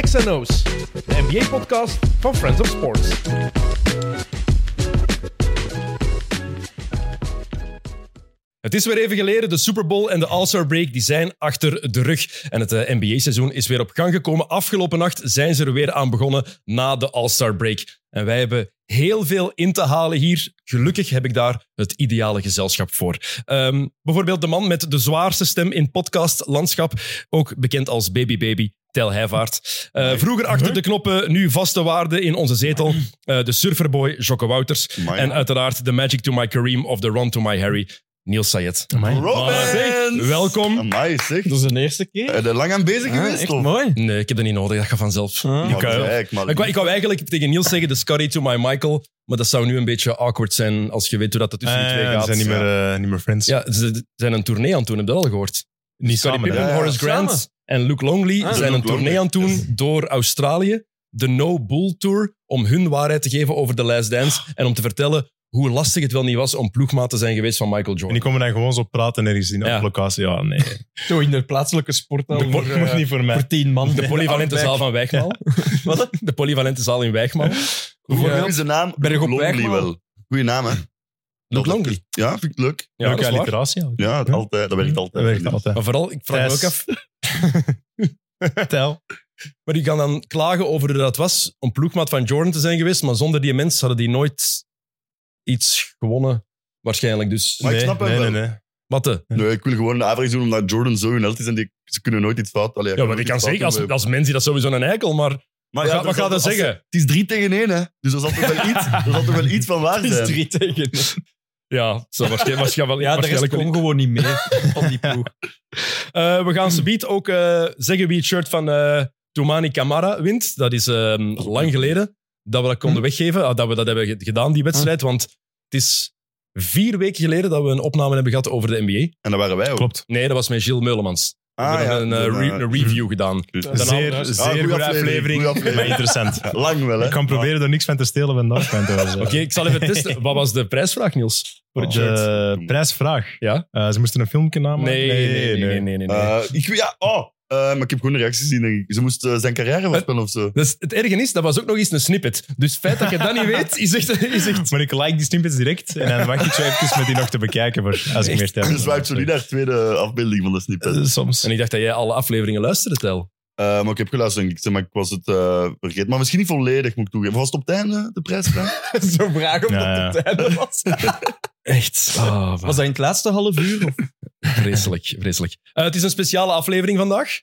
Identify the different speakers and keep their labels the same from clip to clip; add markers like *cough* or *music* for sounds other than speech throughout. Speaker 1: XNO's, de NBA-podcast van Friends of Sports. Het is weer even geleden. De Super Bowl en de All-Star Break die zijn achter de rug. En het eh, NBA-seizoen is weer op gang gekomen. Afgelopen nacht zijn ze er weer aan begonnen na de All-Star Break. En wij hebben heel veel in te halen hier. Gelukkig heb ik daar het ideale gezelschap voor. Ehm, bijvoorbeeld de man met de zwaarste stem in podcastlandschap, ook bekend als Baby Baby. Tel Heijvaart. Eh, vroeger achter de knoppen, nu vaste waarde in onze zetel. Eh, de surferboy Jocke Wouters.
Speaker 2: Amai.
Speaker 1: En uiteraard de Magic to my Kareem of the Run to my Harry, Niels Sayed.
Speaker 2: Robin!
Speaker 1: Welkom.
Speaker 2: Amai, zeg.
Speaker 3: Dat is de eerste keer.
Speaker 2: Ben je er lang aan bezig
Speaker 3: Ah,
Speaker 2: geweest?
Speaker 3: echt
Speaker 2: of?
Speaker 3: mooi.
Speaker 1: Nee, ik heb dat niet nodig. Dat gaat vanzelf.
Speaker 3: Ah.
Speaker 1: Die
Speaker 2: Maar
Speaker 1: kuil.
Speaker 2: kijk, maar-
Speaker 1: Ik wou, ik wou eigenlijk tegen Niels zeggen, de Scotty to my Michael. Maar dat zou nu een beetje awkward zijn als je weet hoe dat er tussen Dus die twee
Speaker 4: we
Speaker 1: gaat.
Speaker 4: zijn niet meer, eh, niet meer friends.
Speaker 1: Ja, ze zijn een tournee aan het doen, heb je dat al gehoord?
Speaker 4: Niet
Speaker 1: Scottie
Speaker 4: samen. hè?
Speaker 1: Pippen,
Speaker 2: hè?
Speaker 1: Horace
Speaker 3: Ja, ja.
Speaker 1: Grant en Luke Longley
Speaker 3: Ah,
Speaker 1: zijn
Speaker 2: Luke
Speaker 1: een tournee
Speaker 2: Longley.
Speaker 1: aan het doen door Australië. De No Bull Tour, om hun waarheid te geven over de Last Dance en om te vertellen hoe lastig het wel niet was om ploegmaat te zijn geweest van Michael
Speaker 4: En die
Speaker 1: Jordan.
Speaker 4: komen dan gewoon zo praten ergens in de
Speaker 1: Ja.
Speaker 4: locatie.
Speaker 1: *laughs*
Speaker 4: Ja, nee. Dat
Speaker 3: Zo in de plaatselijke sporthal.
Speaker 4: moet,
Speaker 3: voor, eh,
Speaker 4: moet niet voor mij.
Speaker 3: voor tien man.
Speaker 1: De polyvalente zaal van Wijkmaal.
Speaker 3: Wat?
Speaker 1: De polyvalente zaal in Wijkmaal.
Speaker 2: Hoe
Speaker 1: Bijvoorbeeld
Speaker 2: is de naam?
Speaker 1: Berg op
Speaker 2: Lonely
Speaker 1: Wijkmaal.
Speaker 2: wel. Goeie naam, hè?
Speaker 1: Luke Longley.
Speaker 2: Ja, vind ik leuk.
Speaker 1: Ja, dat
Speaker 4: Leuke
Speaker 1: is waar.
Speaker 4: alliteratie. eigenlijk.
Speaker 2: Ja, het altijd, dat werkt altijd.
Speaker 4: Dat werkt altijd.
Speaker 1: Maar vooral, ik vraag me ook
Speaker 4: Thijs.
Speaker 1: af,
Speaker 4: Tel.
Speaker 1: Maar die kan dan klagen over hoe dat was om ploegmaat van Jordan te zijn geweest. Maar zonder die mens hadden die nooit iets gewonnen. Waarschijnlijk dus.
Speaker 2: Maar ik snap hem
Speaker 4: nee,
Speaker 2: wel.
Speaker 4: nee, nee.
Speaker 1: Matte.
Speaker 2: Nee, ik wil gewoon de average doen omdat Jordan zo geweld is en die, ze kunnen nooit iets fout. Allee,
Speaker 1: Ja, maar
Speaker 2: nooit
Speaker 1: die kan
Speaker 2: iets fout
Speaker 1: zeker als,
Speaker 2: hebben.
Speaker 1: als mens is dat sowieso een eikel. Maar
Speaker 2: Maar
Speaker 1: wat,
Speaker 2: ja,
Speaker 1: gaat- wat
Speaker 2: zal-
Speaker 1: gaat dat
Speaker 2: als-
Speaker 1: zeggen?
Speaker 2: Het is drie tegen één, hè? Dus er zal toch wel iets, er zal toch wel iets van waar
Speaker 3: Het is
Speaker 2: zijn.
Speaker 3: drie tegen.
Speaker 1: Ja, zo waarschijnlijk, waarschijnlijk,
Speaker 3: Ja, de rest
Speaker 1: waarschijnlijk wel
Speaker 3: kwam gewoon niet
Speaker 4: *laughs*
Speaker 3: mee van die ploeg.
Speaker 1: Eh, we gaan subiet ook eh, zeggen wie het shirt van eh Toumani Kamara wint. Dat is ehm, lang geleden dat we dat konden weggeven. ah, dat we dat hebben ge- gedaan, die wedstrijd. Want het is vier weken geleden dat we een opname hebben gehad over de NBA.
Speaker 2: En dat waren wij ook.
Speaker 4: Klopt.
Speaker 1: Nee, dat was met Gilles Meulemans. We
Speaker 2: Ah, ja,
Speaker 1: hebben een, eh, re-
Speaker 2: dan, eh,
Speaker 1: een review gedaan.
Speaker 2: dus-
Speaker 1: Dan
Speaker 4: Zeer,
Speaker 1: al-
Speaker 4: zeer
Speaker 2: Ah,
Speaker 4: goede
Speaker 2: goeie
Speaker 4: aflevering.
Speaker 2: aflevering, goeie aflevering.
Speaker 4: Maar interessant.
Speaker 2: Lang *laughs* wel, hè?
Speaker 4: Ik kan proberen er niks van te stelen vandaag. kan het wel zeggen.
Speaker 1: Oké, ik zal even testen. Wat was de prijsvraag, Niels? Voor het shirt?
Speaker 4: De prijsvraag.
Speaker 1: Ja?
Speaker 4: Eh, ze moesten een filmpje namaken.
Speaker 1: Nee, nee, nee, nee. nee, nee, nee.
Speaker 2: Eh, ik, ja, oh, eh, maar ik heb gewoon een reactie gezien. denk ik. Ze moest eh, zijn carrière voorspellen of zo.
Speaker 1: dus het erge is, dat was ook nog eens een snippet. Dus het feit dat je dat niet weet, is echt... Is
Speaker 4: *laughs*
Speaker 1: echt
Speaker 4: Maar ik like die snippets direct. En dan wacht ik zo even met die nog te bekijken voor als ik meer tijd
Speaker 2: En
Speaker 4: heb.
Speaker 2: swipe zo niet naar de tweede afbeelding van de snippet.
Speaker 4: Eh, Soms.
Speaker 1: en ik dacht dat jij alle afleveringen luisterde, Tel.
Speaker 2: Eh, maar ik heb geluisterd, denk ik Zeg maar ik was het eh vergeten. Maar misschien niet volledig, moet ik toegeven. Was het op het einde, de
Speaker 4: *laughs*
Speaker 2: prijsvraag?
Speaker 3: Zo'n vraag of
Speaker 4: *laughs* Ja,
Speaker 3: dat het einde was.
Speaker 1: *laughs* Echt? Oh,
Speaker 3: Ah, Was dat in het laatste half uur? Of?
Speaker 1: Vreselijk, vreselijk. Eh, het is een speciale aflevering vandaag.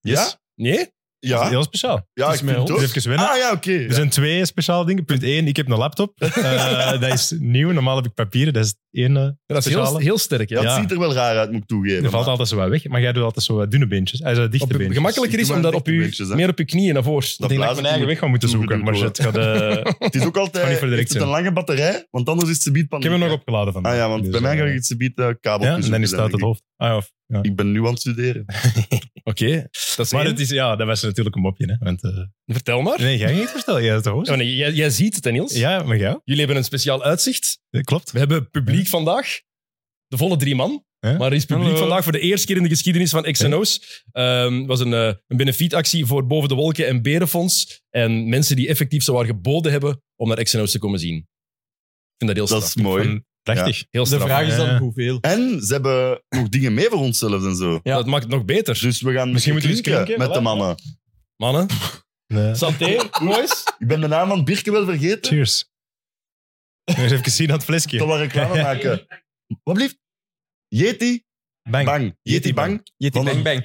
Speaker 2: Ja?
Speaker 1: Nee?
Speaker 4: Dat is
Speaker 2: Ja,
Speaker 4: Heel speciaal.
Speaker 2: ja
Speaker 3: is
Speaker 2: ik
Speaker 3: mij
Speaker 2: vind het
Speaker 3: ook.
Speaker 2: ook.
Speaker 4: Dus even winnen.
Speaker 2: Ah ja, oké.
Speaker 4: Er zijn twee speciale dingen. Punt 1, ik heb een
Speaker 2: *laughs*
Speaker 4: laptop. Eh, dat is nieuw. Normaal heb ik papieren. Dat is het ene.
Speaker 1: Dat is heel,
Speaker 4: Speciale.
Speaker 1: heel sterk,
Speaker 2: Ja,
Speaker 1: ja.
Speaker 2: het
Speaker 4: Ja.
Speaker 2: ziet er wel raar uit, moet ik toegeven.
Speaker 4: Er valt altijd zo wat weg. Maar jij doet altijd zo wat dunne beentjes. Hij is dichte
Speaker 1: Op-
Speaker 4: beentjes.
Speaker 1: gemakkelijker is om dat op u,
Speaker 2: Beentjes, hè?
Speaker 1: meer op je knieën naar voren.
Speaker 2: Dat
Speaker 4: Ik denk dat ik
Speaker 2: blazen
Speaker 4: mijn eigen
Speaker 2: moet-
Speaker 4: weg ga moeten
Speaker 2: moet
Speaker 4: zoeken. Maar
Speaker 2: gedoe
Speaker 4: het gaat, eh,
Speaker 2: Het
Speaker 4: *laughs*
Speaker 2: is ook altijd
Speaker 4: Kan niet verder
Speaker 2: heeft het
Speaker 4: zijn.
Speaker 2: een lange batterij, want anders is het ze biedt
Speaker 4: ik
Speaker 2: paniek.
Speaker 4: heb hem nog opgeladen van.
Speaker 2: Ah ja, want
Speaker 4: Dus,
Speaker 2: bij mij
Speaker 4: eh,
Speaker 2: ga ik het ze biedt eh, kabel
Speaker 4: Ja, en dan is het uit het hoofd. Ah, ja, of, ja.
Speaker 2: Ik ben nu aan het studeren.
Speaker 1: Oké, dat is
Speaker 4: Maar
Speaker 1: één.
Speaker 4: het is, ja, dat was natuurlijk een mopje. Hè? Want, eh,
Speaker 1: Vertel maar.
Speaker 4: nee, jij ging niet vertellen. Jij hebt het hoofd.
Speaker 1: Oh, nee, jij, jij ziet het, hè, Niels.
Speaker 4: Ja, maar jou?
Speaker 1: Jullie hebben een speciaal uitzicht.
Speaker 4: Eh, Klopt.
Speaker 1: We hebben publiek vandaag. De volle drie man.
Speaker 4: Ja.
Speaker 1: Maar er is publiek
Speaker 4: Hallo.
Speaker 1: vandaag voor de eerste keer in de geschiedenis van XNO's. Ehm, Het was een, eh, een benefietactie voor Boven de Wolken en Berenfonds. En mensen die effectief zowaar geboden hebben om naar XNO's te komen zien. Ik vind dat heel straf.
Speaker 2: Dat is mooi.
Speaker 4: Van- Prachtig.
Speaker 1: Heel
Speaker 3: De
Speaker 1: straf.
Speaker 3: vraag is dan
Speaker 4: Ja.
Speaker 3: hoeveel.
Speaker 2: En ze hebben nog dingen mee voor onszelf en zo.
Speaker 1: Dat maakt het nog beter.
Speaker 2: Dus we gaan
Speaker 4: Misschien moeten we eens
Speaker 2: klinken
Speaker 4: klinken,
Speaker 2: met de
Speaker 4: voilà.
Speaker 2: mannen.
Speaker 1: Mannen,
Speaker 4: Nee.
Speaker 1: santé, boys.
Speaker 2: Ik ben de naam van Birke wel vergeten.
Speaker 4: Cheers. Nog Eens even zien aan het
Speaker 2: Ik zal
Speaker 4: flesje.
Speaker 2: wel reclame maken. Wat blieft? Yeti
Speaker 4: Bang.
Speaker 2: Bang. Yeti
Speaker 4: Yeti
Speaker 2: Bang.
Speaker 3: Yeti
Speaker 2: Van
Speaker 3: bang
Speaker 2: een-
Speaker 3: bang.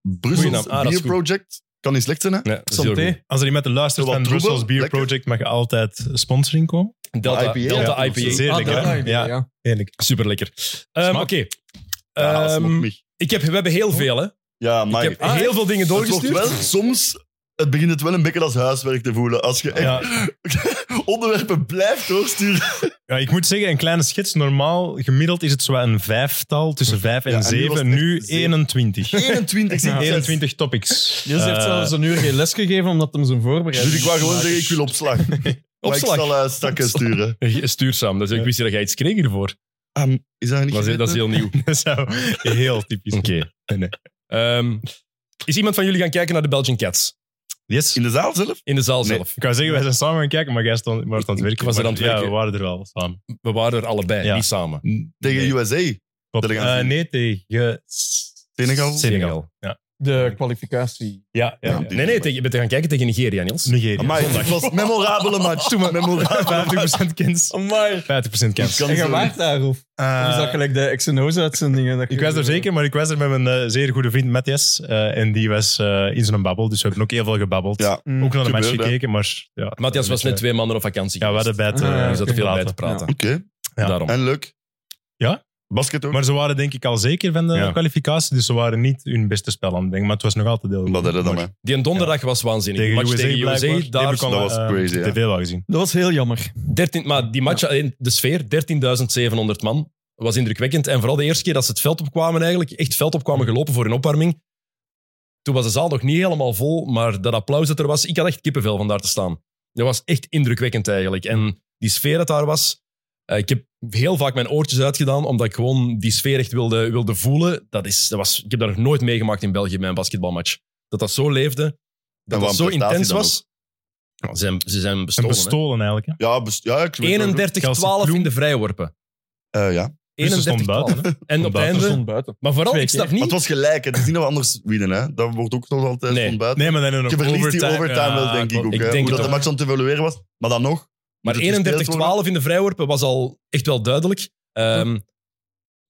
Speaker 1: Goeie
Speaker 2: Brussels
Speaker 1: naam. Ah, dat is
Speaker 2: Beer
Speaker 1: goed. Ehm,
Speaker 2: Project. Kan niet slecht zijn, hè?
Speaker 1: Nee, dat is heel
Speaker 3: Santé.
Speaker 1: goed.
Speaker 4: Als er iemand luistert
Speaker 2: Zo wat
Speaker 4: van
Speaker 2: troebel,
Speaker 4: Brussels Beer
Speaker 2: lekker.
Speaker 4: Project, mag je altijd sponsoring komen.
Speaker 1: Delta
Speaker 2: IPA,
Speaker 1: IPA. Delta
Speaker 2: ja.
Speaker 1: IPA.
Speaker 4: Zeer lekker,
Speaker 3: dat
Speaker 4: hè?
Speaker 3: idee,
Speaker 4: Ja. Eerlijk.
Speaker 1: Super lekker.
Speaker 4: Smaak.
Speaker 1: Ehm, Oké.
Speaker 2: Ja, dat
Speaker 1: Ehm,
Speaker 2: smokt mich.
Speaker 1: ik heb, we hebben heel veel, hè.
Speaker 2: Ja, maar
Speaker 1: Ik heb heel veel dingen
Speaker 2: het wordt
Speaker 1: doorgestuurd.
Speaker 2: wel soms... Het begint het wel een beetje als huiswerk te voelen. Als je echt
Speaker 4: Ja.
Speaker 2: onderwerpen blijft doorsturen.
Speaker 1: *laughs*
Speaker 4: Ja, ik moet zeggen, een kleine schets. Normaal, gemiddeld is het zo een vijftal, tussen vijf en
Speaker 2: Ja, en nu was het echt
Speaker 4: zeven. Nu
Speaker 2: zeven. *laughs*
Speaker 4: 21.
Speaker 2: 21 zit
Speaker 4: 21 topics.
Speaker 3: Niels heeft
Speaker 4: Eh,
Speaker 3: zelfs een uur geen les gegeven omdat hem zijn
Speaker 4: *laughs*
Speaker 3: voorbereiding
Speaker 2: Dus ik wou gewoon zeggen, ik wil
Speaker 1: *laughs*
Speaker 2: opslag. Maar ik
Speaker 1: Opslag.
Speaker 2: zal eh, stakken sturen.
Speaker 1: Stuur Sam. Dus ik wist niet dat jij iets kreeg hiervoor.
Speaker 2: Ah, is dat niet
Speaker 1: Dat is, dat is
Speaker 2: geweten?
Speaker 1: heel nieuw.
Speaker 4: Dat zou heel typisch.
Speaker 1: Oké.
Speaker 4: *laughs* Nee, nee.
Speaker 1: Ehm, is iemand van jullie gaan kijken naar de Belgian Cats?
Speaker 4: Yes.
Speaker 2: In de zaal zelf?
Speaker 1: In de zaal
Speaker 2: Nee.
Speaker 1: zelf.
Speaker 4: Ik wou zeggen, wij zijn samen gaan kijken, maar jij stond, maar stond aan het werken.
Speaker 1: Ik was er
Speaker 4: Maar
Speaker 1: aan het werken.
Speaker 4: Ja, we waren er wel samen.
Speaker 1: We waren er allebei,
Speaker 4: Ja.
Speaker 1: niet samen.
Speaker 2: Tegen
Speaker 4: Nee.
Speaker 2: USA.
Speaker 4: Klopt.
Speaker 2: Dat gaan
Speaker 4: Eh,
Speaker 2: zien.
Speaker 4: nee, tegen... S-
Speaker 2: Senegal?
Speaker 4: Senegal, ja.
Speaker 3: De kwalificatie.
Speaker 4: Ja, ja.
Speaker 2: Ja.
Speaker 4: ja.
Speaker 1: Nee, nee, tegen- je bent gaan kijken tegen Nigeria, Niels.
Speaker 4: Nigeria.
Speaker 2: Amai,
Speaker 4: zondag.
Speaker 2: het was een memorabele match.
Speaker 3: *laughs*
Speaker 2: Toen maar. Memorabele match.
Speaker 4: 50% kans.
Speaker 3: Amai.
Speaker 4: 50% kans.
Speaker 2: Kan
Speaker 3: En
Speaker 2: zo
Speaker 3: je
Speaker 2: niet.
Speaker 3: waart daar, of?
Speaker 4: Eh,
Speaker 3: Of is dat gelijk de X&O's-uitzendingen?
Speaker 4: ik was er zeker, maar ik was er met mijn eh, zeer goede vriend Matthias. eh, en die was eh, in zijn babbel, dus we hebben ook heel veel gebabbeld.
Speaker 2: Ja.
Speaker 3: Mm.
Speaker 4: Ook naar de match
Speaker 2: Gebeurde.
Speaker 4: gekeken, maar... Ja,
Speaker 1: Matthias was
Speaker 4: Beetje-
Speaker 1: net twee maanden op vakantie.
Speaker 4: Ja, we hadden
Speaker 1: geweest.
Speaker 4: bij het...
Speaker 3: Ah,
Speaker 4: eh,
Speaker 3: we
Speaker 1: Er zat
Speaker 3: oké.
Speaker 1: veel bij te
Speaker 4: laten.
Speaker 1: praten.
Speaker 2: Oké,
Speaker 4: Ja.
Speaker 1: Daarom.
Speaker 2: en leuk.
Speaker 4: Ja?
Speaker 2: Basket ook.
Speaker 4: Maar ze waren denk ik al zeker van de
Speaker 1: Ja.
Speaker 4: kwalificatie, dus ze waren niet hun beste spel aan het denken, maar het was nog altijd heel
Speaker 2: Wat hadden we dan,
Speaker 4: Maar
Speaker 2: hè?
Speaker 1: Die een donderdag was waanzinnig.
Speaker 4: Tegen
Speaker 1: Tegen match
Speaker 4: USA,
Speaker 1: tegen USA,
Speaker 4: blijkbaar.
Speaker 1: daar
Speaker 4: Die heb ik
Speaker 2: Dat
Speaker 4: al,
Speaker 2: was
Speaker 4: eh,
Speaker 2: crazy,
Speaker 4: op
Speaker 2: ja.
Speaker 4: tv wel gezien.
Speaker 3: Dat was heel jammer.
Speaker 1: 13, maar die match, in de sfeer, 13.700 man, was indrukwekkend. En vooral de eerste keer dat ze het veld opkwamen eigenlijk, echt het veld opkwamen gelopen voor hun opwarming. Toen was de zaal nog niet helemaal vol, maar dat applaus dat er was, ik had echt kippenvel van daar te staan. Dat was echt indrukwekkend eigenlijk. En die sfeer dat daar was, eh, ik heb heel vaak mijn oortjes uitgedaan, omdat ik gewoon die sfeer echt wilde, wilde voelen. Dat is, dat was, ik heb dat nog nooit meegemaakt in België, mijn basketbalmatch. Dat dat zo leefde, dat
Speaker 2: wat
Speaker 1: dat
Speaker 2: een
Speaker 1: zo
Speaker 2: prestatie
Speaker 1: intens
Speaker 2: dan
Speaker 1: was. Ja, ze, zijn, ze zijn
Speaker 4: Ze
Speaker 1: bestolen. hè.
Speaker 4: bestolen eigenlijk. Hè.
Speaker 2: Ja, best- ja, ik weet het wel.
Speaker 1: 31-12 in de vrijworpen.
Speaker 2: Eh, ja.
Speaker 4: Dus ze stond
Speaker 1: 31-12. hè. En op het
Speaker 4: buiten.
Speaker 3: Ze
Speaker 1: einde...
Speaker 3: stond buiten.
Speaker 1: Maar vooral,
Speaker 3: Twee
Speaker 1: ik snap
Speaker 3: keer.
Speaker 2: Maar
Speaker 1: niet...
Speaker 2: het was gelijk. hè. Het is niet dat we anders winnen. Hè. Dat wordt ook nog altijd
Speaker 1: Nee.
Speaker 2: van buiten.
Speaker 4: Nee, maar dan hebben we
Speaker 2: Je
Speaker 4: nog
Speaker 2: verliest die overtime
Speaker 4: Ja,
Speaker 2: wel, denk ik ook.
Speaker 1: ik
Speaker 2: hè.
Speaker 1: denk
Speaker 2: Hoe
Speaker 1: het
Speaker 2: dat de
Speaker 1: ook.
Speaker 2: match aan het evalueren was. Maar dan nog.
Speaker 1: Maar
Speaker 2: Moet het gespeeld worden?
Speaker 1: 31-12 in de vrijworpen was al echt wel duidelijk. Ehm,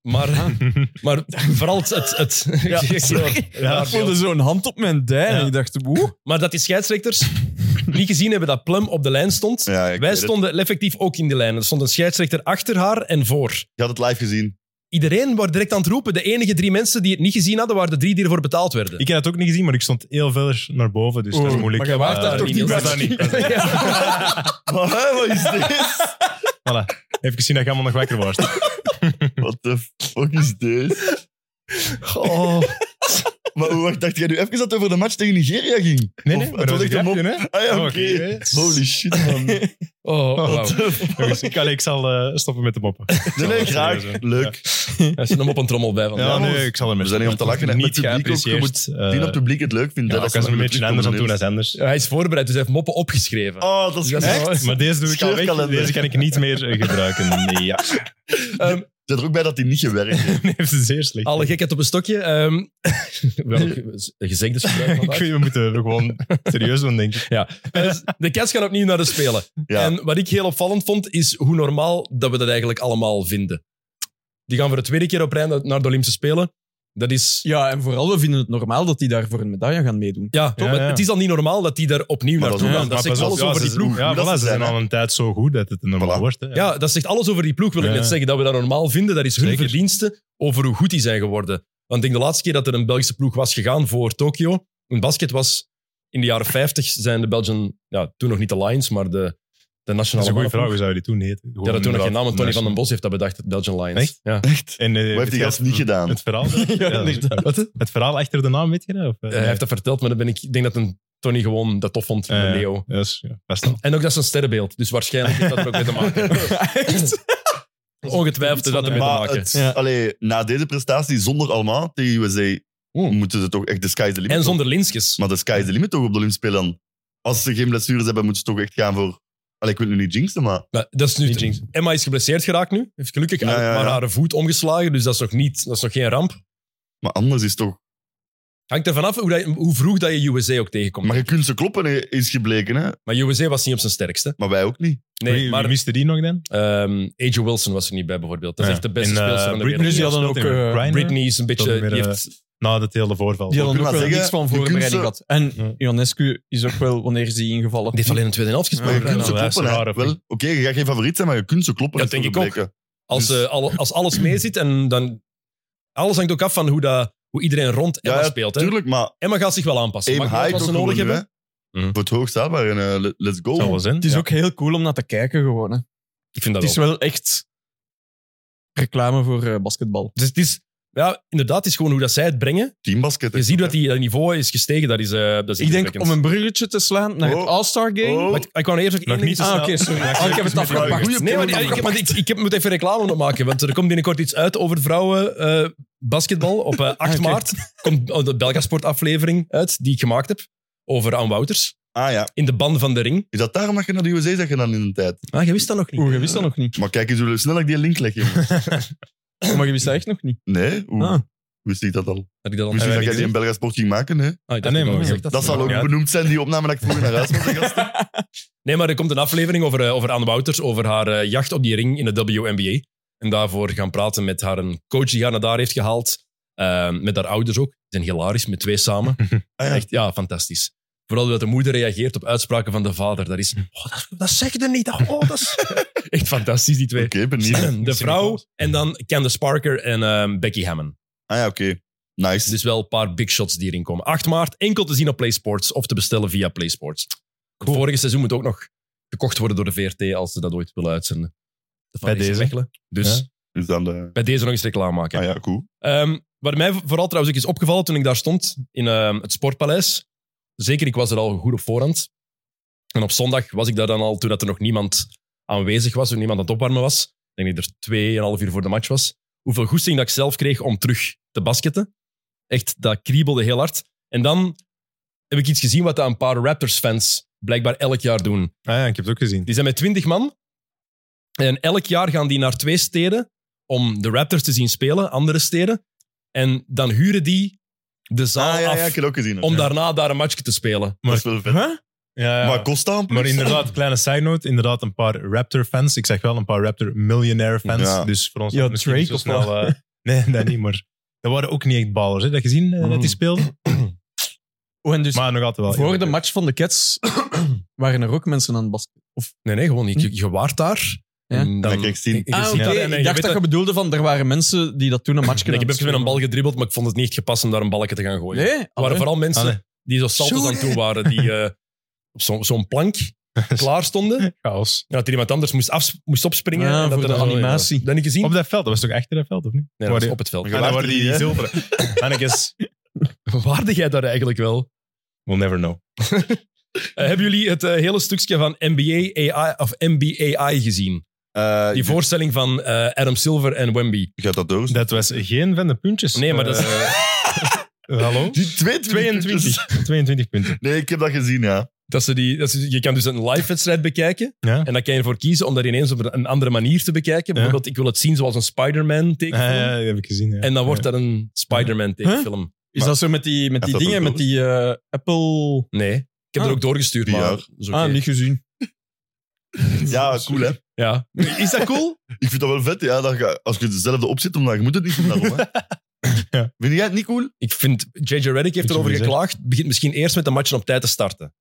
Speaker 1: maar, *laughs* maar vooral het... het, het *laughs*
Speaker 4: Ja,
Speaker 1: Ja,
Speaker 4: Ja,
Speaker 3: Ik voelde zo'n hand op mijn dij en
Speaker 4: Ja.
Speaker 3: ik dacht, woe.
Speaker 1: Maar dat die scheidsrechters niet gezien hebben dat Plum op de lijn stond.
Speaker 2: Ja, ik
Speaker 1: Wij
Speaker 2: weet het.
Speaker 1: stonden effectief ook in de lijn. Er stond een scheidsrechter achter haar en voor.
Speaker 2: Je had het live gezien.
Speaker 1: Iedereen was direct aan het roepen. De enige drie mensen die het niet gezien hadden, waren de drie die ervoor betaald werden.
Speaker 4: Ik heb het ook niet gezien, maar ik stond heel ver naar boven, dus dat is
Speaker 3: Oeh,
Speaker 4: moeilijk.
Speaker 3: maar jij waart
Speaker 4: Eh,
Speaker 3: daar
Speaker 1: toch niet
Speaker 4: ik
Speaker 1: bij?
Speaker 4: was daar niet.
Speaker 2: *laughs*
Speaker 1: Ja.
Speaker 2: Maar hè, wat is dit?
Speaker 4: Voilà. Even gezien dat je allemaal nog wakker was.
Speaker 2: What the fuck is dit?
Speaker 1: Oh.
Speaker 2: Maar hoe wacht, dacht jij nu even dat het over de match tegen Nigeria ging?
Speaker 4: Nee, nee,
Speaker 2: Of-
Speaker 4: maar dat was
Speaker 2: het
Speaker 4: een
Speaker 2: was echt
Speaker 4: grapje, hè? *laughs*
Speaker 2: Ah ja,
Speaker 4: Oh,
Speaker 2: oké.
Speaker 4: oké.
Speaker 2: Holy shit, man. Nee,
Speaker 1: Oh, wauw.
Speaker 4: Jongens, ik, allee, ik zal eh, stoppen met de moppen.
Speaker 2: nee, graag.
Speaker 4: serieus, hè.
Speaker 2: Leuk.
Speaker 1: Hij zit hem op een trommel bij
Speaker 4: Ja,
Speaker 1: vandaag.
Speaker 2: Ja, maar
Speaker 4: nee, ik zal er
Speaker 2: we zijn hier om te lachen, hè. Met
Speaker 4: Niet
Speaker 2: publiek ook, je
Speaker 4: geapprecieerd.
Speaker 2: Die dat
Speaker 4: eh,
Speaker 2: het publiek het leuk vindt.
Speaker 4: Ja,
Speaker 2: hè, dat
Speaker 4: dat
Speaker 2: ze
Speaker 4: is een
Speaker 2: met
Speaker 4: beetje
Speaker 2: publiek
Speaker 4: anders aan
Speaker 2: komen
Speaker 4: doen dan
Speaker 2: ineens.
Speaker 4: anders.
Speaker 1: Ja, Hij is voorbereid, dus hij heeft moppen opgeschreven.
Speaker 2: Oh, dat is
Speaker 1: Dat is
Speaker 2: echt.
Speaker 1: mooi.
Speaker 4: Maar deze doe ik al weg.
Speaker 2: Scheurkalender.
Speaker 4: Deze kan ik niet meer eh, gebruiken. Nee, ja. *laughs*
Speaker 1: Ehm,
Speaker 2: Zit er ook bij dat hij niet gewerkt heeft.
Speaker 4: Nee, dat is zeer slecht.
Speaker 1: alle gekheid op een stokje. ehm wel, ge- gezegdes gebruikt
Speaker 4: ik
Speaker 1: *laughs* vandaag.
Speaker 4: weet, we moeten er gewoon serieus doen, denk ik.
Speaker 1: Dus de Cats gaan opnieuw naar de Spelen.
Speaker 4: *laughs*
Speaker 2: Ja.
Speaker 1: En wat ik heel opvallend vond, is hoe normaal dat we dat eigenlijk allemaal vinden. Die gaan voor de tweede keer op rij naar naar de Olympische Spelen. Dat is...
Speaker 3: Ja, en vooral, we vinden het normaal dat die daar voor een medaille gaan
Speaker 1: *laughs*
Speaker 3: meedoen.
Speaker 1: Ja, toch?
Speaker 4: Ja, ja.
Speaker 1: het is al niet normaal dat die daar opnieuw
Speaker 2: Maar
Speaker 1: naartoe
Speaker 2: dat-
Speaker 1: gaan.
Speaker 2: ja,
Speaker 1: Dat
Speaker 4: maar
Speaker 1: zegt
Speaker 4: pas op,
Speaker 1: alles
Speaker 4: ja,
Speaker 1: over
Speaker 4: ze-
Speaker 1: die ploeg.
Speaker 4: Ja,
Speaker 2: Hoe dat
Speaker 4: voilà,
Speaker 2: ze
Speaker 4: ze zijn
Speaker 2: zijn,
Speaker 4: al een tijd zo goed dat het een normaal
Speaker 2: Voilà.
Speaker 4: wordt. Hè.
Speaker 1: Ja, dat zegt alles over die ploeg, wil ik
Speaker 4: Ja.
Speaker 1: net zeggen. Dat we dat normaal vinden, dat is hun
Speaker 4: Zeker.
Speaker 1: verdienste over hoe goed die zijn geworden. Want ik denk de laatste keer dat er een Belgische ploeg was gegaan voor Tokio, een basket was in de jaren 50, zijn de Belgian, ja, toen nog niet de Lions, maar de, de
Speaker 4: Dat
Speaker 1: nationale
Speaker 4: is een goede vraag.
Speaker 1: mannenploeg.
Speaker 4: Hoe zou je die toen heten?
Speaker 1: Ja, dat toen nog geen naam.
Speaker 4: namen
Speaker 1: Tony van den Bos heeft dat bedacht, de Belgian Lions.
Speaker 4: Echt?
Speaker 1: Ja.
Speaker 2: Echt.
Speaker 4: En, eh,
Speaker 2: Wat heeft
Speaker 4: het
Speaker 2: die gast niet gedaan?
Speaker 4: Het verhaal,
Speaker 1: *laughs*
Speaker 4: ja,
Speaker 3: inderdaad.
Speaker 4: het- het verhaal achter de naam, weet je dat? Of, eh,
Speaker 1: Eh, hij heeft dat verteld, maar dan ben ik, ik denk dat een Tony gewoon dat tof vond van
Speaker 4: Eh,
Speaker 1: de Leo.
Speaker 4: Ja, is- ja, best wel.
Speaker 1: En ook dat is een sterrenbeeld, dus waarschijnlijk heeft dat er ook mee te maken. *laughs*
Speaker 3: Echt?
Speaker 1: Ongetwijfeld heeft dat ermee te
Speaker 2: Maar
Speaker 1: maken.
Speaker 2: het,
Speaker 3: Ja.
Speaker 2: allee, na deze prestatie, zonder allemaal tegen USA, moeten ze toch echt de sky is the limit.
Speaker 1: En
Speaker 2: toch?
Speaker 1: zonder Linskes.
Speaker 2: Maar de sky is the limit toch op de Olympische Spelen dan? Als ze geen blessures hebben, moeten ze toch echt gaan voor... Allee, ik wil nu niet jinxen, maar...
Speaker 1: Maar dat is nu
Speaker 4: Niet jinxen.
Speaker 1: Emma is geblesseerd geraakt nu. Heeft gelukkig
Speaker 2: Ja, ja,
Speaker 1: maar
Speaker 2: ja.
Speaker 1: haar voet omgeslagen, dus dat is nog, niet, dat is nog geen ramp.
Speaker 2: Maar anders is toch...
Speaker 1: Hangt er vanaf hoe, dat je- hoe vroeg dat je USA ook tegenkomt.
Speaker 2: Maar
Speaker 1: Maar,
Speaker 2: je kunt ze kloppen, hè, is gebleken, hè.
Speaker 1: USA was niet op zijn sterkste.
Speaker 2: Maar wij ook niet.
Speaker 1: Nee,
Speaker 4: wie,
Speaker 1: maar
Speaker 4: wie miste die nog dan?
Speaker 1: ehm AJ Wilson was er niet bij bijvoorbeeld. Dat is
Speaker 4: Ja.
Speaker 1: echt de beste
Speaker 4: En, eh,
Speaker 1: speelster van de wereld.
Speaker 3: Dus die
Speaker 4: Britney
Speaker 3: hadden ook,
Speaker 4: speelt in
Speaker 3: eh,
Speaker 4: Grindr,
Speaker 1: Britney is een beetje...
Speaker 4: Dat meer,
Speaker 1: die
Speaker 4: eh,
Speaker 1: heeft,
Speaker 4: Na dat hele voorval.
Speaker 3: Die hadden
Speaker 2: Ik wil
Speaker 3: ook wel
Speaker 2: maar
Speaker 3: niks
Speaker 2: zeggen,
Speaker 3: van
Speaker 2: je kunt
Speaker 3: voorbereiding gehad.
Speaker 2: ze-
Speaker 3: En
Speaker 4: Ja.
Speaker 3: Ionescu is ook wel, wanneer is die ingevallen?
Speaker 1: die heeft alleen een tweede helft
Speaker 2: Maar
Speaker 1: gespeeld.
Speaker 2: je
Speaker 3: Ja,
Speaker 2: kunt
Speaker 4: nou,
Speaker 2: ze
Speaker 4: dat is
Speaker 2: kloppen, hè.
Speaker 4: raar, of
Speaker 2: Wel,
Speaker 4: niet?
Speaker 2: oké, je gaat geen favoriet zijn, maar je kunt ze kloppen.
Speaker 1: Ja,
Speaker 2: is
Speaker 1: denk
Speaker 2: toch
Speaker 1: ik ook.
Speaker 2: gebleken.
Speaker 1: Als,
Speaker 2: Dus-
Speaker 1: eh, al- als alles meezit en dan... Alles hangt ook af van hoe, dat, hoe iedereen rond Emma
Speaker 2: Ja, ja,
Speaker 1: speelt. Hè.
Speaker 2: Tuurlijk, maar
Speaker 1: Emma gaat zich wel aanpassen.
Speaker 2: aim
Speaker 1: Maakt niet uit
Speaker 2: high
Speaker 1: wat ze
Speaker 2: toch gewoon
Speaker 1: nodig
Speaker 2: nu, hè.
Speaker 1: hebben. Mhm.
Speaker 2: Voor het hoogstaalbaar en eh, le- let's go.
Speaker 4: Zou wel zijn.
Speaker 3: Het is
Speaker 4: Ja.
Speaker 3: ook heel cool om naar te kijken gewoon. Hè.
Speaker 1: Ik vind dat
Speaker 3: Het is
Speaker 1: wel.
Speaker 3: wel echt reclame voor eh, basketbal.
Speaker 1: Dus het is... Ja, inderdaad, het is gewoon hoe dat zij het brengen.
Speaker 2: Teambasket. hè.
Speaker 1: Je ziet dat die dat niveau is gestegen. Dat is, eh, dat
Speaker 3: Ik
Speaker 1: is
Speaker 3: denk
Speaker 1: indrukwekkend.
Speaker 3: om een bruggetje te slaan naar het
Speaker 2: Oh.
Speaker 3: All-Star Game.
Speaker 2: Oh.
Speaker 1: Maar ik, ik wou eerst nog
Speaker 4: Nog
Speaker 1: één
Speaker 4: niet
Speaker 1: ding
Speaker 3: Ah,
Speaker 4: snel.
Speaker 3: oké, sorry.
Speaker 4: Ja,
Speaker 3: Ah, ik heb het
Speaker 4: met die
Speaker 3: afgepakt.
Speaker 2: goeie
Speaker 1: Nee, maar
Speaker 2: poging.
Speaker 1: ik, maar ik, ik, heb- moet even reclame nog maken, want er komt binnenkort iets uit over vrouwen eh, basketbal. Op eh, 8
Speaker 4: *laughs*
Speaker 3: Ah, oké.
Speaker 1: oh, maart komt de Belgasport aflevering uit, die ik gemaakt heb. over Ann Wouters
Speaker 2: Ah ja.
Speaker 1: in de ban van de ring.
Speaker 2: Is dat daarom dat je naar de USA zegt dan in een tijd?
Speaker 1: Ah, je wist dat nog niet.
Speaker 3: Oeh, Oh, je wist dat nog
Speaker 2: *laughs*
Speaker 3: niet.
Speaker 2: Maar kijk eens hoe snel ik die link
Speaker 1: *laughs*
Speaker 2: leg, jongen.
Speaker 3: Maar je wist dat echt nog niet.
Speaker 2: Nee, hoe
Speaker 3: Ah.
Speaker 2: wist ik dat al?
Speaker 1: Had ik dat al
Speaker 2: Wist ik
Speaker 1: Ah,
Speaker 2: dat
Speaker 1: wij
Speaker 2: jij die in
Speaker 1: hebben
Speaker 2: Belga Sport ging maken? Hè?
Speaker 1: gezien. Ah, ik dacht
Speaker 4: Ah, nee,
Speaker 1: ik al
Speaker 4: maar-
Speaker 1: gezegd dat
Speaker 2: Dat
Speaker 1: ze-
Speaker 2: zal ook
Speaker 4: Ja.
Speaker 2: benoemd zijn, die opname dat ik vroeger naar huis was. gasten.
Speaker 1: Nee, maar er komt een aflevering over, eh, over Anne Wouters, over haar eh, jacht op die ring in de WNBA. En daarvoor gaan praten met haar een coach die haar naar daar heeft gehaald. eh, met haar ouders ook. Ze zijn hilarisch, met twee samen.
Speaker 2: *laughs* Ah, ja.
Speaker 1: Echt, ja, fantastisch. Vooral hoe dat de moeder reageert op uitspraken van de vader. Dat
Speaker 2: Hm.
Speaker 1: is, oh, dat, dat zeg je niet. Dat, oh, dat
Speaker 2: *laughs*
Speaker 1: is... Echt fantastisch, die twee. *laughs*
Speaker 2: Oké,
Speaker 1: *clears throat*
Speaker 2: benieuwd.
Speaker 1: De vrouw en dan Candace Parker en ehm, Becky Hammon.
Speaker 2: Ah ja, oké. Nice.
Speaker 1: Dus wel een paar big shots die erin komen. 8 maart, enkel te zien op PlaySports of te bestellen via PlaySports. Het vorige seizoen moet ook nog gekocht worden door de VRT als ze dat ooit willen uitzenden. De
Speaker 4: Bij
Speaker 1: Van
Speaker 4: deze.
Speaker 1: Mechelen. Dus
Speaker 4: Ja.
Speaker 2: Dus dan de...
Speaker 1: bij deze nog eens reclame maken.
Speaker 2: Ah ja, cool.
Speaker 1: Ehm, wat mij vooral trouwens ook is opgevallen toen ik daar stond in ehm, het Sportpaleis. Zeker, ik was er al goed op voorhand. En op zondag was ik daar dan al, toen dat er nog niemand aanwezig was, toen niemand aan het opwarmen was. Ik denk dat ik er tweeënhalf uur voor de match was. Hoeveel goesting dat ik zelf kreeg om terug te basketten. Echt, dat kriebelde heel hard. En dan heb ik iets gezien wat dat een paar Raptors-fans blijkbaar elk jaar doen.
Speaker 4: Ah ja, ik heb het ook gezien.
Speaker 1: Die zijn met 20 man. En elk jaar gaan die naar twee steden om de Raptors te zien spelen, andere steden. En dan huren die de zaal
Speaker 2: Ah ja, ja,
Speaker 1: af
Speaker 2: ik heb het ook gezien.
Speaker 1: om
Speaker 2: Ja.
Speaker 1: daarna daar een matchje te spelen.
Speaker 2: Dat is wel vet.
Speaker 4: Huh? Ja, ja.
Speaker 2: Maar kost dat een plus?
Speaker 4: Maar inderdaad, kleine side note, inderdaad een paar Raptor-fans. Ik zeg wel een paar Raptor-miljonair-fans.
Speaker 2: Ja.
Speaker 4: Dus voor ons
Speaker 3: Ja,
Speaker 4: had het misschien
Speaker 3: Drake
Speaker 4: niet zo
Speaker 3: of
Speaker 4: snel... eh, *laughs* nee, dat niet, maar dat waren ook niet echt ballers. Hè. Dat gezien eh, dat die speelden?
Speaker 3: Oh, en dus
Speaker 4: Maar nog altijd wel.
Speaker 3: Mm. voor de match van de Cats *clears throat* waren er ook mensen aan het basket. Of,
Speaker 1: Nee, nee, gewoon niet. Je, je waart daar.
Speaker 3: Ja.
Speaker 1: En
Speaker 2: Dan krijg je zien.
Speaker 1: je ziet
Speaker 4: oké.
Speaker 1: dat.
Speaker 4: ja,
Speaker 1: En
Speaker 3: ik
Speaker 1: je
Speaker 3: dacht dat
Speaker 1: weet
Speaker 3: je bedoelde van, er waren mensen die dat toen een match
Speaker 1: Nee, ik heb even met een
Speaker 3: spelen.
Speaker 1: bal gedribbeld, maar ik vond het niet echt gepast om daar een balkje te gaan gooien.
Speaker 3: Nee,
Speaker 1: Er waren
Speaker 3: allee.
Speaker 1: vooral mensen
Speaker 4: Allee.
Speaker 1: die zo salto's aan toe waren, die eh, op zo- zo'n
Speaker 3: *laughs*
Speaker 1: plank klaar stonden. En
Speaker 4: chaos.
Speaker 1: dat er iemand anders moest, af, moest opspringen.
Speaker 3: Ja,
Speaker 1: en dat
Speaker 3: Ah, voor
Speaker 1: er
Speaker 3: de
Speaker 1: dan zo- ja.
Speaker 3: animatie.
Speaker 1: Dat niet gezien?
Speaker 4: Op dat veld, dat was toch achter dat veld, of niet?
Speaker 1: nee, dat was
Speaker 4: Waar-
Speaker 1: op het veld.
Speaker 2: Maar
Speaker 4: Ah, daar waren die,
Speaker 2: Gewaarde
Speaker 4: die
Speaker 2: die,
Speaker 4: zilveren.
Speaker 2: *laughs*
Speaker 4: Hannekes,
Speaker 1: *laughs* Waarde jij daar eigenlijk wel?
Speaker 4: we'll never know.
Speaker 1: Eh, hebben jullie het eh, hele stukje van NBA AI of MBAI gezien?
Speaker 2: Eh,
Speaker 1: Die voorstelling van eh, Adam Silver en Wemby.
Speaker 2: Gaat dat door?
Speaker 4: Dat was geen van de puntjes.
Speaker 1: Nee, maar dat is.
Speaker 4: Eh,
Speaker 1: *laughs*
Speaker 4: hallo?
Speaker 2: Die 22.
Speaker 4: *laughs* 22. 22 punten.
Speaker 2: Nee, ik heb dat gezien, ja.
Speaker 1: Dat ze die, dat ze, je kan dus een live wedstrijd bekijken.
Speaker 4: Ja.
Speaker 1: En dan kan je ervoor kiezen om dat ineens op een andere manier te bekijken. Bijvoorbeeld, ik wil het zien zoals een Spider-Man
Speaker 4: Ah,
Speaker 1: tekenfilm.
Speaker 4: ja, dat heb ik gezien. Ja.
Speaker 1: En dan wordt dat een Spider-Man tekenfilm.
Speaker 3: Is dat zo met die, met die
Speaker 2: dat
Speaker 3: dingen,
Speaker 2: ook
Speaker 3: met die eh, Apple...
Speaker 1: Nee. Ik heb
Speaker 3: Ah.
Speaker 1: er ook doorgestuurd,
Speaker 2: Ja.
Speaker 1: maar... dat is oké.
Speaker 3: Ah, niet gezien.
Speaker 1: *laughs*
Speaker 2: Ja, cool, hè.
Speaker 1: Ja. Is dat cool?
Speaker 2: Ik vind dat wel vet, ja. Dat je, als je dezelfde opzet, omdat je moet het niet doen daarom, hè.
Speaker 4: Ja.
Speaker 2: Vind jij het niet cool?
Speaker 1: Ik vind... J.J. Reddick heeft
Speaker 4: je
Speaker 1: erover
Speaker 4: maar zeggen.
Speaker 1: geklaagd. Begint misschien eerst met de matchen op tijd te starten.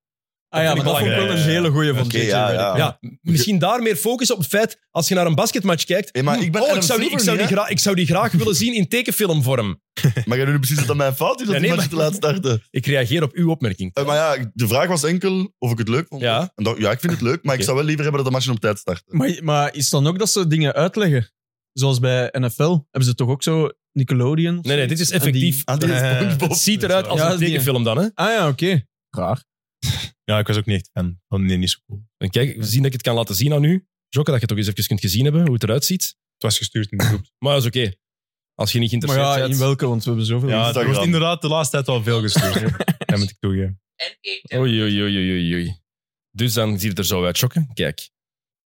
Speaker 3: Ah ja,
Speaker 1: vind
Speaker 3: maar
Speaker 1: ik
Speaker 3: dat vond ik
Speaker 1: belangrijk.
Speaker 3: wel een hele goeie van
Speaker 2: Oké,
Speaker 3: JJ
Speaker 2: ja,
Speaker 3: Redick.
Speaker 2: ja.
Speaker 1: Ja, m- misschien daar meer focus op het feit, als je naar een basketmatch kijkt...
Speaker 2: Hey, maar ik ben
Speaker 1: oh, ik
Speaker 2: Adam
Speaker 1: zou, die, ik,
Speaker 2: Silver
Speaker 1: zou die
Speaker 2: niet, hè.
Speaker 1: graag, ik zou die graag willen zien in tekenfilmvorm.
Speaker 2: Maar jij doet nu precies dat dat mijn fout is, dat
Speaker 1: Ja,
Speaker 2: die
Speaker 1: nee,
Speaker 2: match te laat starten.
Speaker 1: Ik reageer op uw opmerking.
Speaker 2: Eh, maar ja, de vraag was enkel of ik het leuk vond.
Speaker 1: Ja.
Speaker 2: En dat- ja, ik vind het leuk, maar ik
Speaker 1: Oké.
Speaker 2: zou wel liever hebben dat de matchen op tijd starten.
Speaker 3: Maar, maar is dan ook dat ze dingen uitleggen? Zoals bij NFL. Hebben ze toch ook zo Nickelodeon? of
Speaker 1: Nee, nee,
Speaker 3: zo?
Speaker 1: dit is
Speaker 3: En die-
Speaker 1: effectief...
Speaker 2: Ah, die is
Speaker 4: Eh,
Speaker 1: *laughs*
Speaker 2: SpongeBob.
Speaker 1: Het ziet eruit als
Speaker 3: Ja,
Speaker 1: een
Speaker 3: dat is die-
Speaker 1: tekenfilm dan, hè?
Speaker 3: Ah ja, oké. Raar.
Speaker 4: Ja, ik was ook niet echt fan. Oh, nee, niet zo cool.
Speaker 1: En kijk, we zien dat ik het kan laten zien aan u. Jokke, dat je het ook eens even kunt gezien hebben, hoe het eruit ziet.
Speaker 4: Het was gestuurd in de
Speaker 1: *laughs*
Speaker 4: groep.
Speaker 1: Maar dat is oké. Als je niet
Speaker 3: Maar ja,
Speaker 1: geïnteresseerd
Speaker 3: in
Speaker 1: bent...
Speaker 3: welke? Want we hebben zoveel.
Speaker 4: Ja,
Speaker 2: Instagram.
Speaker 4: er wordt inderdaad de laatste tijd al veel
Speaker 1: *laughs*
Speaker 4: gestuurd. dat moet ik toegeven.
Speaker 1: Oei, oei, oei, oei, oei, oei. Dus dan ziet het er zo uit, Jokke. Kijk.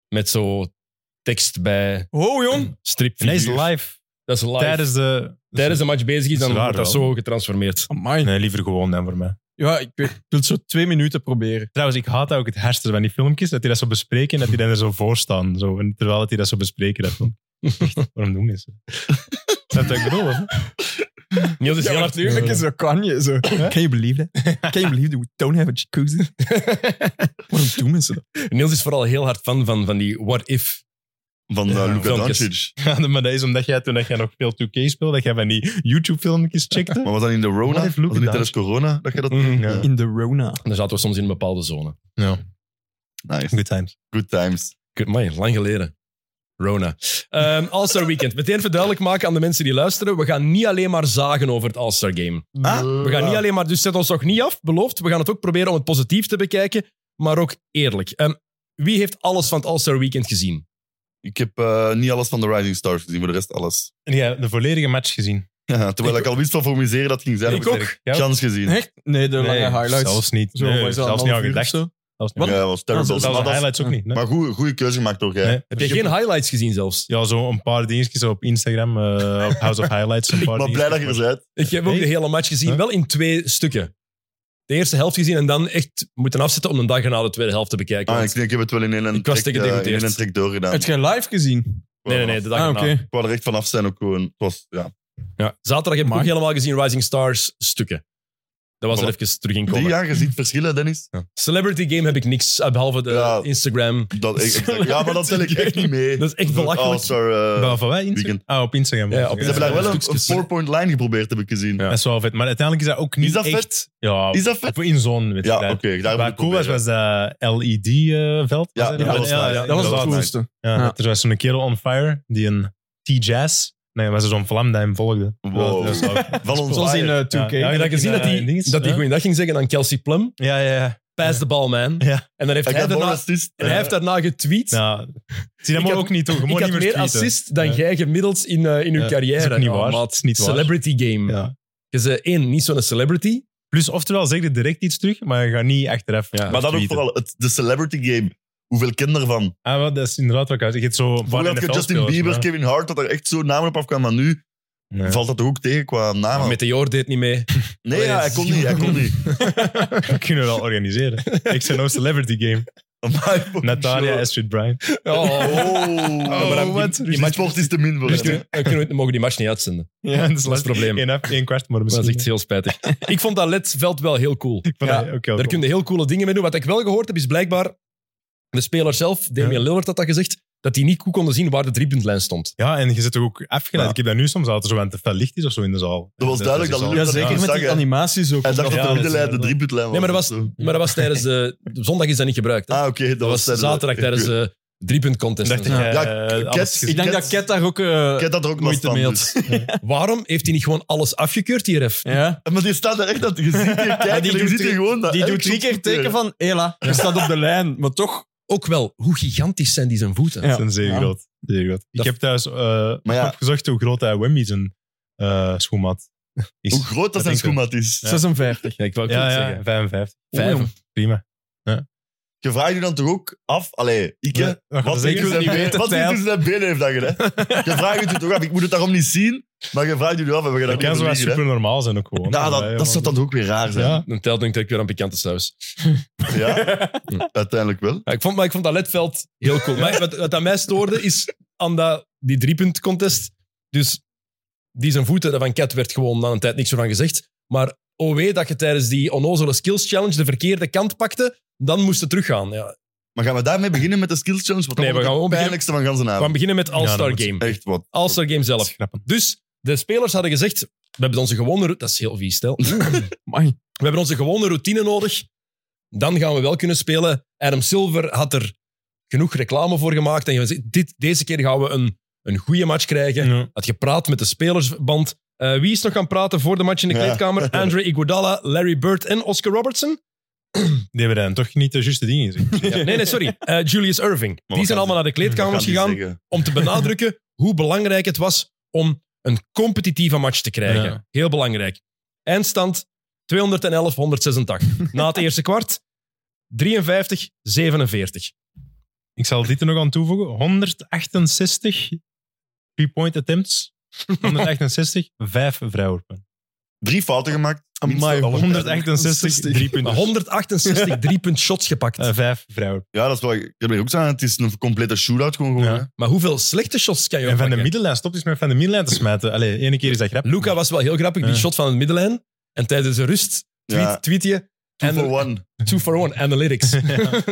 Speaker 1: Met zo tekst bij
Speaker 3: Oh jong.
Speaker 1: strip.
Speaker 4: En hij is live
Speaker 1: Dat is live. Tijdens,
Speaker 4: tijdens de...
Speaker 1: de match bezig is,
Speaker 4: Dat
Speaker 1: dan
Speaker 4: is raar
Speaker 1: wordt dat
Speaker 4: wel.
Speaker 1: zo getransformeerd.
Speaker 3: Amai.
Speaker 4: *laughs* Nee, liever gewoon dan voor mij.
Speaker 3: Ja, ik, weet- ik wil het zo twee minuten proberen.
Speaker 4: Trouwens, ik haat dat ook het hersen van die filmpjes, dat die dat zo bespreken en dat die dan er zo voor staan. Zo, en terwijl dat die dat zo bespreken, dat
Speaker 1: *laughs*
Speaker 4: film. Echt, Waarom doen mensen dat? Dat heb ik bedoel, hè?
Speaker 1: Niels is heel hard...
Speaker 3: natuurlijk zo kan je zo. Can you believe that? Can you believe that we don't have a *laughs* jacuzzi? Waarom doen mensen dat?
Speaker 1: Niels is vooral heel hard fan van, van die what if.
Speaker 2: Van eh, Luka
Speaker 1: filmpjes.
Speaker 2: Doncic.
Speaker 4: *laughs* Ja, maar dat is omdat jij toen dat jij nog veel 2K speelde, dat jij van die YouTube-filmpjes
Speaker 2: *laughs*
Speaker 4: checkte.
Speaker 2: Maar was dat in de Rona?
Speaker 4: Wat
Speaker 2: Was
Speaker 4: heeft
Speaker 2: dat
Speaker 4: Luka Mhm.
Speaker 2: niet tijdens corona? Dat je dat...
Speaker 4: ja.
Speaker 3: In de Rona.
Speaker 1: En dan zaten we soms in een bepaalde zone.
Speaker 2: Nice.
Speaker 4: Good times.
Speaker 2: Good times.
Speaker 1: Kut, Amai, lang geleden. Rona. Ehm All-Star Weekend. Meteen even duidelijk maken aan de mensen die luisteren. We gaan niet alleen maar zagen over het All-Star Game. We gaan niet alleen maar... Dus zet ons nog niet af, beloofd. We gaan het ook proberen om het positief te bekijken. Maar ook eerlijk. Ehm, wie heeft alles van het All-Star Weekend gezien?
Speaker 2: Ik heb eh, niet alles *laughs* van de Rising Stars gezien, maar de rest alles.
Speaker 4: En jij hebt de volledige match gezien.
Speaker 2: Ja, terwijl ik, al wist van formuliseren dat ging zijn.
Speaker 3: Ik
Speaker 2: heb
Speaker 3: ook.
Speaker 2: ik Kans gezien.
Speaker 3: Echt? Nee, de lange highlights.
Speaker 4: Zelfs niet.
Speaker 3: Zo,
Speaker 4: Nee,
Speaker 3: was dat
Speaker 4: zelfs
Speaker 3: een
Speaker 4: niet aan
Speaker 3: half uur
Speaker 4: gedacht.
Speaker 3: of zo?
Speaker 4: Zelfs niet
Speaker 2: Ja,
Speaker 4: aan-
Speaker 2: dat was terrible.
Speaker 3: Ja,
Speaker 4: Zelfs
Speaker 2: maar
Speaker 4: de
Speaker 2: dat is-
Speaker 4: highlights ook niet. nee.
Speaker 2: maar goede, goede keuze gemaakt door jij.
Speaker 4: Nee.
Speaker 1: Heb je geen highlights gezien zelfs?
Speaker 4: Ja, zo een paar dingetjes op Instagram, eh, op House of
Speaker 2: *laughs*
Speaker 4: Highlights. Een paar
Speaker 2: Maar blij dat je er bent.
Speaker 1: Ik heb ook
Speaker 4: Nee.
Speaker 1: de hele match gezien,
Speaker 4: Huh?
Speaker 1: wel in twee stukken. De eerste helft gezien en dan echt moeten afzetten om een dag na de tweede helft te bekijken.
Speaker 2: Ah,
Speaker 1: want-
Speaker 2: ik, ik heb het wel in één
Speaker 1: Ik was
Speaker 2: trek,
Speaker 1: tegen
Speaker 2: eh, in
Speaker 1: gedegoteerd.
Speaker 2: één trek doorgedaan.
Speaker 3: Heb jij live gezien?
Speaker 1: nee, nee, nee, de dag
Speaker 3: ah,
Speaker 1: erna.
Speaker 3: oké.
Speaker 2: Ik wou er echt vanaf zijn ook gewoon. Het was, ja.
Speaker 1: Ja. Zaterdag heb ik
Speaker 3: Maar-
Speaker 1: nog helemaal gezien Rising Stars stukken. Dat was er
Speaker 2: Voilà.
Speaker 1: even terug in
Speaker 2: Drie
Speaker 1: komen.
Speaker 2: jaar, je ziet verschillen, Dennis.
Speaker 1: Celebrity Game heb ik niks, eh, behalve de
Speaker 2: Ja.
Speaker 1: Instagram.
Speaker 2: Dat, ik- ik- ja, maar dat tel ik echt niet mee.
Speaker 1: Dat is echt belachelijk.
Speaker 2: All-Star, eh,
Speaker 4: Wel van wij Instagram?
Speaker 2: Weekend.
Speaker 4: Ah, op Instagram.
Speaker 1: Ja, op
Speaker 2: ze hebben
Speaker 1: Ja,
Speaker 2: daar wel een, een
Speaker 1: stukjes.
Speaker 2: four-point line geprobeerd, heb ik gezien.
Speaker 1: Ja.
Speaker 4: Dat is wel vet. Maar uiteindelijk is dat ook niet
Speaker 2: Is dat
Speaker 4: echt...
Speaker 2: vet?
Speaker 4: Ja,
Speaker 2: Is dat vet?
Speaker 4: voor in zo'n
Speaker 2: Ja,
Speaker 4: wedstrijd.
Speaker 2: oké. daar moet
Speaker 4: Wat
Speaker 2: ik eh,
Speaker 4: cool was,
Speaker 2: proberen.
Speaker 4: was dat E LED-veld.
Speaker 2: Ja, dat was nice.
Speaker 3: Dat was het
Speaker 2: Inderdaad,
Speaker 3: coolste.
Speaker 4: Ja,
Speaker 3: Ja.
Speaker 4: dat Er was zo'n kerel on fire, die een T-Jazz... Nee, was er zo'n vlam die hem volgde.
Speaker 2: Wow.
Speaker 4: Dat was ook-
Speaker 2: *laughs* Van ons
Speaker 3: Zoals in
Speaker 2: Bayern.
Speaker 3: eh, 2K.
Speaker 4: Ja,
Speaker 1: Heb je
Speaker 4: ja.
Speaker 1: dan gezien dat
Speaker 4: eh, dinges,
Speaker 1: hij
Speaker 4: ja.
Speaker 1: goeiedag ging zeggen aan Kelsey Plum?
Speaker 4: Ja, ja,
Speaker 2: *laughs*
Speaker 4: ja.
Speaker 1: Pass the ball, man.
Speaker 4: Ja.
Speaker 1: En dan heeft
Speaker 2: Hij
Speaker 1: hij
Speaker 2: gaat nog een
Speaker 1: daarna,
Speaker 2: assist. eh,
Speaker 1: en hij heeft daarna getweet.
Speaker 4: Nou, zie dat
Speaker 1: Ik
Speaker 4: moet
Speaker 1: had-
Speaker 4: ook niet doen. Je moet
Speaker 1: ik
Speaker 4: niet
Speaker 1: had meer
Speaker 4: tweeten.
Speaker 1: assist dan
Speaker 4: Ja.
Speaker 1: jij gemiddeld in, eh, in uw
Speaker 4: Ja, is
Speaker 1: carrière.
Speaker 4: ook niet
Speaker 1: Ja,
Speaker 4: waar.
Speaker 1: maat.
Speaker 4: Is niet waar.
Speaker 1: Celebrity game.
Speaker 4: Ja.
Speaker 1: Je bent één, niet zo'n celebrity.
Speaker 4: Plus, oftewel zeg je direct iets terug, maar je gaat niet achteraf.
Speaker 1: Ja.
Speaker 2: Maar dat ook
Speaker 4: tweeten.
Speaker 2: vooral, het, de celebrity game. Hoeveel kinderen van?
Speaker 4: Ah, wel, dat is inderdaad wat ik had. Je hebt zo.
Speaker 2: Vroeger had je Justin Bieber, Kevin Hart, dat er echt zo namen op afkwamen. Maar nu *laughs*
Speaker 4: Nee.
Speaker 2: valt dat toch ook tegen qua
Speaker 4: Ah.
Speaker 2: namen?
Speaker 1: Ah. Meteor deed niet
Speaker 4: *laughs*
Speaker 1: mee.
Speaker 2: Nee, ja, hij kon niet. Hij kon niet.
Speaker 4: Dat kunnen we wel organiseren. XNO Celebrity
Speaker 2: *laughs*
Speaker 4: Game.
Speaker 2: Maar-
Speaker 4: Natalia, Astrid Bryant.
Speaker 1: Oh,
Speaker 2: Oh,
Speaker 1: maar dan-
Speaker 2: wat?
Speaker 4: die-
Speaker 2: Die
Speaker 4: die
Speaker 2: sport is te min voor
Speaker 1: Dus
Speaker 2: hem,
Speaker 1: kunnen, dan kunnen we, dan mogen we die match niet uitzenden.
Speaker 4: Ja, *laughs* dat is
Speaker 1: het probleem.
Speaker 4: Eén, af, één kwart, maar
Speaker 1: Dat
Speaker 4: misschien.
Speaker 1: is echt heel
Speaker 4: *laughs*
Speaker 1: spijtig. Ik vond dat LED-veld wel heel cool.
Speaker 4: Van,
Speaker 1: Ja.
Speaker 4: eh, oké,
Speaker 1: Daar
Speaker 4: oké.
Speaker 1: kun je heel coole dingen mee doen. Wat ik wel gehoord heb, is blijkbaar de speler zelf, Damian
Speaker 4: Ja.
Speaker 1: Lillard had dat gezegd, dat hij niet goed konden zien waar de driepuntlijn stond.
Speaker 4: Ja, en je zit toch ook afgeleid.
Speaker 2: Ja.
Speaker 4: Ik heb dat nu soms altijd zo aan te fel licht is of zo in de zaal.
Speaker 2: Dat was duidelijk
Speaker 4: is
Speaker 2: dat
Speaker 4: al-
Speaker 3: Ja,
Speaker 2: Lillard
Speaker 4: Ja,
Speaker 3: zeker met
Speaker 2: zag,
Speaker 3: die
Speaker 2: hè.
Speaker 3: animaties ook.
Speaker 2: Hij dacht
Speaker 4: Ja,
Speaker 2: dat de
Speaker 4: dat is
Speaker 2: middenlijn de
Speaker 4: inderdaad.
Speaker 2: driepuntlijn was.
Speaker 1: Nee, maar dat was,
Speaker 2: of zo.
Speaker 1: maar dat was tijdens de... Zondag is dat niet gebruikt. hè?
Speaker 2: Ah, oké. dat,
Speaker 1: Oh, dat was
Speaker 2: tijdens-
Speaker 1: zaterdag tijdens
Speaker 2: Ik
Speaker 1: de driepuntcontest.
Speaker 4: Dacht ik,
Speaker 1: contest.
Speaker 4: eh,
Speaker 2: Ja,
Speaker 4: alles
Speaker 2: Cats-
Speaker 4: gezien.
Speaker 3: Ik denk
Speaker 2: Ket-
Speaker 3: dat Ket daar ook... eh,
Speaker 2: ik had dat er ook last
Speaker 3: moeite
Speaker 2: van.
Speaker 3: mee had.
Speaker 2: dus.
Speaker 1: Waarom heeft hij niet gewoon alles afgekeurd, die ref?
Speaker 3: Ja.
Speaker 2: *laughs* Maar die staat er echt aan. Je ziet die kijken,
Speaker 3: die
Speaker 2: je
Speaker 3: doet
Speaker 2: ziet die
Speaker 3: drie-
Speaker 2: gewoon dat.
Speaker 3: Die
Speaker 2: elk
Speaker 3: doet drie
Speaker 2: shot
Speaker 3: keer
Speaker 2: gebeuren.
Speaker 3: teken van... Hela, je staat op de lijn. Maar toch...
Speaker 1: Ook wel, hoe gigantisch zijn die zijn voeten?
Speaker 3: Ja.
Speaker 4: Dat is zeer
Speaker 3: Ja.
Speaker 4: groot. Zeer groot. Ik
Speaker 1: Dat-
Speaker 4: heb thuis eh
Speaker 2: Maar ja.
Speaker 4: opgezocht hoe groot dat Wemby zijn eh schoenmat is.
Speaker 2: Hoe groot dat
Speaker 4: Dat
Speaker 2: zijn
Speaker 4: denk ik
Speaker 2: schoenmaat is. Dus
Speaker 3: 56.
Speaker 1: Ja, ik wou ook
Speaker 4: ja,
Speaker 1: niet
Speaker 4: ja,
Speaker 1: zeggen.
Speaker 4: 55.
Speaker 1: Vijf.
Speaker 4: Oeh, Prima.
Speaker 2: Je vraagt je dan toch ook af... Allee, ik... hè,
Speaker 4: Ja, dat
Speaker 2: Wat
Speaker 4: is echt-
Speaker 2: niet tussen
Speaker 3: niet
Speaker 2: zijn
Speaker 3: weten,
Speaker 2: benen- wat niet
Speaker 3: Thijs.
Speaker 2: tussen zijn benen heeft dat gedaan. Je vraagt je toch af. Ik moet het daarom niet zien, maar je vraagt je af. Hebben we
Speaker 4: Dat
Speaker 2: dat
Speaker 4: kan zo wel super normaal zijn ook gewoon.
Speaker 2: Ja,
Speaker 4: Ja,
Speaker 2: dat, dat zou dan ook weer raar zijn.
Speaker 4: Ja.
Speaker 1: Dan telt denk ik weer aan pikante saus.
Speaker 2: Ja. *laughs* uiteindelijk wel.
Speaker 1: Ja, ik, vond, maar ik vond dat ledveld heel cool. Maar wat, wat aan mij stoorde is aan dat, die driepuntcontest. Dus die zijn voeten dat van Cat werd gewoon na een tijd niks meer van gezegd. Maar oh wee dat je tijdens die onnozele skills challenge de verkeerde kant pakte, dan moest het teruggaan. Ja.
Speaker 2: Maar gaan we daarmee beginnen met de skills challenge? Want dat
Speaker 1: Nee, we
Speaker 2: wordt
Speaker 1: gaan
Speaker 2: het
Speaker 1: gewoon
Speaker 2: pijnlijkste van ganse
Speaker 1: We gaan
Speaker 2: avond.
Speaker 1: beginnen met
Speaker 4: Ja,
Speaker 1: All-Star
Speaker 4: dat moet-
Speaker 1: Game.
Speaker 2: Echt wat.
Speaker 1: All-Star Game zelf.
Speaker 4: Schrappen.
Speaker 1: Dus de spelers hadden gezegd, we hebben onze gewone... route- Dat is heel vies, stel.
Speaker 3: Amai.
Speaker 1: We hebben onze gewone routine nodig. Dan gaan we wel kunnen spelen. Adam Silver had er genoeg reclame voor gemaakt. En je zegt, dit, deze keer gaan we een, een goede match krijgen.
Speaker 4: Ja.
Speaker 1: Had gepraat met de spelersband. Eh, wie is nog gaan praten voor de match in de
Speaker 2: Ja. *laughs*
Speaker 1: kleedkamer? Andre Iguodala, Larry Bird en Oscar Robertson?
Speaker 4: Die hebben dan toch niet de juiste dingen gezien.
Speaker 1: Ja, Nee, nee, sorry. Eh, Julius Irving.
Speaker 2: wat
Speaker 1: Die
Speaker 2: gaan
Speaker 1: zijn allemaal
Speaker 2: ze-
Speaker 1: naar de kleedkamers
Speaker 2: Ik kan
Speaker 1: gegaan
Speaker 2: niet zeggen.
Speaker 1: om te
Speaker 4: *laughs*
Speaker 1: benadrukken hoe belangrijk het was om een competitieve match te krijgen.
Speaker 4: Ja.
Speaker 1: Heel belangrijk. Eindstand 211-186. Na het eerste kwart
Speaker 4: Dus-
Speaker 1: 53-47.
Speaker 4: Ik zal dit er nog aan toevoegen. 168 three-point attempts. 168, vijf vrijworpen.
Speaker 2: Drie fouten gemaakt.
Speaker 3: Amai,
Speaker 2: Minstens alle
Speaker 4: 168, drie
Speaker 1: Maar
Speaker 4: punten.
Speaker 1: 168 drie-punt shots gepakt.
Speaker 4: Eh, vijf vrijworpen.
Speaker 2: Ja, dat is wel... Ik heb er ook aan. Het is een complete shootout gewoon. gewoon
Speaker 4: Ja.
Speaker 2: hè.
Speaker 1: Maar hoeveel slechte shots kan je
Speaker 4: En van de
Speaker 1: oppakken?
Speaker 4: middenlijn, stop eens met van de middenlijn te smijten. Allee, ene keer is dat grappig.
Speaker 1: Luca was wel heel grappig, die
Speaker 4: Ja.
Speaker 1: shot van de middenlijn. En tijdens de rust tweet,
Speaker 2: Ja.
Speaker 1: tweet je...
Speaker 2: Two
Speaker 1: en-
Speaker 2: for one.
Speaker 1: Two for one,
Speaker 4: *laughs*
Speaker 1: analytics.
Speaker 4: *laughs* Ja.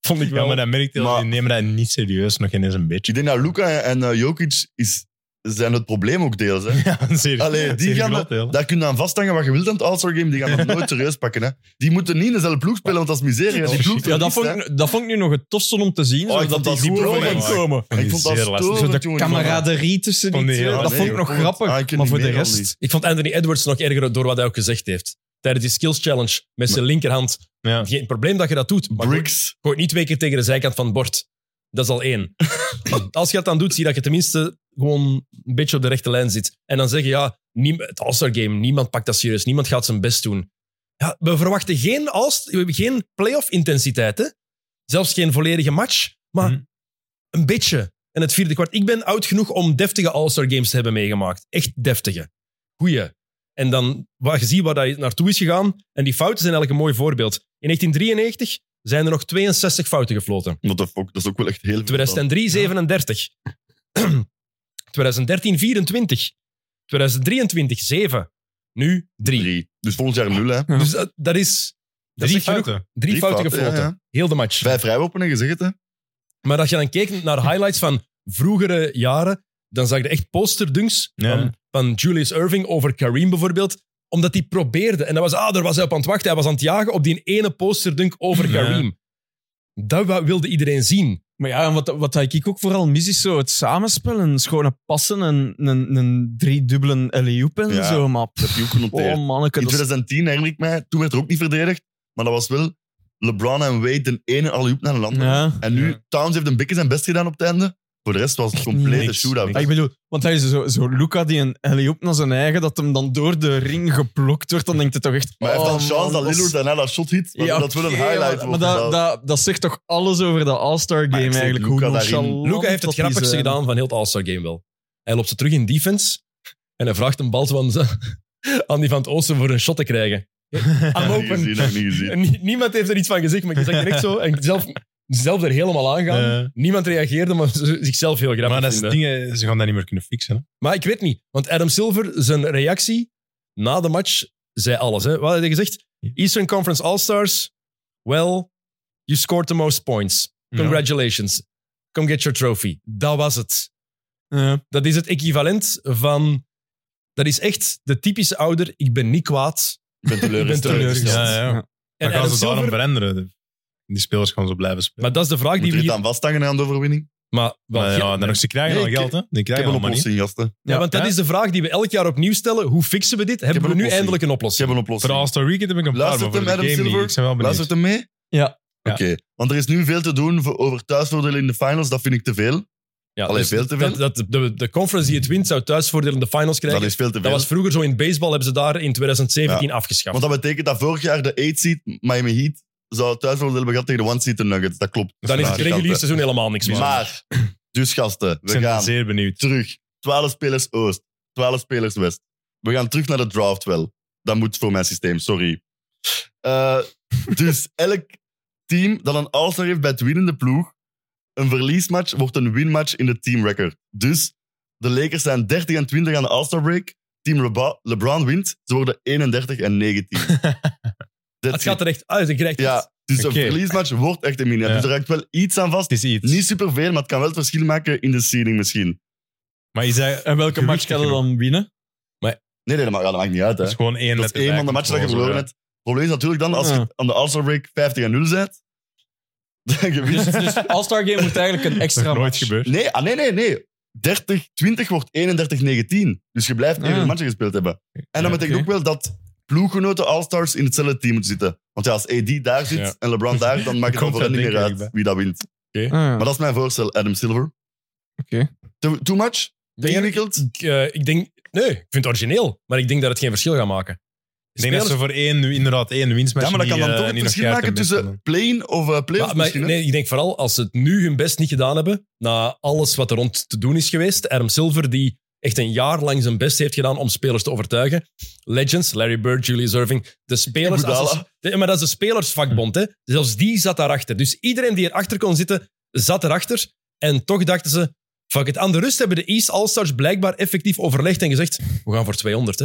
Speaker 1: Vond ik wel.
Speaker 4: Ja, maar dat merkte je al.
Speaker 2: Maar-
Speaker 4: Die nemen dat niet serieus, nog geen eens een
Speaker 2: *laughs*
Speaker 4: beetje.
Speaker 2: Ik denk dat Luca en eh, Jokic is, zijn het probleem ook deels. Hè.
Speaker 4: *laughs* Ja, zeer,
Speaker 2: Allee, die
Speaker 4: zeer
Speaker 2: gaan
Speaker 4: groot, heel.
Speaker 2: Daar kun je aan vasthangen wat je wilt aan het All-Star Game. Die gaan dat nooit serieus pakken. Hè. Die moeten niet in dezelfde ploeg spelen, want dat is miserie. hè.
Speaker 5: Oh,
Speaker 2: Die ploeg
Speaker 3: Ja, dat
Speaker 2: verliest,
Speaker 3: vond,
Speaker 2: hè.
Speaker 3: ik, dat vond ik nu nog het tofste om te zien.
Speaker 2: Oh,
Speaker 3: zodat
Speaker 2: ik vond
Speaker 3: die
Speaker 2: dat super
Speaker 3: goed
Speaker 2: vet,
Speaker 3: overeen
Speaker 2: man.
Speaker 3: komen.
Speaker 4: vond
Speaker 2: Ik
Speaker 4: die
Speaker 2: vond dat
Speaker 4: zeer lastig.
Speaker 3: Zo
Speaker 2: storend,
Speaker 3: de
Speaker 2: jongen.
Speaker 3: camaraderie tussen die
Speaker 4: Vond die
Speaker 3: twee.
Speaker 4: heel
Speaker 3: Dat
Speaker 4: lastig.
Speaker 3: vond ik nog
Speaker 2: Nee, ik vond het-
Speaker 3: grappig.
Speaker 2: Ah, ik ken
Speaker 3: maar
Speaker 2: die
Speaker 3: voor de
Speaker 2: meer dan
Speaker 3: rest...
Speaker 2: die.
Speaker 1: Ik vond Anthony Edwards nog erger door wat hij ook gezegd heeft. Tijdens die skills challenge met zijn linkerhand.
Speaker 4: Ja.
Speaker 1: Geen probleem dat je dat doet. Maar gooi,
Speaker 2: Bricks.
Speaker 1: gooi niet twee keer tegen de zijkant van het bord. Dat is al één. Als je dat dan doet, zie je dat je tenminste gewoon een beetje op de rechte lijn zit. En dan zeg je, ja, niem- het All-Star Game, niemand pakt dat serieus. Niemand gaat zijn best doen. Ja, we verwachten geen, All-Star- we hebben geen playoff-intensiteit. hè. Zelfs geen volledige match, maar
Speaker 4: Mhm.
Speaker 1: een beetje. En het vierde kwart. Ik ben oud genoeg om deftige All-Star Games te hebben meegemaakt. Echt deftige. Goeie. En dan wat je ziet waar dat naartoe is gegaan. En die fouten zijn eigenlijk een mooi voorbeeld. In 1993 zijn er nog 62 fouten gefloten.
Speaker 2: What the fuck, dat is ook wel echt heel veel.
Speaker 1: 2003, *clears throat* 37. 2013, 24. 2023, 7. Nu 3.
Speaker 2: Drie. Dus volgend jaar nul, hè.
Speaker 1: Dus dat, dat is dat
Speaker 4: Drie
Speaker 1: is genoeg.
Speaker 4: fouten.
Speaker 1: Drie, fouten
Speaker 2: fouten,
Speaker 1: gefloten.
Speaker 2: ja,
Speaker 1: Heel de match.
Speaker 2: Vijf vrijworpen en gezegd, hè.
Speaker 1: Maar als je dan keek naar highlights van vroegere jaren, dan zag je echt posterdunks
Speaker 4: Ja.
Speaker 1: van, van Julius Irving over Kareem bijvoorbeeld. Omdat hij probeerde. En dat was, ah, daar was hij op aan het wachten. Hij was aan het jagen op die ene posterdunk over
Speaker 4: Ja.
Speaker 1: Kareem. Dat wa- wilde iedereen zien.
Speaker 5: Maar ja, en wat, wat ik ook vooral mis is zo het samenspel. Een schone passen, een, een, een driedubbelen alley-oop en
Speaker 2: Ja.
Speaker 5: zo. Maar
Speaker 2: Dat
Speaker 5: pff,
Speaker 2: heb je ook genoteerd.
Speaker 5: oh manneke,
Speaker 2: In
Speaker 5: dat is
Speaker 2: 2010 herinner ik mij, toen werd er ook niet verdedigd, maar dat was wel LeBron en Wade de ene alley-oop naar de andere.
Speaker 5: Ja.
Speaker 2: En nu,
Speaker 4: Ja.
Speaker 2: Towns heeft een beetje zijn best gedaan op het einde. Voor de rest was het
Speaker 5: Echt
Speaker 2: complete
Speaker 4: niks,
Speaker 2: shootout.
Speaker 4: niks.
Speaker 5: Ja, ik bedoel, want hij is zo, zo Luca die een alley-oop naar zijn eigen, dat hem dan door de ring geblokt wordt, dan denkt hij toch echt...
Speaker 2: Maar hij heeft
Speaker 5: oh,
Speaker 2: dan chance
Speaker 5: man,
Speaker 2: dat
Speaker 5: is-
Speaker 2: Lillard daarna dat shot hit. maar
Speaker 5: Ja,
Speaker 2: dat wil een
Speaker 5: oké,
Speaker 2: highlight
Speaker 5: maar,
Speaker 2: worden.
Speaker 5: maar dat, dat, dat zegt toch alles over de All-Star
Speaker 2: Maar
Speaker 5: Game
Speaker 2: ik zeg
Speaker 5: eigenlijk.
Speaker 2: Luka
Speaker 5: hoe
Speaker 2: daarin.
Speaker 5: nonchalant
Speaker 1: Luca heeft het
Speaker 5: dat die eh,
Speaker 1: grappigste
Speaker 5: zijn.
Speaker 1: gedaan van heel het All-Star Game wel. Hij loopt ze terug in defense en hij vraagt een bal van z- *laughs* aan die van het Oosten voor een shot te krijgen. I'm
Speaker 2: Heb ik niet
Speaker 1: open.
Speaker 2: gezien, heb ik niet gezien.
Speaker 1: En nie- niemand heeft er iets van gezegd, maar ik zag direct zo. En zelf, zelf er helemaal aan gaan.
Speaker 4: Eh,
Speaker 1: Niemand reageerde, maar ze zichzelf heel grappig
Speaker 4: maar dat is
Speaker 1: vinden.
Speaker 4: dingen, ze gaan dat niet meer kunnen fixen. Hè?
Speaker 1: Maar ik weet niet, want Adam Silver, zijn reactie na de match, zei alles. Hè. Wat had hij gezegd? Eastern Conference All-Stars, well, you scored the most points. Congratulations. Come get your trophy. Dat was het.
Speaker 5: Ja.
Speaker 1: Dat is het equivalent van... Dat is echt de typische ouder, ik ben niet kwaad.
Speaker 2: Ik
Speaker 5: *laughs*
Speaker 2: ben teleurgesteld.
Speaker 1: teleurgesteld.
Speaker 4: Ja, ja.
Speaker 5: Ja.
Speaker 4: Dan
Speaker 1: En
Speaker 4: gaan
Speaker 1: Adam
Speaker 4: ze daarom
Speaker 1: Silver,
Speaker 4: veranderen. Die spelers gaan zo blijven spelen.
Speaker 1: maar dat is de vraag
Speaker 2: Moet
Speaker 1: die we
Speaker 2: je het
Speaker 1: hier...
Speaker 2: aan vasthangen aan de overwinning?
Speaker 1: Maar,
Speaker 4: Maar
Speaker 1: wel,
Speaker 4: ja,
Speaker 1: ja,
Speaker 4: dan nog, ze krijgen
Speaker 2: Nee,
Speaker 4: al
Speaker 2: ik-
Speaker 4: geld, hè? Die
Speaker 2: Ik heb
Speaker 4: krijgen
Speaker 2: een
Speaker 4: allemaal niet.
Speaker 2: oplossing, gasten. Ik
Speaker 1: Ja, want dat
Speaker 4: Ja.
Speaker 1: is de vraag die we elk jaar opnieuw stellen. Hoe fixen we dit? Hebben we
Speaker 2: heb een
Speaker 1: nu
Speaker 2: oplossing.
Speaker 1: eindelijk een
Speaker 2: heb
Speaker 1: oplossing?
Speaker 2: een
Speaker 4: Voor de
Speaker 2: oplossing.
Speaker 4: All-Star Weekend heb ik een paar,
Speaker 2: Luistert
Speaker 4: maar voor
Speaker 2: hem,
Speaker 4: de
Speaker 2: Adam
Speaker 4: Game
Speaker 2: Silver?
Speaker 4: League, ik ben wel
Speaker 2: Luistert
Speaker 4: benieuwd.
Speaker 2: hem mee?
Speaker 5: Ja.
Speaker 2: Oké, want er is nu veel te doen voor, over thuisvoordeel in de finals. Dat vind ik te veel.
Speaker 1: Ja, dus
Speaker 2: Allee, veel te veel.
Speaker 1: Dat, dat de- de, de conference die het wint zou thuisvoordeel in de finals krijgen. Dat,
Speaker 2: Dat is veel te veel.
Speaker 1: was vroeger zo in baseball, hebben ze daar in 2017 afgeschaft.
Speaker 2: Want dat betekent dat vorig jaar de 8 seed Miami Heat zou thuisvoordeel hebben gehad tegen de 1 seed de Nuggets. Dat klopt.
Speaker 1: dan is het
Speaker 2: Gigante.
Speaker 1: regulier seizoen helemaal niks meer.
Speaker 2: Maar, dus gasten, we
Speaker 4: Ik ben
Speaker 2: gaan
Speaker 4: zeer benieuwd.
Speaker 2: terug. 12 spelers Oost, 12 spelers West. We gaan terug naar de draft wel. Dat moet voor mijn systeem, sorry. Eh, dus elk team dat een all heeft bij het winnende ploeg, een verliesmatch wordt een winmatch in de teamrecord. Dus de Lakers zijn 30 en 20 aan de all break. Team Leba- LeBron wint, ze worden 31 en 19.
Speaker 1: het gaat er echt uit. Je krijgt het.
Speaker 2: Ja, dus
Speaker 4: Oké.
Speaker 2: een verliesmatch wordt echt een min.
Speaker 4: Ja.
Speaker 2: Dus er raakt wel iets aan vast.
Speaker 4: Het is iets.
Speaker 2: Niet superveel, maar het kan wel het verschil maken in de seeding misschien.
Speaker 4: Maar je zei,
Speaker 5: En welke match kan je dan winnen?
Speaker 2: Nee, nee, dat maakt, dat maakt niet uit. Hè.
Speaker 4: dat is Dus gewoon één
Speaker 2: Dat is één van de matchen dat je verloren hebt. Het probleem is natuurlijk dan, als
Speaker 5: Ja.
Speaker 2: je aan de All-Star break 50 en 0 bent, *laughs* dan
Speaker 5: Dus,
Speaker 2: gewin
Speaker 5: dus All-Star Game wordt eigenlijk een
Speaker 4: Dat is
Speaker 5: extra
Speaker 4: nog nooit
Speaker 5: match.
Speaker 4: gebeurd.
Speaker 2: *laughs* Nee, ah, nee, nee, nee. 30, 20 wordt 31, 19. Dus je blijft even
Speaker 5: Ah.
Speaker 2: een match gespeeld hebben. En dat
Speaker 4: Ja,
Speaker 2: betekent
Speaker 5: oké.
Speaker 2: ook wel dat ploeggenoten All-Stars in hetzelfde team moeten zitten. Want ja, als AD daar zit
Speaker 4: Ja.
Speaker 2: en LeBron daar, dan maakt het
Speaker 4: Komt
Speaker 2: dan voor hen
Speaker 4: dat
Speaker 2: niet
Speaker 4: denk
Speaker 2: meer
Speaker 4: ik
Speaker 2: uit
Speaker 4: bij.
Speaker 2: wie dat wint.
Speaker 5: Ah, ja.
Speaker 2: Maar dat is mijn voorstel, Adam Silver.
Speaker 5: Oké.
Speaker 2: Too, too much?
Speaker 1: Ik denk-
Speaker 2: Ingewikkeld?
Speaker 1: ik, eh, ik denk, nee, ik vind het origineel, maar ik denk dat het geen verschil gaat maken.
Speaker 4: Ik denk dat ze
Speaker 1: Spelers-
Speaker 4: voor één, inderdaad één winstmatch
Speaker 2: Ja, maar dat kan
Speaker 4: niet,
Speaker 2: dan
Speaker 4: eh,
Speaker 2: toch het
Speaker 4: niet nog
Speaker 2: verschil
Speaker 4: keihard
Speaker 2: maken
Speaker 4: hebben
Speaker 2: tussen play-in of eh play-off
Speaker 1: Maar- maar,
Speaker 2: misschien. hè?
Speaker 1: nee, ik denk vooral als ze het nu hun best niet gedaan hebben, na alles wat er rond te doen is geweest. Adam Silver, die echt een jaar lang zijn best heeft gedaan om spelers te overtuigen. Legends, Larry Bird, Julius Irving, de spelers...
Speaker 2: Iguodala.
Speaker 1: als- de- maar dat is de spelersvakbond, hè. Zelfs die zat daarachter. Dus iedereen die erachter kon zitten, zat erachter. En toch dachten ze, fuck it. Aan de rust hebben de East All-Stars blijkbaar effectief overlegd en gezegd, we gaan voor 200, hè.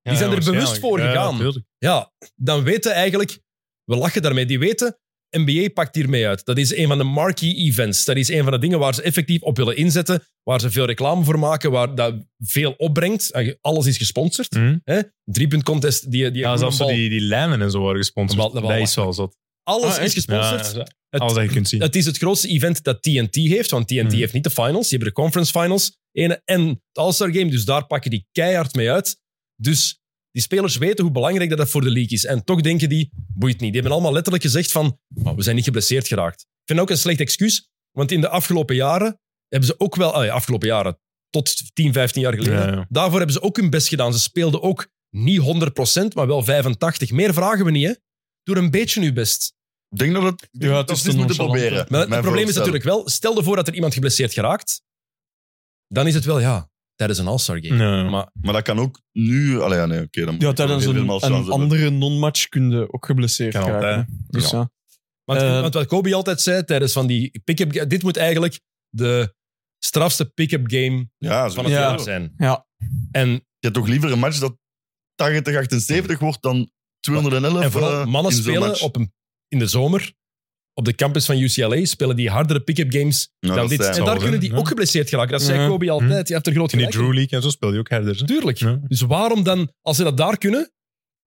Speaker 4: Ja,
Speaker 1: Die zijn er
Speaker 4: waarschijnlijk.
Speaker 1: bewust voor
Speaker 4: Ja,
Speaker 1: gegaan.
Speaker 4: natuurlijk.
Speaker 1: Ja, dan weten eigenlijk, we lachen daarmee, die weten, NBA pakt hiermee uit. Dat is een van de marquee events. Dat is een van de dingen waar ze effectief op willen inzetten, waar ze veel reclame voor maken, waar dat veel opbrengt. En Alles is gesponsord.
Speaker 4: Mhm.
Speaker 1: hè? Driepunt contest, die, die
Speaker 4: Ja, zelfs zo
Speaker 1: bal.
Speaker 4: die, die lijnen en zo worden
Speaker 1: Een bal-
Speaker 4: gesponsord.
Speaker 1: een bal-
Speaker 4: Dat is wel zot.
Speaker 1: alles
Speaker 5: Ah,
Speaker 1: is
Speaker 5: echt?
Speaker 1: gesponsord.
Speaker 4: Ja,
Speaker 1: Het-
Speaker 4: alles dat je kunt zien.
Speaker 1: Het is het grootste event dat TNT heeft, want TNT
Speaker 4: Mhm.
Speaker 1: heeft niet de finals, die hebben de conference finals ene, en het All-Star Game, dus daar pakken die keihard mee uit. Dus die spelers weten hoe belangrijk dat, dat voor de league is. En toch denken die, boeit niet. Die hebben allemaal letterlijk gezegd van, "Maar we zijn niet geblesseerd geraakt. Ik vind dat ook een slecht excuus, want in de afgelopen jaren hebben ze ook wel, ah ja, afgelopen jaren, tot 10, 15 jaar geleden.
Speaker 4: Ja, ja.
Speaker 1: Daarvoor hebben ze ook hun best gedaan. Ze speelden ook niet 100%, maar wel 85. Meer vragen we niet, hè? Doe een beetje je best.
Speaker 2: Ik denk dat het,
Speaker 5: Ja, het
Speaker 2: dat
Speaker 5: is
Speaker 2: we
Speaker 5: te
Speaker 2: dit moeten
Speaker 5: nonchalant,
Speaker 2: proberen.
Speaker 1: Maar het
Speaker 2: Mijn
Speaker 1: probleem is
Speaker 2: voorstel.
Speaker 1: natuurlijk wel, stel ervoor dat er iemand geblesseerd geraakt, dan is het wel, ja, tijdens een All-Star game.
Speaker 4: Nee.
Speaker 1: Maar
Speaker 2: Maar dat kan ook nu... Allee, ja, nee, oké. dan moet
Speaker 5: Ja,
Speaker 2: ik
Speaker 5: tijdens
Speaker 2: nog
Speaker 5: een,
Speaker 2: helemaal chance
Speaker 5: een
Speaker 2: hebben.
Speaker 5: andere non-match kun je ook geblesseerd
Speaker 4: Kan altijd.
Speaker 5: raken. Dus ja.
Speaker 1: Want,
Speaker 5: Eh,
Speaker 1: want wat Kobe altijd zei tijdens van die pick-up... Dit moet eigenlijk de strafste pick-up game
Speaker 2: Ja, zo.
Speaker 1: van het
Speaker 5: Ja.
Speaker 1: jaar zijn.
Speaker 5: Ja.
Speaker 1: En,
Speaker 2: Je hebt toch liever een match dat 80, 78 wordt dan 211?
Speaker 1: en vooral
Speaker 2: eh,
Speaker 1: mannen
Speaker 2: in zo'n
Speaker 1: spelen
Speaker 2: match.
Speaker 1: op een, in de zomer op de campus van UCLA, spelen die hardere pick-up games
Speaker 2: Ja,
Speaker 1: dan
Speaker 2: Nou, dat
Speaker 1: dit.
Speaker 2: zijn
Speaker 1: En
Speaker 2: wel,
Speaker 1: daar
Speaker 4: hè.
Speaker 1: kunnen die
Speaker 4: Ja.
Speaker 1: ook geblesseerd geraken. Dat zei
Speaker 5: Ja.
Speaker 1: Kobe altijd. Je hebt er groot
Speaker 4: In die
Speaker 1: gelijk. in.
Speaker 4: Drew League en zo speel je ook harder. hè.
Speaker 1: Tuurlijk.
Speaker 4: Ja.
Speaker 1: Dus waarom dan, als ze dat daar kunnen,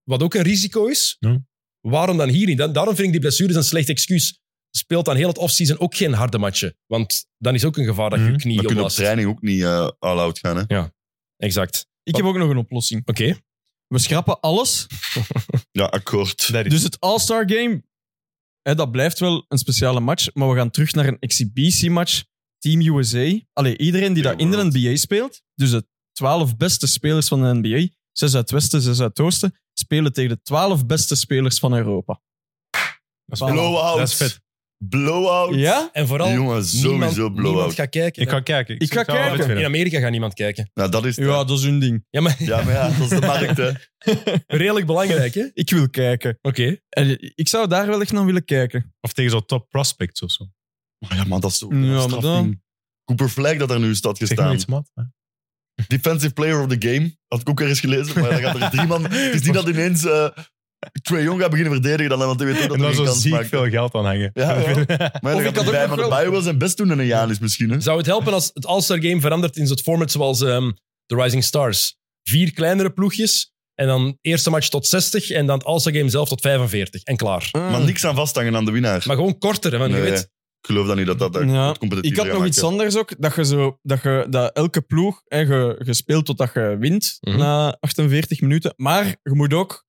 Speaker 1: wat ook een risico is,
Speaker 4: Ja.
Speaker 1: waarom dan hier niet? Dan, daarom vind ik die blessures een slecht excuus. Speelt dan heel het offseason ook geen harde matchen. Want dan is ook een gevaar dat je
Speaker 4: Mhm.
Speaker 1: knie
Speaker 2: Maar kunnen op
Speaker 1: oplast.
Speaker 2: training ook niet eh all-out gaan, hè?
Speaker 1: Exact.
Speaker 5: Ik heb ook nog een oplossing.
Speaker 1: Oké.
Speaker 5: We schrappen alles.
Speaker 2: Ja, akkoord.
Speaker 4: Dat is-
Speaker 5: Dus het All-Star Game, hè, dat blijft wel een speciale match. Maar we gaan terug naar een exhibitiematch. Team USA. Allee, iedereen die
Speaker 2: Team
Speaker 5: daar in de
Speaker 2: World.
Speaker 5: NBA speelt, dus de twaalf beste spelers van de NBA, zes uit Westen, zes uit Oosten, spelen tegen de twaalf beste spelers van Europa.
Speaker 4: dat is
Speaker 5: Voilà.
Speaker 2: Blowout.
Speaker 4: Dat is vet.
Speaker 2: Blowout.
Speaker 5: Ja?
Speaker 1: En vooral,
Speaker 2: Jongen, sowieso
Speaker 1: niemand, niemand
Speaker 2: blowout.
Speaker 1: gaat kijken.
Speaker 4: Ik ga kijken.
Speaker 5: Ik ga
Speaker 4: zou het wel
Speaker 5: kijken.
Speaker 4: vet
Speaker 1: in
Speaker 4: vinden.
Speaker 1: Amerika gaat niemand kijken.
Speaker 2: Nou, dat is het,
Speaker 5: Ja, dat is hun ding.
Speaker 1: Ja, maar *laughs*
Speaker 2: hè. Ja, maar ja, dat is de markt, hè.
Speaker 1: redelijk belangrijk, hè?
Speaker 5: Ik wil kijken.
Speaker 1: Oké.
Speaker 5: En ik zou daar wel echt naar willen kijken.
Speaker 4: Of tegen zo'n top prospects of zo.
Speaker 2: Maar ja, man, dat is zo.
Speaker 5: Ja,
Speaker 2: dat is
Speaker 5: maar
Speaker 2: straf,
Speaker 5: dan-
Speaker 2: jong. Cooper Flag dat er nu staat
Speaker 4: Zeg maar
Speaker 2: gestaan.
Speaker 4: iets mat. hè.
Speaker 2: Defensive Player of the Game. Had ik ook ergens gelezen. Maar dan gaat er drie man... Het is niet dat ineens eh Trae Jong gaat beginnen verdedigen. Dan, want hij weet ook dat
Speaker 4: En daar
Speaker 2: hij geen
Speaker 4: zo
Speaker 2: kans
Speaker 4: ziek
Speaker 2: maakt.
Speaker 4: veel geld aan hangen.
Speaker 2: Ja, ja. Maar
Speaker 1: Of
Speaker 2: dan
Speaker 1: ik
Speaker 2: gaat
Speaker 1: had ook
Speaker 2: hij bij,
Speaker 1: nog
Speaker 2: maar de
Speaker 1: wel-
Speaker 2: Bio wil zijn best doen in een jaar is misschien, hè.
Speaker 1: Zou het helpen als het All-Star Game verandert in zo'n format zoals ehm, The Rising Stars? Vier kleinere ploegjes en dan eerste match tot 60 en dan het All-Star Game zelf tot 45 en klaar.
Speaker 2: Maar niks aan vasthangen aan de winnaar.
Speaker 1: Maar gewoon korter, hè, want je
Speaker 2: Nee.
Speaker 1: weet...
Speaker 2: Ik geloof dat niet dat dat
Speaker 5: Ja.
Speaker 2: het competitief
Speaker 5: Ik had nog iets anders ook. Dat, je zo, dat, je, dat elke ploeg, hè, je, je speelt totdat je wint
Speaker 1: Mhm.
Speaker 5: na 48 minuten. Maar je moet ook...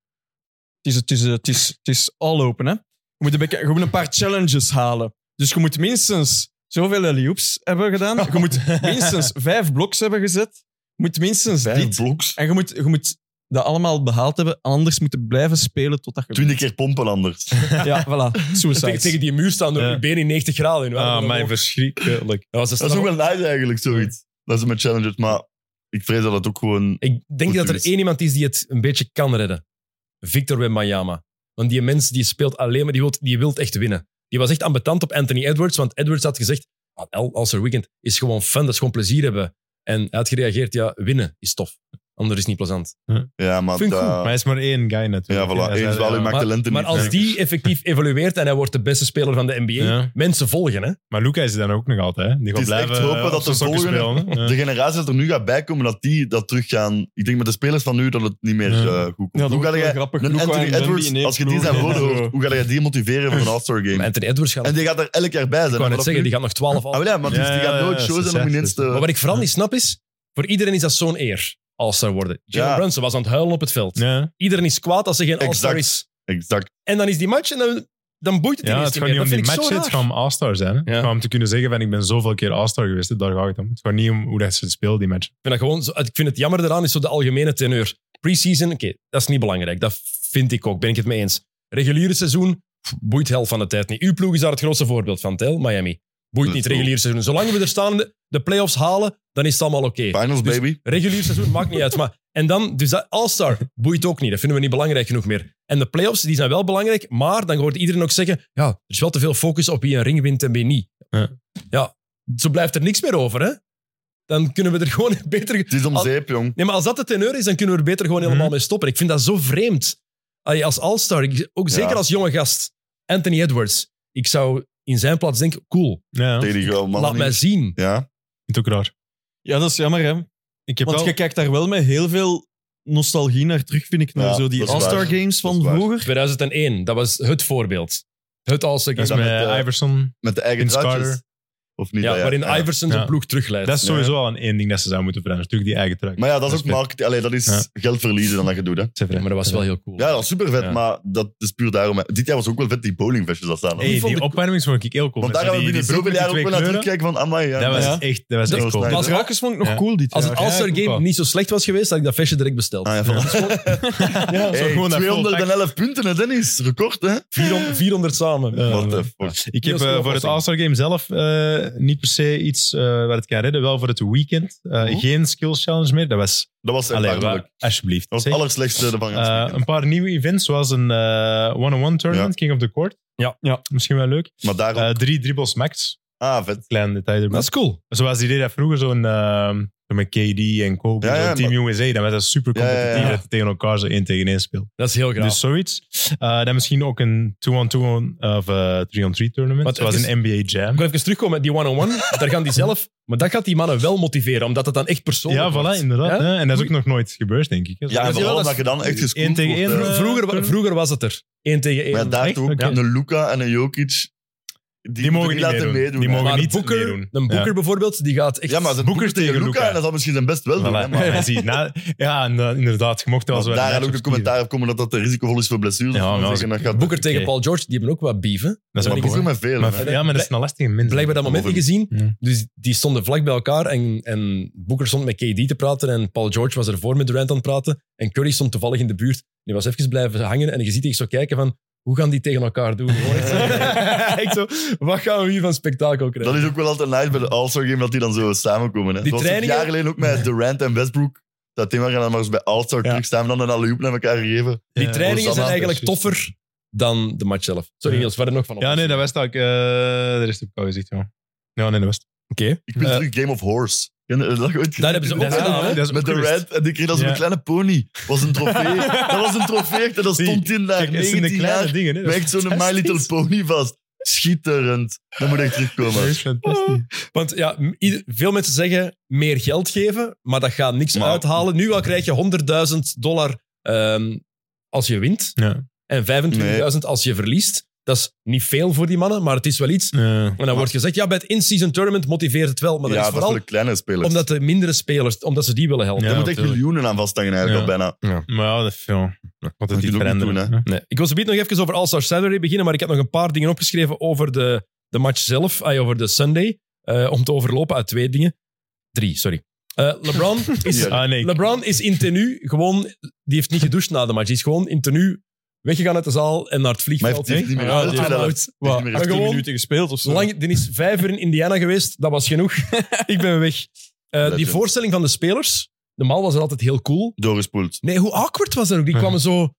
Speaker 5: Het is, het is, het is, het is all open, hè. Je moet, een beetje- je moet een paar challenges halen. Dus je moet minstens zoveel alley-oops hebben gedaan. Je moet minstens vijf bloks hebben gezet. Je moet minstens dit.
Speaker 2: bloks.
Speaker 5: En je moet, je moet dat allemaal behaald hebben. Anders moeten blijven spelen totdat je...
Speaker 2: Twintig keer pompen anders.
Speaker 5: Ja, voilà. Suicide.
Speaker 1: *laughs* Tegen, tegen die muur staan door
Speaker 4: Ja.
Speaker 1: je been in 90 graden. in.
Speaker 4: Ah,
Speaker 1: Waarom
Speaker 4: mij
Speaker 1: ook? dat
Speaker 4: verschrikkelijk.
Speaker 1: was een
Speaker 2: Dat is
Speaker 1: straf-
Speaker 2: ook wel nice eigenlijk, zoiets. Dat is met challenges, maar ik vrees dat het ook gewoon...
Speaker 1: Ik denk
Speaker 2: Goed
Speaker 1: dat er
Speaker 2: is.
Speaker 1: één iemand is die het een beetje kan redden. Victor Wembanyama. Want die mens die speelt alleen maar, die wilt, die wilt echt winnen. Die was echt ambetant op Anthony Edwards, want Edwards had gezegd, "Ah, El- als er weekend is gewoon fun, dat is gewoon plezier hebben. En hij had gereageerd, ja, winnen is tof. Anders is niet plezant.
Speaker 2: Ja, maar...
Speaker 1: Vind ik
Speaker 2: dat-
Speaker 1: goed,
Speaker 4: Maar hij is maar één guy
Speaker 2: ja,
Speaker 4: natuurlijk.
Speaker 2: voilà.
Speaker 4: Hij
Speaker 2: Eens
Speaker 4: zei-
Speaker 2: wel, u
Speaker 4: ja.
Speaker 2: maakt de lente
Speaker 1: Maar
Speaker 2: niet.
Speaker 1: als die effectief evolueert en hij wordt de beste speler van de NBA,
Speaker 4: Ja.
Speaker 1: mensen volgen, hè.
Speaker 4: Maar Luca is er dan ook nog altijd. hè. Die gaat
Speaker 2: is echt
Speaker 4: blijven
Speaker 2: hopen
Speaker 4: eh,
Speaker 2: dat
Speaker 4: op zijn
Speaker 2: de
Speaker 4: sokken
Speaker 2: volgende-
Speaker 4: spelen, hè.
Speaker 2: De generatie dat er nu gaat bijkomen, dat die dat terug gaan... Ik denk met de spelers van nu dat het niet meer
Speaker 4: Ja.
Speaker 2: eh, goed komt.
Speaker 5: Ja, dat
Speaker 2: hoe
Speaker 5: wordt
Speaker 2: ga
Speaker 5: wel
Speaker 2: jij...
Speaker 5: grappig.
Speaker 2: Een
Speaker 5: Luka en
Speaker 2: Anthony
Speaker 5: Wemby in
Speaker 2: Edwards,
Speaker 5: één
Speaker 2: als je
Speaker 5: *laughs*
Speaker 2: die
Speaker 5: ploeg
Speaker 2: zijn
Speaker 5: en
Speaker 2: woorden
Speaker 5: zo.
Speaker 2: hoort, hoe ga jij die motiveren voor een All-Star
Speaker 1: Maar
Speaker 2: Game?
Speaker 1: Anthony Edwards gaat,
Speaker 2: En
Speaker 1: ik
Speaker 2: die gaat er elk jaar bij zijn.
Speaker 1: wou
Speaker 2: hè,
Speaker 1: net
Speaker 2: vanaf
Speaker 1: zeggen,
Speaker 2: nu.
Speaker 1: die gaat nog 12
Speaker 2: Ah,
Speaker 1: al.
Speaker 2: wel ja, maar dus
Speaker 4: Ja,
Speaker 2: die gaat
Speaker 4: ja,
Speaker 2: nooit
Speaker 4: ja,
Speaker 2: show zijn om
Speaker 4: succes,
Speaker 2: ineens
Speaker 1: Maar
Speaker 2: te...
Speaker 1: wat ik vooral niet snap is, voor iedereen is dat zo'n eer, All-Star worden. Jalen
Speaker 2: Ja.
Speaker 1: Brunson was aan het huilen op het veld.
Speaker 4: Ja,
Speaker 1: Iedereen is kwaad als ze geen All-Star
Speaker 2: Exact.
Speaker 1: is.
Speaker 2: Exact.
Speaker 1: En dan is die match en dan, dan boeit het
Speaker 4: ja
Speaker 1: ineens
Speaker 4: het
Speaker 1: niet meer.
Speaker 4: gaat niet om
Speaker 1: Dat
Speaker 4: die
Speaker 1: vind ik
Speaker 4: match,
Speaker 1: zo
Speaker 4: het
Speaker 1: raar.
Speaker 4: gaat om All-Star zijn. hè. Het
Speaker 1: Ja.
Speaker 4: gaat om te kunnen zeggen van ik ben zoveel keer All-Star geweest. hè. Daar gaat het om. Het gaat niet om hoe dat ze het spelen, die match.
Speaker 1: Ik vind, dat gewoon zo- ik vind het jammer daaraan, is zo de algemene teneur. Preseason, oké, dat is niet belangrijk. Dat vind ik ook, ben ik het mee eens. Reguliere seizoen, pff, boeit hel van de tijd niet. Uw ploeg is daar het grootste voorbeeld van, Tel, Miami. Boeit
Speaker 2: Dat
Speaker 1: niet,
Speaker 2: is
Speaker 1: regulier seizoen. Zolang we er staan, de, de playoffs halen, dan is het allemaal oké.
Speaker 2: Finals,
Speaker 1: Dus-
Speaker 2: baby.
Speaker 1: Regulier seizoen maakt niet uit. Maar, en dan, dus dat All-Star boeit ook niet. Dat vinden we niet belangrijk genoeg meer. En de playoffs, die zijn wel belangrijk. Maar dan hoort iedereen ook zeggen: ja, er is wel te veel focus op wie een ring wint en wie niet.
Speaker 4: Ja.
Speaker 1: Ja, zo blijft er niks meer over, hè? Dan kunnen we er gewoon *laughs* beter.
Speaker 2: Het is om
Speaker 1: Al-
Speaker 2: zeep, jong.
Speaker 1: Nee, maar als dat de teneur is, dan kunnen we er beter gewoon helemaal
Speaker 4: Mhm.
Speaker 1: mee stoppen. Ik vind dat zo vreemd. Allee, Als All-Star, ik- ook
Speaker 2: Ja.
Speaker 1: zeker als jonge gast, Anthony Edwards. Ik zou in zijn plaats denken: cool,
Speaker 4: Ja, ik
Speaker 2: Tegen die gouden mannen
Speaker 1: laat mij
Speaker 2: niet.
Speaker 1: zien. *laughs*
Speaker 2: Ja,
Speaker 4: vind het ook raar.
Speaker 5: Ja, dat is jammer, hè.
Speaker 4: Ik heb
Speaker 5: Want
Speaker 4: wel...
Speaker 5: je kijkt daar wel met heel veel nostalgie naar terug, vind ik. Naar
Speaker 2: Ja,
Speaker 5: zo die
Speaker 2: dat is
Speaker 5: All-Star
Speaker 2: waar.
Speaker 5: Games
Speaker 2: Dat
Speaker 5: van
Speaker 2: is waar.
Speaker 5: vroeger.
Speaker 1: 2001, dat was het voorbeeld. Het All-Star
Speaker 4: Dat is
Speaker 1: game.
Speaker 2: met,
Speaker 4: met
Speaker 2: eh,
Speaker 4: Iverson.
Speaker 2: met de eigen
Speaker 4: Vince
Speaker 2: draadjes.
Speaker 4: Carter.
Speaker 2: Of niet?
Speaker 1: Ja,
Speaker 2: Ah,
Speaker 1: waarin
Speaker 2: ja.
Speaker 1: Iverson zijn
Speaker 4: Ja.
Speaker 1: ploeg terugleidt.
Speaker 4: Dat is sowieso al een één ding dat ze zouden moeten veranderen. Natuurlijk die eigen truck.
Speaker 2: Maar ja, dat is ook
Speaker 4: Respect.
Speaker 2: marketing. Allee, dat is
Speaker 4: Ja.
Speaker 2: geld verliezen dan dat je doet. Hè.
Speaker 4: Ze
Speaker 1: Ja,
Speaker 4: veranderen.
Speaker 1: maar dat was wel heel cool.
Speaker 2: Ja, dat is super vet,
Speaker 4: Ja.
Speaker 2: maar dat is puur daarom. hè. Dit jaar was ook wel vet die bowlingvestjes dat staan. hè.
Speaker 4: Hey, die opwarmings vond ik heel cool.
Speaker 2: Want daar
Speaker 4: Met
Speaker 2: gaan
Speaker 4: zo
Speaker 2: we
Speaker 4: die-
Speaker 2: binnen
Speaker 4: die
Speaker 2: zoveel jaar
Speaker 4: broek
Speaker 2: ook
Speaker 4: met die
Speaker 2: wel naar
Speaker 4: twee
Speaker 2: terugkijken van, amai, ja.
Speaker 4: kleuren. Dat
Speaker 5: Ja.
Speaker 4: was echt, dat was
Speaker 1: Dat
Speaker 4: echt
Speaker 2: was
Speaker 4: cool.
Speaker 2: nice.
Speaker 5: Als Ruikers vond ik nog
Speaker 4: Ja.
Speaker 5: cool dit
Speaker 1: Als het
Speaker 5: jaar.
Speaker 1: All-Star
Speaker 4: ja, ik
Speaker 1: Game
Speaker 4: ook wel.
Speaker 1: niet zo slecht was geweest, had ik dat flesje direct besteld.
Speaker 2: Ah, ja, voilà.
Speaker 4: Ja,
Speaker 2: Hey,
Speaker 4: zo gewoon dat full
Speaker 2: 211 punten, hè, Dennis. Record, hè?
Speaker 1: 400, 400 samen.
Speaker 4: Ja,
Speaker 2: What the
Speaker 4: ja.
Speaker 2: fuck.
Speaker 4: Ik heb
Speaker 1: Heel
Speaker 4: eh,
Speaker 1: snel
Speaker 4: voor het
Speaker 1: oplossing.
Speaker 4: All-Star Game zelf eh, niet per se iets eh waar het kan redden. Wel voor het weekend. Eh,
Speaker 2: Oh.
Speaker 4: Geen skills challenge meer. Dat was...
Speaker 2: Dat was
Speaker 4: Allee,
Speaker 2: erbarmelijk.
Speaker 4: wa- alsjeblieft.
Speaker 2: Dat was
Speaker 4: Zeg,
Speaker 2: het allerslechtste ervan.
Speaker 4: eh, een paar nieuwe events, zoals een eh, one-on-one tournament, King of the Court.
Speaker 1: Ja.
Speaker 4: ja. Misschien wel leuk.
Speaker 2: maar daarom...
Speaker 4: Eh, drie dribbles max.
Speaker 2: ah, vet.
Speaker 4: Klein detail erbij.
Speaker 1: Dat is cool.
Speaker 4: Zoals die deed dat vroeger, zo'n eh, zo met KD en Kobe,
Speaker 2: Ja,
Speaker 4: zo'n
Speaker 2: ja,
Speaker 4: Team USA. Dan was dat super
Speaker 2: Ja, ja,
Speaker 4: competitief
Speaker 2: ja.
Speaker 4: dat je tegen elkaar zo één tegen één speelt.
Speaker 1: Dat is heel graag.
Speaker 4: Dus zoiets. Eh, dan misschien ook een 2-on-2 of eh, 3-on-3 tournament.
Speaker 1: Want
Speaker 4: zoals
Speaker 1: het is-
Speaker 4: een NBA Jam.
Speaker 1: ik wil even terugkomen met die one-on-one. daar gaan die zelf... Maar dat gaat die mannen wel motiveren, omdat het dan echt persoonlijk
Speaker 4: Ja, voilà,
Speaker 1: wordt.
Speaker 4: inderdaad.
Speaker 1: Ja?
Speaker 4: hè. En dat is ook nog nooit gebeurd, denk ik. hè.
Speaker 2: Ja, en
Speaker 1: dat is
Speaker 2: vooral
Speaker 1: wel-
Speaker 2: dat je dan echt gescoord
Speaker 4: Eén tegen
Speaker 2: wordt,
Speaker 4: één,
Speaker 2: hè.
Speaker 4: eh,
Speaker 1: Vroeger, wa- vroeger was het er. Eén tegen één.
Speaker 2: Maar ja, daar
Speaker 1: Echt?
Speaker 2: toch ook
Speaker 1: Oké.
Speaker 2: een Luca en een Jokic... Die,
Speaker 4: Die mogen niet
Speaker 2: laten
Speaker 4: meedoen.
Speaker 2: meedoen.
Speaker 4: Die
Speaker 2: hè.
Speaker 4: mogen
Speaker 1: Maar
Speaker 4: niet
Speaker 1: Booker,
Speaker 4: meedoen.
Speaker 1: Een Boeker
Speaker 4: Ja.
Speaker 1: bijvoorbeeld, die gaat echt...
Speaker 2: Ja, maar ze
Speaker 4: Boeker
Speaker 2: Boeker tegen
Speaker 4: tegen
Speaker 2: Luca
Speaker 4: Luca.
Speaker 2: en dat zal misschien zijn best wel doen. Hè,
Speaker 4: Voilà.
Speaker 2: maar,
Speaker 4: *laughs* Ja, zie, na- ja, en, eh, inderdaad. Je mocht wel
Speaker 2: Want
Speaker 4: eens wel
Speaker 2: daar
Speaker 4: een
Speaker 2: gaat ook
Speaker 4: match
Speaker 2: een commentaar op komen dat dat te risicovol is voor blessures.
Speaker 4: Ja,
Speaker 2: Ja,
Speaker 4: maar
Speaker 2: maar
Speaker 4: als
Speaker 2: zeggen, dat gaat
Speaker 1: Boeker tegen
Speaker 4: Oké.
Speaker 1: Paul George, die hebben ook wat bieven.
Speaker 4: Dat is
Speaker 2: maar
Speaker 4: wel
Speaker 2: Boeker
Speaker 4: goed.
Speaker 2: met veel. hè.
Speaker 4: Maar- Ja, maar dat is een lastige mens.
Speaker 1: Blijkbaar dat moment niet gezien.
Speaker 4: Ja.
Speaker 1: Dus die stonden vlak bij elkaar en, en Boeker stond met KD te praten en Paul George was ervoor met Durant aan het praten en Curry stond toevallig in de buurt. Die was even blijven hangen en je ziet echt zo kijken van hoe gaan die tegen elkaar doen? Gewoon
Speaker 4: *laughs*
Speaker 1: echt- echt zo, *laughs* wat gaan we hier van spektakel krijgen?
Speaker 2: Dat is ook wel altijd nice bij de All-Star Game dat die dan zo samenkomen. Hè.
Speaker 1: Die
Speaker 2: Zoals het
Speaker 1: trainingen-
Speaker 2: jaar geleden ook met Durant en Westbrook. Dat thema gaan dan maar eens bij All-Star
Speaker 1: Ja.
Speaker 2: terug staan en dan een alley-oop naar elkaar geven.
Speaker 1: Die
Speaker 4: Ja,
Speaker 1: trainingen zijn
Speaker 2: Hosanna,
Speaker 1: eigenlijk toffer dan de match zelf. Sorry,
Speaker 4: Ja.
Speaker 1: Niels, verder nog van
Speaker 4: Ja, nee, dat was het ook. eh de rest heb ik al gezegd, ja. Ja, nee, dat was het.
Speaker 2: Ik ben
Speaker 4: Eh.
Speaker 2: terug Game of Horse. Ken je Dat, ooit gezien?
Speaker 1: Daar hebben ze ook
Speaker 4: Dat is
Speaker 1: gedaan,
Speaker 4: ook-
Speaker 1: hè?
Speaker 4: dat is
Speaker 2: Met
Speaker 4: ook geweest.
Speaker 2: Durant. En die kreeg dat zo'n
Speaker 4: Ja.
Speaker 2: kleine pony. was een trofee. dat was een trofee. echt, En dat
Speaker 4: Zie,
Speaker 2: stond in daar.
Speaker 4: Kijk, het zijn de
Speaker 2: 19
Speaker 4: kleine
Speaker 2: jaar.
Speaker 4: dingen. Hè. Dat is
Speaker 2: Met zo'n My Little Pony vast. Schitterend. Dat moet echt terugkomen.
Speaker 4: fantastisch. Fantastisch.
Speaker 1: Want ja, m- ieder- veel mensen zeggen meer geld geven, maar dat gaat niks
Speaker 2: Maar-
Speaker 1: uithalen. Nu al krijg je 100.000 dollar ehm, als je wint
Speaker 4: Ja.
Speaker 1: en 25.000 als je verliest. Dat is niet veel voor die mannen, maar het is wel iets.
Speaker 4: Ja.
Speaker 1: En dan wordt gezegd, ja, bij het in-season tournament motiveert het wel. Maar dat
Speaker 2: ja,
Speaker 1: is
Speaker 2: dat is
Speaker 1: vooral
Speaker 2: voor de kleine spelers.
Speaker 1: omdat de mindere spelers, omdat ze die willen helpen.
Speaker 4: Ja,
Speaker 2: Daar moet echt
Speaker 4: tuurlijk.
Speaker 2: miljoenen aan vasthangen eigenlijk
Speaker 4: Ja.
Speaker 2: al bijna.
Speaker 4: Maar ja, dat is veel. Wat
Speaker 2: je
Speaker 4: het niet
Speaker 2: het ook niet
Speaker 4: veranderen.
Speaker 2: doen,
Speaker 1: Nee. Ik wil zo nog even over All-Star Saturday beginnen, maar ik heb nog een paar dingen opgeschreven over de, de match zelf, ah, over de Sunday, eh, om te overlopen uit twee dingen. Drie, sorry. Eh, LeBron,
Speaker 2: *laughs*
Speaker 1: is,
Speaker 4: Ah, nee.
Speaker 1: LeBron is in tenue gewoon... Die heeft niet gedoucht na de match. Die is gewoon in tenue weggegaan uit de zaal en naar het
Speaker 2: Maar
Speaker 1: vliegveld.
Speaker 2: heeft hij het niet meer
Speaker 1: Ja,
Speaker 2: gedaan?
Speaker 1: die-
Speaker 2: Tweede helft.
Speaker 1: uit.
Speaker 2: Wat?
Speaker 1: Maar
Speaker 2: 18
Speaker 1: gewoon-
Speaker 5: gespeeld of
Speaker 1: Lang, die is vijf uur in Indiana geweest. Dat was genoeg. *laughs* ik ben weg. Eh, die
Speaker 2: Legend.
Speaker 1: voorstelling van de spelers. Normaal was dat altijd heel cool.
Speaker 2: Doorgespoeld.
Speaker 1: Nee, hoe awkward was dat
Speaker 2: *laughs*
Speaker 1: ook? Die kwamen zo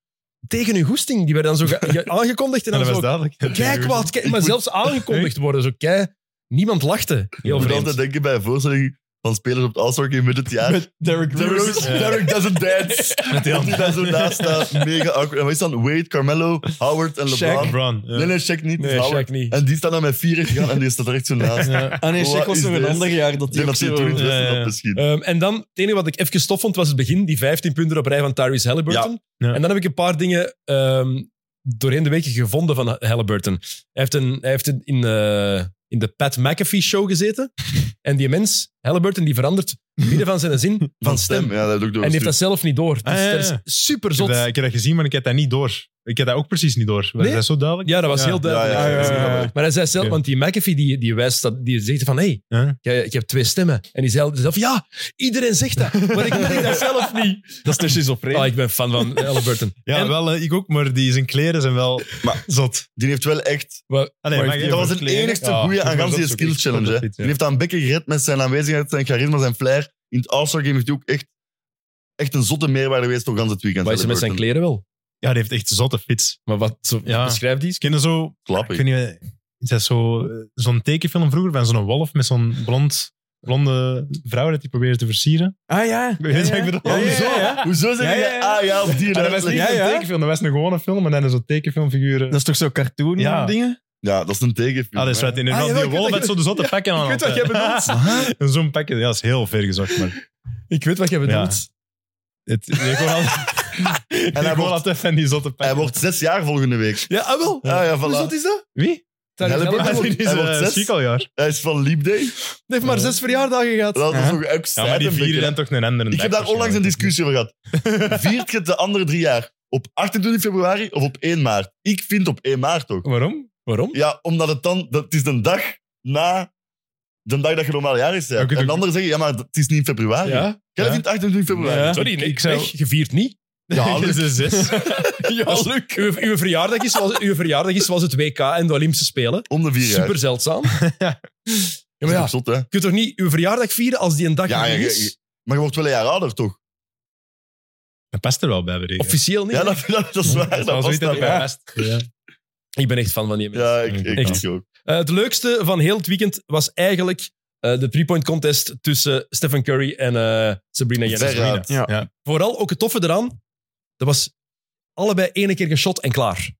Speaker 1: tegen hun goesting. Die werden dan zo ge- ge- aangekondigd. En
Speaker 4: Ja,
Speaker 1: dan
Speaker 4: dat was
Speaker 1: zo,
Speaker 4: duidelijk.
Speaker 1: kijk wat. Kijk, maar zelfs aangekondigd worden. Zo, kijk, niemand lachte. Heel
Speaker 2: Ik moet
Speaker 1: vreemd.
Speaker 2: altijd denken bij een voorstelling van spelers op het All-Star Game midden het jaar. *laughs*
Speaker 5: Derrick
Speaker 2: Derrick
Speaker 5: Rose.
Speaker 4: Ja.
Speaker 2: Derrick doesn't dance. *laughs* Dat hij daar zo naast staat. Mega awkward. En wat is dan? Wade, Carmelo, Howard en LeBron.
Speaker 4: LeBron. ja.
Speaker 2: Nee, nee, check niet.
Speaker 1: Nee,
Speaker 2: Howard.
Speaker 1: Shaq niet.
Speaker 2: En die staan dan met vier
Speaker 1: *laughs*
Speaker 2: gegaan en die staat er echt zo naast. Ik
Speaker 5: Ah nee,
Speaker 2: Wat
Speaker 5: Shaq was
Speaker 2: is
Speaker 5: nog een
Speaker 2: dit?
Speaker 5: ander jaar dat hij
Speaker 2: denk
Speaker 5: ook
Speaker 2: dat ze
Speaker 5: zo...
Speaker 2: het terug
Speaker 4: Ja,
Speaker 2: wisten,
Speaker 4: ja.
Speaker 2: dat misschien.
Speaker 1: Ehm, en dan, het enige wat ik even tof vond, was het begin. Die 15 punten op rij van Tyrese Halliburton.
Speaker 4: Ja.
Speaker 1: En dan heb ik een paar dingen ehm, doorheen de weken gevonden van Halliburton. Hij heeft, een, hij heeft een, in, eh, in de Pat McAfee-show
Speaker 4: *laughs*
Speaker 1: gezeten. en die mens, Halliburton, die verandert midden van zijn
Speaker 4: *laughs*
Speaker 1: zin van stem.
Speaker 2: Ja, dat heb ik ook
Speaker 1: En die heeft dat
Speaker 2: doorgestuurd.
Speaker 1: zelf niet door. Dus
Speaker 4: Ah, ja, ja.
Speaker 1: dat is super
Speaker 4: Ik heb,
Speaker 1: zot.
Speaker 4: dat, ik heb dat gezien, maar ik heb dat niet door. Ik heb dat ook precies niet door. Was
Speaker 1: Nee?
Speaker 4: dat zo duidelijk?
Speaker 1: Ja, dat was
Speaker 4: Ja.
Speaker 1: heel duidelijk.
Speaker 2: Ja, ja, ja,
Speaker 5: ja, ja.
Speaker 1: Maar hij zei zelf,
Speaker 4: Ja.
Speaker 1: want die McAfee die, die wijst, dat, die zegt van, hé, hey,
Speaker 4: Ja.
Speaker 1: jij- ik heb twee stemmen. En die zei zelf, ja, iedereen zegt dat, maar ik denk dat zelf niet.
Speaker 5: Dat is dus schizofreen.
Speaker 1: Ah, ik ben fan van *laughs* Halliburton.
Speaker 4: Ja,
Speaker 1: En-
Speaker 4: wel, eh, ik ook, maar die zijn kleren zijn wel
Speaker 2: Maar-
Speaker 4: zot.
Speaker 2: Die heeft wel echt...
Speaker 4: Allee,
Speaker 5: Maar
Speaker 4: mag
Speaker 5: die-
Speaker 4: ik
Speaker 2: Dat was
Speaker 4: even- Ah,
Speaker 2: het enigste
Speaker 4: Ja,
Speaker 2: goede
Speaker 4: ik
Speaker 2: aan
Speaker 4: vond
Speaker 2: gans die
Speaker 4: dat zo
Speaker 2: skill
Speaker 4: goed. Ik
Speaker 2: challenge.
Speaker 4: vond
Speaker 2: hè.
Speaker 4: dat goed, ja.
Speaker 2: Die heeft aan bekken gered met zijn aanwezigheid, zijn charisma, zijn flair. In het All-Star Game heeft hij ook echt, echt een zotte meerwaarde geweest voor gans het weekend.
Speaker 1: Maar is er met zijn
Speaker 2: Halliburton.
Speaker 1: kleren wel?
Speaker 4: Ja, die heeft echt zotte fiets.
Speaker 1: Maar wat zo,
Speaker 4: Ja.
Speaker 1: beschrijf die eens.
Speaker 4: Kennen zo...
Speaker 2: Klappig.
Speaker 4: Ik weet niet, is dat zo, eh, zo'n tekenfilm vroeger van zo'n wolf met zo'n blond, blonde vrouw dat die probeert te versieren?
Speaker 5: Ah ja.
Speaker 4: Weet je wat ik bedoel?
Speaker 5: Hoezo?
Speaker 4: Hoezo?
Speaker 2: Hoezo zeg
Speaker 5: Ja,
Speaker 2: je
Speaker 5: ja, ja.
Speaker 2: ah ja, op die
Speaker 4: Maar dat was
Speaker 2: uitleg?
Speaker 4: niet
Speaker 5: Ja, ja.
Speaker 4: een tekenfilm, dat was een gewone film, maar dan zo'n eh. tekenfilmfiguren.
Speaker 5: Dat is toch zo cartoon
Speaker 4: Ja.
Speaker 5: dingen?
Speaker 2: Ja, dat is een tegenfilm.
Speaker 4: Ah, dat is
Speaker 2: hè.
Speaker 4: wat inderdaad.
Speaker 5: Ah, jawel,
Speaker 4: die
Speaker 5: ik weet
Speaker 4: wolf
Speaker 5: dat
Speaker 4: had zo de zotte pakken aan.
Speaker 5: ik weet wat
Speaker 4: *laughs*
Speaker 5: jij
Speaker 4: bedoelt. en zo'n pakje, ja, dat is heel ver gezocht, maar...
Speaker 1: Ik weet wat jij bedoelt.
Speaker 4: Het, ik hoor al- ik
Speaker 2: hij
Speaker 4: hoor
Speaker 2: wordt-
Speaker 4: altijd van die zotte pakken. *laughs*
Speaker 2: Hij wordt zes jaar volgende week.
Speaker 1: Ja, ah, wel.
Speaker 2: Ah ja, voilà.
Speaker 1: is dat?
Speaker 4: Wie?
Speaker 1: Terry
Speaker 2: Halliburton
Speaker 1: Halliburton.
Speaker 2: wordt-
Speaker 4: Dit is
Speaker 2: hij wordt
Speaker 4: eh,
Speaker 2: zes.
Speaker 4: chic al jaar.
Speaker 2: Hij is van Leap Day.
Speaker 1: Die heeft maar zes verjaardagen gehad.
Speaker 2: Dat is
Speaker 5: Ja.
Speaker 2: toch ook
Speaker 4: Ja, maar die
Speaker 2: sad een
Speaker 4: vieren
Speaker 2: beetje.
Speaker 4: dan toch een andere
Speaker 2: Ik heb daar onlangs een discussie over gehad. Viert je het de andere drie jaar op 28 februari of op 1 maart? Ik vind op 1 maart toch.
Speaker 4: Waarom?
Speaker 1: Waarom?
Speaker 2: Ja, omdat het dan... Dat, het is de dag na de dag dat je normaal jaar is.
Speaker 4: Oké,
Speaker 2: en
Speaker 4: oké.
Speaker 2: anderen zeggen, ja, maar het is niet in februari. Jij
Speaker 1: Ja.
Speaker 4: Ja.
Speaker 2: vindt 28 februari.
Speaker 5: Ja.
Speaker 1: Sorry, nee,
Speaker 4: Ik-
Speaker 1: ik
Speaker 4: ik
Speaker 1: zeg,
Speaker 4: zou-
Speaker 1: je viert niet.
Speaker 2: Ja,
Speaker 4: Dat
Speaker 2: leuk.
Speaker 4: is een
Speaker 1: *laughs*
Speaker 4: zes.
Speaker 1: Ja, leuk. Uw, uw, verjaardag is zoals, uw verjaardag is zoals het WK en de Olympische Spelen.
Speaker 2: om de vier jaar.
Speaker 1: Super *laughs* zeldzaam. Ja, maar
Speaker 2: Dat is
Speaker 1: ja,
Speaker 2: ook zot, hè.
Speaker 1: je kunt toch niet uw verjaardag vieren als die een dag
Speaker 2: Ja,
Speaker 1: niet
Speaker 2: ja, ja,
Speaker 1: is?
Speaker 2: ja. Maar je wordt wel een jaar ouder, toch?
Speaker 4: Dat past er wel bij, bedoel
Speaker 1: Officieel niet.
Speaker 2: Ja, dat, dat, dat is waar. Dat
Speaker 4: was
Speaker 2: past
Speaker 4: niet dat
Speaker 2: daarbij.
Speaker 4: bij past. Ja.
Speaker 1: Ik ben echt fan van die mensen.
Speaker 2: Ja, ik, ik,
Speaker 1: Echt.
Speaker 2: ik ook.
Speaker 1: Eh, het leukste van heel het weekend was eigenlijk eh, de three-point contest tussen Stephen Curry en eh, Sabrina Jensen.
Speaker 2: Verre.
Speaker 5: Ja.
Speaker 1: Vooral ook het toffe eraan, dat was allebei ene keer geshot en klaar.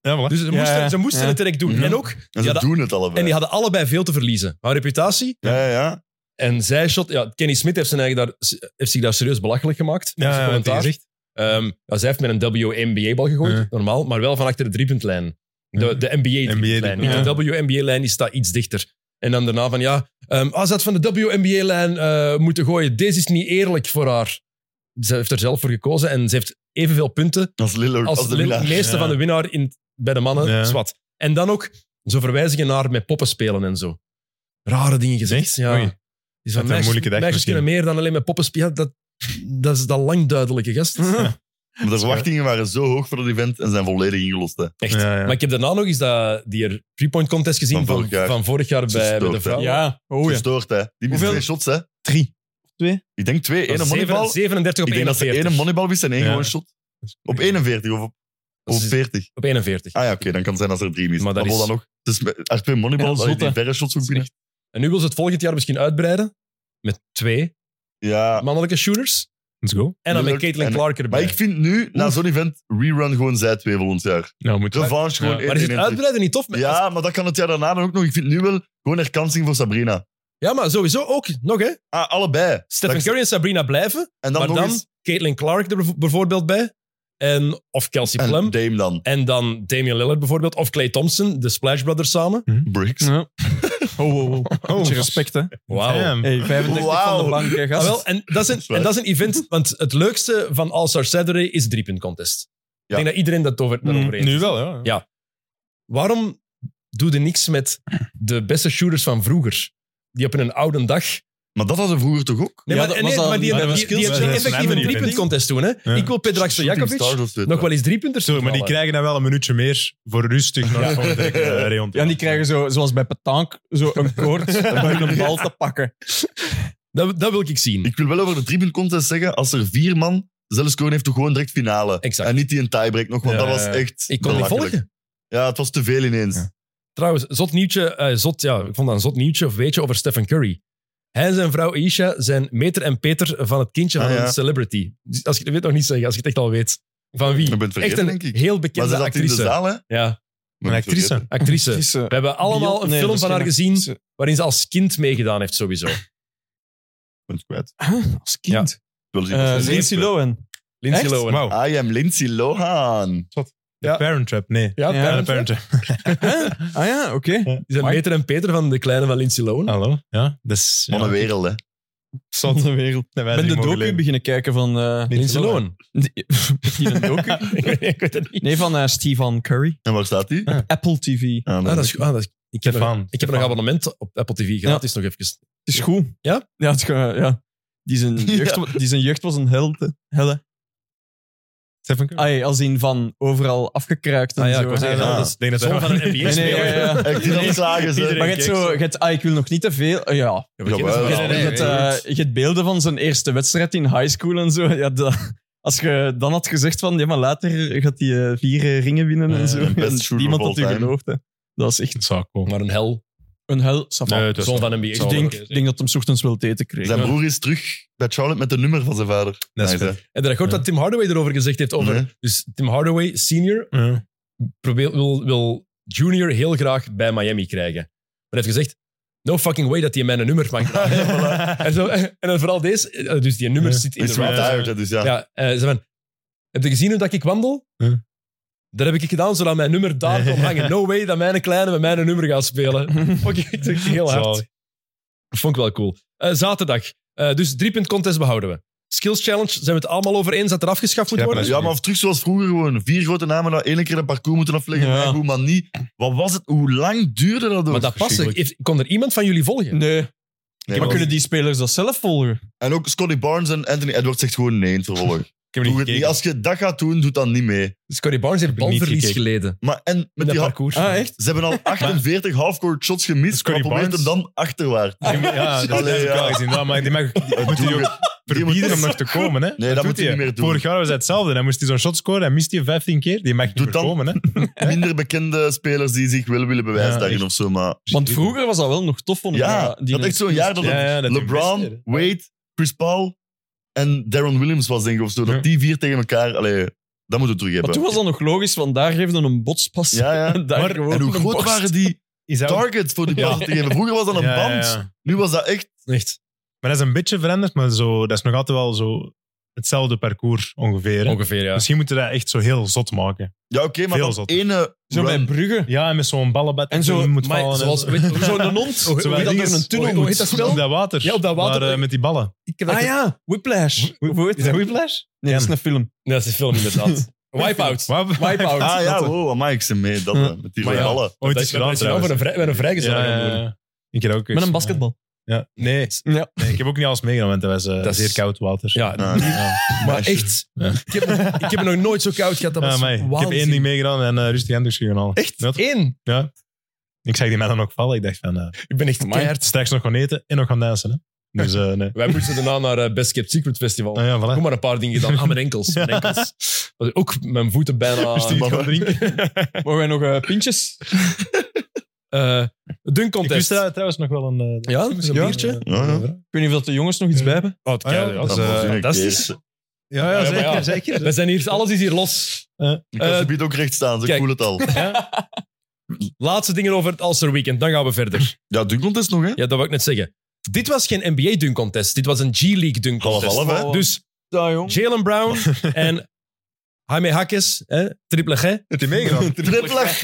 Speaker 4: Ja, voilà.
Speaker 1: Dus ze moesten,
Speaker 5: ja.
Speaker 1: ze moesten
Speaker 5: Ja.
Speaker 1: het direct doen.
Speaker 5: Mhm.
Speaker 1: En ook,
Speaker 2: En
Speaker 1: Ja,
Speaker 2: ze
Speaker 1: dat-
Speaker 2: doen het allebei.
Speaker 1: en die hadden allebei veel te verliezen. Haar reputatie
Speaker 2: ja, ja, ja.
Speaker 1: en zij shot. Ja, Kenny Smith heeft, zijn eigen daar, heeft zich daar serieus belachelijk gemaakt. in zijn
Speaker 4: ja, wat hij
Speaker 1: commentaar.
Speaker 4: zegt.
Speaker 1: Ehm, ja, zij heeft met een WNBA-bal gegooid,
Speaker 4: Ja.
Speaker 1: normaal, maar wel van achter de driepuntlijn. De, de NBA-driepuntlijn.
Speaker 4: NBA,
Speaker 1: Niet De
Speaker 5: ja.
Speaker 1: WNBA-lijn die staat iets dichter. En dan daarna van, ja, ehm ah, ze had van de WNBA-lijn eh, moeten gooien. Deze is niet eerlijk voor haar. Ze heeft er zelf voor gekozen en ze heeft evenveel punten
Speaker 2: Als Lillard, als,
Speaker 1: als
Speaker 2: de
Speaker 1: de
Speaker 2: winnaar.
Speaker 1: meeste
Speaker 4: Ja.
Speaker 1: van de winnaar in, bij de mannen.
Speaker 4: Ja.
Speaker 1: Zwat. En dan ook zo verwijzingen naar met poppen spelen en zo. Rare dingen gezegd.
Speaker 4: Echt?
Speaker 1: Ja.
Speaker 4: Oei.
Speaker 1: Die is van,
Speaker 4: een
Speaker 1: meisjes,
Speaker 4: moeilijke dag
Speaker 1: meisjes
Speaker 4: misschien.
Speaker 1: kunnen meer dan alleen met poppen spelen. Dat, dat is dat lang duidelijke
Speaker 4: *laughs*
Speaker 1: gast.
Speaker 2: Maar de verwachtingen waren zo hoog voor dat event en zijn volledig ingelost. Hè.
Speaker 1: Echt.
Speaker 4: Ja, ja.
Speaker 1: Maar ik heb daarna nog eens dat, die er three-point contest gezien van,
Speaker 2: Van
Speaker 1: van
Speaker 2: vorig
Speaker 1: vorig
Speaker 2: jaar.
Speaker 1: jaar,
Speaker 2: Ze
Speaker 1: bij, bij
Speaker 2: stoort, hè.
Speaker 1: de vrouwen.
Speaker 5: Ja. Oh ja.
Speaker 2: Gestoord, hè. Die misten
Speaker 5: Hoeveel?
Speaker 2: twee shots, hè.
Speaker 5: Drie.
Speaker 2: Ik denk twee.
Speaker 1: Dat
Speaker 2: Ene
Speaker 1: was zeven-
Speaker 2: moneybal.
Speaker 1: 37 op
Speaker 2: Ik denk dat ze
Speaker 1: 41.
Speaker 2: één moneybal wist en één
Speaker 4: Ja.
Speaker 2: gewoon shot. Op 41 of op,
Speaker 1: Dat
Speaker 2: of op
Speaker 1: is
Speaker 2: 40.
Speaker 1: op 41.
Speaker 2: Ah ja, oké. dan kan het zijn als er drie mist.
Speaker 1: Maar
Speaker 2: Maar
Speaker 1: dat
Speaker 2: dat
Speaker 1: is-
Speaker 2: dan nog. Dus met- als twee moneybal,
Speaker 5: Ja,
Speaker 2: dan je die
Speaker 5: zotte.
Speaker 2: verre shots ook binnen.
Speaker 1: En nu wil ze het volgend jaar misschien uitbreiden met twee
Speaker 2: Ja.
Speaker 1: mannelijke shooters.
Speaker 4: Let's go.
Speaker 1: En dan met
Speaker 2: Lillard
Speaker 1: Caitlin
Speaker 2: en-
Speaker 1: Clark
Speaker 2: Maar
Speaker 1: erbij.
Speaker 2: ik vind nu, na zo'n event, rerun gewoon zijtwee volgend jaar.
Speaker 4: Nou, moet
Speaker 2: Revanche gewoon
Speaker 4: Ja.
Speaker 2: één
Speaker 1: Maar is het
Speaker 2: in één terug.
Speaker 1: uitbreiden niet tof? Met-
Speaker 2: Ja, maar dat kan het jaar daarna dan ook nog. Ik vind nu wel gewoon herkansing voor Sabrina.
Speaker 1: ja, maar sowieso ook nog, hè.
Speaker 2: Ah, allebei.
Speaker 1: Stephen
Speaker 2: Dat-
Speaker 1: Curry en Sabrina blijven,
Speaker 2: En dan
Speaker 1: maar
Speaker 2: nog
Speaker 1: dan
Speaker 2: eens.
Speaker 1: Caitlin Clark er bev- bijvoorbeeld bij. En, of Kelsey Plum.
Speaker 2: En Dame dan.
Speaker 1: en dan Damian Lillard bijvoorbeeld. Of Clay Thompson, de Splash Brothers samen.
Speaker 2: Briggs.
Speaker 1: *laughs*
Speaker 5: Ja. Oh, oh, oh. Beetje respect, hè.
Speaker 1: Wauw.
Speaker 5: Hey, 35
Speaker 2: Wauw.
Speaker 5: van de bank, hè,
Speaker 1: Ah,
Speaker 5: gast.
Speaker 1: wel, en dat is
Speaker 2: is
Speaker 1: een,
Speaker 2: waar.
Speaker 1: en dat is een event, want het leukste van All-Star Saturday is de punt contest. Ik denk dat iedereen dat over, daarover eens
Speaker 4: Nu
Speaker 1: is.
Speaker 4: wel, ja.
Speaker 1: Ja. Waarom doe je niks met de beste shooters van vroeger? Die op een oude dag...
Speaker 2: Maar dat hadden we vroeger toch ook?
Speaker 1: Nee,
Speaker 5: Ja,
Speaker 1: maar,
Speaker 5: dat
Speaker 1: nee,
Speaker 5: was al-
Speaker 1: maar die,
Speaker 5: maar
Speaker 1: die,
Speaker 5: dat was
Speaker 1: die, die
Speaker 5: skills-
Speaker 1: hebben
Speaker 4: dat is een
Speaker 1: effectief een
Speaker 4: andere
Speaker 1: driepunt
Speaker 4: event.
Speaker 1: contest doen. Hè?
Speaker 4: Ja.
Speaker 1: Ik wil Pedrak Stojakovic nog wel eens driepunters
Speaker 4: Sorry, maar die
Speaker 1: halen.
Speaker 4: krijgen dan wel een minuutje meer voor rustig naar ja. de uh, Reon.
Speaker 5: Ja, en die krijgen zo, zoals bij petank, zo een koord om een bal te pakken.
Speaker 1: dat, dat wil ik zien.
Speaker 2: Ik wil wel over de driepunt contest zeggen, als er vier man zelfs scoren heeft, toch gewoon direct finale.
Speaker 1: Exact.
Speaker 2: En niet die een tiebreak nog, want
Speaker 1: Ja,
Speaker 2: dat was
Speaker 1: ja.
Speaker 2: echt
Speaker 1: Ik kon niet
Speaker 2: belachelijk.
Speaker 1: volgen.
Speaker 2: Ja, het was te veel ineens.
Speaker 1: Trouwens, zot nieuwtje, eh, zot, ja, ik vond dat een zot nieuwtje, of weet je, over Stephen Curry. Hij en zijn vrouw Isha zijn meter en peter van het kindje van
Speaker 2: Ah, ja.
Speaker 1: een celebrity. Dus Als je dat weet nog niet zeggen, als je het echt al weet. Van wie?
Speaker 2: Ik ben het
Speaker 1: Echt
Speaker 2: vergeten,
Speaker 1: een
Speaker 2: denk ik.
Speaker 1: heel
Speaker 2: Maar
Speaker 1: bekende
Speaker 2: ze zat in de
Speaker 1: actrice.
Speaker 2: zaal, hè?
Speaker 1: Ja,
Speaker 2: Ik ben het vergeten.
Speaker 4: actrice.
Speaker 2: *laughs*
Speaker 1: actrice.
Speaker 5: Het
Speaker 1: We
Speaker 5: is, eh,
Speaker 1: hebben allemaal
Speaker 5: Biel-
Speaker 1: een
Speaker 5: nee,
Speaker 1: film
Speaker 5: dat
Speaker 1: van
Speaker 5: is
Speaker 1: haar
Speaker 5: geen
Speaker 1: gezien
Speaker 5: actrice.
Speaker 1: waarin ze als kind meegedaan heeft, sowieso.
Speaker 2: Ik ben het kwijt.
Speaker 5: Huh? Als kind.
Speaker 2: Ik wil zien
Speaker 5: Eh,
Speaker 2: wat ze
Speaker 5: Lindsay
Speaker 2: heeft.
Speaker 5: *laughs* Lohan.
Speaker 1: Lindsay
Speaker 5: Echt?
Speaker 1: Lohan.
Speaker 4: Wauw.
Speaker 2: I am Lindsay Lohan.
Speaker 4: De
Speaker 1: Ja.
Speaker 4: Parent Trap, nee.
Speaker 1: Ja,
Speaker 5: Ja,
Speaker 4: Ja, de
Speaker 1: Parent
Speaker 4: Parent Trap.
Speaker 5: Ah ja, oké.
Speaker 1: Die zijn
Speaker 5: Amai.
Speaker 1: meter en peter van de kleine van Lindsay Lohan.
Speaker 4: Hallo. Ja, dat is...
Speaker 2: Van
Speaker 4: ja.
Speaker 2: een wereld, hè?
Speaker 4: Zot.
Speaker 5: de wereld.
Speaker 4: Dat wij
Speaker 5: Ik ben
Speaker 4: niet
Speaker 5: de
Speaker 4: mogen
Speaker 5: docu
Speaker 4: leven.
Speaker 5: beginnen kijken van... eh,
Speaker 1: Lindsay
Speaker 5: *laughs*
Speaker 1: Lohan.
Speaker 5: die- die een docu?
Speaker 1: ik, weet, ik weet het niet.
Speaker 5: Nee, van eh Stephen Curry.
Speaker 2: En waar staat die?
Speaker 4: Ah,
Speaker 5: Apple
Speaker 2: Ah,
Speaker 5: TV.
Speaker 2: nee.
Speaker 1: Ah, dat is, goed. ah, dat is- ik heb, nog,
Speaker 4: Stefan.
Speaker 1: ik heb nog abonnement op Apple TV gratis nog even.
Speaker 5: Het is goed.
Speaker 1: Ja?
Speaker 5: Ja, het, is gewoon- eh, ja. Die, zijn jeugd, wa- die zijn jeugd was een helde. helle.
Speaker 4: Stephen Curry.
Speaker 5: Ai, als in van overal afgekruikt en
Speaker 1: Ah ja,
Speaker 5: zo.
Speaker 1: ik was zeggen,
Speaker 5: Ja.
Speaker 2: ah,
Speaker 1: dat is
Speaker 4: Ik denk dat
Speaker 1: zoon
Speaker 4: hij-
Speaker 1: van een
Speaker 5: Nee, nee, ja,
Speaker 1: NBA-speler.
Speaker 5: ja.
Speaker 2: Echt, die dan klagen ze.
Speaker 4: Iedereen-
Speaker 5: Maar je hebt zo, je hebt, ah, ik wil nog niet te veel. eh, ja.
Speaker 1: Ja, we kennen
Speaker 2: Jawel.
Speaker 1: ze
Speaker 5: Je
Speaker 1: wel.
Speaker 2: Nee, nee,
Speaker 5: hebt, eh, je hebt beelden van zijn eerste wedstrijd in high school en zo. Ja, dat- als je dan had gezegd van, ja, maar later gaat hij eh, vier eh, ringen winnen en
Speaker 4: Ja,
Speaker 5: zo.
Speaker 2: best
Speaker 5: En
Speaker 2: shooter
Speaker 5: Niemand
Speaker 2: of
Speaker 5: had
Speaker 2: all
Speaker 5: u
Speaker 2: time.
Speaker 5: geloofd. Hè. Dat is echt
Speaker 4: Dat zou cool.
Speaker 1: Maar een hel.
Speaker 5: een hel. ça va.
Speaker 4: Nee, het was-
Speaker 1: Zoon van een
Speaker 4: zal
Speaker 5: ik
Speaker 1: NBA-speler.
Speaker 5: denk,
Speaker 4: wel oké
Speaker 5: denk dat hem 's ochtends wel te eten kreeg.
Speaker 2: Zijn broer is terug bij Charlotte met de nummer van zijn vader.
Speaker 4: Dat is
Speaker 2: Nice, hè?
Speaker 4: vet.
Speaker 1: En dat hoort
Speaker 4: Ja.
Speaker 1: dat Tim Hardaway erover gezegd heeft. Over,
Speaker 2: Nee.
Speaker 1: Dus Tim Hardaway, senior,
Speaker 4: Ja.
Speaker 1: probeert, wil, wil junior heel graag bij Miami krijgen. Maar hij heeft gezegd, no fucking way dat die mij een nummer mag dragen. en, zo, en dan vooral deze, eh, dus die nummer
Speaker 4: Ja.
Speaker 1: zit in
Speaker 2: Is
Speaker 1: de
Speaker 2: retired,
Speaker 4: ja.
Speaker 2: hè, dus ja.
Speaker 1: Ja, eh, ze van, heb je gezien hoe dat ik wandel?
Speaker 4: Ja.
Speaker 1: Dat heb ik gedaan zodat mijn nummer daar kon hangen.
Speaker 4: *laughs*
Speaker 1: No way dat mijn kleine met mijn nummer gaat spelen. Oké, ik denk heel hard.
Speaker 4: Zalig.
Speaker 1: Dat vond ik wel cool. Eh, zaterdag. Eh, dus drie punt contest behouden we. Skills Challenge, zijn we het allemaal over eens dat er afgeschaft moet
Speaker 4: Ja,
Speaker 1: worden?
Speaker 4: maar
Speaker 2: Ja, maar of terug zoals vroeger gewoon. Vier grote namen dat één keer een parcours moeten afleggen.
Speaker 5: Ja.
Speaker 2: Ja. Goed, maar niet. Wat was het? Hoe lang duurde dat ook?
Speaker 1: Maar dat past.
Speaker 2: Verschrikkelijk.
Speaker 1: Heeft- Kon er iemand van jullie volgen?
Speaker 5: Nee.
Speaker 2: Nee,
Speaker 5: maar
Speaker 2: maar-
Speaker 5: kunnen die spelers dat zelf volgen?
Speaker 2: En ook Scotty Barnes en Anthony Edwards zegt gewoon nee in het vervolg.
Speaker 4: Ik heb
Speaker 2: Doe
Speaker 4: niet
Speaker 2: het niet.
Speaker 4: gekeken.
Speaker 2: Als je dat gaat doen, doe dan niet mee.
Speaker 1: Scotty Barnes heeft
Speaker 4: Heb ik niet
Speaker 1: balverlies
Speaker 4: gekeken.
Speaker 1: geleden.
Speaker 2: Maar en
Speaker 1: In dat
Speaker 2: met die ha-
Speaker 1: parcours.
Speaker 5: Ah, echt?
Speaker 2: ze
Speaker 4: *laughs*
Speaker 2: hebben al 48 halfcourt shots gemist.
Speaker 4: Scotty
Speaker 2: Scotty Barnes
Speaker 4: Barnes?
Speaker 2: hem dan achterwaard.
Speaker 4: Ja, dat
Speaker 2: Allee,
Speaker 4: heb ik wel
Speaker 2: ja.
Speaker 4: gezien. Ja, maar die mag, die moet hij ook verbieden om nog te komen. Hè?
Speaker 2: dat
Speaker 4: doet
Speaker 2: moet hij niet meer doen.
Speaker 4: Vorig jaar was hij hetzelfde. Dan moest hij zo'n shot scoren. Hij mist hij 15 keer. Die mag niet
Speaker 2: Doe
Speaker 4: meer
Speaker 2: dan.
Speaker 4: komen. Hè?
Speaker 2: *laughs* Minder bekende spelers die zich wel willen bewijzen
Speaker 4: Ja,
Speaker 2: daarin
Speaker 4: echt.
Speaker 2: of zo. Maar
Speaker 5: Want vroeger was dat wel nog tof, vond ik.
Speaker 2: ja,
Speaker 5: die
Speaker 2: dat echt zo'n jaar dat,
Speaker 4: Ja, ja, dat die
Speaker 2: LeBron,
Speaker 4: beste-
Speaker 2: Wade, Chris Paul en Darren Williams was denk ik of zo.
Speaker 4: Ja.
Speaker 2: Dat die vier tegen elkaar, allee, dat moeten we terug
Speaker 5: Maar
Speaker 2: hebben.
Speaker 5: toen was dat nog logisch, want daar geefde een botspas.
Speaker 2: Ja, ja.
Speaker 5: En *laughs* daar
Speaker 4: Maar-
Speaker 5: gewoon
Speaker 2: en hoe
Speaker 5: een
Speaker 2: groot
Speaker 5: borst.
Speaker 2: waren die
Speaker 4: Is dat ook-
Speaker 2: targets voor die
Speaker 4: Ja.
Speaker 2: passen te geven? Vroeger was dat een
Speaker 4: Ja, ja,
Speaker 2: band.
Speaker 4: ja.
Speaker 2: Nu was dat echt...
Speaker 1: Echt.
Speaker 4: Maar dat is een beetje veranderd. Maar zo, dat is nog altijd wel zo hetzelfde parcours ongeveer. hè.
Speaker 1: Ongeveer, ja.
Speaker 4: Misschien moeten we dat echt zo heel zot maken.
Speaker 2: Ja, oké, maar
Speaker 4: Veel
Speaker 2: dat
Speaker 4: zotter.
Speaker 2: ene
Speaker 5: Zo bij
Speaker 2: run-
Speaker 5: Brugge.
Speaker 4: Ja, en met zo'n ballenbad.
Speaker 5: En zo,
Speaker 4: die moet
Speaker 1: maar
Speaker 4: vallen.
Speaker 1: zoals-
Speaker 4: en *laughs*
Speaker 1: weet- hoe zou
Speaker 5: Zo'n hond.
Speaker 1: Hoe-
Speaker 4: Zo
Speaker 1: hoe
Speaker 4: bij
Speaker 1: dat
Speaker 4: dingen-
Speaker 1: door een tunnel
Speaker 4: hoe
Speaker 1: moet.
Speaker 4: heet dat spel? Op dat water.
Speaker 1: Ja, op dat water.
Speaker 4: Maar, eh, met die ballen.
Speaker 1: Ik heb dat
Speaker 5: Ah ja, Whiplash. Hoe heet
Speaker 4: Is dat Whiplash?
Speaker 5: Nee, dat is een film.
Speaker 1: Ja, Dat is een film,
Speaker 4: *laughs*
Speaker 1: inderdaad. Wipeout.
Speaker 4: Waar-
Speaker 5: Wipeout.
Speaker 2: Ah ja,
Speaker 5: Dat-
Speaker 2: wow, amai, ik ze mee. Dat, eh, met die
Speaker 1: Maar ja.
Speaker 2: ballen.
Speaker 4: Ooit
Speaker 1: Dat dat
Speaker 4: is gedaan
Speaker 1: nou
Speaker 4: trouwens.
Speaker 1: voor een vrij- met een vrijgezel
Speaker 4: Ja,
Speaker 1: gaan
Speaker 4: ja,
Speaker 1: worden.
Speaker 4: ja. Ik heb ook
Speaker 5: Met
Speaker 4: eens-
Speaker 5: een basketbal.
Speaker 4: Ja. Nee.
Speaker 5: Ja.
Speaker 4: nee, ik heb ook niet alles meegenomen, want dat was eh,
Speaker 1: Dat is-
Speaker 4: zeer koud water.
Speaker 1: Ja,
Speaker 2: Ah,
Speaker 1: maar echt.
Speaker 4: Ja. Ah,
Speaker 1: Ik heb, ik heb nog nooit zo koud gehad. Dat
Speaker 4: Ja,
Speaker 1: was
Speaker 4: maar ik heb één
Speaker 1: waanzin.
Speaker 4: ding meegedaan en eh, rustig handdoekjes kunnen halen.
Speaker 1: Echt?
Speaker 4: Ja,
Speaker 1: Eén?
Speaker 4: Ik zag die mij dan ook vallen. Ik dacht van, eh,
Speaker 1: Ik ben echt keihard.
Speaker 4: straks nog gaan eten en nog gaan dansen. Hè? Dus eh, nee.
Speaker 1: Wij moesten daarna naar eh, Best Kept Secret Festival.
Speaker 4: Nou ja, voilà.
Speaker 1: Kom maar een paar dingen gedaan. Aan Ah, mijn enkels. Mijn enkels. Want Ook mijn voeten bijna...
Speaker 4: Rustig iets
Speaker 2: maar-
Speaker 4: gaan
Speaker 2: *laughs*
Speaker 4: drinken.
Speaker 5: Mogen wij nog eh, pintjes?
Speaker 1: *laughs* Eh dunk
Speaker 4: Ik wist
Speaker 1: contest.
Speaker 4: daar trouwens nog wel een... eh,
Speaker 1: Ja, dat is een
Speaker 4: Ja.
Speaker 1: biertje.
Speaker 2: Ja, ja.
Speaker 5: Ik weet niet of dat de jongens nog iets bij hebben.
Speaker 1: Oh, het
Speaker 4: Ah, ja,
Speaker 1: keiharde,
Speaker 4: dat
Speaker 1: ja.
Speaker 2: Dat
Speaker 4: is, eh,
Speaker 2: was weer een
Speaker 1: fantastisch.
Speaker 2: keer.
Speaker 4: Ja, ja,
Speaker 1: maar
Speaker 4: zeker,
Speaker 1: ja.
Speaker 4: zeker.
Speaker 1: We zijn hier, alles is hier los.
Speaker 2: Ik kan
Speaker 1: Eh,
Speaker 2: ze biedt ook recht staan, ze
Speaker 1: kijk.
Speaker 2: voel het al.
Speaker 1: Laatste dingen over het Alster Weekend, dan gaan we verder.
Speaker 2: Ja, Dunkland is nog, hè?
Speaker 1: Ja, dat wil ik net zeggen. Dit was geen NBA dunk contest, dit was een G-League dunk
Speaker 2: Half
Speaker 1: contest.
Speaker 2: half, hè?
Speaker 1: Dus
Speaker 5: Ja, Oh, jong.
Speaker 1: Jalen Brown
Speaker 5: *laughs*
Speaker 1: en Jaime Hakkes, hè, triple G.
Speaker 4: Heeft hij meegedaan?
Speaker 2: Triple G!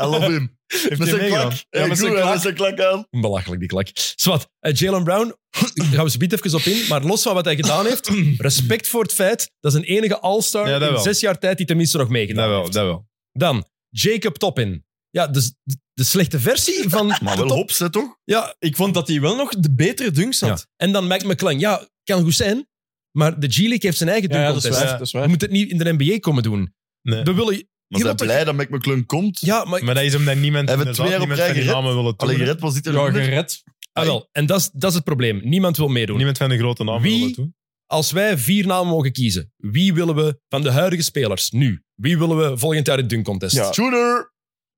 Speaker 2: I love him.
Speaker 4: Heeft
Speaker 2: Met
Speaker 4: hij
Speaker 2: zijn
Speaker 4: meegedaan?
Speaker 2: klak. Ja, met zijn klak. Met zijn klak aan.
Speaker 1: Belachelijk, die klak. Zwat, eh, Jalen Brown, daar gaan we zo biet even op in, maar los van wat hij gedaan
Speaker 5: *clears throat*
Speaker 1: heeft, respect voor het feit, dat is een enige All-Star
Speaker 4: Ja, dat
Speaker 1: in
Speaker 4: wel.
Speaker 1: zes jaar tijd die tenminste nog meegedaan
Speaker 4: Dat wel,
Speaker 1: heeft.
Speaker 4: dat wel.
Speaker 1: Dan, Jacob Toppin. Ja, de, de slechte versie van
Speaker 5: *laughs*
Speaker 2: Maar
Speaker 1: de
Speaker 2: wel
Speaker 1: top.
Speaker 2: hops, hè, toch?
Speaker 1: Ja,
Speaker 5: Ik vond dat hij wel nog de betere dunks had.
Speaker 1: En dan Mike McClung. Ja, kan goed zijn, maar de G-League heeft zijn eigen
Speaker 5: Ja, ja, dat, is
Speaker 1: dunkcontest.
Speaker 5: waar,
Speaker 4: Ja.
Speaker 5: dat is
Speaker 1: Je
Speaker 5: waar.
Speaker 1: moet het niet in de NBA komen doen.
Speaker 4: Nee.
Speaker 1: We willen...
Speaker 2: Maar zijn
Speaker 1: Iemand-
Speaker 2: blij dat Mac McClung komt.
Speaker 1: Ja, maar...
Speaker 4: Maar dat is omdat niemand
Speaker 2: Hebben
Speaker 4: in de
Speaker 2: twee
Speaker 4: zaal-
Speaker 2: jaar op
Speaker 4: niemand van
Speaker 2: rij
Speaker 4: die
Speaker 2: gered?
Speaker 4: namen willen
Speaker 2: Alleen
Speaker 4: doen.
Speaker 2: Red was dit
Speaker 5: Ja,
Speaker 2: eronder.
Speaker 5: gered.
Speaker 1: ah, wel. En dat is, dat is het probleem. Niemand wil meedoen.
Speaker 4: Niemand van de grote namen
Speaker 1: Wie-
Speaker 4: willen doen.
Speaker 1: Als wij vier namen mogen kiezen, wie willen we van de huidige spelers nu? Wie willen we volgend jaar in het dunkcontest?
Speaker 5: Ja.
Speaker 2: Shooter!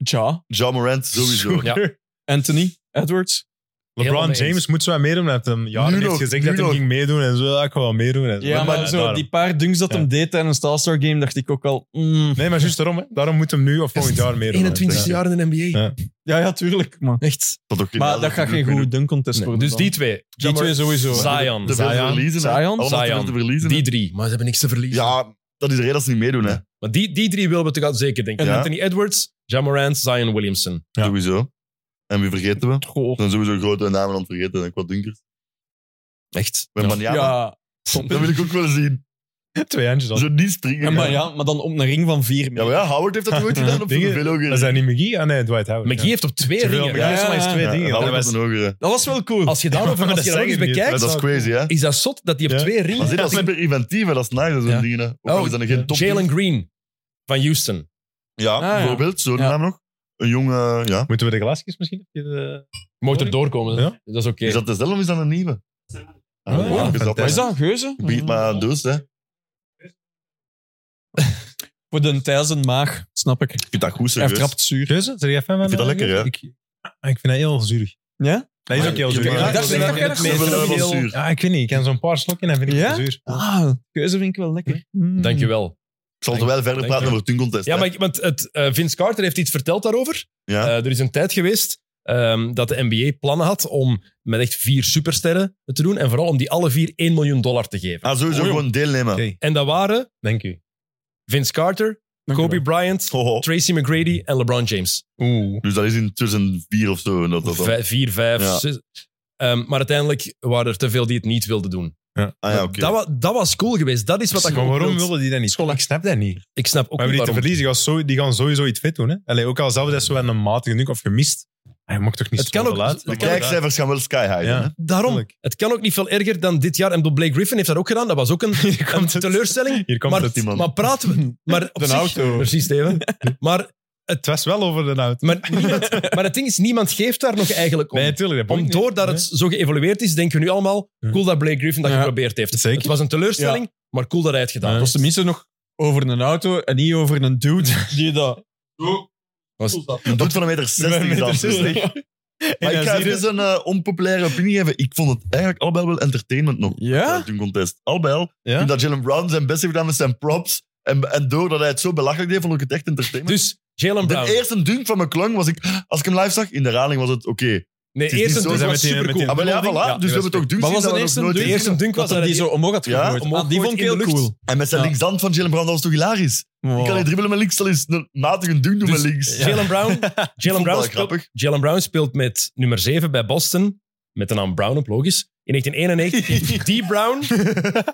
Speaker 5: Ja.
Speaker 2: Ja Morant, sowieso.
Speaker 1: *laughs* Ja.
Speaker 5: Anthony Edwards.
Speaker 1: Helemaal
Speaker 4: LeBron
Speaker 1: mee
Speaker 4: James
Speaker 1: eens.
Speaker 4: moet zo aan meedoen. Hij heeft hem jaren
Speaker 2: Nu
Speaker 4: heeft
Speaker 2: nog,
Speaker 4: gezegd
Speaker 2: nu
Speaker 4: dat hij
Speaker 2: nog.
Speaker 4: ging meedoen en zo. Ja, ik ga wel meedoen. En zo.
Speaker 5: Ja, maar, zo,
Speaker 4: daarom.
Speaker 5: die paar dunks dat
Speaker 4: Ja.
Speaker 5: hem deed tijdens het All-Star Game, dacht ik ook al... mm.
Speaker 4: Nee, maar juist daarom. Hè. Daarom moet hem nu of volgend jaar meedoen.
Speaker 1: 21
Speaker 4: Ja.
Speaker 1: jaar in de NBA.
Speaker 4: Ja.
Speaker 5: Ja, ja, tuurlijk. Maar,
Speaker 1: Echt.
Speaker 2: Dat ook geen
Speaker 5: maar
Speaker 2: nadeel
Speaker 5: dat gaat
Speaker 2: natuurlijk
Speaker 5: geen
Speaker 2: meer
Speaker 5: goede dunkcontest
Speaker 1: Nee,
Speaker 5: worden.
Speaker 1: Dus
Speaker 5: dan.
Speaker 1: die twee.
Speaker 5: die twee sowieso. hè.
Speaker 1: Zion.
Speaker 2: doen. Te veel te
Speaker 4: Zion.
Speaker 2: verliezen, hè.
Speaker 5: Zion?
Speaker 2: Allemaal te veel
Speaker 1: Zion.
Speaker 2: te verliezen. hè.
Speaker 1: Die drie. Maar ze hebben niks te verliezen.
Speaker 2: Ja, dat is de reden dat ze niet meedoen, hè.
Speaker 1: Maar die, die drie willen we toch zeker denken.
Speaker 2: Ja.
Speaker 1: Anthony Edwards, Jamorant, Zion Williamson.
Speaker 4: Ja.
Speaker 2: Sowieso. En wie vergeten we?
Speaker 5: Goh.
Speaker 2: Dan sowieso grote namen aan het vergeten. denk ik, Wat dunkers.
Speaker 1: Echt.
Speaker 2: Met
Speaker 5: Ja,
Speaker 2: Maniama. Dat wil ik ook wel zien.
Speaker 4: Twee handjes al.
Speaker 2: Zo niet springen.
Speaker 5: En maar, ja, maar dan op een ring van vier
Speaker 2: Ja,
Speaker 5: meter.
Speaker 2: maar ja, Howard heeft dat nooit gedaan op zo'n
Speaker 4: Dingen-
Speaker 2: veel hogere.
Speaker 4: Dat zijn niet McGee? Ah nee, Dwight Howard.
Speaker 1: McGee
Speaker 4: ja.
Speaker 1: heeft op twee
Speaker 4: Terwijl
Speaker 1: ringen.
Speaker 4: McGee
Speaker 5: Ja,
Speaker 4: heeft maar eens
Speaker 5: ja,
Speaker 4: twee
Speaker 5: ja.
Speaker 4: dingen.
Speaker 2: Howard
Speaker 4: Dat
Speaker 2: op
Speaker 4: was-
Speaker 2: een hogere.
Speaker 5: Dat was wel cool.
Speaker 1: Als je daarover
Speaker 4: maar
Speaker 1: als
Speaker 4: dat
Speaker 1: je
Speaker 4: zeg
Speaker 1: daarover
Speaker 4: ik
Speaker 1: eens
Speaker 4: niet.
Speaker 1: bekijkt,
Speaker 2: Dat is crazy, hè?
Speaker 1: is dat zot dat hij op
Speaker 4: Ja.
Speaker 1: twee
Speaker 2: Maar
Speaker 1: ringen...
Speaker 2: zit dat is super inventief, hè, dat is nagen zo'n
Speaker 1: Ja.
Speaker 2: dingen. Hè. Ook
Speaker 1: Oh,
Speaker 2: al is dat geen top.
Speaker 1: Jalen Green van Houston.
Speaker 2: Ja,
Speaker 5: ja.
Speaker 2: bijvoorbeeld, zo'n
Speaker 5: Ja.
Speaker 2: naam nog. Een jonge, ja.
Speaker 4: Moeten we de glaasjes misschien? Heb je eh, de-
Speaker 1: Mocht er doorkomen,
Speaker 4: Ja.
Speaker 1: dat is oké.
Speaker 2: Is dat dezelfde of is dat een nieuwe?
Speaker 4: Ah,
Speaker 2: Ah,
Speaker 4: ja.
Speaker 2: is dat-
Speaker 5: Wat is dat, een geuze? Mm.
Speaker 2: Bied maar aan dus, hè.
Speaker 5: Voor de Thijs en maag, snap ik.
Speaker 2: Ik vind dat goed,
Speaker 5: Hij
Speaker 2: serieus.
Speaker 4: Dus
Speaker 5: trapt zuur.
Speaker 4: Geuze? Zijn jij fan van
Speaker 2: Ik vind dat
Speaker 4: eh,
Speaker 2: lekker, ja.
Speaker 4: Ik, ah, ik vind dat heel zuurig.
Speaker 5: Ja?
Speaker 4: Dat is ook heel
Speaker 2: Ik
Speaker 4: zuur.
Speaker 2: vind
Speaker 4: Ja,
Speaker 2: dat-
Speaker 4: ik
Speaker 5: dat-
Speaker 4: vind
Speaker 5: dat-
Speaker 4: dat-
Speaker 5: dat-
Speaker 2: Ik vind dat wel
Speaker 1: Heel-
Speaker 2: zuur.
Speaker 4: Ja, ik weet niet. Ik heb zo'n paar slokken en vind ik
Speaker 5: Ja?
Speaker 4: het zuur.
Speaker 5: Ah, geuze vind ik wel lekker. Mm.
Speaker 2: Hmm.
Speaker 1: Dankjewel.
Speaker 2: Ik zal terwijl verder
Speaker 1: Dank
Speaker 2: praten
Speaker 1: je.
Speaker 2: over het contest.
Speaker 1: Ja, maar ik- want het, eh, Vince Carter heeft iets verteld daarover.
Speaker 2: ja.
Speaker 1: Eh, er is een tijd geweest ehm, dat de NBA plannen had om met echt vier supersterren het te doen. En vooral om die alle vier 1 miljoen dollar te geven.
Speaker 2: ah, sowieso
Speaker 4: oh, joh.
Speaker 2: gewoon deelnemen.
Speaker 4: Oké,
Speaker 1: En dat waren
Speaker 4: dank u.
Speaker 1: Vince Carter, Kobe Bryant,
Speaker 2: Hoho.
Speaker 1: Tracy McGrady en LeBron James.
Speaker 4: Oeh.
Speaker 2: Dus dat is in 2004 of zo. En dat, dat, dat.
Speaker 1: Vijf- vier, vijf,
Speaker 2: Ja.
Speaker 1: zes. Ehm, maar uiteindelijk waren er te veel die het niet wilden doen.
Speaker 2: Ah ja, oké.
Speaker 1: Dat, wa- dat was cool geweest. Dat is wat
Speaker 4: Maar
Speaker 1: ik ook
Speaker 4: waarom
Speaker 1: wilt.
Speaker 4: willen die dat niet? Ik snap dat niet.
Speaker 1: Ik snap ook
Speaker 4: maar
Speaker 1: niet
Speaker 4: hebben die te
Speaker 1: waarom.
Speaker 4: verliezen, die gaan, zo, die gaan sowieso iets vet doen. Hè? Allee, ook al zelfs dat ze wel een matige nuke of gemist. Hij mag toch niet
Speaker 1: Het kan
Speaker 4: zoveel
Speaker 1: ook-
Speaker 4: uit,
Speaker 1: het
Speaker 4: maar
Speaker 2: De
Speaker 1: kan ook-
Speaker 4: voilà.
Speaker 2: kijkcijfers gaan wel sky high.
Speaker 4: Ja.
Speaker 2: hè?
Speaker 1: Daarom.
Speaker 4: Tuurlijk.
Speaker 1: Het kan ook niet veel erger dan dit jaar. En bedoel, Blake Griffin heeft dat ook gedaan. Dat was
Speaker 4: *laughs*
Speaker 1: ook een, een
Speaker 4: komt het.
Speaker 1: teleurstelling.
Speaker 4: Hier komt
Speaker 1: Maar,
Speaker 4: het.
Speaker 2: iemand.
Speaker 1: maar praten we...
Speaker 4: *laughs*
Speaker 1: Maar op zich- Precies, Steven. Maar,
Speaker 4: Het was wel over de auto.
Speaker 1: maar, niemand, maar het ding is, niemand geeft daar nog eigenlijk om.
Speaker 4: Nee, tuurlijk. dat boeit
Speaker 1: Om
Speaker 4: niet.
Speaker 1: doordat het zo geëvolueerd is, denken we nu allemaal...
Speaker 4: Ja.
Speaker 1: Cool dat Blake Griffin dat
Speaker 5: Ja.
Speaker 1: geprobeerd heeft.
Speaker 4: Zeker.
Speaker 1: Het was een teleurstelling, maar cool dat hij het gedaan
Speaker 4: Ja.
Speaker 1: heeft.
Speaker 5: was tenminste nog over een auto en niet over een dude *laughs* die dat...
Speaker 2: Een doet van een meter 60. is dat. *laughs* Maar ik ga
Speaker 4: En dan zie je-
Speaker 2: even een eh, onpopulaire opinie geven. Ik vond het eigenlijk allebei wel entertainment nog.
Speaker 5: Ja?
Speaker 2: tijdens hun contest. Allebei al.
Speaker 4: Ja?
Speaker 2: Ik vind dat Jalen Brown zijn best heeft gedaan met zijn props. En, en doordat hij het zo belachelijk deed, vond ik het echt entertainment.
Speaker 1: Dus, Jalen
Speaker 2: de
Speaker 1: Brown.
Speaker 2: eerste dunk van McClung was ik... Als ik hem live zag, in de herhaling was het oké.
Speaker 1: nee,
Speaker 2: het is
Speaker 1: eerste
Speaker 2: niet zo
Speaker 1: dunk was
Speaker 2: dat
Speaker 4: met die-
Speaker 1: supercool.
Speaker 4: met
Speaker 2: Ah,
Speaker 4: die-
Speaker 2: wel ja,
Speaker 4: bedoeling- ja,
Speaker 2: voilà. Dus we
Speaker 4: dat
Speaker 2: hebben toch dunks
Speaker 5: Wat
Speaker 2: gezien
Speaker 5: was
Speaker 2: dat
Speaker 5: de
Speaker 2: we
Speaker 5: eerste
Speaker 2: nog nooit
Speaker 5: dunk?
Speaker 1: De eerste dunk was
Speaker 5: Dat hij
Speaker 1: dat
Speaker 5: die zo
Speaker 1: hij-
Speaker 5: omhoog had
Speaker 2: Ja,
Speaker 5: gegooid.
Speaker 1: omhoog
Speaker 5: Ah, die vond ik
Speaker 1: gegooid in
Speaker 5: heel
Speaker 1: de lucht.
Speaker 5: cool.
Speaker 2: En met zijn
Speaker 5: Ja. Oh.
Speaker 2: linksdand van Jalen Brown, dat was toch hilarisch? Die kan niet dribbelen met links, al is een matige dunk doen
Speaker 1: Dus-
Speaker 2: met links.
Speaker 1: Jalen
Speaker 2: *laughs*
Speaker 1: Brown, Jalen
Speaker 2: vond
Speaker 1: Brown,
Speaker 2: dat
Speaker 1: speelt,
Speaker 2: grappig.
Speaker 1: Jalen Brown speelt met nummer 7 bij Boston. Met de naam Brown op, logisch.
Speaker 2: *laughs*
Speaker 1: In 1991 heeft D. Brown,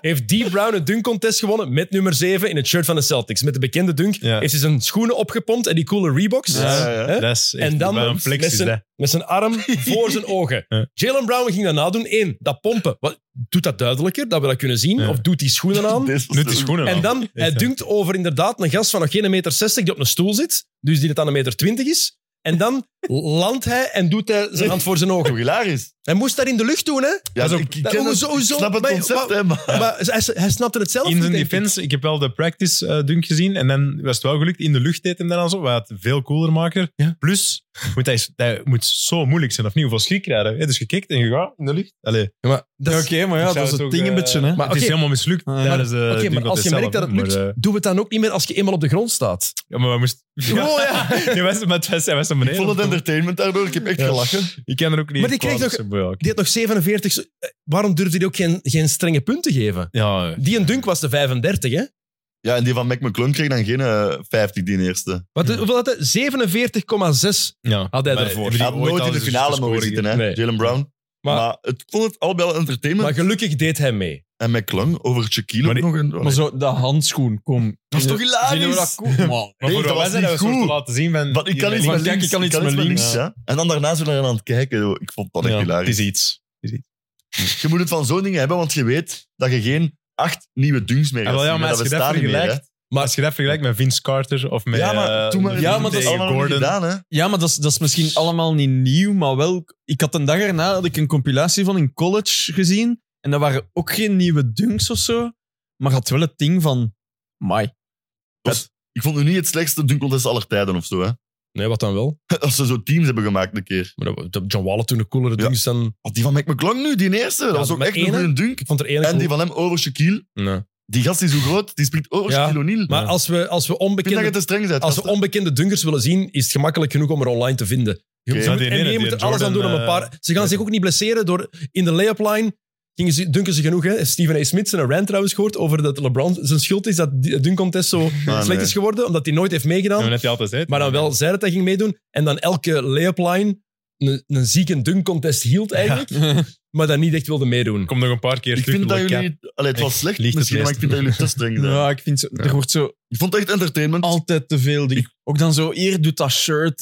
Speaker 1: heeft D. Brown een dunkcontest gewonnen met nummer 7 in het shirt van de Celtics. Met de bekende dunk
Speaker 4: Ja.
Speaker 1: heeft hij zijn schoenen opgepompt en die coole Reeboks.
Speaker 2: Ja, ja.
Speaker 1: Hè?
Speaker 4: Dat is echt
Speaker 1: En dan
Speaker 4: wel een
Speaker 1: met
Speaker 4: flex. Is
Speaker 1: zijn-
Speaker 4: dat.
Speaker 1: Met zijn arm voor zijn ogen.
Speaker 4: Ja.
Speaker 1: Jalen Brown ging dat nadoen. Eén, dat pompen. Wat, doet dat duidelijker, dat we dat kunnen zien?
Speaker 4: Ja.
Speaker 1: Of doet die schoenen
Speaker 2: *laughs*
Speaker 1: aan?
Speaker 2: Deze was
Speaker 4: Nu die
Speaker 2: zo-
Speaker 4: schoenen
Speaker 1: *laughs* En
Speaker 4: aan.
Speaker 1: dan, hij
Speaker 4: ja.
Speaker 1: dunkt over inderdaad een gast van nog geen meter 60 die op een stoel zit, dus die het aan een meter 20 is. En dan landt hij en doet hij zijn hand voor zijn ogen.
Speaker 2: Toch hilarisch?
Speaker 1: Hij moest dat in de lucht doen, hè?
Speaker 2: Ja,
Speaker 1: Dat is ook-
Speaker 2: ik, ik
Speaker 1: dat-
Speaker 2: ken het,
Speaker 1: hoezo- hoezo?
Speaker 2: ik snap het
Speaker 1: Maar-
Speaker 2: concept,
Speaker 1: maar-
Speaker 2: hè, maar... *laughs*
Speaker 1: Maar hij, hij snapte het zelf
Speaker 4: In
Speaker 1: niet,
Speaker 4: zijn
Speaker 1: denk ik.
Speaker 4: defense, ik heb wel de practice eh, dunk gezien en dan was het wel gelukt. In de lucht deed hem dan al zo, wat het veel cooler maken. Plus, moet hij, hij moet zo moeilijk zijn of niet, hoeveel schrik krijgen. Hè? Dus je kikt en je gaat in de lucht. Allee, het
Speaker 1: Ja, maar dat
Speaker 5: Ja,
Speaker 1: is-
Speaker 5: Oké, maar ja,
Speaker 4: Ik zou
Speaker 5: dat is
Speaker 4: het
Speaker 5: het
Speaker 4: ook,
Speaker 5: ding een
Speaker 4: eh,
Speaker 5: beetje, hè.
Speaker 1: Maar
Speaker 4: is
Speaker 1: oké.
Speaker 4: helemaal mislukt
Speaker 5: Ja.
Speaker 4: tijdens de
Speaker 1: Oké, maar
Speaker 4: dunk
Speaker 1: als je
Speaker 4: zelf,
Speaker 1: merkt dat het
Speaker 4: hè.
Speaker 1: lukt,
Speaker 4: Maar, eh,
Speaker 1: doe het dan ook niet meer als je eenmaal op de grond staat.
Speaker 4: ja, maar we moesten...
Speaker 1: Oh, ja.
Speaker 4: Je was, maar het was, hij was een
Speaker 2: Ik
Speaker 4: beneden.
Speaker 2: vond het entertainment daardoor. Ik heb echt
Speaker 4: Ja.
Speaker 2: gelachen.
Speaker 4: Ik ken er ook niet
Speaker 1: Maar die
Speaker 4: echt
Speaker 1: kreeg
Speaker 4: kwaad, dus,
Speaker 1: Die had nog 47. se- eh, Waarom durfde hij ook geen, geen strenge punten geven?
Speaker 4: Ja, ja.
Speaker 1: Die een dunk was de 35, hè?
Speaker 2: Ja, en die van Mac McClung kreeg dan geen eh, 50, die eerste.
Speaker 1: Wat, hoeveel had hij? 47,6.
Speaker 4: ja.
Speaker 1: Had hij
Speaker 4: Maar
Speaker 1: daarvoor.
Speaker 2: Hij
Speaker 4: hebben die
Speaker 2: had
Speaker 4: ooit
Speaker 2: nooit
Speaker 4: al
Speaker 2: in de
Speaker 4: eens
Speaker 2: finale
Speaker 4: gescoord
Speaker 2: mogen
Speaker 4: hier?
Speaker 2: zitten, hè,
Speaker 1: Nee.
Speaker 2: Jalen Brown.
Speaker 1: Maar-
Speaker 2: Maar, het, ik vond het allebei wel entertainment.
Speaker 1: Maar gelukkig deed hij mee.
Speaker 2: En McClung over Shaquille
Speaker 4: Maar
Speaker 2: ook nog. Een,
Speaker 5: Maar zo, de handschoen, kom.
Speaker 2: dat is toch
Speaker 5: Vinden we dat
Speaker 2: hilarisch?
Speaker 5: cool, man?
Speaker 4: Maar
Speaker 2: Nee,
Speaker 4: voor
Speaker 2: dat
Speaker 4: wij
Speaker 2: was
Speaker 4: zijn
Speaker 2: niet
Speaker 4: dat een soort
Speaker 2: goed.
Speaker 4: te laten zien van...
Speaker 2: Want ik kan
Speaker 4: hier
Speaker 2: iets
Speaker 5: Maar
Speaker 2: met
Speaker 5: kijk,
Speaker 2: links.
Speaker 5: ik kan iets
Speaker 2: iets
Speaker 5: met links,
Speaker 2: ja. En dan daarna zijn we eraan aan het kijken. Ik vond dat echt
Speaker 4: Ja, het
Speaker 2: hilarisch.
Speaker 4: is iets.
Speaker 2: Je moet het van zo'n dingen hebben, want je weet dat je geen acht nieuwe dunks meer
Speaker 4: Ah,
Speaker 2: hebt.
Speaker 4: wel, ja, maar als je dat vergelijkt... Maar als je dat vergelijkt met Vince Carter of met...
Speaker 2: ja, maar
Speaker 4: eh,
Speaker 2: toen maar
Speaker 5: ja, maar
Speaker 2: dat is
Speaker 5: tegen
Speaker 2: allemaal nog niet gedaan, hè.
Speaker 5: Ja, maar dat is, dat is misschien allemaal niet nieuw, maar wel... Ik had een dag erna had ik een compilatie van in college gezien. En dat waren ook geen nieuwe dunks of zo. Maar had wel het ding van... Mai.
Speaker 2: Ik vond nu niet het slechtste dunkcontest aller tijden of zo, hè. *laughs*
Speaker 1: Nee, wat dan wel?
Speaker 2: Als ze zo teams hebben gemaakt een keer.
Speaker 1: Maar dat- dat John Wall had toen de coolere
Speaker 2: Ja.
Speaker 1: dunks dan...
Speaker 2: Want die van Mac McClung nu, die eerste, dat
Speaker 1: Ja,
Speaker 2: was ook
Speaker 1: maar
Speaker 2: echt een
Speaker 1: ene-
Speaker 2: goede dunk.
Speaker 1: Ik vond er één
Speaker 2: En
Speaker 1: cool.
Speaker 2: die van hem over Shaquille.
Speaker 1: Nee.
Speaker 2: Die gast is zo groot, die springt over
Speaker 1: Ja,
Speaker 2: Shaquille O'Neal.
Speaker 1: Maar als we, als we
Speaker 2: Ik vind dat je
Speaker 1: onbekende...
Speaker 2: te streng bent.
Speaker 1: Als we
Speaker 2: gasten.
Speaker 1: onbekende dunkers willen zien, is het gemakkelijk genoeg om er online te vinden. Je
Speaker 2: Oké.
Speaker 1: ze
Speaker 4: Ja,
Speaker 1: moet,
Speaker 4: die ene,
Speaker 1: NBA
Speaker 4: die
Speaker 1: moet er alles aan
Speaker 4: Jordan,
Speaker 1: doen om een
Speaker 4: eh,
Speaker 1: paar... Ze gaan zich ook niet blesseren door... In de lay-up line gingen ze, dunken ze genoeg. Hè? Stephen A. Smith zijn een rant trouwens gehoord over dat LeBron zijn schuld is dat die- het dunkcontest zo *laughs* slecht
Speaker 2: Ah, nee.
Speaker 1: is geworden, omdat hij nooit heeft meegedaan.
Speaker 4: net die altijd zei.
Speaker 1: Maar dan wel zei dat hij ging meedoen. En dan elke lay-up line een, een zieke dunkcontest hield
Speaker 2: *laughs*
Speaker 1: eigenlijk, maar dan niet echt wilde meedoen.
Speaker 4: Kom nog een paar keer
Speaker 2: Ik
Speaker 4: terug.
Speaker 2: vind dat
Speaker 4: op de cap.
Speaker 2: jullie... Allee, het was
Speaker 4: Echt,
Speaker 2: slecht
Speaker 4: liegt het
Speaker 2: misschien, maar
Speaker 4: best.
Speaker 2: ik vind dat jullie te streng
Speaker 4: *laughs*
Speaker 2: zijn.
Speaker 5: Ja, ik vind... Zo, Er wordt zo
Speaker 2: Ik vond het echt entertainment.
Speaker 5: altijd te veel dingen. Ook dan zo, hier doet dat shirt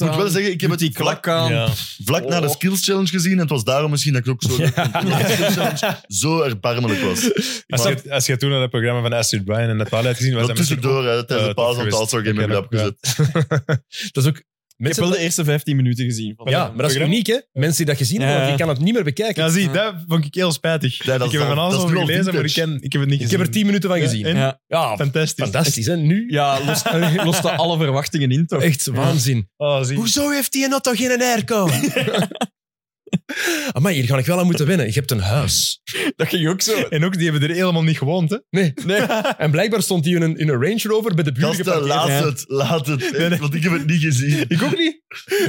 Speaker 2: Ik
Speaker 5: aan.
Speaker 2: moet wel zeggen, ik heb
Speaker 5: doet
Speaker 2: het
Speaker 5: die
Speaker 2: vlak,
Speaker 5: klak aan.
Speaker 4: Ja.
Speaker 2: vlak na de
Speaker 5: Oh.
Speaker 2: Skills Challenge gezien. En het was daarom misschien dat ik het ook
Speaker 4: *laughs*
Speaker 2: zo, de Skills Challenge zo erbarmelijk was.
Speaker 4: Als,
Speaker 2: Maar-
Speaker 4: je, als je toen naar het programma van Astrid Bryan en Natalia had gezien, was
Speaker 2: Dat
Speaker 4: dat misschien
Speaker 2: tussendoor, hè,
Speaker 4: eh,
Speaker 2: tijdens de
Speaker 4: dat
Speaker 2: pauze, want
Speaker 4: geweest.
Speaker 2: de All-Star Game heb ik dat
Speaker 4: Ja.
Speaker 2: opgezet.
Speaker 1: Dat is ook...
Speaker 5: Ik heb wel de eerste 15 minuten gezien. van
Speaker 1: Ja,
Speaker 5: dat
Speaker 1: maar dat is
Speaker 5: programma.
Speaker 1: uniek, hè? Mensen die dat gezien hebben,
Speaker 5: Ja.
Speaker 1: want je kan het niet meer bekijken.
Speaker 4: Ja, zie, dat vond ik heel spijtig.
Speaker 2: Nee, dat
Speaker 4: ik
Speaker 2: is
Speaker 4: heb er
Speaker 2: dan-
Speaker 4: van alles
Speaker 2: dat is
Speaker 4: over
Speaker 2: nu al
Speaker 4: gelezen, maar ik,
Speaker 2: vintage.
Speaker 4: ken, ik heb het niet
Speaker 1: Ik
Speaker 4: gezien.
Speaker 1: heb er tien minuten van
Speaker 4: Ja,
Speaker 1: gezien.
Speaker 4: en?
Speaker 5: Ja,
Speaker 1: Ja,
Speaker 4: Fantastisch.
Speaker 1: fantastisch, hè? Nu? *laughs*
Speaker 5: ja lost, lost dat alle verwachtingen in, toch?
Speaker 1: nou. Echt waanzin.
Speaker 4: Oh, zie.
Speaker 1: Hoezo heeft die auto geen airco? *laughs* Amai, hier ga ik wel aan moeten winnen. Je hebt een huis.
Speaker 5: Dat ging ook zo.
Speaker 4: En ook, die hebben er helemaal niet gewoond, hè.
Speaker 1: Nee. En blijkbaar stond hij in een, in een Range Rover bij de buren
Speaker 2: Gasten,
Speaker 1: geparkeerd.
Speaker 2: laat
Speaker 5: Ja.
Speaker 1: *laughs*
Speaker 2: het, laat het. echt,
Speaker 4: Nee, nee.
Speaker 2: Want ik heb het niet gezien.
Speaker 4: Ik ook niet.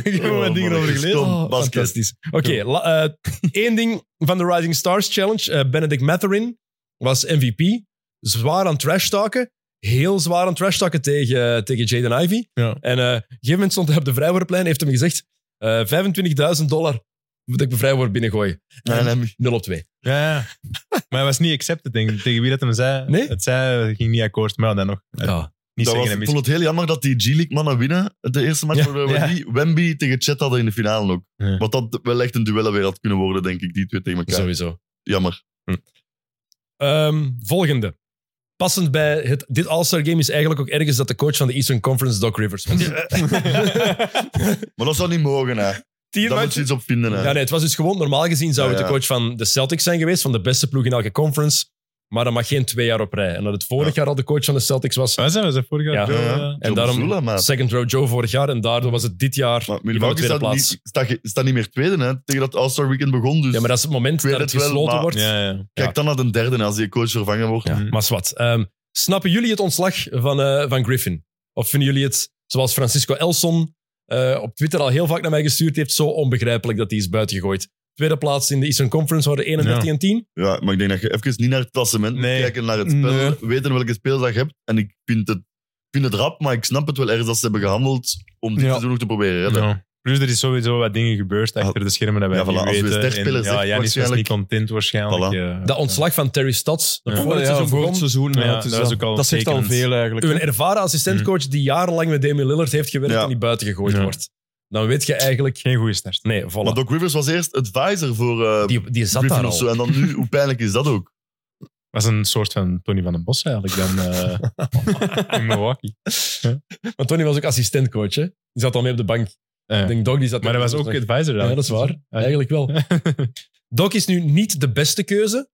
Speaker 4: Ik heb er
Speaker 2: Oh,
Speaker 4: wat dingen
Speaker 2: man,
Speaker 4: over
Speaker 2: ik
Speaker 4: gelezen.
Speaker 2: stom.
Speaker 4: Oh,
Speaker 2: Basket.
Speaker 4: fantastisch.
Speaker 1: Oké, la- eh, één ding van de Rising Stars Challenge. eh, Benedict Matherin was MVP. Zwaar aan trash talken. heel zwaar aan trash takken tegen, tegen Jaden Ivey.
Speaker 4: Ja.
Speaker 1: En eh, op een gegeven moment stond hij op de vrijwoordplein heeft hem gezegd eh 25.000 dollar moet ik mijn vrijwoord binnengooi.
Speaker 2: Nee, nee,
Speaker 1: 0 op 2.
Speaker 4: Ja, ja. Maar hij was niet accepted, denk ik. Tegen wie dat hem zei.
Speaker 1: Nee?
Speaker 4: Het zei, eh, ging niet akkoord. Maar ja, dan nog. Eh,
Speaker 1: Ja.
Speaker 4: Niet
Speaker 2: dat was,
Speaker 4: zeggen en
Speaker 2: ik
Speaker 4: missen.
Speaker 2: vond het heel jammer dat die G-League mannen winnen. De eerste match
Speaker 1: Ja.
Speaker 2: waar we
Speaker 4: Ja.
Speaker 2: niet Wemby tegen Chet hadden in de finale ook.
Speaker 4: Ja.
Speaker 2: Want dat wel echt een duel weer had kunnen worden, denk ik, die twee tegen elkaar.
Speaker 1: Eh, Sowieso.
Speaker 2: Jammer.
Speaker 1: Ehm, volgende. Passend bij het, dit All-Star Game is eigenlijk ook ergens dat de coach van de Eastern Conference Doc Rivers was.
Speaker 2: Maar dat zou niet mogen, hè.
Speaker 1: Tien
Speaker 2: Daar moet
Speaker 1: matchen-
Speaker 2: je iets op vinden, hè.
Speaker 1: Ja, nee, het was dus gewoon, normaal gezien zou
Speaker 2: Ja,
Speaker 1: het de
Speaker 2: ja.
Speaker 1: coach van de Celtics zijn geweest, van de beste ploeg in elke conference, maar dat mag geen twee jaar op rij. En dat het vorig jaar al de coach van de Celtics was,
Speaker 4: Waar zijn we? Zijn vorig jaar?
Speaker 1: Ja.
Speaker 2: Ja,
Speaker 4: Joe, eh,
Speaker 1: en
Speaker 2: Joe
Speaker 1: daarom
Speaker 2: Mazzulla, maar-
Speaker 1: second row Joe vorig jaar, en daardoor was het dit jaar
Speaker 2: Maar
Speaker 1: die van de
Speaker 2: Milwaukee
Speaker 1: tweede
Speaker 2: staat
Speaker 1: plaats.
Speaker 2: niet, staat, ge- staat niet meer tweede, hè. Tegen dat All-Star Weekend begon, dus
Speaker 1: Ja, maar dat is het moment
Speaker 2: weet
Speaker 1: dat het
Speaker 2: het wel,
Speaker 1: gesloten
Speaker 2: maar-
Speaker 1: wordt.
Speaker 4: Ja, ja. Mm.
Speaker 2: kijk
Speaker 1: ja.
Speaker 2: dan naar de derde, hè, als die coach vervangen wordt.
Speaker 1: Ja, maar zwart. Ehm, snappen jullie het ontslag van, eh, van Griffin? Of vinden jullie het, zoals Francisco Elson eh, op Twitter al heel vaak naar mij gestuurd heeft, zo onbegrijpelijk dat hij is buitengegooid? Tweede plaats in de Eastern Conference waren 31 en 10.
Speaker 2: Ja, maar ik denk dat je even niet naar het klassement moet
Speaker 4: Nee.
Speaker 2: kijken, naar het spel,
Speaker 5: Nee.
Speaker 2: weten welke spelers dat je hebt. En ik vind het, ik vind het rap, maar ik snap het wel ergens dat ze hebben gehandeld om dit
Speaker 5: Ja.
Speaker 2: seizoen nog te proberen redden.
Speaker 4: Ja. Plus er is sowieso wat dingen gebeurd achter de schermen dat wij
Speaker 2: Ah. Ja,
Speaker 4: niet
Speaker 2: voilà, als we
Speaker 4: weten.
Speaker 2: sterspelers
Speaker 4: En, ja,
Speaker 2: zegt,
Speaker 4: Janis was niet
Speaker 2: waarschijnlijk-
Speaker 4: content waarschijnlijk.
Speaker 2: Voilà.
Speaker 4: eh,
Speaker 1: Dat ontslag van Terry Stotts. dat
Speaker 4: Ja.
Speaker 1: voor het seizoen begon.
Speaker 5: seizoen.
Speaker 4: Ja,
Speaker 5: het
Speaker 4: dat is ook al
Speaker 5: dat zegt al
Speaker 4: tekenend.
Speaker 5: veel eigenlijk.
Speaker 1: Een ervaren assistentcoach die jarenlang met Damian Lillard heeft gewerkt
Speaker 2: Ja.
Speaker 1: en die buitengegooid
Speaker 4: Ja.
Speaker 1: wordt. Dan weet je eigenlijk...
Speaker 4: Geen goede start.
Speaker 1: Nee,
Speaker 2: Maar
Speaker 1: voilà.
Speaker 2: Doc Rivers was eerst advisor voor eh
Speaker 1: Die, die zat
Speaker 2: Griffin
Speaker 1: daar
Speaker 2: of zo.
Speaker 1: al.
Speaker 2: En dan
Speaker 1: *laughs*
Speaker 2: nu, hoe pijnlijk is dat ook?
Speaker 4: was een soort van Tony van den Bos eigenlijk dan eh, in Milwaukee.
Speaker 1: Want Tony was ook assistentcoach, hè? Die zat al mee op de bank.
Speaker 4: Eh,
Speaker 1: Ik denk, Doc, die zat
Speaker 4: maar dat was ook advisor dan.
Speaker 1: Ja, dat is waar. Eigenlijk
Speaker 4: *laughs*
Speaker 1: wel. Doc is nu niet de beste keuze,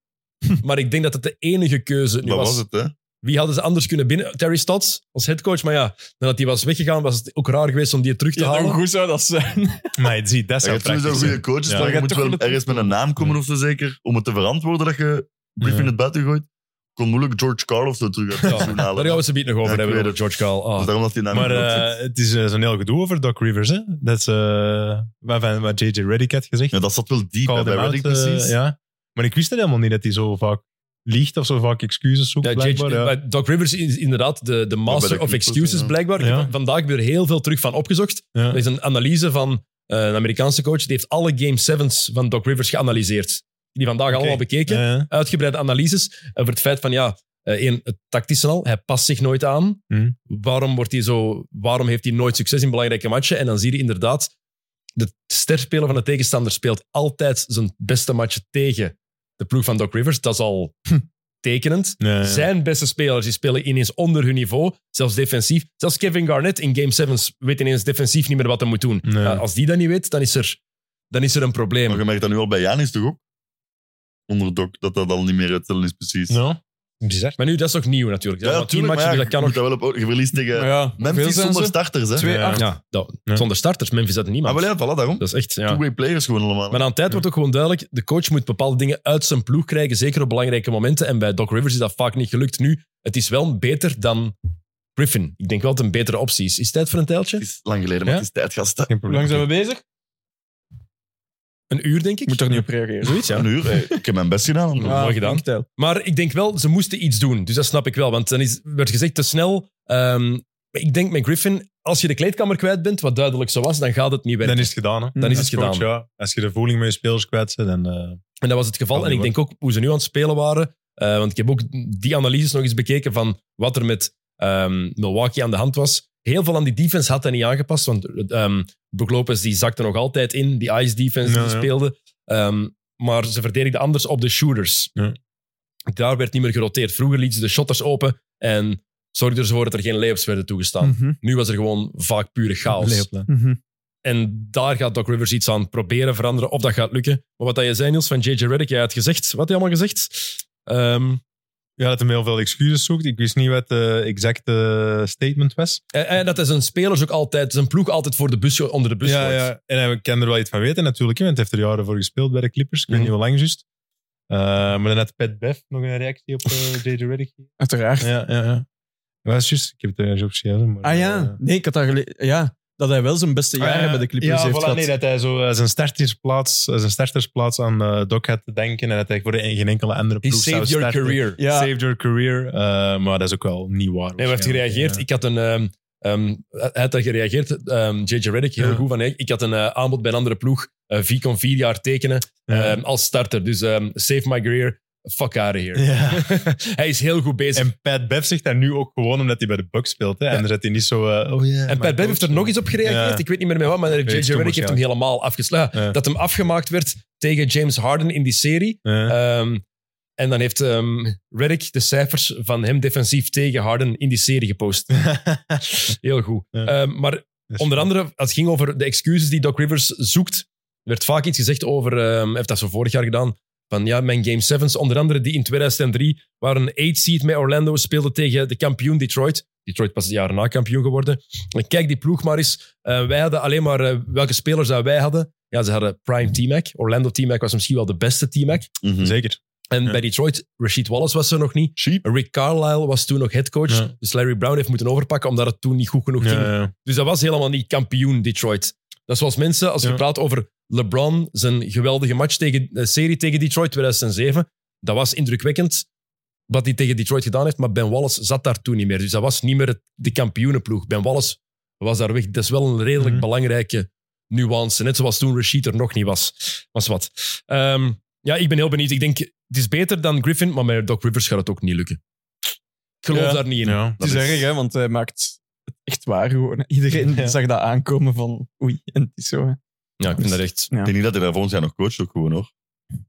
Speaker 1: maar ik denk dat het de enige keuze nu
Speaker 2: dat
Speaker 1: was.
Speaker 2: was het, hè?
Speaker 1: Wie hadden ze anders kunnen binnen? Terry Stotts als headcoach, maar ja, nadat hij was weggegaan, was het ook raar geweest om die terug te
Speaker 5: Ja,
Speaker 1: halen.
Speaker 5: hoe goed zou dat zijn?
Speaker 4: Maar je ziet, dat
Speaker 2: Je hebt
Speaker 4: zou
Speaker 2: sowieso
Speaker 4: praktisch
Speaker 2: goede
Speaker 4: zijn.
Speaker 2: coaches,
Speaker 4: Ja.
Speaker 2: maar je
Speaker 5: Ja,
Speaker 2: moet
Speaker 5: toch
Speaker 2: wel
Speaker 5: wel-
Speaker 2: ergens met een naam komen of zo zeker, om het te verantwoorden dat je Griffin
Speaker 4: Ja.
Speaker 2: het buiten gooit. Kon moeilijk George Karl of zo terug uit het
Speaker 1: Ja,
Speaker 2: seizoen halen.
Speaker 1: Daar gaan we ze beat nog over
Speaker 2: Ja, ik
Speaker 1: hebben,
Speaker 2: weet
Speaker 1: over George Carl. Ah.
Speaker 2: Dus daarom dat hij naam
Speaker 4: Maar
Speaker 2: niet
Speaker 4: eh,
Speaker 2: groot zit.
Speaker 4: het is eh, zo'n heel gedoe over Doc Rivers. Hè? Dat is eh, waarvan- wat JJ Reddick had gezegd.
Speaker 2: ja, dat zat wel diep hè,
Speaker 4: Called
Speaker 2: bij
Speaker 4: him out,
Speaker 2: Reddick,
Speaker 4: eh,
Speaker 2: precies.
Speaker 4: ja. Maar ik wist het helemaal niet dat hij zo vaak liegt of zo vaak excuses zoekt.
Speaker 1: Ja, J.J.
Speaker 4: blijkbaar, ja.
Speaker 1: maar Doc Rivers is inderdaad de, de
Speaker 2: Ja, bij
Speaker 1: master
Speaker 2: de
Speaker 1: of
Speaker 2: Clippers,
Speaker 1: excuses,
Speaker 2: ja.
Speaker 1: blijkbaar. Ik heb
Speaker 4: Ja.
Speaker 1: van- Vandaag heb ik er heel veel terug van opgezocht.
Speaker 4: Ja.
Speaker 1: Er is een analyse van eh, een Amerikaanse coach. Die heeft alle Game 7's van Doc Rivers geanalyseerd. Die vandaag allemaal bekeken.
Speaker 4: Ja, ja.
Speaker 1: uitgebreide analyses over het feit van ja, eh, één, het tactische al, hij past zich nooit aan.
Speaker 4: Mhm.
Speaker 1: Waarom, wordt hij zo, waarom heeft hij nooit succes in belangrijke matchen? En dan zie je inderdaad, de sterspeler van de tegenstander speelt altijd zijn beste match tegen de ploeg van Doc Rivers. Dat is al
Speaker 4: Hm.
Speaker 1: tekenend.
Speaker 4: Ja, ja.
Speaker 1: Zijn beste spelers die spelen ineens onder hun niveau, zelfs defensief. Zelfs Kevin Garnett in Game 7 weet ineens defensief niet meer wat hij moet doen.
Speaker 4: Nee.
Speaker 1: Ja, als die dat niet weet, dan is er, dan is er een probleem.
Speaker 2: Maar je merkt dat nu al bij Janis toch ook? Onder Doc, dat dat al niet meer uitstellen is, precies.
Speaker 4: Ja.
Speaker 1: Maar nu, dat is toch nieuw natuurlijk. Ja, maar tien
Speaker 2: tuurlijk,
Speaker 1: matchen,
Speaker 2: maar ja,
Speaker 1: dus dat kan
Speaker 2: je
Speaker 1: nog
Speaker 2: moet dat wel op, je verliest tegen
Speaker 5: Maar ja, hoeveel
Speaker 2: Memphis
Speaker 5: zijn
Speaker 2: zonder
Speaker 5: ze?
Speaker 2: starters, hè?
Speaker 5: Twee,
Speaker 4: Ja.
Speaker 5: acht.
Speaker 1: Ja, dat-
Speaker 4: Ja.
Speaker 1: zonder starters. Memphis had
Speaker 2: Ah,
Speaker 1: niemand.
Speaker 2: wel ja, voilà, daarom.
Speaker 1: Dat is echt, ja.
Speaker 2: Two-way players gewoon allemaal.
Speaker 1: Maar aan tijd wordt ook gewoon duidelijk, de coach moet bepaalde dingen uit zijn ploeg krijgen, zeker op belangrijke momenten. En bij Doc Rivers is dat vaak niet gelukt. Nu, het is wel beter dan Griffin. Ik denk wel dat het een betere optie is. Is het tijd voor een
Speaker 2: Het
Speaker 1: tijltje?
Speaker 2: is lang geleden, maar
Speaker 1: Ja?
Speaker 2: het is tijd, gasten.
Speaker 4: Geen
Speaker 5: Hoe
Speaker 4: probleem.
Speaker 5: lang zijn we bezig?
Speaker 1: Een uur, denk ik.
Speaker 5: Ik moet er niet op reageren.
Speaker 1: Zoiets, ja.
Speaker 2: Een uur, hey. ik heb mijn best gedaan. om-
Speaker 5: Ah,
Speaker 1: mooi gedaan.
Speaker 5: dankjewel.
Speaker 1: Maar ik denk wel, ze moesten iets doen. Dus dat snap ik wel. Want dan is, werd gezegd te snel. Ehm, maar ik denk met Griffin, als je de kleedkamer kwijt bent, wat duidelijk zo was, dan gaat het niet werken.
Speaker 4: Dan is het gedaan. Hè.
Speaker 1: Dan is het
Speaker 4: Als coach,
Speaker 1: gedaan.
Speaker 4: ja. Als je de voeling met je spelers kwijt bent, dan... eh,
Speaker 1: En dat was het geval.
Speaker 4: Kan
Speaker 1: En ik
Speaker 4: niet,
Speaker 1: denk ook hoe ze nu aan het spelen waren. eh, want ik heb ook die analyses nog eens bekeken van wat er met ehm, Milwaukee aan de hand was. Heel veel aan die defense had hij niet aangepast. Want ehm Brook Lopez die zakte nog altijd in. Die ice defense die
Speaker 4: Ja,
Speaker 1: ze
Speaker 4: ja.
Speaker 1: speelde. Ehm, maar ze verdedigden anders op de shooters.
Speaker 4: Ja.
Speaker 1: Daar werd niet meer geroteerd. Vroeger lieten ze de shotters open en zorgden ze ervoor dat er geen layups werden toegestaan.
Speaker 4: Mhm.
Speaker 5: Mhm,
Speaker 1: Nu was er gewoon vaak pure chaos.
Speaker 4: Leopla.
Speaker 1: En daar gaat Doc Rivers iets aan proberen veranderen, of dat gaat lukken. Maar wat dat je zei, Niels, van J.J. Reddick, jij had gezegd, wat hij allemaal gezegd? Ehm,
Speaker 4: Ja, dat hij heel veel excuses zoekt. Ik wist niet wat de exacte statement was.
Speaker 1: en, en dat hij zijn spelers dus ook altijd, zijn ploeg altijd voor de bus, onder de bus gooit.
Speaker 4: En hij kan er wel iets van weten natuurlijk, hè, want hij heeft er jaren voor gespeeld bij de Clippers. Ik weet
Speaker 1: Mhm.
Speaker 4: niet hoe lang juist. Eh, maar dan had Pat Beff nog een reactie op eh, JJ Redick.
Speaker 5: Uiteraard.
Speaker 4: Ja, ja, ja. Maar dat is juist, ik heb het ergens opgeschreven. maar,
Speaker 5: Ah ja,
Speaker 4: eh,
Speaker 5: nee, ik had daar gelezen. Ja, dat hij wel zijn beste jaren bij de Clippers
Speaker 4: Ah, ja,
Speaker 5: heeft
Speaker 4: voilà,
Speaker 5: gehad.
Speaker 4: Nee, dat hij zo eh, zijn, startersplaats, eh, zijn startersplaats aan eh, Doc had te denken en dat hij voor geen enkele andere
Speaker 1: He
Speaker 4: ploeg zou
Speaker 1: saved your
Speaker 4: starten.
Speaker 1: career.
Speaker 5: Ja.
Speaker 4: Saved your career. eh, maar dat is ook wel niet
Speaker 1: Nee,
Speaker 4: waar.
Speaker 1: maar hij heeft gereageerd. Ik had een... ehm, ehm, hij had daar gereageerd, ehm, J.J. Reddick, heel
Speaker 4: Ja.
Speaker 1: goed. Van, hey, ik had een eh, aanbod bij een andere ploeg. eh vier kon vier jaar tekenen
Speaker 4: Ja.
Speaker 1: ehm, als starter. Dus ehm, save my career, fuck out of here.
Speaker 4: Ja. *laughs*
Speaker 1: hij is heel goed
Speaker 2: Dus-
Speaker 1: bezig. En,
Speaker 4: En Pat Bev zegt dat nu ook gewoon omdat hij bij de Bucks speelt. Hè? En dan zet hij niet zo... eh, oh ja,
Speaker 1: Pat Bev heeft er nog eens op gereageerd.
Speaker 4: Ja.
Speaker 1: Ik weet niet meer met wat, maar J.J.
Speaker 4: iets
Speaker 1: Reddick
Speaker 4: stommers,
Speaker 1: heeft
Speaker 4: ja.
Speaker 1: hem helemaal afgeslagen.
Speaker 4: Ja.
Speaker 1: Dat hem afgemaakt werd tegen James Harden in die serie. Ehm, en dan heeft ehm Reddick de cijfers van hem defensief tegen Harden in die serie gepost. Heel goed.
Speaker 4: Ja.
Speaker 1: Ehm, maar onder andere, als het ging over de excuses die Doc Rivers zoekt, werd vaak iets gezegd over, ehm, hij heeft dat zo vorig jaar gedaan, van ja, mijn Game 7's, onder andere die in 2003 waren een 8-seed met Orlando, speelden tegen de kampioen Detroit. Detroit pas het jaar na kampioen geworden. En kijk die ploeg maar eens. Eh, wij hadden alleen maar eh, welke spelers dat wij hadden. Ja, ze hadden Prime T-Mac. Orlando T-Mac was misschien wel de beste T-Mac.
Speaker 2: Mhm.
Speaker 4: Zeker.
Speaker 1: En
Speaker 4: Ja.
Speaker 1: bij Detroit, Rashid Wallace was er nog niet.
Speaker 2: Cheap.
Speaker 1: Rick Carlisle was toen nog headcoach.
Speaker 4: Ja.
Speaker 1: Dus Larry Brown heeft moeten overpakken omdat het toen niet goed genoeg ging.
Speaker 4: Ja,
Speaker 1: Dus dat was helemaal niet kampioen Detroit. Dat is zoals mensen, als je
Speaker 4: Ja.
Speaker 1: praat over LeBron, zijn geweldige match tegen, eh, serie tegen Detroit 2007. Dat was indrukwekkend wat hij tegen Detroit gedaan heeft. Maar Ben Wallace zat daar toen niet meer. Dus dat was niet meer het- de kampioenenploeg. Ben Wallace was daar weg. Dat is wel een redelijk
Speaker 4: Mhm.
Speaker 1: belangrijke nuance. Net zoals toen Rashid er nog niet was. Was wat. Ehm, ja, ik ben heel benieuwd. Ik denk, het is beter dan Griffin, maar met Doc Rivers gaat het ook niet lukken. Ik geloof
Speaker 5: Ja.
Speaker 1: daar niet in.
Speaker 4: ja.
Speaker 5: Het is erg, hè, want hij maakt het echt waar gewoon. *laughs* Iedereen
Speaker 4: Ja.
Speaker 5: zag dat aankomen van oei, en het is zo. Hè.
Speaker 1: Ja, ik vind dat echt...
Speaker 2: Ik denk niet dat hij daar volgend jaar nog coacht ook gewoon hoor.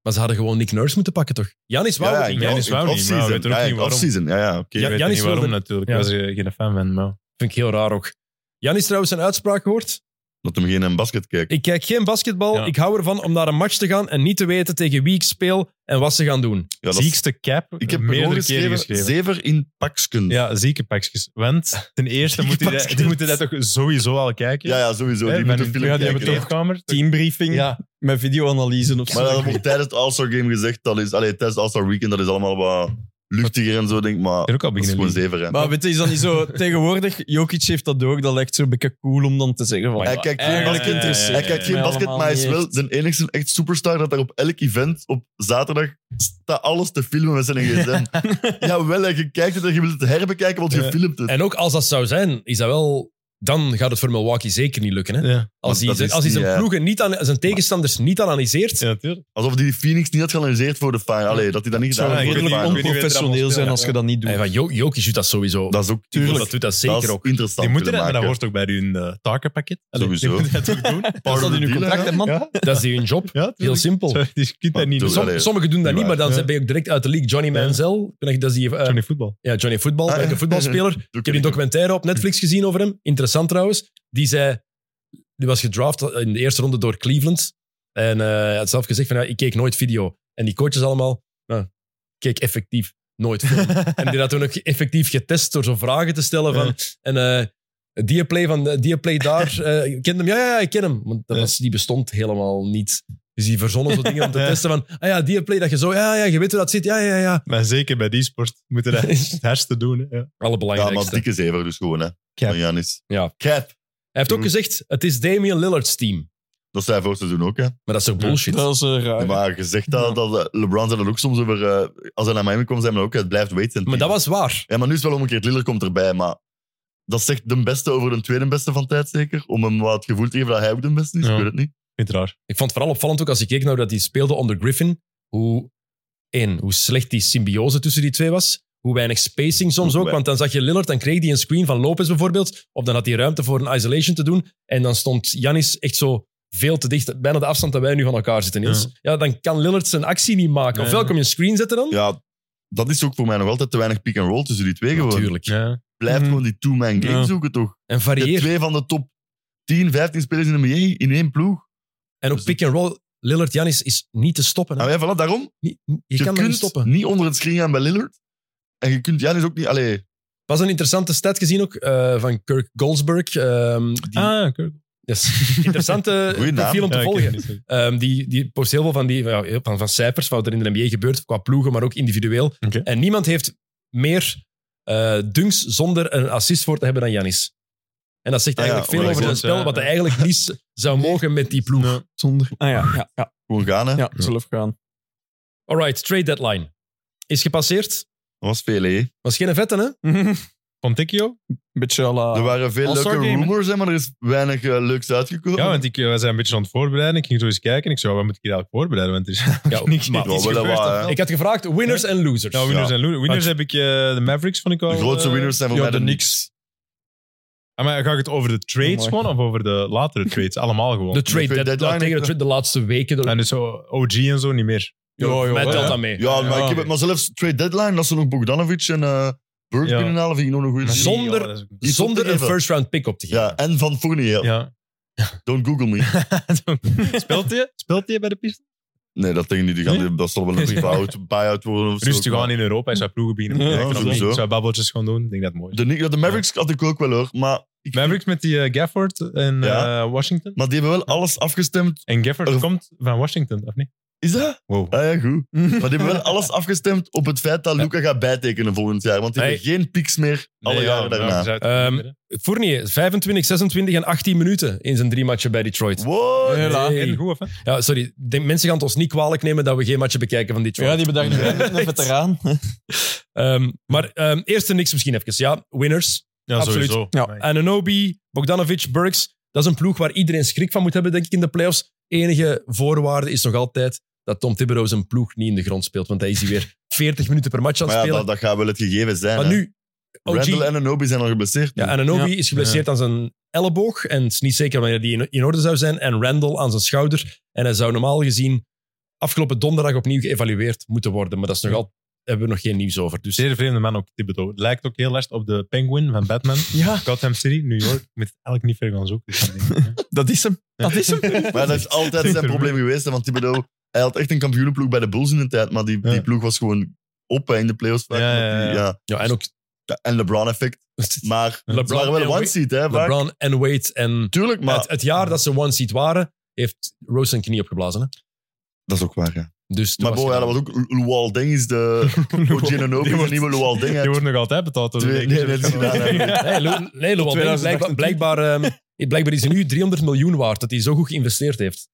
Speaker 1: Maar ze hadden gewoon Nick Nurse moeten pakken, toch? Janis wou het
Speaker 2: in
Speaker 1: niet.
Speaker 4: Janis
Speaker 2: in
Speaker 4: wou niet, maar we
Speaker 2: off-season.
Speaker 4: weten ook
Speaker 2: Ja, in
Speaker 4: niet waarom.
Speaker 2: off-season. Ja, ja, oké.
Speaker 1: Ja,
Speaker 4: Ik weet
Speaker 1: Janis
Speaker 4: niet waarom
Speaker 1: wilde-
Speaker 4: natuurlijk.
Speaker 1: Ja.
Speaker 4: Ik was er geen fan van. Maar...
Speaker 1: Vind ik heel raar ook. Janis trouwens zijn uitspraak gehoord.
Speaker 2: Dat hem geen eh, basket kijkt.
Speaker 1: Ik kijk geen basketbal.
Speaker 4: Ja.
Speaker 1: Ik hou ervan om naar een match te gaan en niet te weten tegen wie ik speel en wat ze gaan doen.
Speaker 2: Ja, dat is-
Speaker 4: Ziekste cap.
Speaker 2: ik heb
Speaker 4: meerdere
Speaker 2: meerdere
Speaker 4: keren
Speaker 2: geschreven,
Speaker 4: geschreven.
Speaker 2: zever in paksken. Ja,
Speaker 4: Ja, zieke pakjes. Want
Speaker 2: *laughs*
Speaker 4: ten eerste
Speaker 2: Zieke
Speaker 4: moet je dat,
Speaker 2: pakjes.
Speaker 4: die moeten dat toch sowieso al kijken?
Speaker 2: ja, sowieso. Die moeten film
Speaker 4: ja,
Speaker 2: kijken.
Speaker 4: die hebben toegekamer.
Speaker 5: Teambriefing met videoanalyse of zo.
Speaker 2: Maar dat
Speaker 4: *laughs*
Speaker 2: wordt tijdens het All-Star Game gezegd. Dat is, allee, tijdens het All-Star Weekend, dat is allemaal wat luchtiger en zo, denk ik. Maar
Speaker 4: Ik heb ook al
Speaker 2: dat is
Speaker 4: beginnen
Speaker 2: gewoon
Speaker 4: liegen.
Speaker 2: zever. Hè.
Speaker 5: Maar weet je, is dat niet zo... *laughs* Tegenwoordig, Jokic heeft dat door. Dat lijkt zo een beetje cool om dan te zeggen van... Eh,
Speaker 2: Hij
Speaker 5: ja,
Speaker 2: kijkt geen
Speaker 5: eigenlijk
Speaker 2: basket,
Speaker 5: interesseert
Speaker 2: hij kijkt geen
Speaker 5: mij
Speaker 2: basket
Speaker 5: allemaal
Speaker 2: maar hij is
Speaker 5: niet
Speaker 2: wel
Speaker 5: echt.
Speaker 2: de enigste echt superstar dat daar op elk event op zaterdag staat alles te filmen met zijn gsm. Jawel, en je kijkt het en je wilt het herbekijken, want je
Speaker 4: Ja.
Speaker 2: filmt het.
Speaker 1: En ook als dat zou zijn, is dat wel... Dan gaat het voor Milwaukee zeker niet lukken. Hè?
Speaker 4: Ja,
Speaker 1: Als, hij,
Speaker 2: dat
Speaker 1: zijn-
Speaker 2: is
Speaker 1: als hij
Speaker 2: niet,
Speaker 1: zijn,
Speaker 2: ja.
Speaker 1: ploegen niet aan, zijn tegenstanders niet analyseert,
Speaker 4: ja, natuurlijk.
Speaker 2: Alsof die Phoenix niet had geanalyseerd voor de final. Allee, dat hij dat niet
Speaker 5: Het zou
Speaker 2: gedaan heeft voor de
Speaker 5: redelijk
Speaker 4: ik weet niet wie er allemaal
Speaker 5: onprofessioneel
Speaker 4: speelt,
Speaker 5: zijn
Speaker 4: ja.
Speaker 5: als je dat niet
Speaker 1: eh,
Speaker 5: doet.
Speaker 1: van Jo- Jokic doet dat sowieso.
Speaker 2: final. Dat is ook
Speaker 1: Dat
Speaker 2: tuurlijk.
Speaker 1: doet dat
Speaker 2: Dat
Speaker 1: zeker
Speaker 2: is
Speaker 1: ook.
Speaker 2: interessant
Speaker 4: Die moeten dat,
Speaker 2: willen
Speaker 4: maar dat
Speaker 2: maken.
Speaker 4: hoort ook bij hun eh, takenpakket. Allee,
Speaker 2: Sowieso.
Speaker 4: Die moeten dat ook
Speaker 2: *laughs*
Speaker 4: doen.
Speaker 2: Part
Speaker 5: dat
Speaker 2: of
Speaker 5: in
Speaker 2: the
Speaker 5: uw
Speaker 2: deal,
Speaker 5: contract,
Speaker 2: hè?
Speaker 5: hè,
Speaker 4: *laughs*
Speaker 5: man?
Speaker 2: Ja.
Speaker 1: Dat is hun job.
Speaker 4: Ja,
Speaker 1: Heel
Speaker 4: tuurlijk.
Speaker 1: simpel.
Speaker 4: Zo, Dus je kunt dat niet
Speaker 2: Maar
Speaker 4: doen.
Speaker 2: doe-
Speaker 4: Soms
Speaker 1: Som- sommigen doen dat niet, maar dan
Speaker 4: Ja.
Speaker 1: ben je ook direct uit de league. Johnny
Speaker 4: Ja.
Speaker 1: Manziel, ik weet dat is die, eh,
Speaker 4: Johnny Voetbal.
Speaker 1: ja, Johnny Voetbal,
Speaker 2: Ah, ja.
Speaker 1: een voetbalspeler.
Speaker 2: Doe
Speaker 1: Ik heb een
Speaker 2: niet.
Speaker 1: documentaire op
Speaker 4: Mm.
Speaker 1: Netflix gezien over hem. Interessant trouwens. Die zei... Die was gedraft in de eerste ronde door Cleveland. En eh, hij had zelf gezegd van, ja, ik keek nooit video. En die coaches allemaal... Nou, ik keek effectief nooit
Speaker 4: *laughs*
Speaker 1: film. en die had toen ook effectief getest door zo vragen te stellen van...
Speaker 4: Ja.
Speaker 1: En eh die play van... eh, Die play
Speaker 4: *laughs*
Speaker 1: daar. eh ik ken hem. Ja, ja, ja, ik ken hem. Want dat
Speaker 4: Ja.
Speaker 1: was, die bestond helemaal niet. Dus die verzonnen zo dingen om te
Speaker 4: Ja.
Speaker 1: testen van... Ah ja, die play dat je zo... Ja, ja, je weet hoe dat zit. Ja, ja, ja.
Speaker 4: Maar zeker bij die sport
Speaker 2: *laughs*
Speaker 4: moeten dat het hardste doen. hè. Ja.
Speaker 1: Alle
Speaker 2: Ja, maar
Speaker 1: belangrijkste.
Speaker 2: dikke zever dus gewoon, hè. Van Janis.
Speaker 1: Ja.
Speaker 2: Cap.
Speaker 1: Hij heeft ook
Speaker 4: Mm.
Speaker 1: gezegd, het is Damian Lillard's team.
Speaker 2: Dat zei hij voor het seizoen ook, hè.
Speaker 1: Maar dat is toch bullshit?
Speaker 5: Dat is eh, raar.
Speaker 2: Maar gezegd dat, dat eh, LeBron zei dat ook soms over... eh, als hij naar Miami komt, zei hij ook, het blijft weten.
Speaker 1: Maar dat was waar.
Speaker 2: Ja, maar nu is het wel omgekeerd. Lillard komt erbij, maar dat zegt de beste over de tweede beste van tijd zeker. Om hem wat het gevoel te geven dat hij ook de beste is.
Speaker 4: Ja.
Speaker 2: Ik weet het niet.
Speaker 4: Vind het raar.
Speaker 1: Ik vond het vooral opvallend ook als ik keek naar dat hij speelde onder Griffin. Hoe, één, hoe slecht die symbiose tussen die twee was. Hoe weinig spacing soms ook. Want dan zag je Lillard, dan kreeg hij een screen van Lopez bijvoorbeeld. Of dan had hij ruimte voor een isolation te doen. En dan stond Janis echt zo veel te dicht. Bijna de afstand dat wij nu van elkaar zitten, Niels. Ja, dan kan Lillard zijn actie niet maken.
Speaker 4: Nee.
Speaker 1: Ofwel kom je een screen zetten dan.
Speaker 2: Ja, dat is ook voor mij nog altijd te weinig pick-and-roll tussen die twee. Gewoon.
Speaker 1: natuurlijk.
Speaker 4: Ja.
Speaker 2: Blijf
Speaker 5: Mhm.
Speaker 2: gewoon die two-man game
Speaker 4: Ja.
Speaker 2: zoeken, toch?
Speaker 1: En
Speaker 2: Je hebt
Speaker 1: varieer.
Speaker 2: twee van de top 10, 15 spelers in de NBA in één ploeg.
Speaker 1: En ook pick and roll. Lillard, Janis is niet te stoppen. hè.
Speaker 2: Nou ja, voilà, daarom.
Speaker 1: Niet- je,
Speaker 2: Je,
Speaker 1: kan dat
Speaker 2: kunt
Speaker 1: niet stoppen.
Speaker 2: niet onder het screen gaan bij Lillard. En je kunt Janis ook niet... Allee,
Speaker 1: Was een interessante stat gezien ook eh, van Kirk Goldsberg. ehm, die,
Speaker 4: Ah, oké.
Speaker 1: Dus interessante
Speaker 2: Goeie naam.
Speaker 1: profiel om te
Speaker 4: Ja, ik
Speaker 1: volgen.
Speaker 4: ken het niet.
Speaker 1: Ehm, die, die post heel veel van, die, van, ja, van, van cijfers, wat er in de NBA gebeurt, qua ploegen, maar ook individueel.
Speaker 4: Oké.
Speaker 1: En niemand heeft meer eh dunks zonder een assist voor te hebben dan Janis. En dat zegt
Speaker 2: Ah ja,
Speaker 1: eigenlijk veel
Speaker 2: oh,
Speaker 1: over
Speaker 2: dat
Speaker 1: het
Speaker 4: is,
Speaker 1: spel,
Speaker 4: eh,
Speaker 1: wat hij eigenlijk niet zou mogen met die ploeg.
Speaker 3: Zonder.
Speaker 5: Ah ja, ja, ja,
Speaker 2: Gewoon gaan, hè?
Speaker 5: ja, zelf gaan. *laughs*
Speaker 1: Alright, trade deadline. Is gepasseerd.
Speaker 2: Dat was veel, hè?
Speaker 1: Was geen vette, hè?
Speaker 4: Van Tikio?
Speaker 5: Beetje à la-
Speaker 2: Er waren veel
Speaker 5: All-Star
Speaker 2: leuke
Speaker 5: game, hè?
Speaker 2: rumors, hè, maar er is weinig eh, leuks uitgekomen.
Speaker 4: Ja, want ik, eh, wij zijn een beetje aan het voorbereiden. Ik ging zo eens kijken. Ik zei, wat moet ik hier eigenlijk voorbereiden? Want er *laughs* is
Speaker 1: Ja,
Speaker 4: niks
Speaker 1: maar-
Speaker 4: niks
Speaker 2: wel
Speaker 4: gebeurd
Speaker 2: wat,
Speaker 4: op
Speaker 2: hè.
Speaker 4: veld.
Speaker 1: Ik had gevraagd winners en losers.
Speaker 4: Ja, winners
Speaker 2: Ja.
Speaker 4: en losers. Winners heb ik eh, de Mavericks, vond ik al.
Speaker 2: de grootste
Speaker 4: eh,
Speaker 2: winners zijn voor
Speaker 5: ja,
Speaker 2: mij
Speaker 5: de
Speaker 2: de
Speaker 5: niks.
Speaker 4: Ah, maar ga ik het over de
Speaker 5: Oh,
Speaker 4: trades
Speaker 5: mooi.
Speaker 4: gewoon of over de latere *laughs* trades? Allemaal gewoon.
Speaker 1: de trade
Speaker 2: De trade
Speaker 1: deadline,
Speaker 2: deadline,
Speaker 1: tegen de, trade- de laatste weken.
Speaker 4: En dus zo OG en zo niet meer.
Speaker 5: Ja, ja,
Speaker 1: mij
Speaker 5: oh, ja.
Speaker 1: telt dat mee.
Speaker 2: Ja, maar,
Speaker 5: Ja.
Speaker 2: ik heb het, maar zelfs trade deadline, als ze nog Bogdanovic en eh Bird
Speaker 4: Ja.
Speaker 2: kunnen halen, vind ik nog een goede
Speaker 1: Maar
Speaker 2: zin.
Speaker 1: zonder-
Speaker 4: Ja, dat is ook-
Speaker 2: Die
Speaker 1: Zonder
Speaker 2: zonder
Speaker 1: een
Speaker 2: even.
Speaker 1: first round pick op te geven.
Speaker 2: Ja, en van Fournier.
Speaker 4: *laughs* Ja.
Speaker 2: Don't Google
Speaker 1: *laughs*
Speaker 2: me.
Speaker 4: speelt hij? Speelt hij bij de piste?
Speaker 2: Nee, dat ding niet. Die gaan, dat zal wel een
Speaker 1: *laughs*
Speaker 2: buyout, buyout worden of zo.
Speaker 4: Rustig aan in Europa. Hij zou ploegen beginnen.
Speaker 5: Ja,
Speaker 4: Ja, ik
Speaker 2: sowieso.
Speaker 4: zou babbeltjes gaan doen. Ik denk dat het mooi is.
Speaker 2: De, Knick- ja, de Mavericks had ik ook wel hoor, maar, ik,
Speaker 4: Mavericks met die eh, Gafford en
Speaker 2: Ja.
Speaker 4: eh, Washington.
Speaker 2: maar die hebben wel alles afgestemd.
Speaker 4: En Gafford
Speaker 2: Er-
Speaker 4: komt van Washington, of niet?
Speaker 2: Is dat?
Speaker 4: Wow.
Speaker 2: Ah ja,
Speaker 1: *laughs*
Speaker 2: goed. Maar die hebben wel alles afgestemd op het feit dat Luca gaat bijtekenen volgend jaar. Want die
Speaker 1: Nee.
Speaker 2: hebben geen pieks meer alle jaren daarna.
Speaker 1: Ehm, Fournier, 25, 26 en 18 minuten in zijn drie matchen bij Detroit.
Speaker 2: Wow.
Speaker 5: Ja. Hela.
Speaker 1: Nee.
Speaker 4: en goed, of, hè?
Speaker 1: Ja, sorry. De, mensen gaan het ons niet kwalijk nemen dat we geen matchen bekijken van Detroit.
Speaker 5: Ja, die bedacht
Speaker 2: Ja.
Speaker 5: niet. Een
Speaker 1: *laughs*
Speaker 5: veteraan.
Speaker 1: Ehm, maar ehm, eerst de niks misschien even. Ja, winners.
Speaker 4: Ja,
Speaker 1: Absoluut.
Speaker 4: sowieso.
Speaker 5: Ja.
Speaker 4: Maar-
Speaker 1: Ananobi, Bogdanovic, Burks. Dat is een ploeg waar iedereen schrik van moet hebben, denk ik, in de playoffs. Enige voorwaarde is nog altijd dat Tom Thibodeau zijn ploeg niet in de grond speelt. Want hij is hier weer 40 minuten per match aan het
Speaker 2: Maar ja,
Speaker 1: spelen.
Speaker 2: dat, dat gaat wel het gegeven zijn.
Speaker 1: maar
Speaker 2: hè.
Speaker 1: nu,
Speaker 2: Randall
Speaker 1: OG,
Speaker 2: en Anobi zijn al geblesseerd. dus-
Speaker 1: ja, Ananobi is geblesseerd
Speaker 4: Ja.
Speaker 1: aan zijn elleboog. En het is niet zeker wanneer die in, in orde zou zijn. En Randall aan zijn schouder. En hij zou normaal gezien afgelopen donderdag opnieuw geëvalueerd moeten worden. Maar dat is nog
Speaker 4: Ja.
Speaker 1: al, hebben we nog geen nieuws over. Dus
Speaker 4: Zeer vreemde man ook, Thibodeau. Het Lijkt ook heel erg op de Penguin
Speaker 1: *laughs*
Speaker 4: van Batman.
Speaker 5: Ja,
Speaker 4: Gotham City, New York. Ik moet het eigenlijk niet ver gaan zoeken. Dus ik denk, hè.
Speaker 5: dat is hem. Dat is
Speaker 1: *laughs*
Speaker 5: hem.
Speaker 2: Maar dat is altijd zijn probleem geweest. hè, Want Thibodeau, hij had echt een kampioenenploeg bij de Bulls in de tijd. Maar die, die
Speaker 4: Ja.
Speaker 2: ploeg was gewoon op hè, in de playoffs. vaak.
Speaker 4: Ja, ja, ja.
Speaker 2: Die- ja.
Speaker 1: ja, en ook *laughs*
Speaker 2: Ja, En LeBron-effect. Maar
Speaker 1: LeBron
Speaker 2: ze waren wel
Speaker 1: en
Speaker 2: een
Speaker 1: Wade.
Speaker 2: one-seat, hè? vaak.
Speaker 1: LeBron en Wade en...
Speaker 2: Tuurlijk, maar...
Speaker 1: het, het jaar dat ze one seat waren, heeft Rose zijn knie opgeblazen. Hè?
Speaker 2: dat is ook waar, ja.
Speaker 1: Dus toen
Speaker 2: Maar
Speaker 1: was
Speaker 2: bo, ja,
Speaker 1: het-
Speaker 2: dat was ook... Lual Deng is
Speaker 4: *laughs*
Speaker 2: de... OG en Anobi is de nieuwe Lual Deng. hè.
Speaker 4: Die wordt nog altijd betaald. door de
Speaker 2: Twee-
Speaker 4: Lakers.
Speaker 2: nee, dat is
Speaker 4: *laughs*
Speaker 2: niet waar, hè.
Speaker 1: Nee, Lu- nee Luol Deng,
Speaker 5: 2028.
Speaker 1: blijkbaar, blijkbaar, ehm, *laughs* blijkbaar is hij nu 300 miljoen waard dat hij zo goed geïnvesteerd heeft.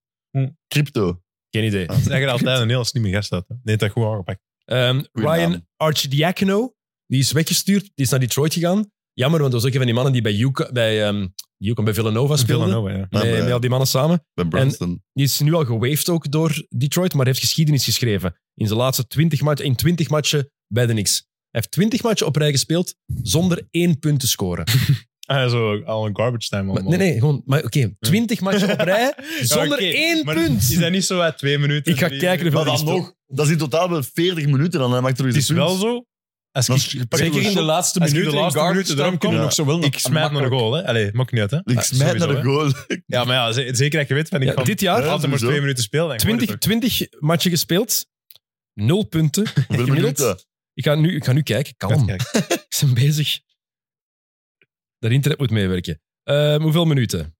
Speaker 2: Crypto.
Speaker 1: Geen idee.
Speaker 2: Ah.
Speaker 4: Het is eigenlijk altijd een heel slimme gast uit. hè. Nee, dat goed aangepakt.
Speaker 1: Ehm,
Speaker 2: Goeie
Speaker 1: Ryan
Speaker 2: naam.
Speaker 1: Archidiakono, die is weggestuurd, die is naar Detroit gegaan. Jammer, want dat was ook een van die mannen die bij Yukon bij, ehm, Yukon, bij Villanova speelde.
Speaker 4: Villanova, ja.
Speaker 2: Ja,
Speaker 1: Met,
Speaker 2: bij-
Speaker 1: met al die mannen samen.
Speaker 2: Bij Brunson.
Speaker 1: Die is nu al gewaved ook door Detroit, maar heeft geschiedenis geschreven. In zijn laatste 20 matchen, in 20 matchen bij de Knicks. Hij heeft 20 matchen op rij gespeeld zonder één punt te scoren.
Speaker 4: Ah, zo, al een garbage time
Speaker 1: Maar,
Speaker 4: allemaal.
Speaker 1: nee, nee, gewoon, maar oké, 20 matchen op
Speaker 4: *laughs*
Speaker 1: rij *laughs* zonder
Speaker 4: Ja, oké,
Speaker 1: één
Speaker 4: maar
Speaker 1: punt.
Speaker 4: Is dat niet zo uit twee minuten?
Speaker 1: Ik ga
Speaker 4: drie
Speaker 1: kijken
Speaker 4: minuten?
Speaker 1: hoeveel
Speaker 2: Maar
Speaker 1: die
Speaker 2: dan
Speaker 1: gespeeld-
Speaker 2: nog... Dat is in totaal wel 40 minuten dan. Hij maakt er
Speaker 4: Het is
Speaker 2: eens een
Speaker 4: wel
Speaker 2: punt.
Speaker 4: zo. Als
Speaker 2: Dat
Speaker 4: ik,
Speaker 2: is-
Speaker 4: pak
Speaker 5: Zeker
Speaker 4: een
Speaker 5: in de
Speaker 4: shot,
Speaker 5: laatste
Speaker 4: Als je
Speaker 5: minuten.
Speaker 4: de laatste
Speaker 5: in
Speaker 4: minuten
Speaker 5: garbage time
Speaker 4: eruit
Speaker 5: kunnen we
Speaker 2: komt,
Speaker 5: nog zo wel nog
Speaker 4: Ik smijt naar de goal, hè. Allee, maakt niet uit, hè.
Speaker 2: Ik
Speaker 4: Ja,
Speaker 2: smijt naar
Speaker 4: Ah, sowieso,
Speaker 2: de
Speaker 4: hè.
Speaker 2: goal. *laughs*
Speaker 4: Ja, maar ja, ze- zeker dat je weet van... Ik
Speaker 1: Ja,
Speaker 4: kan
Speaker 1: dit jaar,
Speaker 4: altijd maar
Speaker 2: sowieso.
Speaker 4: twee minuten spelen. dan hoor je
Speaker 1: 20, 20 matchen gespeeld, 0 punten.
Speaker 2: Hoeveel
Speaker 1: Gemiddeld?
Speaker 2: minuten?
Speaker 1: Ik ga nu, ik ga nu kijken,
Speaker 4: het ook.
Speaker 1: kalm. Ik ben bezig. Dat internet moet meewerken. Ehm, hoeveel minuten?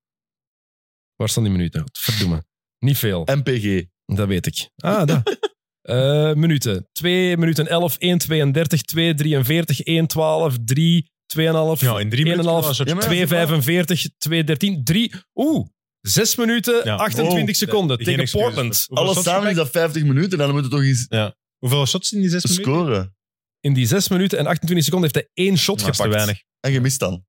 Speaker 1: Waar staan die minuten? Verdomme. Niet veel.
Speaker 2: MPG.
Speaker 1: Dat weet ik. Ah,
Speaker 4: *laughs*
Speaker 1: dat. Eh, minuten. 2 minuten 11, 1, 32, 2, 43, 1, 12, 3, 2,5,
Speaker 4: Ja, in drie minuten.
Speaker 1: 1,5,
Speaker 4: wel een soort-
Speaker 2: Ja, maar-
Speaker 1: 2, 45, 2, 13, 3. Oeh, 6 minuten,
Speaker 4: Ja.
Speaker 1: 28
Speaker 4: Wow.
Speaker 1: seconden
Speaker 4: Geen
Speaker 1: tegen
Speaker 4: excuses.
Speaker 1: Portland.
Speaker 4: Hoeveel
Speaker 2: Alles
Speaker 4: shots
Speaker 2: samen is
Speaker 4: gepakt?
Speaker 2: dat 50 minuten. Dan moeten we toch eens
Speaker 4: Hoeveel shots in die zes minuten?
Speaker 2: scoren.
Speaker 1: In die 6 minuten en 28 seconden heeft hij één shot
Speaker 4: Dat is te
Speaker 1: gepakt.
Speaker 4: weinig.
Speaker 2: En gemist dan.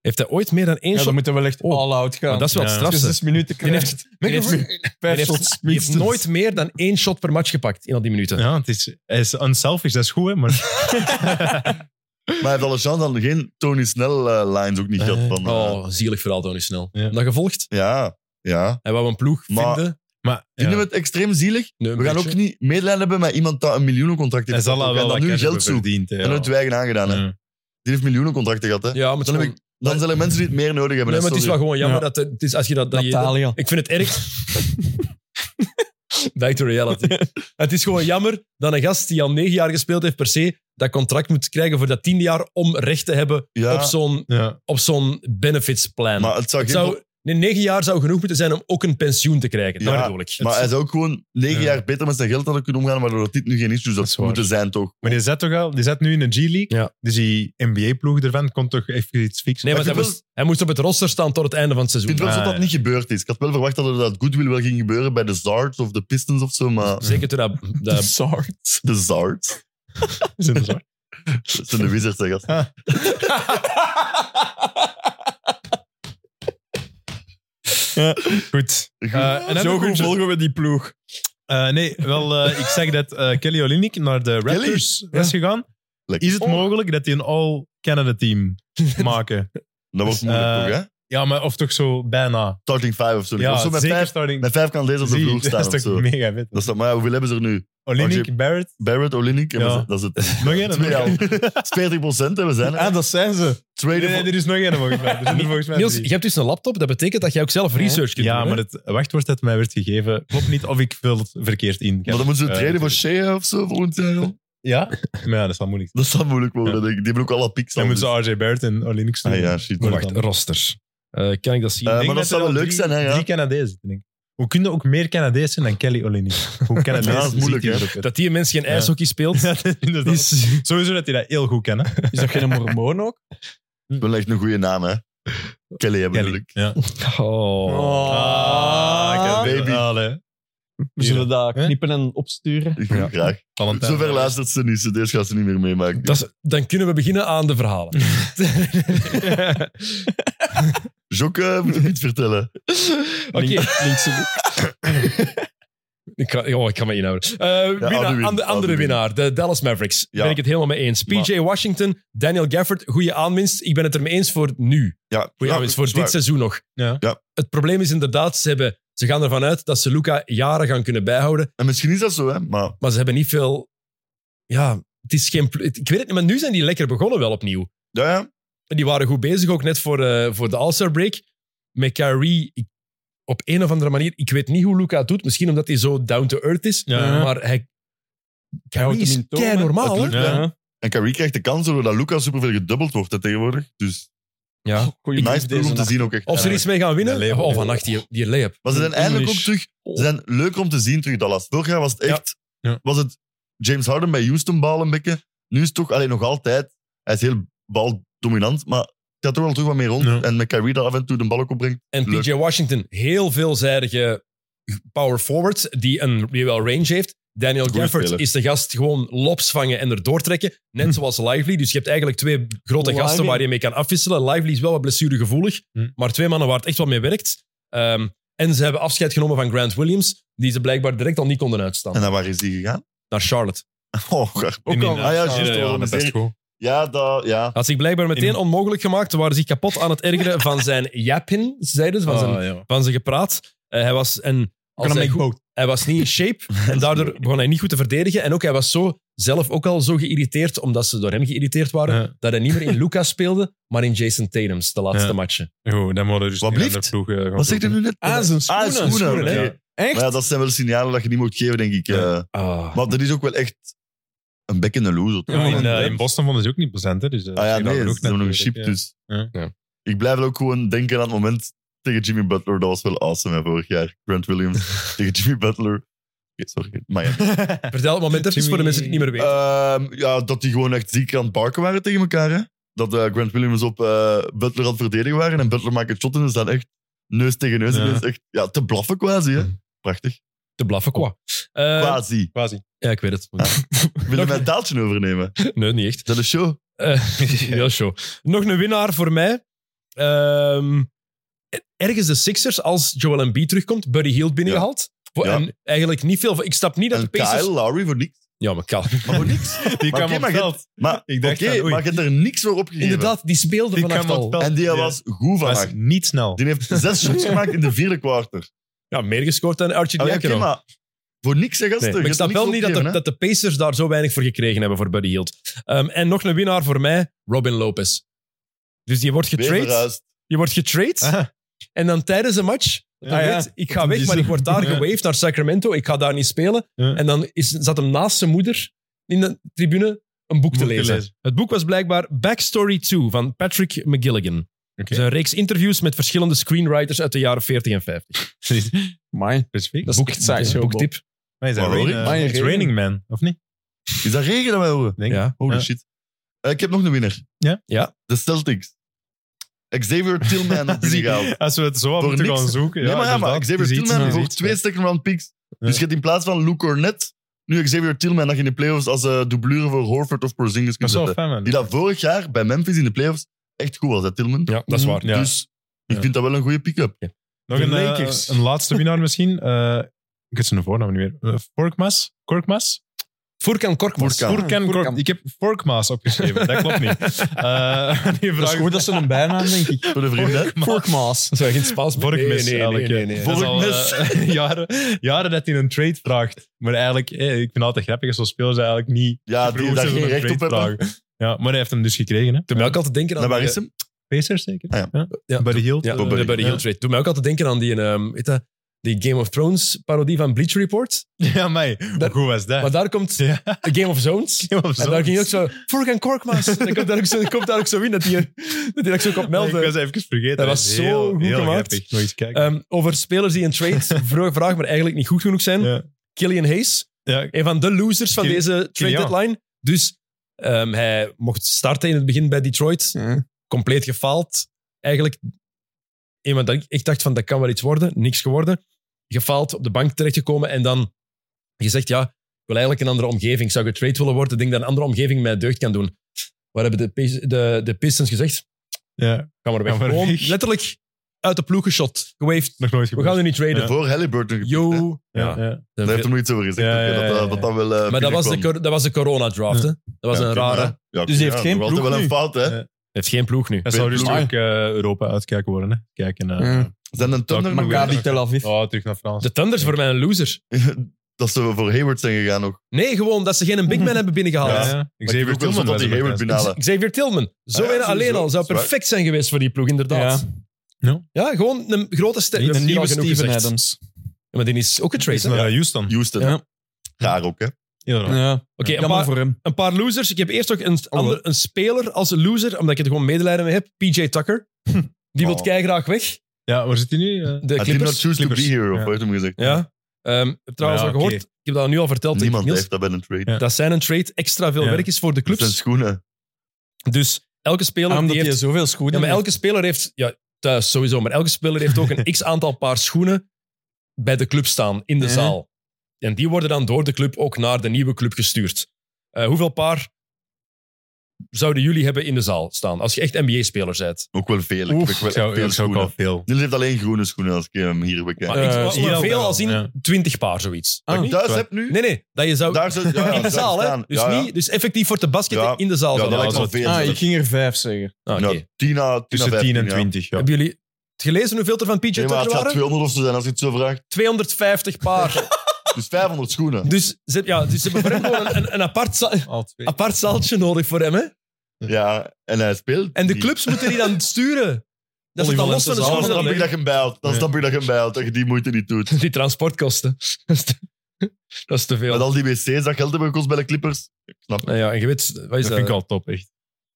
Speaker 1: Heeft hij ooit meer dan één
Speaker 5: Ja,
Speaker 1: shot?
Speaker 5: dan moeten we wel echt
Speaker 1: Oh.
Speaker 5: all-out gaan.
Speaker 1: Maar dat is wel
Speaker 4: Ja.
Speaker 1: het
Speaker 5: Als je
Speaker 1: strafste.
Speaker 5: zes minuten
Speaker 1: Die heeft-
Speaker 5: krijgt.
Speaker 1: die heeft-
Speaker 5: vijf
Speaker 1: die heeft-
Speaker 5: shots
Speaker 1: die heeft
Speaker 5: minstens.
Speaker 1: nooit meer dan één shot per match gepakt in al die minuten.
Speaker 4: Ja, het is, hij is unselfish, dat is goed, hè,
Speaker 1: *laughs*
Speaker 4: maar...
Speaker 2: Maar hij heeft alle chance dan geen Tony Snell eh, lines ook niet
Speaker 4: Eh,
Speaker 2: gehad. Van, eh,
Speaker 1: Oh, zielig verhaal, Tony Snel.
Speaker 4: Ja.
Speaker 1: Dat gevolgd.
Speaker 2: Ja, ja.
Speaker 1: Hij wou een ploeg
Speaker 2: Maar-
Speaker 1: vinden.
Speaker 4: maar ja.
Speaker 2: Vinden we het extreem zielig?
Speaker 1: Nee, een
Speaker 2: We gaan
Speaker 1: beetje.
Speaker 2: ook niet medelijden hebben met iemand dat een miljoenencontract
Speaker 4: Hij
Speaker 2: heeft.
Speaker 4: zal
Speaker 2: gehad.
Speaker 4: al
Speaker 2: We
Speaker 4: wel
Speaker 2: gaan
Speaker 4: wat
Speaker 2: dat nu
Speaker 4: cash
Speaker 2: geld
Speaker 4: hebben
Speaker 2: zoeken.
Speaker 4: verdiend, hè,
Speaker 2: En dat
Speaker 4: ja.
Speaker 2: hebben wij gedaan gedaan. Hè.
Speaker 4: Ja.
Speaker 2: Die heeft miljoenencontracten gehad. Hè.
Speaker 1: Ja, maar het is
Speaker 2: Dan, heb
Speaker 1: wel-
Speaker 2: ik- dan zijn er mensen die het meer nodig hebben.
Speaker 1: Nee,
Speaker 2: hè,
Speaker 1: maar het is wel
Speaker 2: sorry.
Speaker 1: gewoon jammer dat, het is als je dat, dat je-
Speaker 5: Natalia.
Speaker 1: ik vind het erg.
Speaker 4: *laughs*
Speaker 1: Back to reality. het is gewoon jammer dat een gast die al negen jaar gespeeld heeft per se dat contract moet krijgen voor dat tiende jaar om recht te hebben
Speaker 2: Ja.
Speaker 1: op zo'n
Speaker 4: Ja.
Speaker 1: op zo'n benefits plan.
Speaker 2: Maar het zou,
Speaker 1: het
Speaker 2: geen
Speaker 1: zou Nee, negen jaar zou genoeg moeten zijn om ook een pensioen te krijgen. Dat
Speaker 2: Ja,
Speaker 1: bedoel ik.
Speaker 2: Maar hij zou ook gewoon negen
Speaker 4: Ja.
Speaker 2: jaar beter met zijn geld hadden kunnen omgaan, waardoor dit nu geen issues
Speaker 4: Dat is
Speaker 2: had
Speaker 4: waar.
Speaker 2: moeten zijn, toch?
Speaker 4: Maar die zat toch al, die zat nu in de G-League.
Speaker 1: Ja.
Speaker 4: Dus die NBA-ploeg ervan kon toch even iets fixen.
Speaker 1: nee,
Speaker 4: *laughs*
Speaker 2: Maar
Speaker 1: want hij
Speaker 2: ik wil-
Speaker 1: moest, hij moest op het roster staan tot het einde van het
Speaker 2: Ik
Speaker 1: seizoen.
Speaker 2: vind wel
Speaker 4: Ah,
Speaker 2: dat dat
Speaker 4: ja.
Speaker 2: niet gebeurd is. Ik had wel verwacht dat er dat goodwill wel ging gebeuren bij de Zards of de Pistons of
Speaker 1: *laughs*
Speaker 2: zo, maar *laughs*
Speaker 1: Zeker toen dat,
Speaker 5: *laughs*
Speaker 1: dat
Speaker 5: Sorry.
Speaker 2: de Zards.
Speaker 4: Is dat zo?
Speaker 2: Dat zijn de Wizards, zeg gast.
Speaker 4: Goed.
Speaker 2: Goed.
Speaker 4: Eh, en dan
Speaker 5: Zo
Speaker 4: nog
Speaker 5: goed
Speaker 4: een-
Speaker 5: volgen we die ploeg.
Speaker 4: Eh, nee, wel, eh, ik zeg dat eh, Kelly Olynyk naar de Raptors was gegaan.
Speaker 2: Lekker.
Speaker 4: Is het mogelijk dat die een
Speaker 2: *laughs*
Speaker 4: All-Canada-team maken?
Speaker 2: dat wordt moeilijk,
Speaker 4: eh,
Speaker 2: toch, hè?
Speaker 4: Ja, maar of toch zo bijna.
Speaker 2: Starting 5 of zo.
Speaker 4: Ja,
Speaker 2: of zo met,
Speaker 4: zeker
Speaker 2: vijf,
Speaker 4: starting.
Speaker 2: met vijf kan deze op de
Speaker 4: Zie,
Speaker 2: vloer staan
Speaker 4: *laughs* dat
Speaker 2: of
Speaker 4: is toch
Speaker 2: zo.
Speaker 4: mega vet.
Speaker 2: Dat is dat, maar ja, hoeveel hebben ze er nu?
Speaker 4: Olynyk, Barrett,
Speaker 2: *laughs* Barrett, Olinik, en
Speaker 4: Ja.
Speaker 2: we zijn- dat is het.
Speaker 4: *laughs* nog één.
Speaker 2: *laughs* Twee al.
Speaker 4: nog één.
Speaker 2: Het is 40% en we zijn er.
Speaker 5: Ah, dat zijn ze.
Speaker 2: Traden
Speaker 4: Nee, nee,
Speaker 2: voor-
Speaker 4: er is nog één volgens mij. Er
Speaker 2: *laughs*
Speaker 4: zijn er volgens mij
Speaker 1: Niels,
Speaker 4: drie.
Speaker 1: je hebt dus een laptop. Dat betekent dat jij ook zelf research kunt
Speaker 4: Ja,
Speaker 1: doen. hè?
Speaker 4: maar het wachtwoord dat mij werd gegeven klopt niet of ik vul het verkeerd in.
Speaker 2: Maar dan moeten ze
Speaker 4: Eh,
Speaker 2: traden voor Shea of zo volgend jaar. al.
Speaker 4: Ja? Maar ja, dat zal moeilijk zijn.
Speaker 2: Dat zou moeilijk worden, denk ik. Die hebben ook al wat piks.
Speaker 4: Dan
Speaker 2: al,
Speaker 4: moeten
Speaker 2: dus-
Speaker 4: ze RJ Barrett en Olynyk sturen.
Speaker 2: Ah ja, shit.
Speaker 1: Maar
Speaker 4: Maar
Speaker 1: wacht,
Speaker 4: dan-
Speaker 1: rosters. Eh, kan ik dat zien?
Speaker 2: Eh,
Speaker 4: Ik denk
Speaker 2: maar dat
Speaker 4: er
Speaker 2: zou wel
Speaker 4: al
Speaker 2: leuk
Speaker 4: drie-
Speaker 2: zijn, hè, ja.
Speaker 4: Drie Canadezen, denk ik. Hoe kunnen ook meer Canadezen zijn dan Kelly Olynyk? Hoe Canadezen
Speaker 2: Ja, dat is
Speaker 4: ziet
Speaker 2: moeilijk,
Speaker 4: hij
Speaker 2: hè.
Speaker 4: erop uit?
Speaker 1: dat die mens geen ijshockey speelt.
Speaker 4: Inderdaad.
Speaker 1: is,
Speaker 4: Sowieso dat hij dat heel goed kan. Hè?
Speaker 5: Is dat geen mormoon ook?
Speaker 2: Wel echt een goede naam, hè? Kelly, hè, bedoel
Speaker 4: Kelly.
Speaker 2: ik.
Speaker 4: Ja.
Speaker 1: oh.
Speaker 4: Ah,
Speaker 2: ik heb baby.
Speaker 4: Alle.
Speaker 5: We zullen dat knippen en opsturen.
Speaker 2: Ik wil
Speaker 4: Ja.
Speaker 2: graag.
Speaker 4: Valentijn.
Speaker 2: Zover luistert ze niet. ze- Deze gaat ze niet meer meemaken.
Speaker 1: Dat is- dan kunnen we beginnen aan de verhalen.
Speaker 2: Jokke moet ik iets vertellen.
Speaker 1: Oké. *laughs* Ik kan, oh, ik kan me inhouden. Eh, winnaar-
Speaker 2: Alduin.
Speaker 1: aan de andere
Speaker 2: Alduin.
Speaker 1: winnaar, de Dallas Mavericks.
Speaker 2: Ja.
Speaker 1: Ben ik het helemaal mee eens. PJ Washington, Daniel Gafford, goede aanwinst. Ik ben het er mee eens voor nu.
Speaker 2: Ja,
Speaker 1: Goeie
Speaker 2: ja,
Speaker 1: aanwinst, dus voor
Speaker 2: zwaar.
Speaker 1: dit seizoen nog.
Speaker 4: Ja.
Speaker 2: Ja.
Speaker 1: Het probleem is inderdaad, ze, hebben, ze gaan ervan uit dat ze Luca jaren gaan kunnen bijhouden.
Speaker 2: En misschien is dat zo, hè? Maar
Speaker 1: Maar ze hebben niet veel... Ja, het is geen... pl- Ik weet het niet, maar nu zijn die lekker begonnen wel opnieuw.
Speaker 2: ja, ja.
Speaker 1: En Die waren goed bezig, ook net voor, eh, voor de All-Star break. Met Kyrie, ik- op een of andere manier, ik weet niet hoe Luca het doet. Misschien omdat hij zo down-to-earth is.
Speaker 4: Ja.
Speaker 1: Maar hij... Kyrie
Speaker 5: houdt hem
Speaker 1: is
Speaker 5: in toom, hè.
Speaker 1: normaal,
Speaker 2: Het
Speaker 1: hè?
Speaker 2: lukt, hè. En Kyrie krijgt de kans doordat Lucas superveel gedubbeld wordt hè, tegenwoordig. Dus
Speaker 1: Ja.
Speaker 5: Goeie
Speaker 2: nice ploeg om te zien ook echt.
Speaker 1: Of ze er iets mee gaan winnen.
Speaker 4: Ja, layup.
Speaker 1: oh, vannacht die, die layup.
Speaker 2: Maar ze zijn eindelijk ook
Speaker 5: English.
Speaker 2: terug. Ze zijn leuk om te zien terug, Dallas. Vorig jaar was het echt...
Speaker 4: Ja.
Speaker 2: Was het James Harden bij Houston balen bekken. Nu is het toch alleen nog altijd... Hij is heel baldominant, maar het gaat toch wel terug wat meer rond.
Speaker 4: Ja.
Speaker 2: En met Kyrie dat af en toe de bal ook opbrengt.
Speaker 1: En PJ Washington, heel veelzijdige power forwards die, een, die wel range heeft. Daniel
Speaker 2: Goeie
Speaker 1: Gafford
Speaker 2: speler.
Speaker 1: is de gast gewoon lobs vangen en erdoor trekken. Net zoals Lively. Dus je hebt eigenlijk twee grote
Speaker 5: Lively.
Speaker 1: gasten waar je mee kan afwisselen. Lively is wel wat blessuregevoelig,
Speaker 4: Hm.
Speaker 1: maar twee mannen waar het echt wat mee werkt. Ehm, en ze hebben afscheid genomen van Grant Williams, die ze blijkbaar direct al niet konden uitstaan.
Speaker 2: En dan waar is hij gegaan? *laughs*
Speaker 1: Naar Charlotte.
Speaker 2: Oh, ja.
Speaker 5: Ook al.
Speaker 2: Ah ja, juist.
Speaker 4: Ja, ja,
Speaker 2: hoor,
Speaker 4: dat is
Speaker 2: meteen.
Speaker 4: goed.
Speaker 2: Ja, dat... Ja.
Speaker 1: Had zich blijkbaar meteen
Speaker 4: In-
Speaker 1: onmogelijk gemaakt. Ze waren zich kapot aan het ergeren van zijn *laughs* japin, zeiden ze, van zijn
Speaker 4: Ah, ja.
Speaker 1: van zijn gepraat. Eh, hij was en als hij, goed- hij was niet in shape en daardoor begon hij niet goed te verdedigen. En ook hij was zo, zelf ook al zo geïrriteerd, omdat ze door hem geïrriteerd waren,
Speaker 4: Ja.
Speaker 1: dat hij niet meer in Lucas speelde, maar in Jason Tatum's, de laatste
Speaker 4: Ja.
Speaker 1: matchen.
Speaker 4: Goed, dan worden we dus
Speaker 2: Wat
Speaker 4: niet aan de
Speaker 2: blieft?
Speaker 4: ploeg, eh, gaan
Speaker 2: Wat zegt hij
Speaker 4: ploegen.
Speaker 2: nu net?
Speaker 5: Ah, zijn
Speaker 2: Ah,
Speaker 5: schoenen.
Speaker 2: schoenen.
Speaker 5: Schoenen, hè?
Speaker 2: ja.
Speaker 5: Echt?
Speaker 2: Maar ja, dat zijn wel signalen dat je niet moet geven, denk ik. eh.
Speaker 1: Ah.
Speaker 2: Maar dat is ook wel echt een bek in de loser. toch?
Speaker 4: Ja, in,
Speaker 2: Ja.
Speaker 4: eh, in Boston vonden ze ook niet plezant. Hè, dus, eh,
Speaker 2: Ah ja,
Speaker 4: dat
Speaker 2: nee, ze
Speaker 4: ook
Speaker 2: hebben nog
Speaker 4: natuurlijk,
Speaker 2: geshipped,
Speaker 4: ja.
Speaker 2: dus...
Speaker 4: Ja.
Speaker 1: Ja.
Speaker 2: Ik blijf ook gewoon denken aan het moment tegen Jimmy Butler. Dat was wel awesome, hè, vorig jaar. Grant Williams tegen Jimmy Butler. Oké, sorry, maar ja.
Speaker 1: Vertel het moment even voor de mensen die het niet meer weten.
Speaker 2: Ehm, ja, dat die gewoon echt ziek aan het parken waren tegen elkaar, hè. Dat eh, Grant Williams op eh, Butler aan het verdedigen waren. En Butler maakt het shot en ze staan echt neus tegen neus.
Speaker 4: Ja.
Speaker 2: En dat is echt ja, te blaffen quasi, hè. Prachtig.
Speaker 1: Te blaffen, qua. Eh,
Speaker 2: Quasi.
Speaker 4: Quasi.
Speaker 1: ja, ik weet het.
Speaker 2: Wil je
Speaker 1: Oké.
Speaker 2: mijn taaltje overnemen? Is
Speaker 1: *laughs* Nee, niet
Speaker 2: *laughs*
Speaker 1: echt.
Speaker 2: dat een show?
Speaker 1: Eh, ja, show. Nog een winnaar voor mij. Ehm, ergens de Sixers, als Joel Embiid terugkomt, Buddy Hield binnengehaald. Voor-
Speaker 2: Ja.
Speaker 1: En eigenlijk niet veel van... Ik snap niet dat de
Speaker 2: En
Speaker 1: Pacers...
Speaker 2: Kyle Lowry voor niks.
Speaker 1: Ja, maar Kyle.
Speaker 2: Maar voor niks.
Speaker 4: Die
Speaker 2: Maar
Speaker 4: kwam
Speaker 2: oké,
Speaker 4: op
Speaker 2: maar je-
Speaker 4: geld.
Speaker 2: Maar
Speaker 4: Ik
Speaker 2: oké,
Speaker 4: dacht van, oei.
Speaker 2: maar je hebt er niks voor opgegeven.
Speaker 1: Inderdaad, die speelde
Speaker 4: Die
Speaker 1: vannacht
Speaker 4: kwam op
Speaker 1: al.
Speaker 4: het veld.
Speaker 2: En die
Speaker 4: Ja.
Speaker 2: was goed
Speaker 4: Hij
Speaker 2: vandaag.
Speaker 4: is niet snel.
Speaker 2: Die heeft zes shots gemaakt in de vierde kwarter.
Speaker 1: Ja, meer gescoord dan Archie
Speaker 2: Ah, ja,
Speaker 1: Diacono.
Speaker 2: oké, maar voor niks zeggen
Speaker 1: Nee,
Speaker 2: ze.
Speaker 1: maar ik snap wel niet dat de, dat de Pacers daar zo weinig voor gekregen hebben voor Buddy Hield. Ehm, en nog een winnaar voor mij, Robin Lopez. Dus die wordt getraind. Je wordt getraind.
Speaker 4: Ah.
Speaker 1: En dan tijdens een match. dan
Speaker 4: Ah, ja.
Speaker 1: weet, ik ga weg, maar ik word *laughs* daar
Speaker 4: Ja.
Speaker 1: gewaved naar Sacramento. Ik ga daar niet spelen.
Speaker 4: Ja.
Speaker 1: En dan is, zat hem naast zijn moeder in de tribune een boek, te
Speaker 4: Boek te
Speaker 1: lezen.
Speaker 4: lezen.
Speaker 1: Het boek was blijkbaar Backstory 2 van Patrick McGilligan. Dus een reeks interviews met verschillende screenwriters uit de jaren 40 en 50.
Speaker 5: Amai,
Speaker 4: Respect.
Speaker 5: dat is echt saai. zo, Bob.
Speaker 1: Boektip.
Speaker 4: Maar is dat
Speaker 2: Waarom?
Speaker 4: Rain- eh,
Speaker 5: Maar je
Speaker 4: it's
Speaker 5: reden.
Speaker 4: Raining Man, of niet?
Speaker 2: Is dat regen dat wij horen?
Speaker 4: Denk
Speaker 1: Ja.
Speaker 2: Holy
Speaker 4: Ja.
Speaker 2: shit. Eh, ik heb nog een winnaar.
Speaker 4: Ja?
Speaker 1: Ja.
Speaker 2: De Celtics. Xavier Tillman
Speaker 4: *laughs*
Speaker 2: had binnengehaald.
Speaker 4: Als we het zo hadden
Speaker 2: Voor
Speaker 4: moeten gaan
Speaker 2: niks.
Speaker 4: zoeken.
Speaker 2: nee, maar ja, maar
Speaker 4: inderdaad.
Speaker 2: Xavier
Speaker 4: Het is iets,
Speaker 2: Tillman
Speaker 4: het is
Speaker 2: voor
Speaker 4: iets.
Speaker 2: twee second round picks.
Speaker 4: Ja.
Speaker 2: Dus je hebt in plaats van Lou Cornet nu Xavier Tillman dat je in de playoffs als eh dublure voor Horford of Porzingis
Speaker 4: Dat
Speaker 2: kunt
Speaker 4: is wel
Speaker 2: zetten.
Speaker 4: fijn, man.
Speaker 2: Die dat vorig jaar bij Memphis in de playoffs echt goed was, dat Tillman.
Speaker 1: Ja, dat is waar.
Speaker 4: Ja.
Speaker 2: Dus ik
Speaker 4: Ja.
Speaker 2: vind dat wel een goede pick-up.
Speaker 4: Nog
Speaker 2: De
Speaker 4: een, eh,
Speaker 2: Lakers.
Speaker 4: een laatste winnaar misschien. Eh, ik weet zijn voornaam niet meer. Eh, Forkmas? Korkmas?
Speaker 1: Furkan Korkmaz.
Speaker 2: Furkan.
Speaker 4: Furkan
Speaker 5: Furkan.
Speaker 4: Kork- Ik heb Forkmas opgeschreven. Dat klopt
Speaker 2: *laughs*
Speaker 4: niet. Eh, *laughs* die
Speaker 5: Dat is
Speaker 4: vraag-
Speaker 5: goed dat ze een bijnaam, denk ik.
Speaker 2: Voor de vrienden.
Speaker 4: *laughs*
Speaker 5: Forkmaas.
Speaker 1: Dat is wel geen Spaans meer.
Speaker 4: Vorkmes
Speaker 1: Nee, nee, nee,
Speaker 4: eigenlijk,
Speaker 1: nee,
Speaker 4: hè.
Speaker 1: nee.
Speaker 4: Dat is al,
Speaker 2: Vorkmes.
Speaker 4: eh, *laughs* jaren, jaren dat hij een trade vraagt. Maar eigenlijk, eh, ik vind het altijd grappig als zo'n spelers eigenlijk niet
Speaker 2: Ja, die
Speaker 4: verhoeven
Speaker 2: daar
Speaker 4: om
Speaker 2: geen
Speaker 4: een
Speaker 2: recht op
Speaker 4: trade
Speaker 2: hebben.
Speaker 4: vragen. Ja, maar hij heeft hem dus gekregen. Hè.
Speaker 1: Doe mij ook altijd denken aan...
Speaker 2: Nou, waar
Speaker 1: die-
Speaker 2: is hem?
Speaker 4: Pacers zeker?
Speaker 2: Ah, ja.
Speaker 1: Ja,
Speaker 4: Buddy Hield.
Speaker 1: Ja,
Speaker 4: eh,
Speaker 1: de Buddy
Speaker 4: ja.
Speaker 1: Hield trade. Doe mij ook altijd denken aan die, ehm, weet dat, die Game of Thrones parodie van Bleach Report.
Speaker 4: *laughs* Ja, mij. Hoe
Speaker 1: Dat-
Speaker 4: goed was dat?
Speaker 1: Maar daar komt
Speaker 4: *laughs* Ja.
Speaker 1: Game of Zones. En daar ging ook zo... Furkan *laughs* Korkmaz. Dan komt daar ook zo, komt daar ook zo in dat hij
Speaker 4: *laughs*
Speaker 1: dat die ook zo komt melden.
Speaker 4: Ik was even vergeten.
Speaker 1: Dat was zo
Speaker 4: heel,
Speaker 1: goed
Speaker 4: heel
Speaker 1: gemaakt.
Speaker 4: grappig. Moet je eens kijken.
Speaker 1: Ehm, over spelers die een trade *laughs* vro- vragen, maar eigenlijk niet goed genoeg zijn.
Speaker 4: Ja.
Speaker 1: Killian Hayes,
Speaker 4: ja,
Speaker 1: een van de losers van
Speaker 4: Kill-
Speaker 1: deze trade
Speaker 4: Killian.
Speaker 1: deadline. Dus ehm, hij mocht starten in het begin bij Detroit.
Speaker 5: Ja.
Speaker 1: Compleet gefaald. Eigenlijk iemand dat ik echt dacht van, dat kan wel iets worden. Niks geworden. Gefaald, op de bank terechtgekomen en dan gezegd, ja, ik wil eigenlijk een andere omgeving. Zou ik trade willen worden? Ik denk dat een andere omgeving mij deugd kan doen. Wat hebben de, Pac- de, de Pistons gezegd?
Speaker 4: ja,
Speaker 1: Ga maar weg.
Speaker 4: Ga maar
Speaker 1: Gewoon
Speaker 4: weg.
Speaker 1: letterlijk uit de ploeg geschot. Gewaved.
Speaker 4: nog nooit
Speaker 1: We
Speaker 4: gebeurd.
Speaker 1: gaan er niet traden.
Speaker 4: Ja.
Speaker 2: Voor Halliburton. gepikt, hè.
Speaker 1: Yo.
Speaker 4: Ja, ja.
Speaker 2: Daar heeft hem nog iets over gezegd.
Speaker 4: Ja,
Speaker 2: oké,
Speaker 4: ja,
Speaker 2: dat,
Speaker 4: ja,
Speaker 2: dat,
Speaker 4: ja.
Speaker 2: dat dat wel, eh,
Speaker 1: Maar dat was, de,
Speaker 2: binnenkwam.
Speaker 1: cor- dat was de corona-draft, hè? Dat was
Speaker 2: Ja,
Speaker 1: een
Speaker 2: oké,
Speaker 1: rare.
Speaker 2: maar- ja,
Speaker 5: Dus die heeft
Speaker 2: ja,
Speaker 5: geen
Speaker 2: nog altijd
Speaker 5: ploeg
Speaker 2: wel een
Speaker 5: nu.
Speaker 2: fout, hè?
Speaker 4: Ja.
Speaker 1: heeft geen ploeg nu.
Speaker 4: Hij zou dus
Speaker 2: Ploeg.
Speaker 4: ook eh, Europa uitkijken worden. Hè. Kijken naar...
Speaker 5: Ja.
Speaker 2: Zijn een Thunder nog
Speaker 5: Maccabi Tel Aviv.
Speaker 4: Oh, terug naar Frans.
Speaker 1: De Thunder is voor mij een loser.
Speaker 2: weer- *laughs* Dat ze voor Hayward zijn gegaan nog.
Speaker 1: Nee, gewoon dat ze geen big man hebben binnengehaald.
Speaker 4: ja. Ik
Speaker 2: Maar ik
Speaker 4: Xavier
Speaker 2: vind ook wel zot
Speaker 4: Tillman
Speaker 2: dat
Speaker 4: was
Speaker 2: die
Speaker 4: er
Speaker 2: Hayward
Speaker 4: nog
Speaker 2: binnenhalen.
Speaker 1: Xavier Tillman. Zo
Speaker 2: Ah, ja,
Speaker 1: een alleen
Speaker 2: sowieso.
Speaker 1: al zou
Speaker 2: Zwaar.
Speaker 1: perfect zijn geweest voor die ploeg, inderdaad. Ja,
Speaker 4: Ja.
Speaker 1: gewoon een grote ster.
Speaker 5: Niet
Speaker 1: Dat
Speaker 5: een
Speaker 1: is hier
Speaker 5: nieuwe
Speaker 1: al genoeg
Speaker 5: Steven
Speaker 1: gezegd.
Speaker 5: Adams.
Speaker 1: Ja, maar die is ook
Speaker 4: bij.
Speaker 1: getraind.
Speaker 4: Is naar
Speaker 1: Oké,
Speaker 4: eh, Houston.
Speaker 2: Houston.
Speaker 5: Ja.
Speaker 2: Raar ook, hè?
Speaker 4: Heel raar.
Speaker 5: Ja,
Speaker 1: een,
Speaker 5: jammer
Speaker 1: paar,
Speaker 5: voor hem.
Speaker 1: een paar losers. Ik heb eerst nog een, ander, een speler als loser, omdat ik er gewoon medelijden mee heb. PJ Tucker. Die wil
Speaker 2: Oh.
Speaker 1: graag weg.
Speaker 4: Ja, waar zit hij nu? Eh,
Speaker 1: De
Speaker 2: I did not
Speaker 1: Clippers.
Speaker 2: choose
Speaker 4: Clippers.
Speaker 2: to be here, of
Speaker 4: Ja.
Speaker 2: hoe heeft hem gezegd?
Speaker 1: Ja. Ehm, ik heb trouwens
Speaker 4: Ja,
Speaker 1: al gehoord.
Speaker 4: oké.
Speaker 1: Ik heb dat nu al verteld. denk ik,
Speaker 2: Niemand
Speaker 1: Niels.
Speaker 2: heeft dat bij een trade. Dus
Speaker 4: Ja.
Speaker 1: dat zijn een trade extra veel
Speaker 4: Ja.
Speaker 1: werk is voor de
Speaker 2: Zijn
Speaker 1: clubs.
Speaker 2: schoenen.
Speaker 1: Dus elke speler
Speaker 5: Omdat
Speaker 1: die
Speaker 5: hij
Speaker 1: heeft...
Speaker 5: zoveel schoenen
Speaker 1: Ja, maar
Speaker 5: heeft.
Speaker 1: elke speler heeft... Ja, thuis sowieso, maar elke speler heeft ook
Speaker 2: *laughs*
Speaker 1: een x-aantal paar schoenen bij de club staan, in de
Speaker 5: Ja.
Speaker 1: zaal. En die worden dan door de club ook naar de nieuwe club gestuurd. Eh, hoeveel paar zouden jullie hebben in de zaal staan, als je echt NBA-speler bent?
Speaker 2: Ook wel veel. Ik
Speaker 4: Oef,
Speaker 2: heb
Speaker 4: ik
Speaker 2: wel
Speaker 4: zou,
Speaker 2: echt veel
Speaker 4: ik zou ook al
Speaker 2: schoenen.
Speaker 4: veel.
Speaker 2: Niels heeft alleen groene schoenen als ik hem hier bekijk.
Speaker 1: Maar ik-
Speaker 5: Eh,
Speaker 1: maar
Speaker 4: hier ook
Speaker 1: veel
Speaker 4: wel,
Speaker 1: als in
Speaker 4: ja.
Speaker 1: 20 paar, zoiets.
Speaker 5: Ah.
Speaker 2: Wat ik thuis heb nu,
Speaker 1: Nee, nee, dat je zou...
Speaker 2: daar zou ja,
Speaker 1: *laughs* in de
Speaker 2: daar
Speaker 1: zaal, hè?
Speaker 2: staan.
Speaker 1: Dus,
Speaker 2: Ja, ja.
Speaker 1: Niet, dus effectief voor de basket
Speaker 2: Ja.
Speaker 1: in de zaal.
Speaker 2: Ja,
Speaker 1: zou
Speaker 2: dat
Speaker 1: dat
Speaker 2: lijkt me
Speaker 1: zijn.
Speaker 2: veel.
Speaker 5: Ah, ik ging er vijf zeggen.
Speaker 1: Ah, oké.
Speaker 2: Ja, 10 à 10 à
Speaker 4: Tussen 10 en
Speaker 2: 15, ja.
Speaker 4: 20, ja.
Speaker 1: Hebben jullie het gelezen hoeveel er van PJ
Speaker 2: Nee, maar
Speaker 1: Tucker
Speaker 2: het gaat
Speaker 1: waren?
Speaker 2: 200 of zo zijn als je het zo vraagt.
Speaker 1: 250 paar.
Speaker 2: Dus 500
Speaker 1: *laughs*
Speaker 2: schoenen.
Speaker 1: Dus ze, ja, dus ze hebben voor hem gewoon een- een, een apart, za-
Speaker 5: Al
Speaker 4: Ah,
Speaker 5: twee.
Speaker 1: apart zaaltje nodig voor hem. Hè?
Speaker 2: Ja, en hij speelt.
Speaker 1: En de
Speaker 2: niet.
Speaker 1: clubs moeten die dan sturen. Dat is dan los van de
Speaker 5: Olivolante
Speaker 2: Dan
Speaker 5: zaal.
Speaker 1: schoenen.
Speaker 2: snap ik dat
Speaker 1: alleen.
Speaker 2: je hem bijhoudt. Dan
Speaker 4: Ja.
Speaker 2: snap ik dat je hem bijhoudt, dat je die moeite niet doet.
Speaker 1: Die transportkosten. *laughs* Dat is te- dat is te veel.
Speaker 2: Met al die wc's dat geld hebben gekost bij de Clippers. Ik snap het.
Speaker 1: Nou ja, en je weet, wat
Speaker 4: Dat
Speaker 1: is
Speaker 4: vind ik
Speaker 1: dat?
Speaker 4: al top, echt.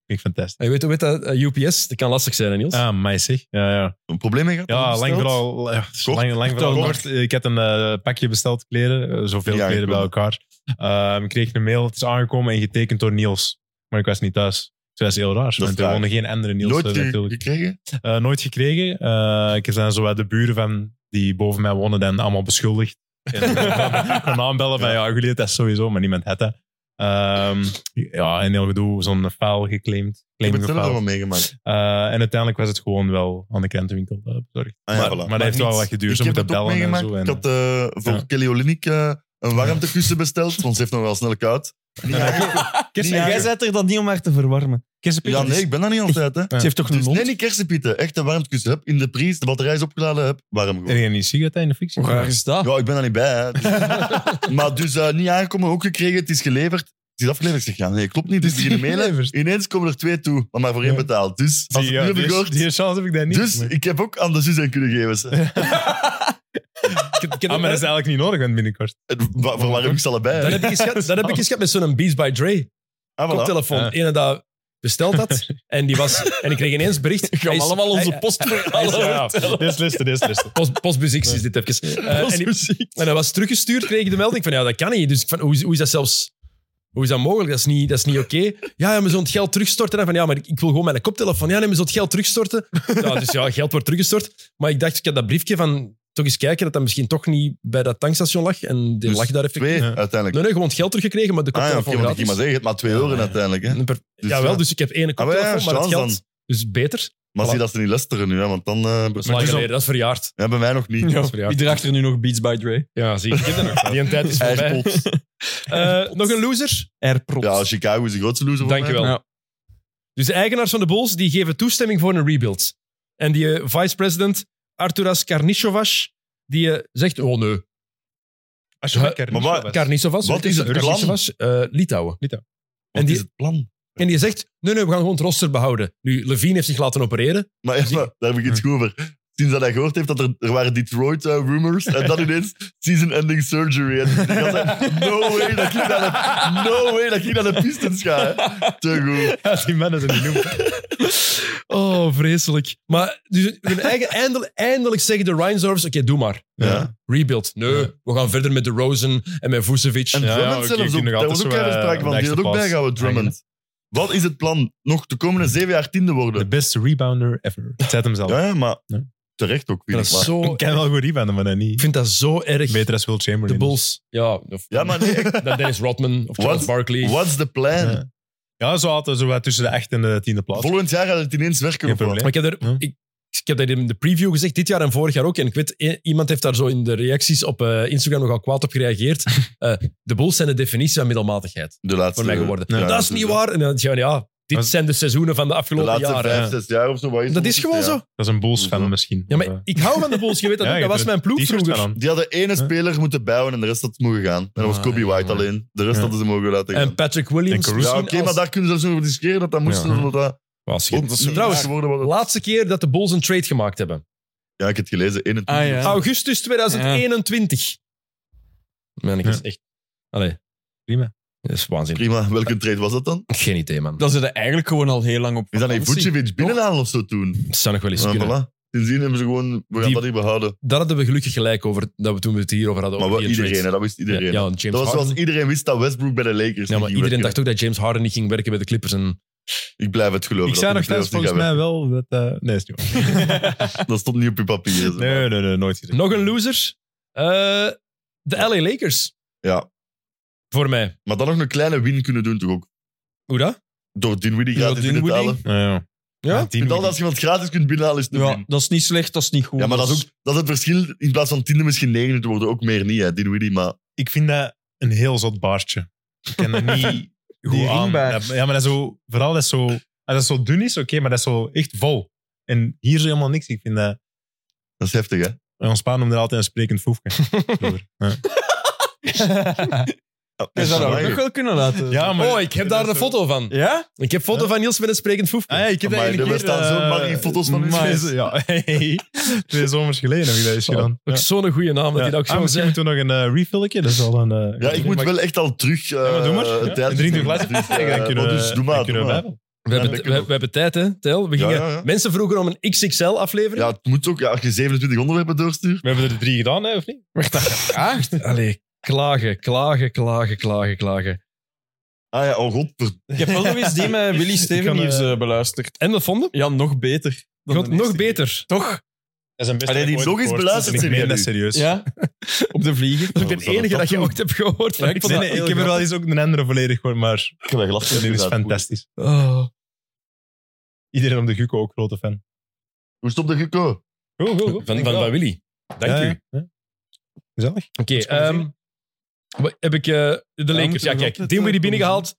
Speaker 4: Vind ik fantastisch.
Speaker 1: En je weet, hoe heet dat eh, UPS, dat kan lastig zijn, hè, Niels.
Speaker 4: Ah, mij zeg. Ja, ja.
Speaker 2: Een probleem mee gehad?
Speaker 4: Ja,
Speaker 2: dat
Speaker 4: lang
Speaker 2: besteld?
Speaker 4: vooral. ja,
Speaker 2: Kort.
Speaker 4: Lang, lang vooral
Speaker 2: Kort.
Speaker 4: kort. Ik had een eh, pakje besteld, kleren. eh, zoveel
Speaker 2: Ja, ik
Speaker 4: kleren bij
Speaker 2: ook.
Speaker 4: elkaar. Ehm, ik kreeg een mail. Het is aangekomen en getekend door Niels. Maar ik was niet thuis. Dus dat is heel raar.
Speaker 2: is
Speaker 4: Want er
Speaker 2: raar.
Speaker 4: wonen geen andere Niels
Speaker 2: Nooit ge-
Speaker 4: natuurlijk.
Speaker 2: gekregen?
Speaker 4: Eh, nooit gekregen. Eh, ik zijn zo uit de buren van die boven mij wonen dan allemaal beschuldigd. En *laughs* ik kon aanbellen van ja, jullie hebben dat sowieso, maar niemand had dat. Ehm, ja, en heel gedoe, zo'n faal geclaimd.
Speaker 2: Ik
Speaker 4: claim
Speaker 2: heb het zelf
Speaker 4: gefaald.
Speaker 2: wel meegemaakt.
Speaker 4: Eh, en uiteindelijk was het gewoon wel aan de krantenwinkel eh, bezorgd.
Speaker 2: Ah, ja,
Speaker 4: maar,
Speaker 2: voilà.
Speaker 4: maar
Speaker 2: Maar
Speaker 4: dat heeft wel
Speaker 2: niet-
Speaker 4: wat geduurd. Ze
Speaker 2: ik heb
Speaker 4: moeten
Speaker 2: het ook
Speaker 4: bellen en
Speaker 2: meegemaakt.
Speaker 4: zo.
Speaker 2: Ik
Speaker 4: En,
Speaker 2: had eh, voor
Speaker 4: Ja.
Speaker 2: Kelly Olynyk eh, een warmtekussen besteld, want ze heeft nog wel snel koud. Niet aangekomen.
Speaker 5: En
Speaker 2: Niet
Speaker 5: jij
Speaker 2: aangekomen.
Speaker 5: zet er dan niet om haar te verwarmen.
Speaker 2: Ja, nee, ik ben dat niet altijd. Hè.
Speaker 5: Ze heeft toch een
Speaker 2: Dus, nee,
Speaker 5: mond?
Speaker 2: niet kersenpieten. Echt een warmtekussen. Heb in de prijs, de batterij is opgeladen, heb warm
Speaker 4: En
Speaker 2: gewoon.
Speaker 4: je niet sigaretten in de fictie?
Speaker 5: Hoe raar is dat?
Speaker 2: Ja, ik ben daar niet bij. Hè.
Speaker 4: *laughs*
Speaker 2: Dus- maar dus eh, niet aangekomen, ook gekregen. Het is geleverd. Het is afgeleverd. Ik zeg, ja, nee, klopt niet. Dus die mailen. Ineens komen er twee toe, maar maar voor één
Speaker 4: Ja.
Speaker 2: betaald. Dus als
Speaker 4: Die,
Speaker 2: ik
Speaker 4: ja,
Speaker 2: nu heb
Speaker 4: die,
Speaker 2: gehoord,
Speaker 4: die chance heb ik daar niet.
Speaker 2: Dus
Speaker 4: Maar-
Speaker 2: ik heb ook aan de zus aan kunnen geven.
Speaker 4: *laughs*
Speaker 2: ze.
Speaker 1: Ik- ik heb- eh,
Speaker 4: Ah, maar dat is eigenlijk niet nodig want binnenkort.
Speaker 2: En wa- Voor waar heb ik ze allebei?
Speaker 1: dat
Speaker 2: hè?
Speaker 1: heb ik eens gehad- dat heb ik eens gehad met zo'n Beats by Dre
Speaker 2: Ah, voilà.
Speaker 1: koptelefoon.
Speaker 4: Ja.
Speaker 1: Ene dat besteld had. En, die was, en ik kreeg ineens bericht.
Speaker 5: Gaan
Speaker 1: hij
Speaker 5: we
Speaker 1: is-
Speaker 5: allemaal onze
Speaker 1: hij-
Speaker 5: post
Speaker 1: hij is-
Speaker 5: verhalen?
Speaker 1: ja,
Speaker 4: Dit is listen, dit is listen.
Speaker 1: Post, postbusix is dit even. Eh, en, die- en hij was teruggestuurd, kreeg ik de melding van ja, dat kan niet. Dus ik van, hoe, is- hoe is dat zelfs... Hoe is dat mogelijk? Dat is niet, dat is niet oké. Ja, ja, maar zo'n geld terugstorten. En Van, ja, maar ik, ik wil gewoon mijn koptelefoon. Ja, nee, maar zo'n geld terugstorten. Ja, dus ja, geld wordt teruggestort. Maar ik dacht, ik had dat briefje van toch eens kijken dat dat misschien toch niet bij dat tankstation lag. En die
Speaker 2: Dus
Speaker 1: lag daar even.
Speaker 2: Twee,
Speaker 4: Ja.
Speaker 2: uiteindelijk.
Speaker 1: Nee, nee, gewoon het geld teruggekregen, maar de
Speaker 2: ah, ja,
Speaker 1: koptelefoon
Speaker 2: oké, want ik
Speaker 1: gratis.
Speaker 2: ging maar zeggen, je hebt maar twee euro uiteindelijk. Hè.
Speaker 1: Een per-
Speaker 2: Dus
Speaker 1: Jawel,
Speaker 2: ja.
Speaker 1: dus ik heb één
Speaker 2: Ah, maar ja,
Speaker 1: koptelefoon, maar het
Speaker 2: chance
Speaker 1: geld
Speaker 2: dan.
Speaker 1: dus beter.
Speaker 2: Maar
Speaker 1: Voilà.
Speaker 2: zie dat ze niet luisteren nu, hè, want dan... eh,
Speaker 1: Dat is, lang
Speaker 4: dus dan-
Speaker 1: geleden, dat is verjaard.
Speaker 2: ja, bij mij nog niet.
Speaker 1: Dat
Speaker 5: Ja,
Speaker 1: is verjaard.
Speaker 5: Wie draagt er nu nog Beats by Dre?
Speaker 1: Ja, zie ik.
Speaker 2: *laughs*
Speaker 1: Die een tijd is voorbij.
Speaker 2: AirPods.
Speaker 1: Eh, nog een loser?
Speaker 5: Airprops.
Speaker 2: Ja, Chicago is de grootste loser voor
Speaker 1: Dankjewel.
Speaker 5: Ja.
Speaker 1: Dus de eigenaars van de Bulls die geven toestemming voor een rebuild. En die eh, vice-president Arturas Karnisovas, die eh, zegt... Oh nee,
Speaker 4: Als
Speaker 1: je-
Speaker 2: Maar wat-
Speaker 1: Karnisovas.
Speaker 2: Wat
Speaker 1: weet
Speaker 2: is
Speaker 1: je,
Speaker 2: het plan?
Speaker 1: Karnisovas, eh, Litouwen.
Speaker 2: Wat
Speaker 1: En die-
Speaker 2: is het plan?
Speaker 1: En die zegt, nee, nee, we gaan gewoon het roster behouden. Nu, Levine heeft zich laten opereren. *laughs*
Speaker 2: Maar ja, maar daar heb ik iets goed over. Sinds dat hij gehoord heeft dat er, er waren Detroit eh, rumors en dan ineens season-ending surgery. En ik dacht, no way dat ik naar de, no way dat ik naar de Pistons ga. hè. Te goed.
Speaker 4: Die mannen zijn niet noemen.
Speaker 1: Oh, vreselijk. Maar dus, hun eigen, *laughs* eindelijk, eindelijk zeggen de Reinsdorfs, oké, doe maar.
Speaker 2: Ja.
Speaker 1: Rebuild. Nee, we gaan verder met de Rosen en met Vucevic.
Speaker 2: En
Speaker 4: Ja,
Speaker 2: Drummond
Speaker 4: oké,
Speaker 2: zelfs ook.
Speaker 4: kunnen nog
Speaker 2: Daar was ook
Speaker 4: altijd
Speaker 2: geen
Speaker 4: zo, eh,
Speaker 2: sprake van. Die
Speaker 4: next
Speaker 2: had ook
Speaker 4: pass
Speaker 2: bijgehouden, Drummond. Wat is het plan? Nog de komende zeven jaar tiende
Speaker 4: De
Speaker 2: worden.
Speaker 4: beste rebounder ever. Het zet hem zelf.
Speaker 2: Ja, ja, maar
Speaker 4: Ja.
Speaker 2: terecht ook. Vind
Speaker 1: Dat is
Speaker 2: ik, maar.
Speaker 1: zo,
Speaker 4: Ik ken wel goed rebounden, maar dan
Speaker 1: ik
Speaker 4: niet.
Speaker 1: vind dat zo erg.
Speaker 4: Beter als Will Chamberlain.
Speaker 1: De Bulls. Ja, of,
Speaker 2: Ja, maar nee,
Speaker 1: *laughs*
Speaker 2: echt.
Speaker 1: dat Dennis Rodman of Charles
Speaker 2: Wat?
Speaker 1: Barkley.
Speaker 2: What's the plan?
Speaker 4: Ja. Ja, zo hadden ze wat tussen de 8 en de 10e plaats.
Speaker 2: Volgend jaar gaat het ineens werken.
Speaker 4: Geen
Speaker 2: of wat?
Speaker 4: probleem.
Speaker 1: Maar ik heb, er,
Speaker 4: Ja.
Speaker 1: ik, ik heb dat in de preview gezegd, dit jaar en vorig jaar ook. En ik weet, i- iemand heeft daar zo in de reacties op eh, Instagram nogal kwaad op gereageerd. Eh, de Bulls zijn de definitie van middelmatigheid
Speaker 2: De laatste,
Speaker 1: voor mij geworden.
Speaker 2: Ja,
Speaker 1: dat is niet
Speaker 2: dus,
Speaker 1: waar. En dan zeg je, ja, dit
Speaker 4: Dat is-
Speaker 1: zijn de seizoenen van de
Speaker 2: De
Speaker 1: afgelopen
Speaker 2: laatste
Speaker 1: jaren.
Speaker 2: vijf, zes jaar of zo. wat
Speaker 1: Dat is gewoon
Speaker 2: Ja.
Speaker 1: zo.
Speaker 4: Dat is een Bulls fan
Speaker 2: Hoezo?
Speaker 4: misschien.
Speaker 1: Ja,
Speaker 4: Of, eh,
Speaker 1: maar ik hou van de Bulls, je weet dat
Speaker 4: ja,
Speaker 1: ook.
Speaker 4: je
Speaker 1: Dat
Speaker 4: hebt
Speaker 1: was mijn ploeg
Speaker 4: t-shirt
Speaker 1: vroeger.
Speaker 4: wel aan.
Speaker 2: Die hadden ene
Speaker 4: Ja.
Speaker 2: speler moeten bijhouden en de rest had het mogen gaan. En dat was
Speaker 1: Ah,
Speaker 2: Kobe
Speaker 1: ja,
Speaker 2: White
Speaker 1: maar-
Speaker 2: alleen. De rest
Speaker 4: Ja.
Speaker 2: hadden ze mogen laten gaan.
Speaker 1: En Patrick Williams.
Speaker 4: En
Speaker 2: ja,
Speaker 1: misschien
Speaker 2: oké, maar
Speaker 1: als-
Speaker 2: daar kunnen ze zelfs over discussiëren dat dat moest.
Speaker 4: Ja.
Speaker 2: Omdat dat
Speaker 1: was
Speaker 2: ook niet
Speaker 1: Trouwens,
Speaker 2: geworden was.
Speaker 1: laatste keer dat de Bulls een trade gemaakt hebben.
Speaker 2: Ja, ik heb het gelezen. 21.
Speaker 5: Ah, ja.
Speaker 1: Augustus 2021. Man, ik is
Speaker 4: Ja.
Speaker 1: echt... Allee.
Speaker 4: Prima.
Speaker 1: Dat is waanzinnig.
Speaker 2: Prima. Welke trade was dat dan?
Speaker 1: Geen idee, man.
Speaker 5: Dat ze er eigenlijk gewoon al heel lang op
Speaker 2: Is dat niet
Speaker 5: vakantie.
Speaker 2: Vucevic binnenhalen of zo toen?
Speaker 1: Dat zou nog wel eens
Speaker 2: Ja,
Speaker 1: kunnen.
Speaker 2: voilà. Sindsdien hebben ze gewoon... We gaan
Speaker 1: Die-
Speaker 2: dat niet behouden.
Speaker 1: Daar hadden we gelukkig gelijk over, dat we toen we het hierover hadden.
Speaker 2: Maar
Speaker 1: over
Speaker 2: wel
Speaker 1: die
Speaker 2: iedereen, hè,
Speaker 1: trades.
Speaker 2: dat wist
Speaker 1: Ja,
Speaker 2: iedereen.
Speaker 1: ja, James
Speaker 2: Dat was
Speaker 1: Harden.
Speaker 2: zoals iedereen wist dat Westbrook bij de
Speaker 1: ja,
Speaker 2: Lakers
Speaker 1: maar
Speaker 2: niet
Speaker 1: iedereen
Speaker 2: ging werken.
Speaker 1: dacht ook dat James Harden niet ging werken bij de Clippers. En
Speaker 2: Ik blijf het geloven.
Speaker 4: Ik zei
Speaker 2: dat
Speaker 4: nog
Speaker 2: die
Speaker 4: steeds
Speaker 2: playoffs
Speaker 4: volgens
Speaker 2: niet
Speaker 4: mij wel dat... eh, nee, is niet waar.
Speaker 2: gaan werken. Dat stond niet op je papier. zo.
Speaker 4: Nee, nee, nee, nooit gezegd.
Speaker 1: nog een loser. Eh, de LA Lakers.
Speaker 2: Ja.
Speaker 1: Voor mij.
Speaker 2: Maar dan nog een kleine win kunnen doen toch ook?
Speaker 1: Hoe dat?
Speaker 2: Door Dinwiddie gratis binnen te
Speaker 5: Dinwiddie.
Speaker 2: halen.
Speaker 4: Ja, ja.
Speaker 1: Ja?
Speaker 2: Ik vind
Speaker 4: tien
Speaker 2: altijd als je iemand gratis kunt binnenhalen, is het een
Speaker 5: Ja,
Speaker 2: win.
Speaker 5: dat is niet slecht, dat is niet goed.
Speaker 2: Ja, maar dat is, ook, dat is het verschil. In plaats van tiende misschien negende te worden, ook meer niet, hè, Dinwiddie. Maar
Speaker 4: ik vind dat een heel zot baardje. Ik ken dat niet goed
Speaker 5: Die
Speaker 4: aan.
Speaker 5: ringbaard.
Speaker 4: Dat- Ja, maar dat is zo, vooral dat is zo, als dat zo dun is, oké, maar dat is zo echt vol. En hier is helemaal niks. Ik vind dat,
Speaker 2: dat is heftig, hè.
Speaker 4: ons pa noemde dat altijd een sprekend foefje. Vroeger. Ja.
Speaker 5: Je zou dat ook
Speaker 2: Amai.
Speaker 5: nog wel kunnen laten.
Speaker 4: Ja, maar-
Speaker 1: Oh, ik heb daar een foto van.
Speaker 5: Ja?
Speaker 1: Ik heb foto van Niels met een sprekend foefje.
Speaker 4: Ah, ja, ik heb dat
Speaker 2: Amai,
Speaker 4: ene
Speaker 2: er
Speaker 4: keer...
Speaker 2: bestaan
Speaker 4: eh,
Speaker 2: zo'n maggie foto's van u.
Speaker 4: maar- *laughs* Ja, hey. Twee zomers geleden heb ik dat eens gedaan.
Speaker 1: Ook
Speaker 4: Ja.
Speaker 1: zo'n goede naam dat
Speaker 4: Ja.
Speaker 1: hij dat ook
Speaker 4: Ah,
Speaker 1: zo
Speaker 4: misschien
Speaker 1: zei.
Speaker 4: moeten we nog een eh, refilletje. Dat is al een... eh,
Speaker 2: Ja, ik moet wel echt al terug... eh,
Speaker 4: Ja, maar doe maar.
Speaker 2: een
Speaker 4: Ja.
Speaker 2: tijdje
Speaker 4: Drink een
Speaker 2: doen. *laughs*
Speaker 4: glas.
Speaker 2: Dus, eh,
Speaker 4: Dan kunnen we-
Speaker 2: maar dus doe
Speaker 4: dan
Speaker 2: maar,
Speaker 4: kunnen
Speaker 2: doe
Speaker 4: we
Speaker 2: maar.
Speaker 4: blijven.
Speaker 1: We hebben,
Speaker 2: dat
Speaker 1: we,
Speaker 2: kan ook.
Speaker 1: we hebben tijd, hè, Tel? We
Speaker 2: Ja,
Speaker 1: gingen,
Speaker 2: ja, ja.
Speaker 1: Mensen vroegen om een XXL-aflevering.
Speaker 2: Ja, het moet ook. Ja, als je 27 onderwerpen doorstuurt.
Speaker 4: We hebben er drie gedaan, hè, of niet?
Speaker 1: Allee, klagen, klagen, klagen, klagen, klagen.
Speaker 2: Ah ja, oh god. ver-
Speaker 5: Ik heb wel nog eens die met Willy Steven
Speaker 4: kan,
Speaker 5: hier
Speaker 4: eh,
Speaker 5: eh, beluisterd.
Speaker 1: En wat vonden?
Speaker 5: Ja, nog beter. dan
Speaker 1: God,
Speaker 5: de
Speaker 1: nog
Speaker 5: eerste keer.
Speaker 1: beter.
Speaker 5: Toch?
Speaker 4: Dat is dus. een beste
Speaker 2: Allee, die
Speaker 4: dat ik ooit
Speaker 2: nog eens
Speaker 4: gehoord.
Speaker 2: beluisterd,
Speaker 4: Ik meen dat
Speaker 2: serieus.
Speaker 4: serieus.
Speaker 5: Ja. Op de vlieger.
Speaker 1: Dat is
Speaker 2: Ja,
Speaker 1: ook
Speaker 2: we
Speaker 1: de
Speaker 2: zullen
Speaker 1: enige
Speaker 2: dat
Speaker 1: dat je
Speaker 2: doen.
Speaker 1: ooit hebt gehoord.
Speaker 4: Ja, ik, nee, nee, ik heb er wel eens ook een andere volledig gehoord, maar
Speaker 2: Ik heb gelachen.
Speaker 4: die is fantastisch. Iedereen op de Guco ook grote fan.
Speaker 2: Hoe stopt oh, de Guco?
Speaker 4: Goed, goed, goed.
Speaker 1: Van,
Speaker 4: Ik
Speaker 1: van,
Speaker 4: wel.
Speaker 1: van Willy. Dank
Speaker 4: Ja,
Speaker 1: u.
Speaker 4: ja, ja. Gezellig.
Speaker 1: Oké,
Speaker 4: Dat is wel
Speaker 1: ehm,
Speaker 4: zin.
Speaker 1: wat heb ik eh, de Lakers.
Speaker 5: moeten
Speaker 1: Ja,
Speaker 5: we
Speaker 1: kijk,
Speaker 5: altijd,
Speaker 1: die
Speaker 5: eh,
Speaker 1: binnengehaald.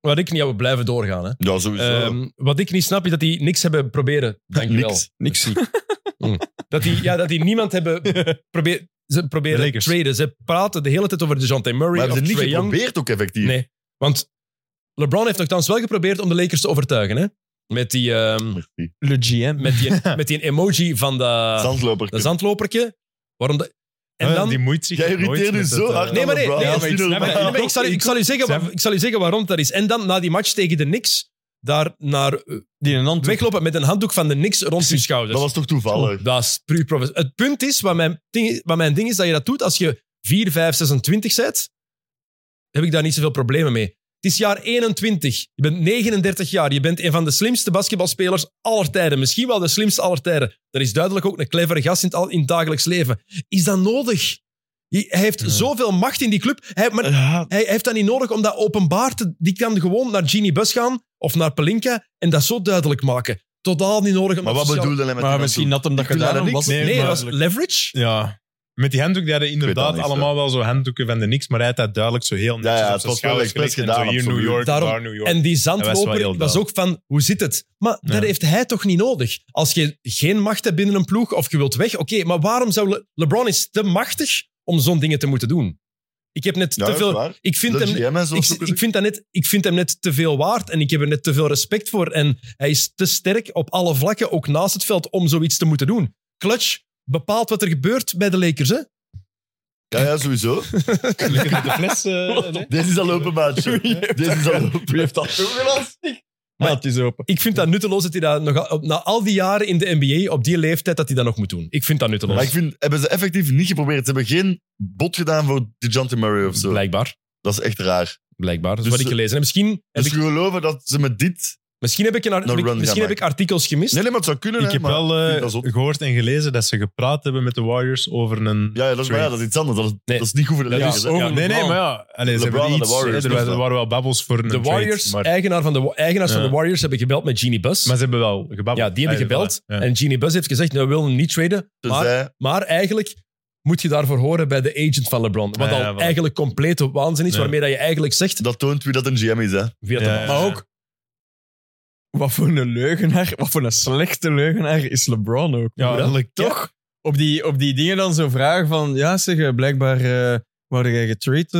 Speaker 1: Wat ik niet, ja, we blijven doorgaan. Hè.
Speaker 2: Ja, sowieso.
Speaker 1: Ehm, wat ik niet snap, is dat die niks hebben proberen. Dankjewel.
Speaker 2: Niks.
Speaker 5: Niks.
Speaker 1: Dat die, ja, dat die niemand
Speaker 2: *laughs*
Speaker 1: hebben proberen. Ze
Speaker 4: De
Speaker 1: proberen
Speaker 4: Lakers.
Speaker 1: traden. Ze praten de hele tijd over DeJounte Murray
Speaker 2: maar hebben
Speaker 1: of
Speaker 2: ze niet
Speaker 1: Trae Young.
Speaker 2: geprobeerd ook effectief?
Speaker 1: Nee, want LeBron heeft nogthans wel geprobeerd om de Lakers te overtuigen. Hè? Met, die, ehm,
Speaker 2: Merci.
Speaker 5: Le GM.
Speaker 1: met,
Speaker 2: *laughs*
Speaker 1: die, met die emoji van de,
Speaker 2: Zandloper. Eh,
Speaker 1: de zandloperke. Waarom de- en
Speaker 4: Ah,
Speaker 1: dan,
Speaker 4: die moeit zich
Speaker 2: Jij
Speaker 4: nooit
Speaker 2: irriteert u
Speaker 4: met
Speaker 2: zo
Speaker 4: het, eh,
Speaker 2: hard.
Speaker 1: Nee, maar
Speaker 2: aan
Speaker 1: nee,
Speaker 2: LeBron.
Speaker 1: nee,
Speaker 2: Dat is
Speaker 4: maar ik
Speaker 2: niet
Speaker 4: snap
Speaker 1: Nee,
Speaker 2: normaal.
Speaker 1: maar ik, zal, ik, zal u zeggen, wa- ik zal u zeggen
Speaker 4: Sam-
Speaker 1: wa- ik zal u zeggen waarom dat is. En dan, na die match tegen de Knicks, daar naar eh,
Speaker 5: Die een hand.
Speaker 1: weglopen met een handdoek van de niks rond je schouders.
Speaker 2: Dat was toch toevallig?
Speaker 1: Dat is puur profes- Het punt is, wat mijn, ding, wat mijn ding is, dat je dat doet als je 4, 5, 26 bent, heb ik daar niet zoveel problemen mee. Het is jaar 21. Je bent 39 jaar. Je bent een van de slimste basketbalspelers aller tijden. Misschien wel de slimste aller tijden. Er is duidelijk ook een clevere gast in het, al- in het dagelijks leven. Is dat nodig? Hij hij heeft zoveel macht in die club. Hij, maar
Speaker 5: Ah,
Speaker 2: Ja,
Speaker 1: hij heeft dat niet nodig om dat openbaar te... Die kan gewoon naar Genie Bus gaan of naar Pelinka en dat zo duidelijk maken. Totaal niet nodig. om
Speaker 2: maar
Speaker 1: dat
Speaker 2: wat
Speaker 1: sociaal-
Speaker 2: bedoelde hij met
Speaker 5: Maar
Speaker 2: die
Speaker 5: misschien had hem dat
Speaker 2: Ik doe daar
Speaker 5: gedaan.
Speaker 2: niks.
Speaker 5: Was het
Speaker 1: Nee,
Speaker 4: Nee,
Speaker 1: dat
Speaker 4: maar-
Speaker 1: was leverage.
Speaker 4: Ja. Met die handdoek die hadden
Speaker 2: dat
Speaker 4: inderdaad
Speaker 2: niet,
Speaker 4: allemaal wel zo handdoeken van de niks, maar hij had dat duidelijk zo heel netjes
Speaker 2: ja,
Speaker 4: op
Speaker 2: het
Speaker 4: zijn
Speaker 2: was wel
Speaker 4: schouders
Speaker 2: expres
Speaker 4: gelegd en
Speaker 2: gedaan,
Speaker 4: zo hier New
Speaker 2: absoluut.
Speaker 4: York,
Speaker 1: Daarom-
Speaker 4: daar New York.
Speaker 1: En die
Speaker 4: Dat was wel
Speaker 1: zandloper
Speaker 4: heel
Speaker 1: was ook van, hoe zit het? Maar
Speaker 4: Ja.
Speaker 1: daar heeft hij toch niet nodig? Als je geen macht hebt binnen een ploeg of je wilt weg, oké, maar waarom zou... Le- LeBron is te machtig om zo'n dingen te moeten doen. Ik heb net
Speaker 2: Ja,
Speaker 1: te
Speaker 2: dat is
Speaker 1: veel...
Speaker 2: waar.
Speaker 1: Ik vind
Speaker 2: De
Speaker 1: hem...
Speaker 2: GM en zo
Speaker 1: Ik,
Speaker 2: zoeken
Speaker 1: ik, vind dat net, ik vind hem net te veel waard en ik heb er net te veel respect voor. En hij is te sterk op alle vlakken, ook naast het veld, om zoiets te moeten doen. Clutch bepaalt wat er gebeurt bij de Lakers. Hè?
Speaker 2: Ja, ja,
Speaker 1: *laughs*
Speaker 2: sowieso.
Speaker 4: Gelukkig met de fles. eh, nee.
Speaker 2: Deze is al open, maatje. Deze is al open. Wie heeft dat
Speaker 5: Maar het is open.
Speaker 1: Ik vind dat nutteloos dat hij dat nog, al- op- na al die jaren in de NBA, op die leeftijd, dat hij dat nog moet doen. Ik vind dat nutteloos.
Speaker 2: Maar ik vind, hebben ze effectief niet geprobeerd. Ze hebben geen bot gedaan voor DeJounte Murray of zo.
Speaker 1: Blijkbaar.
Speaker 2: Dat is echt raar.
Speaker 1: Blijkbaar. Dat is
Speaker 2: Dus
Speaker 1: wat ik
Speaker 2: ze-
Speaker 1: gelezen heb. Misschien heb
Speaker 2: Dus
Speaker 1: ik,
Speaker 2: we geloven dat ze met dit...
Speaker 1: misschien heb ik, een ar-
Speaker 2: No
Speaker 1: heb ik-
Speaker 2: run
Speaker 1: misschien
Speaker 2: gaan
Speaker 1: heb ik artikels gemist.
Speaker 2: Nee, nee, maar het zou kunnen,
Speaker 4: Ik
Speaker 2: hè,
Speaker 4: heb
Speaker 2: maar-
Speaker 4: wel
Speaker 2: ik
Speaker 4: eh,
Speaker 2: vind dat zot.
Speaker 4: gehoord en gelezen dat ze gepraat hebben met de Warriors over een...
Speaker 2: Ja, ja, dat, is, maar ja, dat is iets anders. Dat is, dat is niet goed voor de
Speaker 1: Dat
Speaker 2: Lakers.
Speaker 1: is
Speaker 2: hè.
Speaker 1: ook-
Speaker 4: Ja, nee, nee, maar ja. Allee, ze
Speaker 2: LeBron
Speaker 4: hebben
Speaker 2: en de
Speaker 4: iets,
Speaker 2: Warriors, dus
Speaker 4: eh, er, waren,
Speaker 2: toch?
Speaker 4: er waren wel babbels voor een
Speaker 1: de
Speaker 4: trade,
Speaker 1: Warriors,
Speaker 4: maar,
Speaker 1: eigenaar van de, eigenaars van
Speaker 4: Ja.
Speaker 1: de Warriors, hebben gebeld met Genie Bus.
Speaker 4: maar ze hebben wel gebabbeld.
Speaker 1: ja, die hebben
Speaker 4: Allee,
Speaker 1: gebeld.
Speaker 4: voilà, ja.
Speaker 1: En Genie Bus heeft gezegd, nou, we willen hem niet traden.
Speaker 2: Ze
Speaker 1: Maar,
Speaker 2: zei,
Speaker 1: maar eigenlijk moet je daarvoor horen bij de agent van LeBron. Wat
Speaker 4: Ja,
Speaker 1: al
Speaker 4: ja, voilà.
Speaker 1: eigenlijk complete waanzin is,
Speaker 4: Ja.
Speaker 1: waarmee dat je eigenlijk zegt...
Speaker 2: dat toont wie dat een GM is, hè.
Speaker 1: Via de man.
Speaker 4: Ja, ja.
Speaker 5: Maar ook, wat voor een leugenaar, wat voor een slechte leugenaar is LeBron ook.
Speaker 4: Ja,
Speaker 5: broer, hè?
Speaker 4: eigenlijk
Speaker 5: toch? Op, die, op die dingen dan zo vragen van, ja zeg, eh, blijkbaar eh wou jij getraind.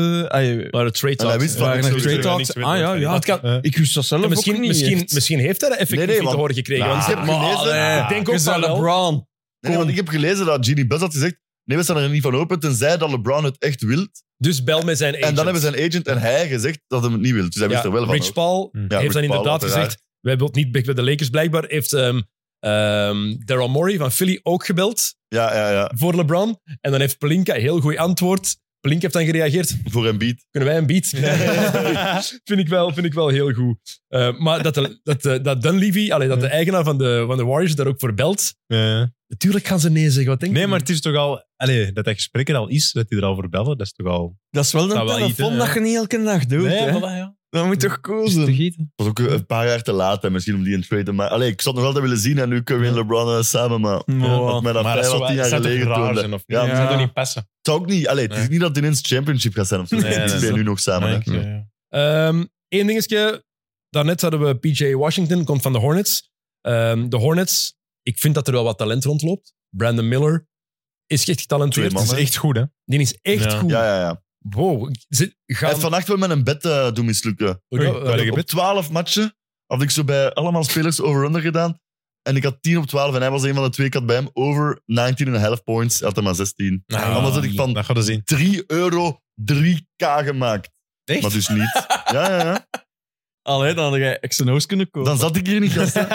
Speaker 1: Maar de trade
Speaker 2: En hij
Speaker 1: talks.
Speaker 2: wist
Speaker 1: Ja.
Speaker 2: van-
Speaker 5: waren er
Speaker 2: sowieso
Speaker 5: trade
Speaker 4: niks
Speaker 5: talks?
Speaker 4: weten
Speaker 5: Ah ja,
Speaker 4: van die
Speaker 5: ja.
Speaker 1: Dat kan-
Speaker 4: Eh,
Speaker 5: Ik wist dat zelf
Speaker 1: Ja,
Speaker 5: ook
Speaker 1: misschien,
Speaker 5: niet
Speaker 1: misschien,
Speaker 5: echt.
Speaker 1: misschien heeft hij dat effectief
Speaker 2: Nee, nee,
Speaker 1: niet te
Speaker 2: want-
Speaker 1: horen gekregen.
Speaker 2: Nou,
Speaker 1: want
Speaker 2: ik heb
Speaker 1: maar
Speaker 2: gelezen-
Speaker 1: allee,
Speaker 5: Ik
Speaker 1: ik denk ook
Speaker 5: dat
Speaker 1: van wel.
Speaker 5: LeBron.
Speaker 2: Nee, want ik heb gelezen dat Genie Bus had gezegd... Nee, we staan er niet van open, tenzij dat LeBron het echt wil.
Speaker 1: Dus bel met zijn agent.
Speaker 2: En dan hebben zijn agent en hij gezegd dat hij het niet wil. Dus hij wist
Speaker 1: Ja,
Speaker 2: er wel van.
Speaker 1: Rich
Speaker 2: ook.
Speaker 1: Paul
Speaker 4: Hm. Ja,
Speaker 2: Rich
Speaker 1: heeft dan
Speaker 2: Paul,
Speaker 1: inderdaad
Speaker 2: uiteraard.
Speaker 1: gezegd, wij willen niet bij de Lakers. Blijkbaar heeft ehm ehm, Daryl Morey van Philly ook gebeld
Speaker 2: Ja, ja, ja.
Speaker 1: voor LeBron. En dan heeft Pelinka een heel goed antwoord. Pelinka heeft dan gereageerd,
Speaker 2: Voor een beat.
Speaker 1: kunnen wij een beat? *laughs* vind, ik wel, vind ik wel heel goed. Eh, maar dat, de, dat, de, dat Dunleavy, allee, dat de eigenaar van de, van de Warriors daar ook voor belt,
Speaker 4: Ja.
Speaker 1: natuurlijk gaan ze nee zeggen. Wat denk
Speaker 4: Nee,
Speaker 1: je?
Speaker 4: maar het is toch al... Allee, dat dat gesprek er al is, dat die er al voor bellen, dat is toch al...
Speaker 5: Dat is wel
Speaker 4: Dat
Speaker 5: een
Speaker 4: wel
Speaker 5: telefoon
Speaker 4: iets, hè,
Speaker 5: dat je niet elke dag doet. hè?
Speaker 4: ja.
Speaker 5: Dat moet toch cool zijn?
Speaker 2: Het was ook een paar jaar te laat, hè, misschien om die een trade te maken. Allee, ik zou het nog altijd willen zien en nu kunnen we en LeBron eh, samen, maar...
Speaker 5: Wow.
Speaker 2: Dat mij dat
Speaker 4: Maar
Speaker 2: vijf
Speaker 4: dat
Speaker 2: à
Speaker 4: zou
Speaker 2: tien
Speaker 4: wel-
Speaker 2: jaar
Speaker 4: zou toch
Speaker 2: geleden
Speaker 4: raar
Speaker 2: toonde.
Speaker 4: zijn, of
Speaker 2: Ja,
Speaker 4: niet? Ja,
Speaker 2: maar
Speaker 4: dat
Speaker 5: Ja.
Speaker 4: zou toch niet passen?
Speaker 2: Het zou ook niet... Allee, het is
Speaker 4: Nee.
Speaker 2: niet dat die ineens championship gaat zijn of zo.
Speaker 4: Nee,
Speaker 2: die
Speaker 4: nee,
Speaker 2: spelen
Speaker 4: nee.
Speaker 2: nu nog samen. hè.
Speaker 4: Nee, ja.
Speaker 1: Eén Ehm, dingetje. Daarnet hadden we PJ Washington, komt van de Hornets. Ehm, de Hornets, ik vind dat er wel wat talent rondloopt. Brandon Miller is echt getalenteerd.
Speaker 2: Twee
Speaker 4: Dat is
Speaker 2: mannen.
Speaker 4: echt goed, hè?
Speaker 1: Die is echt
Speaker 4: Ja.
Speaker 1: goed.
Speaker 2: Ja, ja, ja.
Speaker 1: Wow. Ze
Speaker 2: Hij
Speaker 1: gaan...
Speaker 2: heeft vannacht wel met een bed eh, doen mislukken.
Speaker 1: Oei,
Speaker 4: Oei,
Speaker 1: eh,
Speaker 4: waar heb je
Speaker 2: Op 12 matchen had ik zo bij allemaal spelers over-under gedaan. En ik had 10 op 12 en hij was een van de twee. Ik had bij hem over 19,5 points. Hij had hem maar 16. Anders had ik van
Speaker 4: Dat gaat er zien.
Speaker 2: 3 euro 3k gemaakt.
Speaker 5: Echt?
Speaker 2: Maar dus niet. Ja, ja, ja.
Speaker 5: Allee, dan had jij X&O's kunnen kopen. *laughs*
Speaker 2: Dan zat ik hier niet, gasten.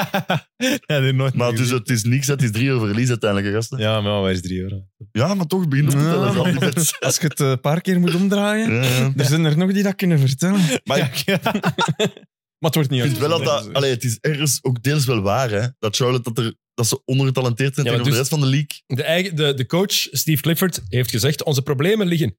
Speaker 4: ja, die nooit
Speaker 2: Maar
Speaker 4: meer
Speaker 2: dus
Speaker 4: gezien.
Speaker 2: het is niks, hè. het is 3 euro verlies uiteindelijk, hè, gasten.
Speaker 4: Ja, maar wij is drie euro.
Speaker 2: Ja, maar toch begint op te
Speaker 5: dus- Ja,
Speaker 2: tellen.
Speaker 5: maar-
Speaker 2: zal die bets.
Speaker 5: *laughs* Als je het eh, een paar keer moet omdraaien,
Speaker 2: Ja, ja.
Speaker 5: *laughs* er zijn er nog die dat kunnen vertellen.
Speaker 2: Maar ik
Speaker 5: Maar het wordt niet
Speaker 2: Ik vind wel dat
Speaker 5: uitgezonden,
Speaker 2: dat... Allee, het is ergens ook deels wel waar, hè. Dat Charlotte, dat, er, dat ze ondergetalenteerd zijn
Speaker 1: Ja, maar
Speaker 2: tegenover de rest van de league.
Speaker 1: De, eigen, de, de coach, Steve Clifford, heeft gezegd: Onze problemen liggen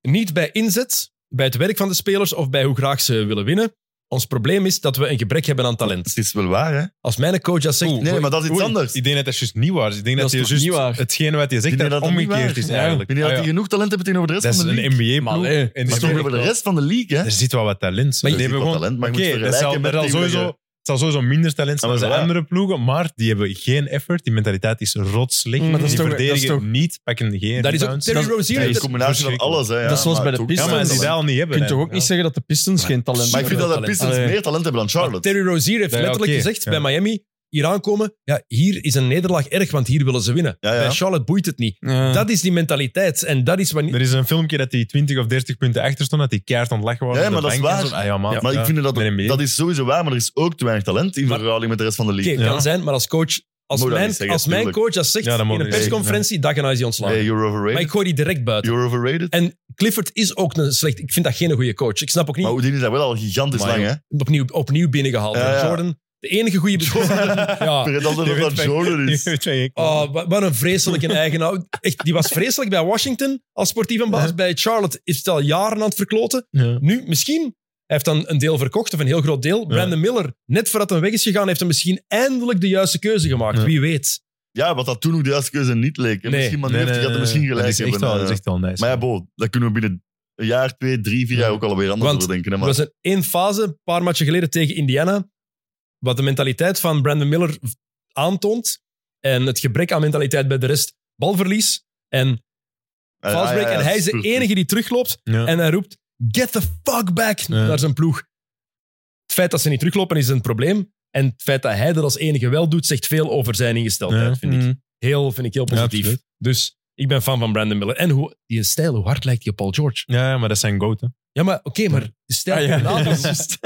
Speaker 1: niet bij inzet, bij het werk van de spelers of bij hoe graag ze willen winnen. Ons probleem is dat we een gebrek hebben aan talent.
Speaker 2: Het is wel waar, hè.
Speaker 1: Als mijn coach dat zegt,
Speaker 2: Nee, maar dat is iets
Speaker 4: Oei,
Speaker 2: anders.
Speaker 4: Ik denk dat dat juist niet waar is. Ik denk
Speaker 5: Dat
Speaker 4: dat,
Speaker 5: is
Speaker 4: je
Speaker 5: toch
Speaker 4: juist
Speaker 5: niet waar?
Speaker 4: hetgene wat je zegt,
Speaker 2: Ik denk
Speaker 4: dat,
Speaker 2: dat dat niet
Speaker 4: omgekeerd
Speaker 2: waar is.
Speaker 4: is
Speaker 2: Ja.
Speaker 4: eigenlijk.
Speaker 2: Ik denk niet dat
Speaker 4: Ah,
Speaker 2: die genoeg talent hebben tegenover de rest
Speaker 4: Dat is
Speaker 2: van de
Speaker 4: een
Speaker 2: league.
Speaker 5: Maar
Speaker 4: NBA-ploeg.
Speaker 5: allee,
Speaker 4: En
Speaker 2: Het
Speaker 4: die
Speaker 2: is toch
Speaker 4: spelen-
Speaker 2: over de rest van de league, hè.
Speaker 4: Er zit wel wat talent.
Speaker 1: Maar
Speaker 4: Maar
Speaker 1: je-
Speaker 2: Er
Speaker 4: die
Speaker 2: zit
Speaker 4: hebben
Speaker 2: wat talent,
Speaker 4: gewoon...
Speaker 2: maar je
Speaker 4: Oké,
Speaker 2: moet
Speaker 4: dat zal,
Speaker 2: vergelijken
Speaker 4: dat
Speaker 2: met die
Speaker 4: zal sowieso,
Speaker 2: liggen.
Speaker 4: het zal sowieso minder talent zijn
Speaker 2: Ah,
Speaker 4: dan
Speaker 2: maar
Speaker 4: de
Speaker 2: voilà.
Speaker 4: andere ploegen, maar die hebben geen effort. Die mentaliteit is rot slecht.
Speaker 5: Maar dat is
Speaker 4: die
Speaker 5: toch- dat is
Speaker 4: verdedigen
Speaker 5: toch-
Speaker 4: niet, pakken geen
Speaker 1: dat is ook
Speaker 4: rebounds.
Speaker 1: Terry Rozier.
Speaker 2: Het is
Speaker 1: heeft
Speaker 2: een
Speaker 1: het-
Speaker 2: combinatie van alles, hè. Ja,
Speaker 5: Dat is zoals
Speaker 2: maar
Speaker 5: bij de
Speaker 2: het is ook-
Speaker 4: Ja, maar als die
Speaker 5: Pistons.
Speaker 4: dat al niet
Speaker 5: Je
Speaker 4: hebben...
Speaker 5: kunt toch
Speaker 4: hè.
Speaker 5: ook niet zeggen dat de Pistons geen talent
Speaker 2: Maar ik
Speaker 5: hebben?
Speaker 2: vind dat de
Speaker 1: Talent.
Speaker 2: Pistons
Speaker 5: Allee.
Speaker 2: meer talent hebben dan
Speaker 1: Maar
Speaker 2: Charlotte.
Speaker 1: Terry Rozier heeft
Speaker 4: Ja,
Speaker 1: letterlijk
Speaker 4: oké.
Speaker 1: gezegd
Speaker 4: Ja.
Speaker 1: bij Miami: hier aankomen, ja, hier is een nederlaag erg, want hier willen ze winnen.
Speaker 2: Ja, ja.
Speaker 1: Bij Charlotte boeit het niet.
Speaker 5: Ja.
Speaker 1: Dat is die mentaliteit. En dat is wat...
Speaker 4: Er is een filmpje dat hij 20 of 30 punten achter stond, dat hij keihard aan het lachen was.
Speaker 2: Ja,
Speaker 4: op de
Speaker 2: maar dat is
Speaker 4: bank en
Speaker 2: waar.
Speaker 4: zo. Ah, ja, maat,
Speaker 2: maar
Speaker 4: ja.
Speaker 2: ik vind dat,
Speaker 4: Ben je mee?
Speaker 2: dat is sowieso waar, maar er is ook te weinig talent in
Speaker 1: Maar-
Speaker 2: verhouding met de rest van de
Speaker 1: Oké,
Speaker 2: league.
Speaker 1: kan
Speaker 4: Ja.
Speaker 1: zijn, maar als coach... Als
Speaker 2: Moet dat
Speaker 1: mijn,
Speaker 2: niet zeggen,
Speaker 1: als mijn
Speaker 2: tuurlijk.
Speaker 1: coach dat zegt
Speaker 4: Ja, dat
Speaker 1: in
Speaker 4: moet
Speaker 1: een
Speaker 4: je niet zeggen,
Speaker 1: persconferentie, dan gaan hij die ontslaan.
Speaker 2: Hey, you're
Speaker 1: maar
Speaker 2: overrated.
Speaker 1: ik gooi die direct buiten.
Speaker 2: You're overrated.
Speaker 1: En Clifford is ook een slecht... Ik vind dat geen goede coach. Ik snap ook niet...
Speaker 2: Maar Houdini is dat wel al gigantisch
Speaker 4: Maar
Speaker 2: lang,
Speaker 4: joh.
Speaker 2: hè?
Speaker 1: opnieuw, opnieuw binnengehaald.
Speaker 2: Ja, ja.
Speaker 1: Jordan, de enige goede beslissing. ja.
Speaker 2: Ik weet altijd dat *laughs* dat Jordan is.
Speaker 1: Oh, wa- wat een
Speaker 4: *laughs*
Speaker 1: vreselijke eigenaar. Echt, die was vreselijk bij Washington als sportieve baas. Bij Charlotte is het al jaren aan het verkloten.
Speaker 4: Ja.
Speaker 1: Nu, misschien, hij heeft dan een deel verkocht, of een heel groot deel. Brandon Miller, net voordat hij weg is gegaan, heeft hij misschien eindelijk de juiste keuze gemaakt.
Speaker 4: Ja.
Speaker 1: Wie weet.
Speaker 2: Ja, wat dat toen ook de juiste keuze niet leek. hè.
Speaker 1: Nee.
Speaker 2: Misschien, maar nu heeft hij gaat er misschien gelijk
Speaker 4: dat is echt
Speaker 2: hebben.
Speaker 4: wel,
Speaker 2: eh.
Speaker 4: dat is echt wel nice.
Speaker 2: maar ja, Bo, dat kunnen we binnen een jaar, twee, drie, vier jaar ook alweer anders
Speaker 1: Want-
Speaker 2: over denken. Hè,
Speaker 1: Er
Speaker 2: maar.
Speaker 1: was een één fase, een paar matchen geleden tegen Indiana, wat de mentaliteit van Brandon Miller aantoont en het gebrek aan mentaliteit bij de rest. Balverlies en
Speaker 2: Ah, ja,
Speaker 1: Valsbreek.
Speaker 2: ja, ja,
Speaker 1: en hij is de
Speaker 2: goed.
Speaker 1: enige die terugloopt.
Speaker 4: Ja.
Speaker 1: En hij roept, get the fuck back naar zijn ploeg. Het feit dat ze niet teruglopen is een probleem. En het feit dat hij dat als enige wel doet, zegt veel over zijn ingesteldheid,
Speaker 4: Ja.
Speaker 1: vind,
Speaker 5: Mm. Mm-hmm.
Speaker 1: ik. Heel, vind ik heel positief.
Speaker 4: absoluut.
Speaker 1: dus ik ben fan van Brandon Miller. En hoe, die stijl, hoe hard lijkt die op Paul George?
Speaker 4: ja, ja, maar dat zijn goat, hè.
Speaker 1: Ja, maar oké, maar de stijl...
Speaker 5: *laughs* Ah, ja.
Speaker 1: van de avond-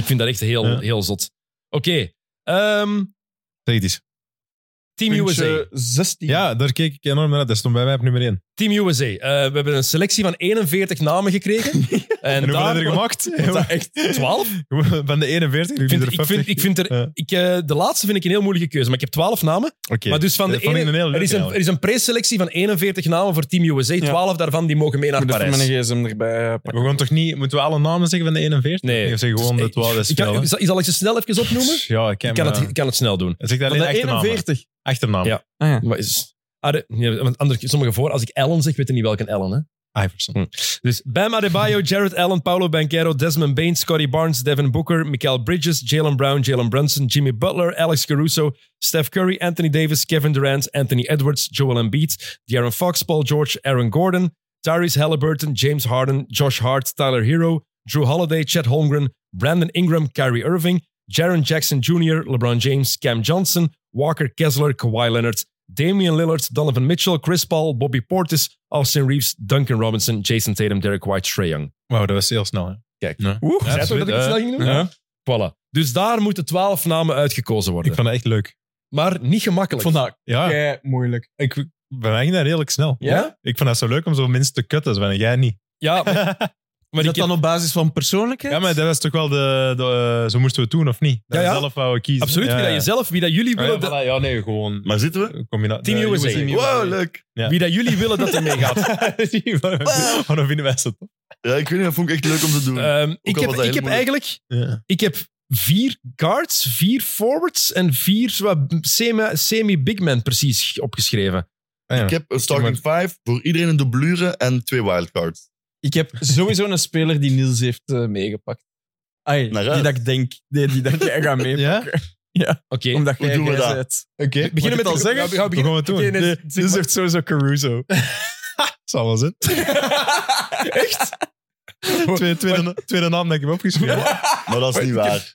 Speaker 4: *laughs*
Speaker 1: ik vind dat echt heel,
Speaker 4: Ja.
Speaker 1: heel zot. Oké. ehm,
Speaker 4: Zeg het eens.
Speaker 5: *laughs*
Speaker 1: Team USA.
Speaker 5: Puntje 16.
Speaker 4: Ja, daar keek ik enorm naar uit. Dat stond bij mij op nummer 1.
Speaker 1: Team USA. Eh, we hebben een selectie van 41 namen gekregen. en
Speaker 4: En hoeveel
Speaker 1: daar,
Speaker 4: heb je er
Speaker 5: *laughs*
Speaker 4: gemaakt?
Speaker 1: Wat dat echt 12?
Speaker 4: *laughs* Van de 41 doe
Speaker 1: Ik
Speaker 4: je
Speaker 1: vind,
Speaker 4: er
Speaker 1: ik
Speaker 4: 50.
Speaker 1: vind, ik vind er,
Speaker 4: Ja.
Speaker 1: ik, eh, de laatste vind ik een heel moeilijke keuze, maar ik heb 12 namen.
Speaker 4: Oké. Eh,
Speaker 1: Maar dus van de
Speaker 4: Dat vond ik
Speaker 1: ene-
Speaker 4: een heel
Speaker 1: er,
Speaker 4: leuk
Speaker 1: is een, er
Speaker 4: eigenlijk.
Speaker 1: is een preselectie van 41 namen voor Team USA. 12 daarvan die mogen mee naar
Speaker 5: Ik moet even
Speaker 1: Parijs.
Speaker 5: mijn gsm erbij eh,
Speaker 4: We gaan toch niet... Moeten we alle namen zeggen van de 41?
Speaker 1: Nee.
Speaker 4: Of zeggen we gewoon
Speaker 1: Dus ik-
Speaker 4: de 12? Dat is
Speaker 1: Ik
Speaker 4: veel,
Speaker 1: kan,
Speaker 4: hè?
Speaker 1: zal, zal ik ze snel even opnoemen?
Speaker 4: Ja, ik eh,
Speaker 1: Ik
Speaker 4: kan,
Speaker 1: kan, het,
Speaker 4: maar-
Speaker 1: ik kan het snel doen.
Speaker 4: Zeg dat
Speaker 5: Van
Speaker 4: alleen
Speaker 5: de
Speaker 4: achternaam.
Speaker 5: 41.
Speaker 4: Achternaam.
Speaker 1: Ja.
Speaker 5: Ah, ja.
Speaker 1: Maar is, ah, de- ja, want andere, sommige voor, als ik Allen zeg, weten niet welke Allen. Hè? Hm.
Speaker 4: Iverson.
Speaker 1: Dus Bam Adebayo, Jared Allen, Paolo Banquero, Desmond Bain, Scotty Barnes, Devin Booker, Mikael Bridges, Jalen Brown, Jalen Brunson, Jimmy Butler, Alex Caruso, Steph Curry, Anthony Davis, Kevin Durant, Anthony Edwards, Joel Embiid, De'Aaron Fox, Paul George, Aaron Gordon, Tyrese Halliburton, James Harden, Josh Hart, Tyler Hero, Drew Holiday, Chet Holmgren, Brandon Ingram, Kyrie Irving, Jaron Jackson Jr., LeBron James, Cam Johnson, Walker Kessler, Kawhi Leonard, Damian Lillard, Donovan Mitchell, Chris Paul, Bobby Portis, Austin Reeves, Duncan Robinson, Jason Tatum, Derek White, Trae Young.
Speaker 4: Wauw, dat was heel snel, hè.
Speaker 1: Kijk.
Speaker 4: Ja.
Speaker 1: Oeh,
Speaker 4: zei toch dat ik het snel
Speaker 1: ging doen? Voilà. Dus daar moeten twaalf namen uitgekozen worden.
Speaker 4: Ik vond dat echt leuk.
Speaker 1: Maar niet
Speaker 5: Ik
Speaker 1: gemakkelijk.
Speaker 5: vond dat
Speaker 4: Ja,
Speaker 5: kei moeilijk.
Speaker 4: ik, bij mij ging dat redelijk snel.
Speaker 5: Ja?
Speaker 4: Ik vond dat zo leuk om zo mensen te cutten, Sven, en
Speaker 1: *laughs*
Speaker 4: jij niet.
Speaker 1: Ja,
Speaker 4: *laughs*
Speaker 1: maar, maar
Speaker 5: Is
Speaker 1: ik
Speaker 5: dat dan op basis van persoonlijkheid?
Speaker 4: Ja, maar dat was toch wel de... de eh, zo moesten we het doen, of niet? Dat
Speaker 1: Ja, ja.
Speaker 4: we zelf wouden kiezen.
Speaker 1: absoluut
Speaker 4: ja,
Speaker 1: wie dat
Speaker 4: ja.
Speaker 1: jezelf, wie dat jullie
Speaker 4: Ah,
Speaker 1: willen,
Speaker 4: ja,
Speaker 1: dat,
Speaker 4: voilà, ja, nee, gewoon...
Speaker 2: Maar zitten we?
Speaker 4: Combina-
Speaker 1: Team
Speaker 4: de *laughs*
Speaker 1: USA.
Speaker 2: Wow, leuk.
Speaker 4: Ja.
Speaker 1: wie dat jullie willen dat er mee
Speaker 4: *laughs*
Speaker 1: gaat. *laughs*
Speaker 4: Waarom vinden wij dat?
Speaker 2: Ja, ik weet niet, dat vond ik echt leuk om te doen.
Speaker 1: Ehm, ik
Speaker 2: al
Speaker 1: heb,
Speaker 2: was dat
Speaker 1: ik
Speaker 2: heel
Speaker 1: heb eigenlijk
Speaker 2: moeilijk.
Speaker 4: Ja.
Speaker 1: ik heb vier guards, vier forwards en vier zo semi- semi-big men precies opgeschreven.
Speaker 2: ik heb een starting five voor iedereen een dublure en twee wildcards.
Speaker 5: Ik heb sowieso een speler die Niels heeft eh, meegepakt. Ai,
Speaker 2: Naar
Speaker 5: die
Speaker 2: uit.
Speaker 5: dat ik denk. Nee, die dat jij gaat meepakken.
Speaker 4: *laughs* Ja?
Speaker 1: Oké.
Speaker 5: Omdat
Speaker 2: Hoe
Speaker 5: jij
Speaker 2: doen we
Speaker 5: jij
Speaker 2: dat?
Speaker 5: bent.
Speaker 4: Oké.
Speaker 1: Beginnen
Speaker 4: Mag
Speaker 1: met
Speaker 4: ik
Speaker 1: de-
Speaker 4: het al
Speaker 1: ja,
Speaker 4: zeggen?
Speaker 1: we gaan
Speaker 4: We gaan het doen.
Speaker 1: Oké, nee,
Speaker 4: Nee,
Speaker 1: zeg
Speaker 4: Dit is
Speaker 1: maar.
Speaker 4: echt sowieso *laughs* Caruso. Zal wel zijn.
Speaker 1: Echt?
Speaker 4: Tweede, tweede, tweede naam dat ik heb opgeschreven.
Speaker 2: Maar dat is niet waar.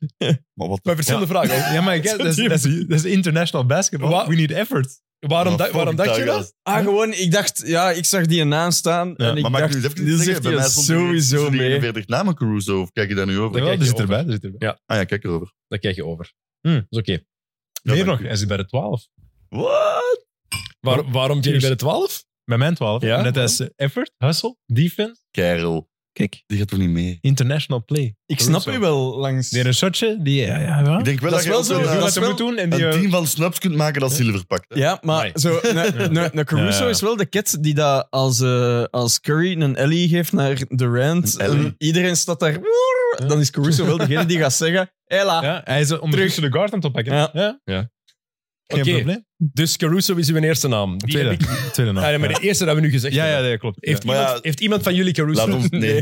Speaker 2: Maar wat
Speaker 1: Bij verschillende vragen.
Speaker 4: Ja, maar ik- dat is, dat, is, dat is international basketball.
Speaker 1: Wa-
Speaker 4: We need effort.
Speaker 1: Waarom, da-
Speaker 2: dat
Speaker 1: waarom dacht je dat?
Speaker 5: Ah, gewoon, ik dacht, ja, ik zag die naam staan.
Speaker 4: Ja,
Speaker 5: en ik
Speaker 2: Maar mag ik
Speaker 5: dacht,
Speaker 2: nu eens even
Speaker 5: Niels
Speaker 2: zeggen,
Speaker 5: heeft
Speaker 2: bij
Speaker 5: die
Speaker 2: mij stond er
Speaker 5: sowieso
Speaker 2: stond er
Speaker 5: mee.
Speaker 2: 41 namen Caruso, of kijk je daar nu over?
Speaker 4: Jawel,
Speaker 1: kijk
Speaker 4: die
Speaker 1: je
Speaker 4: zit erbij. die zit erbij.
Speaker 2: Ah ja, kijk erover.
Speaker 1: Dat krijg je over.
Speaker 4: Hmm.
Speaker 1: Dat is oké.
Speaker 2: Ja,
Speaker 4: Meer
Speaker 2: dank
Speaker 4: nog,
Speaker 2: u.
Speaker 4: hij zit bij de 12.
Speaker 2: What?
Speaker 1: Waar- waarom ben je bij de 12?
Speaker 4: Bij mijn 12.
Speaker 1: Ja?
Speaker 4: Net als eh, effort, hustle, defense.
Speaker 2: Kerel.
Speaker 4: Kijk.
Speaker 2: Die gaat toch niet mee?
Speaker 4: International play.
Speaker 5: Ik snap
Speaker 4: Caruso.
Speaker 5: u wel langs.
Speaker 4: Die een shotje, die... eh, Ja, ja, ja.
Speaker 2: Ik denk wel dat,
Speaker 5: Dat is
Speaker 2: je
Speaker 5: wel
Speaker 2: ook
Speaker 5: zo,
Speaker 2: een-
Speaker 5: dat
Speaker 4: Doe
Speaker 5: is
Speaker 4: wat je
Speaker 5: wel
Speaker 4: moet doen. En die,
Speaker 2: een
Speaker 4: eh,
Speaker 2: team van snaps kunt maken dat zilver pakt. hè.
Speaker 5: Ja, maar
Speaker 1: Amai.
Speaker 4: *laughs*
Speaker 5: zo,
Speaker 4: Ja.
Speaker 5: een ne, ne Caruso
Speaker 4: Ja, ja.
Speaker 5: is wel de cat die dat als, eh, als Curry een Ellie geeft naar Durant.
Speaker 2: Een Ellie.
Speaker 5: En iedereen staat daar. "Woer", Dan is Caruso wel degene die gaat zeggen: Ella.
Speaker 4: ja, hij is ondertussen de guard aan het oppakken.
Speaker 5: Ja.
Speaker 4: ja.
Speaker 1: Ja.
Speaker 4: Geen
Speaker 1: Oké.
Speaker 4: probleem.
Speaker 1: Dus Caruso is uw eerste naam. Die
Speaker 4: Tweede.
Speaker 1: heb ik-
Speaker 4: Tweede naam.
Speaker 1: Ah, nee, maar de eerste dat we nu gezegd
Speaker 4: Ja, ja,
Speaker 1: hebben.
Speaker 4: dat klopt.
Speaker 1: Heeft,
Speaker 4: Ja.
Speaker 2: Maar
Speaker 1: iemand,
Speaker 2: ja.
Speaker 1: heeft iemand van jullie Caruso?
Speaker 2: Laat
Speaker 1: *laughs*
Speaker 2: ons, nee.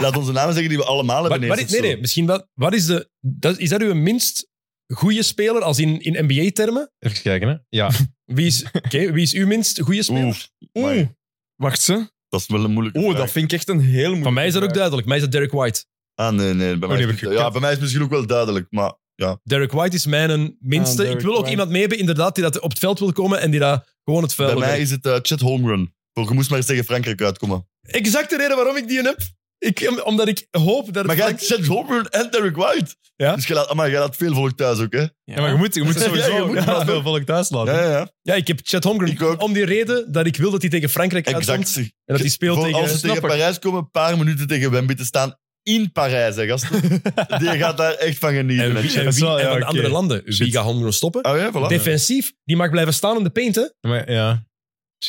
Speaker 2: Laat ons de namen zeggen die we allemaal
Speaker 1: Wat-
Speaker 2: hebben
Speaker 1: wat
Speaker 2: ineens
Speaker 1: is- nee,
Speaker 2: of zo.
Speaker 1: nee, misschien wel. Wat is, de, dat, is dat uw minst goede speler, als in, in NBA-termen?
Speaker 4: Even kijken, hè. Ja.
Speaker 1: Wie is, oké, wie is uw minst goede speler?
Speaker 2: Oeh, Amai,
Speaker 5: Wacht ze.
Speaker 2: dat is wel een moeilijke
Speaker 5: Oeh, dat
Speaker 2: vraag.
Speaker 5: vind ik echt een heel moeilijk.
Speaker 1: Van mij is dat ook duidelijk. Mij is dat Derek White.
Speaker 2: Ah, nee, nee. Bij mij,
Speaker 4: Oh, die heb
Speaker 2: is
Speaker 4: ik
Speaker 2: het-
Speaker 4: gekend.
Speaker 2: ja, bij mij is het misschien ook wel duidelijk, maar ja.
Speaker 1: Derek White is mijn minste. ik
Speaker 5: Ah, Derek
Speaker 1: wil ook
Speaker 5: White.
Speaker 1: iemand mee hebben, inderdaad, die dat op het veld wil komen en die dat gewoon het
Speaker 2: Bij
Speaker 1: vuil
Speaker 2: mij
Speaker 1: werkt.
Speaker 2: is het eh, Chet Holmgren. Voor, je moest maar eens tegen Frankrijk uitkomen.
Speaker 1: Exact de reden waarom ik die heb. Ik, omdat ik hoop dat
Speaker 2: Maar
Speaker 1: het...
Speaker 2: jij hebt Chet Holmgren en Derek White.
Speaker 1: Ja.
Speaker 2: Dus jij laat, amai, jij laat veel volk thuis ook, hè? Ja,
Speaker 4: Ja, maar je moet, je moet
Speaker 2: Ja,
Speaker 4: sowieso
Speaker 2: je moet
Speaker 4: ja,
Speaker 2: wel.
Speaker 4: veel volk thuis laten.
Speaker 2: ja, ja.
Speaker 1: Ja, ik heb Chet Holmgren.
Speaker 2: Ik ook.
Speaker 1: Om die reden dat ik wil dat hij tegen Frankrijk
Speaker 2: Exact.
Speaker 1: uitkomt. En dat hij speelt
Speaker 2: Voor
Speaker 1: tegen...
Speaker 2: als ze
Speaker 1: Snap
Speaker 2: tegen
Speaker 1: ik.
Speaker 2: Parijs komen, een paar minuten tegen Wemby te staan in Parijs, hè,
Speaker 4: *laughs*
Speaker 2: gasten. Die gaat daar echt van genieten.
Speaker 1: En
Speaker 2: hè,
Speaker 1: wie,
Speaker 2: Chet.
Speaker 1: en
Speaker 4: Dat is
Speaker 1: wie-
Speaker 4: wel-
Speaker 1: en
Speaker 4: ja,
Speaker 1: van
Speaker 4: oké. Ah,
Speaker 1: andere landen. Wie
Speaker 4: Shit.
Speaker 1: gaat Holmgren stoppen?
Speaker 2: Oh ja, voilà.
Speaker 1: Defensief. Die mag blijven staan in de paint, hè?
Speaker 4: Maar, ja.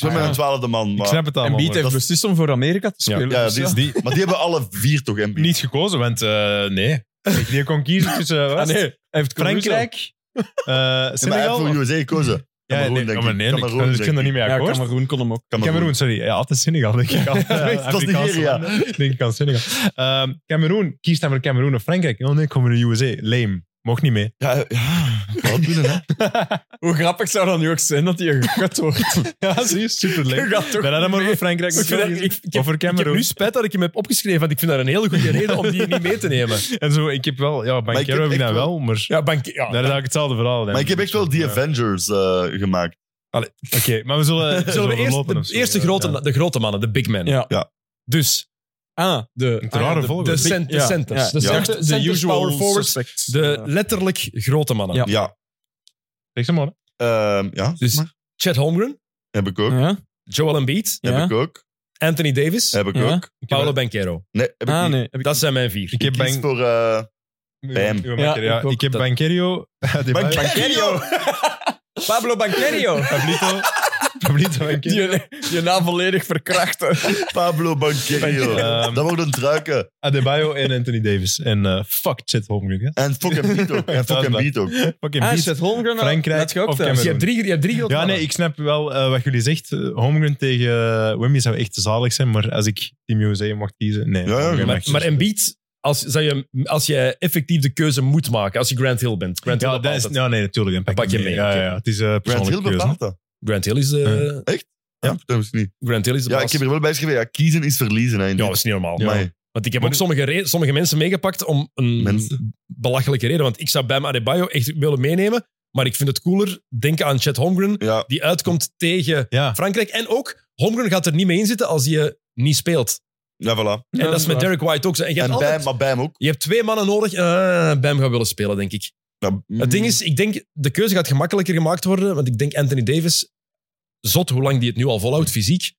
Speaker 2: Ik ben een twaalfde man.
Speaker 4: Ik
Speaker 2: Maar,
Speaker 4: snap het allemaal.
Speaker 5: Beat
Speaker 4: maar
Speaker 5: heeft
Speaker 4: dat
Speaker 5: beslist om voor Amerika te
Speaker 4: Ja.
Speaker 5: spelen.
Speaker 2: Ja,
Speaker 5: dus
Speaker 2: die is
Speaker 4: is die
Speaker 2: maar die hebben alle vier toch, Embiid?
Speaker 4: niet gekozen, want eh, nee. Ik- Die kon kiezen tussen eh,
Speaker 5: Ah,
Speaker 4: wat?
Speaker 5: nee. Hij heeft
Speaker 4: Frankrijk, eh
Speaker 2: Ja, maar hij heeft
Speaker 4: Senegal.
Speaker 2: voor USA gekozen.
Speaker 4: Ja,
Speaker 2: Cameroen,
Speaker 4: nee,
Speaker 2: denk
Speaker 4: maar
Speaker 2: ik.
Speaker 4: nee, ik-
Speaker 2: Cameroen,
Speaker 4: dus ik
Speaker 2: denk
Speaker 4: ben er niet mee
Speaker 5: Ja,
Speaker 4: akkoord.
Speaker 5: Cameroen kon hem ook.
Speaker 4: Cameroen, sorry. Ja, het is Senegal,
Speaker 2: *laughs*
Speaker 4: denk ik. al.
Speaker 2: het was
Speaker 4: Afrikaanse
Speaker 2: Nigeria.
Speaker 4: landen. Denk ik aan Senegal. Ehm, Cameroen, kiest dan voor Cameroen of Frankrijk? Oh nee, komen de USA. Lame. Mocht niet mee.
Speaker 2: Ja, ja.
Speaker 4: *laughs*
Speaker 2: Wat binnen, hè?
Speaker 5: Hoe grappig zou dat nu ook zijn dat hij gekut wordt?
Speaker 4: Ja, zie je, super
Speaker 5: Je
Speaker 4: lame.
Speaker 5: gaat toch
Speaker 4: Ben dat dan maar voor Frankrijk
Speaker 1: Ik vind dat- ik- ik heb-
Speaker 4: of voor
Speaker 1: Ik heb
Speaker 4: Cameroen?
Speaker 1: nu spijt dat ik hem heb opgeschreven, want ik vind dat een hele goede reden om die niet mee te
Speaker 4: *laughs*
Speaker 1: nemen.
Speaker 4: En zo, ik heb wel... Ja,
Speaker 2: ik heb
Speaker 4: Banquero heb ik
Speaker 2: echt
Speaker 4: dan
Speaker 2: wel-
Speaker 4: wel, maar...
Speaker 1: Ja, bank, ja.
Speaker 4: Daar is eigenlijk hetzelfde verhaal. hè.
Speaker 2: Maar ik heb echt wel die
Speaker 4: Ja.
Speaker 2: Avengers eh, gemaakt.
Speaker 4: Oké, maar we zullen...
Speaker 1: Eh, Zullen we eerst
Speaker 4: lopen
Speaker 1: de
Speaker 4: of zo?
Speaker 1: eerste grote,
Speaker 4: Ja.
Speaker 1: de grote mannen, de big men.
Speaker 5: Ja.
Speaker 2: Ja.
Speaker 1: Dus
Speaker 5: Ah, de...
Speaker 4: Het rare
Speaker 5: de-
Speaker 4: volgorde.
Speaker 1: de, cent, de
Speaker 5: Ja.
Speaker 1: centers,
Speaker 5: Ja.
Speaker 1: de,
Speaker 5: Ja.
Speaker 1: centers,
Speaker 5: De
Speaker 1: centers,
Speaker 5: usual
Speaker 1: power forwards,
Speaker 5: suspects.
Speaker 1: de
Speaker 5: Ja.
Speaker 1: letterlijk grote mannen.
Speaker 5: Ja.
Speaker 2: Ja.
Speaker 4: Zeg ze maar. hè.
Speaker 2: Ehm, ja.
Speaker 1: Dus
Speaker 2: maar.
Speaker 1: Chad Holmgren,
Speaker 2: Heb ik ook.
Speaker 5: Ja?
Speaker 1: Joel Embiid,
Speaker 5: Ja.
Speaker 2: Heb ik ook.
Speaker 1: Anthony Davis,
Speaker 2: Heb ik
Speaker 5: Ja.
Speaker 2: ook.
Speaker 1: Paolo Banquero.
Speaker 2: Nee, heb ik
Speaker 5: Ah,
Speaker 2: niet.
Speaker 5: nee. Heb ik...
Speaker 1: Dat zijn mijn vier.
Speaker 4: Ik
Speaker 2: Ik
Speaker 4: heb
Speaker 2: kies
Speaker 4: Ban-
Speaker 2: voor... eh, Bam.
Speaker 4: Uw
Speaker 5: Ja,
Speaker 4: Banquero, ja.
Speaker 5: ik ook.
Speaker 4: ik heb
Speaker 1: Dat-
Speaker 4: Banquero... *laughs* Adebayo,
Speaker 2: Banquero!
Speaker 5: Pablo Banquerio.
Speaker 2: *laughs*
Speaker 4: Pablito. Pablito Banquero.
Speaker 5: *laughs* Je, je naam volledig verkrachten.
Speaker 2: Pablo
Speaker 1: *laughs*
Speaker 2: Banquero.
Speaker 4: Ehm.
Speaker 2: Dat wordt een truiken.
Speaker 4: Adebayo en Anthony Davis. En eh fuck Chet Holmgren. hè.
Speaker 2: En fuck Embiid ook. En fuck
Speaker 4: Dat is waar.
Speaker 2: Embiid ook.
Speaker 4: Fucking
Speaker 5: Ah,
Speaker 4: beast.
Speaker 5: Chet Holmgren.
Speaker 4: Frankrijk
Speaker 5: let je ook
Speaker 4: of
Speaker 5: thuis.
Speaker 1: Dus je
Speaker 4: Cameroen.
Speaker 1: hebt drie, je hebt drie grote
Speaker 4: Ja, nee,
Speaker 1: mannen.
Speaker 4: ik snap wel eh, wat jullie zegt. Eh, Holmgren tegen eh, Wemby zou echt te zalig zijn, maar als ik Team USA mocht kiezen, nee.
Speaker 2: Ja, ja,
Speaker 4: Holmgren
Speaker 1: Maar,
Speaker 4: mag
Speaker 1: maar
Speaker 4: kiezen.
Speaker 1: Embiid, als, zou je, als je effectief de keuze moet maken, als je Grant Hill bent. Grant Hill,
Speaker 4: Ja, dat
Speaker 1: bepaalt
Speaker 4: is,
Speaker 1: het.
Speaker 4: ja, nee, natuurlijk. Dan pak,
Speaker 1: Pak
Speaker 4: ik
Speaker 1: je
Speaker 4: hem
Speaker 1: mee,
Speaker 4: Ja,
Speaker 1: oké.
Speaker 4: ja, ja, het is eh
Speaker 2: Brand Hill
Speaker 4: persoonlijke keuze.
Speaker 2: bepaalt dat.
Speaker 1: Grant Hill is de,
Speaker 2: Ja, dat wist ik niet.
Speaker 1: Grant Hill is de
Speaker 2: Ja,
Speaker 1: baas.
Speaker 2: ik heb er wel bij geschreven. Ja, kiezen is verliezen. Hè, in
Speaker 1: Ja,
Speaker 2: dit.
Speaker 1: dat is niet normaal.
Speaker 2: Amai.
Speaker 1: Want ik heb ook sommige, re- sommige mensen meegepakt om een
Speaker 2: Mensen?
Speaker 1: belachelijke reden. Want ik zou Bam Adebayo echt willen meenemen. Maar ik vind het cooler. Denk aan Chet Holmgren,
Speaker 2: Ja,
Speaker 1: die uitkomt tegen
Speaker 4: Ja,
Speaker 1: Frankrijk. En ook, Holmgren gaat er niet mee in zitten als je niet speelt.
Speaker 2: ja, voilà.
Speaker 1: En dat is met Derek White ook zo. En je, hebt
Speaker 2: En
Speaker 1: altijd-
Speaker 2: Bam, maar Bam ook.
Speaker 1: je hebt twee mannen nodig. Eh, Bam gaat willen spelen, denk ik.
Speaker 2: Ja,
Speaker 1: Het ding
Speaker 2: mm.
Speaker 1: is, ik denk, de keuze gaat gemakkelijker gemaakt worden. Want ik denk Anthony Davis, zot hoe lang die het nu al volhoudt fysiek.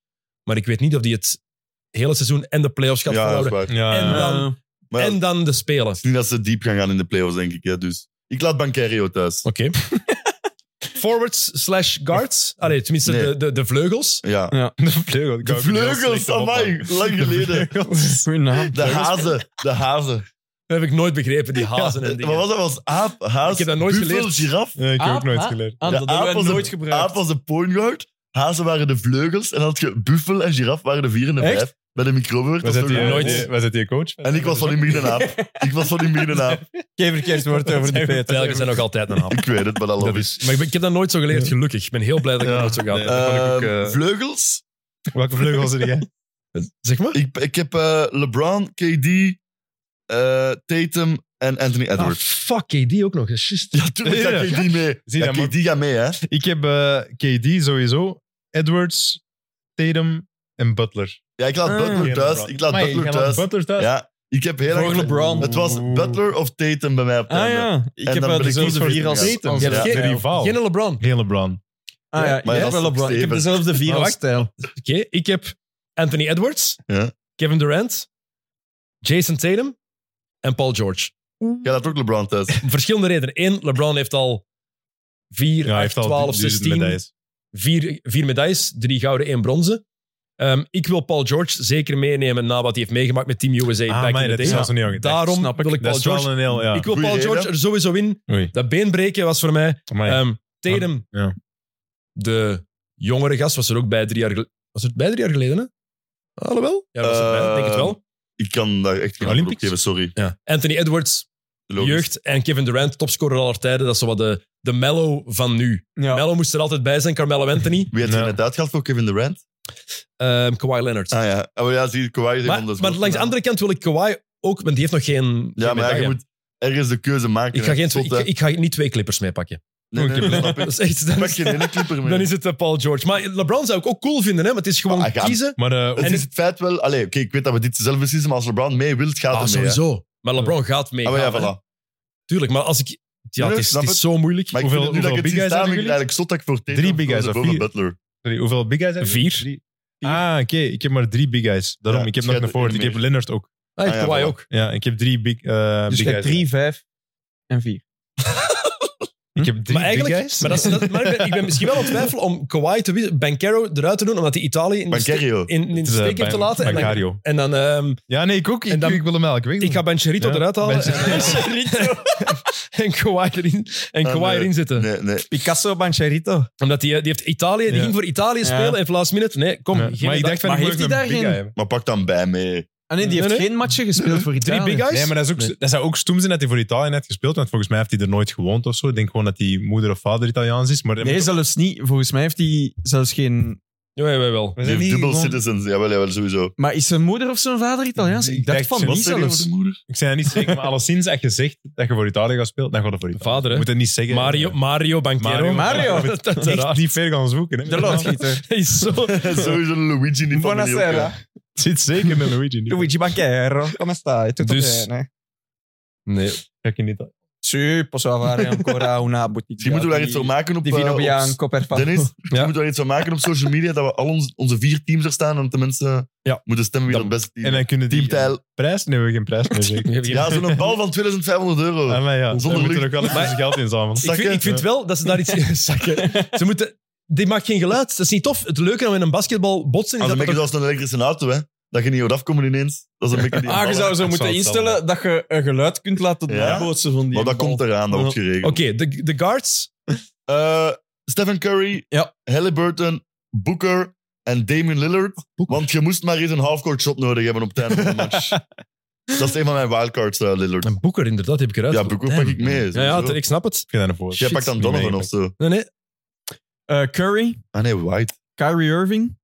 Speaker 1: Maar ik weet niet of die het hele seizoen en de playoffs gaat
Speaker 2: Ja, dat is
Speaker 1: volhouden.
Speaker 2: waar. Eh,
Speaker 4: ja,
Speaker 1: En
Speaker 4: ja.
Speaker 1: dan-
Speaker 2: Maar ja,
Speaker 1: En dan de spelen.
Speaker 2: het is niet dat ze diep gaan gaan in de playoffs, denk ik. Hè, dus. Ik laat Bancario thuis. *laughs*
Speaker 1: Oké. Forwards slash guards. Allee, tenminste,
Speaker 2: Nee.
Speaker 1: de, de, de vleugels.
Speaker 2: Ja.
Speaker 4: de vleugel.
Speaker 2: De vleugels, amai,
Speaker 1: *laughs*
Speaker 2: lang geleden.
Speaker 5: Goeie naam.
Speaker 2: De hazen, de hazen.
Speaker 1: Dat heb ik nooit begrepen,
Speaker 2: *laughs*
Speaker 1: die hazen en
Speaker 2: Wat
Speaker 1: dingen.
Speaker 2: was dat? Was aap, haas,
Speaker 1: Ik heb dat nooit
Speaker 2: buffel,
Speaker 1: geleerd.
Speaker 2: giraf?
Speaker 4: Ja, ik heb
Speaker 5: Aap,
Speaker 4: ook nooit
Speaker 5: ha?
Speaker 4: geleerd.
Speaker 5: Ah, dat hebben we
Speaker 2: de-
Speaker 5: nooit gebruikt.
Speaker 2: Aap was de point guard, hazen waren de vleugels en dan had je buffel en giraf waren de vier en de
Speaker 5: Echt?
Speaker 2: vijf. Bij de microbeurt.
Speaker 4: Was dat, die,
Speaker 1: nooit.
Speaker 4: die- was dat die coach?
Speaker 2: En ik was van die midden aap. Ik was van die midden aap.
Speaker 5: Geen verkeerd woord
Speaker 1: *laughs*
Speaker 5: over die Peter.
Speaker 1: Telkens zijn nog altijd
Speaker 2: *laughs*
Speaker 1: een haal.
Speaker 2: Ik weet het, maar dat
Speaker 1: Dat
Speaker 2: love
Speaker 1: is, maar ik, ben- ik heb dat nooit zo geleerd, gelukkig. Ik ben heel blij dat ik dat
Speaker 2: Ja.
Speaker 1: nooit zo gehad
Speaker 4: Nee.
Speaker 1: heb.
Speaker 4: dat kan ik ook,
Speaker 2: Ehm,
Speaker 4: eh.
Speaker 2: Vleugels?
Speaker 4: Welke vleugels er jij?
Speaker 1: Zeg maar.
Speaker 2: Ik, ik heb eh, LeBron, KD, eh, Tatum en Anthony
Speaker 1: Ah,
Speaker 2: Edwards.
Speaker 1: fuck, die ook nog. Dat is juist.
Speaker 2: Ja, tuurlijk
Speaker 4: Ja,
Speaker 2: gaat KD mee.
Speaker 4: Zie
Speaker 2: Ja,
Speaker 4: dat, man.
Speaker 2: KD gaat mee, hè.
Speaker 4: Ik heb eh, KD sowieso, Edwards, Tatum en Butler.
Speaker 2: Ja, ik laat
Speaker 5: Ah.
Speaker 2: Butler thuis. Ik laat
Speaker 4: Amai,
Speaker 2: Butler
Speaker 4: jij laat
Speaker 2: thuis.
Speaker 4: Butler thuis?
Speaker 2: Ja, ik heb heel
Speaker 5: Voor LeBron.
Speaker 2: Het was Butler of Tatum bij mij op het
Speaker 5: Ah
Speaker 2: einde.
Speaker 5: ja,
Speaker 2: En
Speaker 5: ik heb
Speaker 2: dan
Speaker 5: wel
Speaker 2: ben ik
Speaker 5: dezelfde
Speaker 2: niet
Speaker 5: vier als...
Speaker 2: vergeten.
Speaker 5: als
Speaker 1: Je hebt
Speaker 2: Ja,
Speaker 5: jij.
Speaker 4: de
Speaker 1: geen,
Speaker 2: Oh.
Speaker 4: rivaal.
Speaker 1: geen LeBron.
Speaker 4: Geen LeBron.
Speaker 5: Ah ja,
Speaker 2: Maar
Speaker 5: jij
Speaker 2: dat
Speaker 5: hebt
Speaker 2: is
Speaker 5: wel
Speaker 2: ook
Speaker 5: LeBron. Ik heb
Speaker 2: Steven.
Speaker 5: dezelfde vier
Speaker 1: Maar
Speaker 5: als
Speaker 1: wacht.
Speaker 5: stijl.
Speaker 1: Oké, ik heb Anthony Edwards,
Speaker 2: Ja.
Speaker 1: Kevin Durant, Jason Tatum en Paul George.
Speaker 2: Jij laat ook LeBron thuis.
Speaker 1: Om verschillende redenen. Eén, LeBron heeft al 4,
Speaker 4: Ja, hij
Speaker 1: 8,
Speaker 4: heeft al
Speaker 1: 12,
Speaker 4: die- die
Speaker 1: 16,
Speaker 4: medailles.
Speaker 1: vier, vier medailles, drie gouden, één bronzen. Ehm, ik wil Paul George zeker meenemen na wat hij heeft meegemaakt met Team USA
Speaker 4: Ah,
Speaker 1: back
Speaker 4: amai,
Speaker 1: in the
Speaker 4: dat is
Speaker 1: day.
Speaker 4: zelfs nog niet aan gedacht.
Speaker 1: Daarom
Speaker 5: snap ik.
Speaker 1: wil ik
Speaker 4: Dat
Speaker 1: Paul
Speaker 4: is wel
Speaker 1: George...
Speaker 4: een heel... Ja.
Speaker 1: Ik wil
Speaker 2: Goeie
Speaker 1: Paul
Speaker 2: reden.
Speaker 1: George er sowieso in.
Speaker 4: Oei.
Speaker 1: Dat beenbreken was voor mij.
Speaker 4: Amai.
Speaker 1: Ehm Tatum,
Speaker 4: Ah, Ja.
Speaker 1: de jongere gast, was er ook bij drie jaar geleden. Was het bij drie jaar geleden, hè? Alhoewel? Ja, dat was het bij,
Speaker 2: Ehm,
Speaker 1: denk het wel.
Speaker 2: Ik kan daar echt geen antwoord op
Speaker 4: Olympics?
Speaker 2: geven, sorry.
Speaker 1: Ja. Anthony Edwards,
Speaker 2: Logisch.
Speaker 1: jeugd. En Kevin Durant, topscorer aller tijden. Dat is zo wat de, de mellow van nu.
Speaker 5: Ja.
Speaker 1: Melo moest er altijd bij zijn, Carmelo
Speaker 2: *laughs*
Speaker 1: Anthony.
Speaker 2: Wie had je
Speaker 4: Ja.
Speaker 2: net uitgehaald voor Kevin Durant?
Speaker 1: Ehm Kawhi Leonard.
Speaker 2: Ah ja, oh, ja zie je, Kawhi is een
Speaker 1: maar,
Speaker 2: ander
Speaker 1: maar
Speaker 2: soort.
Speaker 1: langs de andere kant wil ik Kawhi ook, want die heeft nog geen... geen
Speaker 2: Ja, maar ja,
Speaker 1: medaille.
Speaker 2: je moet ergens de keuze maken.
Speaker 1: Ik ga, geen twee-
Speaker 2: Tot,
Speaker 1: ik,
Speaker 2: hè.
Speaker 1: ik ga niet twee clippers meepakken.
Speaker 2: Nee, nee, nee, snap
Speaker 1: Dat
Speaker 2: ik.
Speaker 1: *laughs* is echt... Dan
Speaker 2: Pak
Speaker 1: is,
Speaker 2: geen ene clipper meer.
Speaker 1: dan is het eh, Paul George. Maar LeBron zou ik ook cool vinden, hè? Maar het is gewoon
Speaker 2: Ah, hij gaat-
Speaker 1: kiezen.
Speaker 4: Maar eh,
Speaker 2: Het
Speaker 1: en-
Speaker 2: is het feit wel... Allee, oké, ik weet dat we dit zelf beslissen, maar als LeBron mee wilt, gaat
Speaker 1: Ah,
Speaker 2: hij mee. hè.
Speaker 1: sowieso. Maar LeBron gaat mee.
Speaker 2: Ah, maar ja,
Speaker 1: gaan, hè.
Speaker 2: voilà.
Speaker 1: Tuurlijk, maar als ik... Ja, het
Speaker 2: Nee,
Speaker 1: is,
Speaker 2: snap
Speaker 1: het is
Speaker 2: het.
Speaker 1: zo moeilijk.
Speaker 2: Maar ik
Speaker 4: Hoeveel-
Speaker 2: vind het nu dat ik
Speaker 4: hoeveel
Speaker 2: het
Speaker 4: big
Speaker 2: zie
Speaker 4: guys
Speaker 2: staan,
Speaker 4: hebben
Speaker 2: vind ik het eigenlijk zot dat ik voor Tatum
Speaker 4: Drie big guys
Speaker 2: gekozen
Speaker 4: of
Speaker 2: heb boven
Speaker 4: vier?
Speaker 2: Butler.
Speaker 4: sorry, hoeveel big guys heb je?
Speaker 1: Vier.
Speaker 4: Drie. Ah, oké. Ik heb maar drie big guys. Daarom,
Speaker 2: Ja,
Speaker 4: ik heb
Speaker 2: dus
Speaker 4: nog
Speaker 2: jij
Speaker 4: een voort.
Speaker 2: hebt
Speaker 4: Ik
Speaker 2: er
Speaker 4: heb Leonard ook.
Speaker 1: Ah,
Speaker 2: Ah, ja,
Speaker 1: Kawhi
Speaker 2: voilà.
Speaker 1: ook.
Speaker 4: Ja, ik heb drie big, eh
Speaker 5: Dus
Speaker 4: big
Speaker 5: je hebt
Speaker 4: guys.
Speaker 5: drie, vijf en vier.
Speaker 4: Ik heb drie
Speaker 1: Maar eigenlijk...
Speaker 4: big guys.
Speaker 1: Maar, dat
Speaker 4: *laughs*
Speaker 1: is, dat- maar ik, ben, ik ben misschien wel aan het twijfelen om Kawhi te wisselen- Bancaro eruit te doen, omdat hij Italië in de steek-
Speaker 2: Bancario.
Speaker 1: in, in de
Speaker 4: Het is, eh,
Speaker 1: steek heeft te
Speaker 4: bij-
Speaker 1: laten. En dan,
Speaker 4: Bancario.
Speaker 1: en dan ehm,
Speaker 4: Ja, nee, ik ook. Ik,
Speaker 1: En dan-
Speaker 4: ik wil hem elke week.
Speaker 1: ik ga Bancherito
Speaker 4: Ja,
Speaker 1: eruit halen.
Speaker 5: Bancherito.
Speaker 1: *laughs* En, en Kawhi erin, en
Speaker 2: Ah,
Speaker 1: Kawhi
Speaker 2: nee.
Speaker 1: erin zitten.
Speaker 2: Nee, nee.
Speaker 5: Picasso Bancherito.
Speaker 1: Omdat die, eh, die, heeft Italië, die
Speaker 4: Ja.
Speaker 1: ging voor Italië spelen en last minute. Nee, kom.
Speaker 4: Ja,
Speaker 1: geen
Speaker 4: Maar ik
Speaker 1: dag.
Speaker 4: dacht van,
Speaker 5: Maar
Speaker 4: ik moet
Speaker 5: heeft
Speaker 4: ook
Speaker 5: hij
Speaker 4: een big
Speaker 5: daar geen-
Speaker 4: guy hebben.
Speaker 2: Maar pak dan bij mee.
Speaker 5: Ah nee, die heeft
Speaker 1: Nee, nee.
Speaker 5: geen matchen gespeeld voor
Speaker 1: Drie
Speaker 5: Italië.
Speaker 1: big guys?
Speaker 4: Nee, maar dat, is ook,
Speaker 1: Nee.
Speaker 4: dat zou ook stoem zijn dat hij voor Italië net gespeeld. Want volgens mij heeft hij er nooit gewoond of zo. Ik denk gewoon dat hij moeder of vader Italiaans is. Maar
Speaker 5: Nee, zelfs niet. Volgens mij heeft hij zelfs geen...
Speaker 1: Ja, ja, ja, wel.
Speaker 2: Die heeft dubbel citizens. Jawel, jawel, sowieso.
Speaker 5: Maar is zijn moeder of zijn vader Italiaans?
Speaker 4: Ik
Speaker 5: Ik dacht
Speaker 4: dacht
Speaker 5: van
Speaker 4: ze-
Speaker 5: niet
Speaker 2: Wat zeg je over
Speaker 5: zelfs.
Speaker 2: de moeder?
Speaker 4: Ik zei dat niet zeker, maar alleszins als je zegt dat je voor Italië gaat spelen, dan gaat het voor Italië.
Speaker 1: Vader,
Speaker 4: Je
Speaker 1: hè?
Speaker 4: moet het niet zeggen.
Speaker 1: Mario, Mario Banchero.
Speaker 4: Mario.
Speaker 5: Mario.
Speaker 1: *laughs* Dat is
Speaker 4: *laughs* Echt
Speaker 1: raar.
Speaker 4: niet ver gaan zoeken. Hè? *laughs*
Speaker 5: De loodgieter.
Speaker 1: Hij is zo...
Speaker 2: *laughs* Sowieso een Luigi in die familie. ook, hè.
Speaker 5: Buonasera.
Speaker 4: Het zit zeker in Luigi. Niet.
Speaker 5: Luigi Banchero. Come stai? Tutto
Speaker 1: Dus-
Speaker 5: bene?
Speaker 1: Nee.
Speaker 4: Ga ik in Italië.
Speaker 5: Sì, posso avere ancora una
Speaker 2: Misschien
Speaker 5: bottiglia
Speaker 2: moeten we daar
Speaker 5: di-
Speaker 2: iets van maken op...
Speaker 5: Di vino
Speaker 2: eh, op-
Speaker 5: bianco per favore. *laughs*
Speaker 2: Dennis, misschien moeten we daar iets van maken op social media, dat we al ons- onze vier teams er staan en dat de mensen
Speaker 1: Ja.
Speaker 2: moeten stemmen wie
Speaker 1: Dat-
Speaker 2: dat beste team
Speaker 4: En dan kunnen die...
Speaker 2: Team Tijl.
Speaker 4: Prijs? Nee, we hebben geen prijs meer
Speaker 2: *laughs*
Speaker 4: zeker.
Speaker 2: Ja, zo'n bal van 2500 euro.
Speaker 4: Ah, maar ja,
Speaker 2: Zonder
Speaker 4: we moeten
Speaker 2: lucht.
Speaker 4: ook wel even zijn geld inzamelen.
Speaker 1: Ik vind, ik vind wel dat ze daar iets... *laughs* zakken. Ze moeten... Die maakt geen geluid. Dat is niet tof. Het leuke aan met een basketbal botsen is
Speaker 2: Als een
Speaker 1: dat...
Speaker 2: beetje
Speaker 1: dat
Speaker 2: zoals een elektrische auto, hè. Dat je niet hoort afkomen ineens. Dat is een beetje die
Speaker 5: *laughs* Ah, je
Speaker 2: ballen.
Speaker 5: zou zo
Speaker 4: Ik
Speaker 5: moeten
Speaker 4: zou het zelf
Speaker 5: instellen dat je een geluid kunt laten
Speaker 2: Ja?
Speaker 5: nabootsen van die
Speaker 2: Maar dat
Speaker 5: bal.
Speaker 2: komt eraan, dat wordt
Speaker 1: Oké,
Speaker 2: geregeld.
Speaker 1: de, de guards.
Speaker 2: Eh, Stephen Curry,
Speaker 5: Ja.
Speaker 2: Halliburton, Booker en Damian Lillard. Want je moest maar eens een halfcourt shot nodig hebben op het einde van de
Speaker 5: *laughs*
Speaker 2: match. dat is een van mijn wildcards, eh, Lillard.
Speaker 1: Een boeker, inderdaad, die heb ik eruit.
Speaker 2: Ja, Booker pak ik mee.
Speaker 1: Ja, ja,
Speaker 2: sowieso.
Speaker 1: ik snap het.
Speaker 4: vind dat een voorbeeld.
Speaker 2: Jij pakt dan
Speaker 4: Shit,
Speaker 2: Donovan
Speaker 4: niet
Speaker 2: of zo.
Speaker 1: Nee, nee.
Speaker 5: Eh, Curry,
Speaker 2: Ah nee, White.
Speaker 5: Kyrie Irving,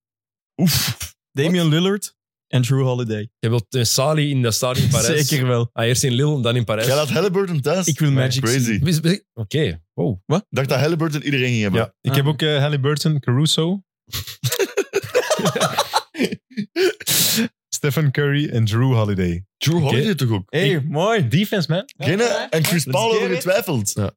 Speaker 2: Oef.
Speaker 5: Damian Lillard en Drew Holiday. *laughs*
Speaker 1: Je wilt eh, Sali in dat stadion in Parijs.
Speaker 5: Zeker wel.
Speaker 1: Ah, eerst in Lille, dan in Parijs.
Speaker 2: Jij laat Halliburton thuis?
Speaker 5: Ik wil Magic zien.
Speaker 2: Crazy. Ik
Speaker 1: Wist- wist- Oké, wow.
Speaker 2: dacht dat Halliburton iedereen ging hebben.
Speaker 4: Ja, ik heb ook eh, Halliburton, Caruso. Stephen Curry en Drew Holiday.
Speaker 2: Drew Holiday toch ook?
Speaker 5: hey, mooi.
Speaker 4: Defense, man.
Speaker 2: Geen, hè? en Chris
Speaker 4: Dat is
Speaker 2: Paul
Speaker 4: gay,
Speaker 2: over
Speaker 4: hè?
Speaker 2: getwijfeld.
Speaker 4: Eh,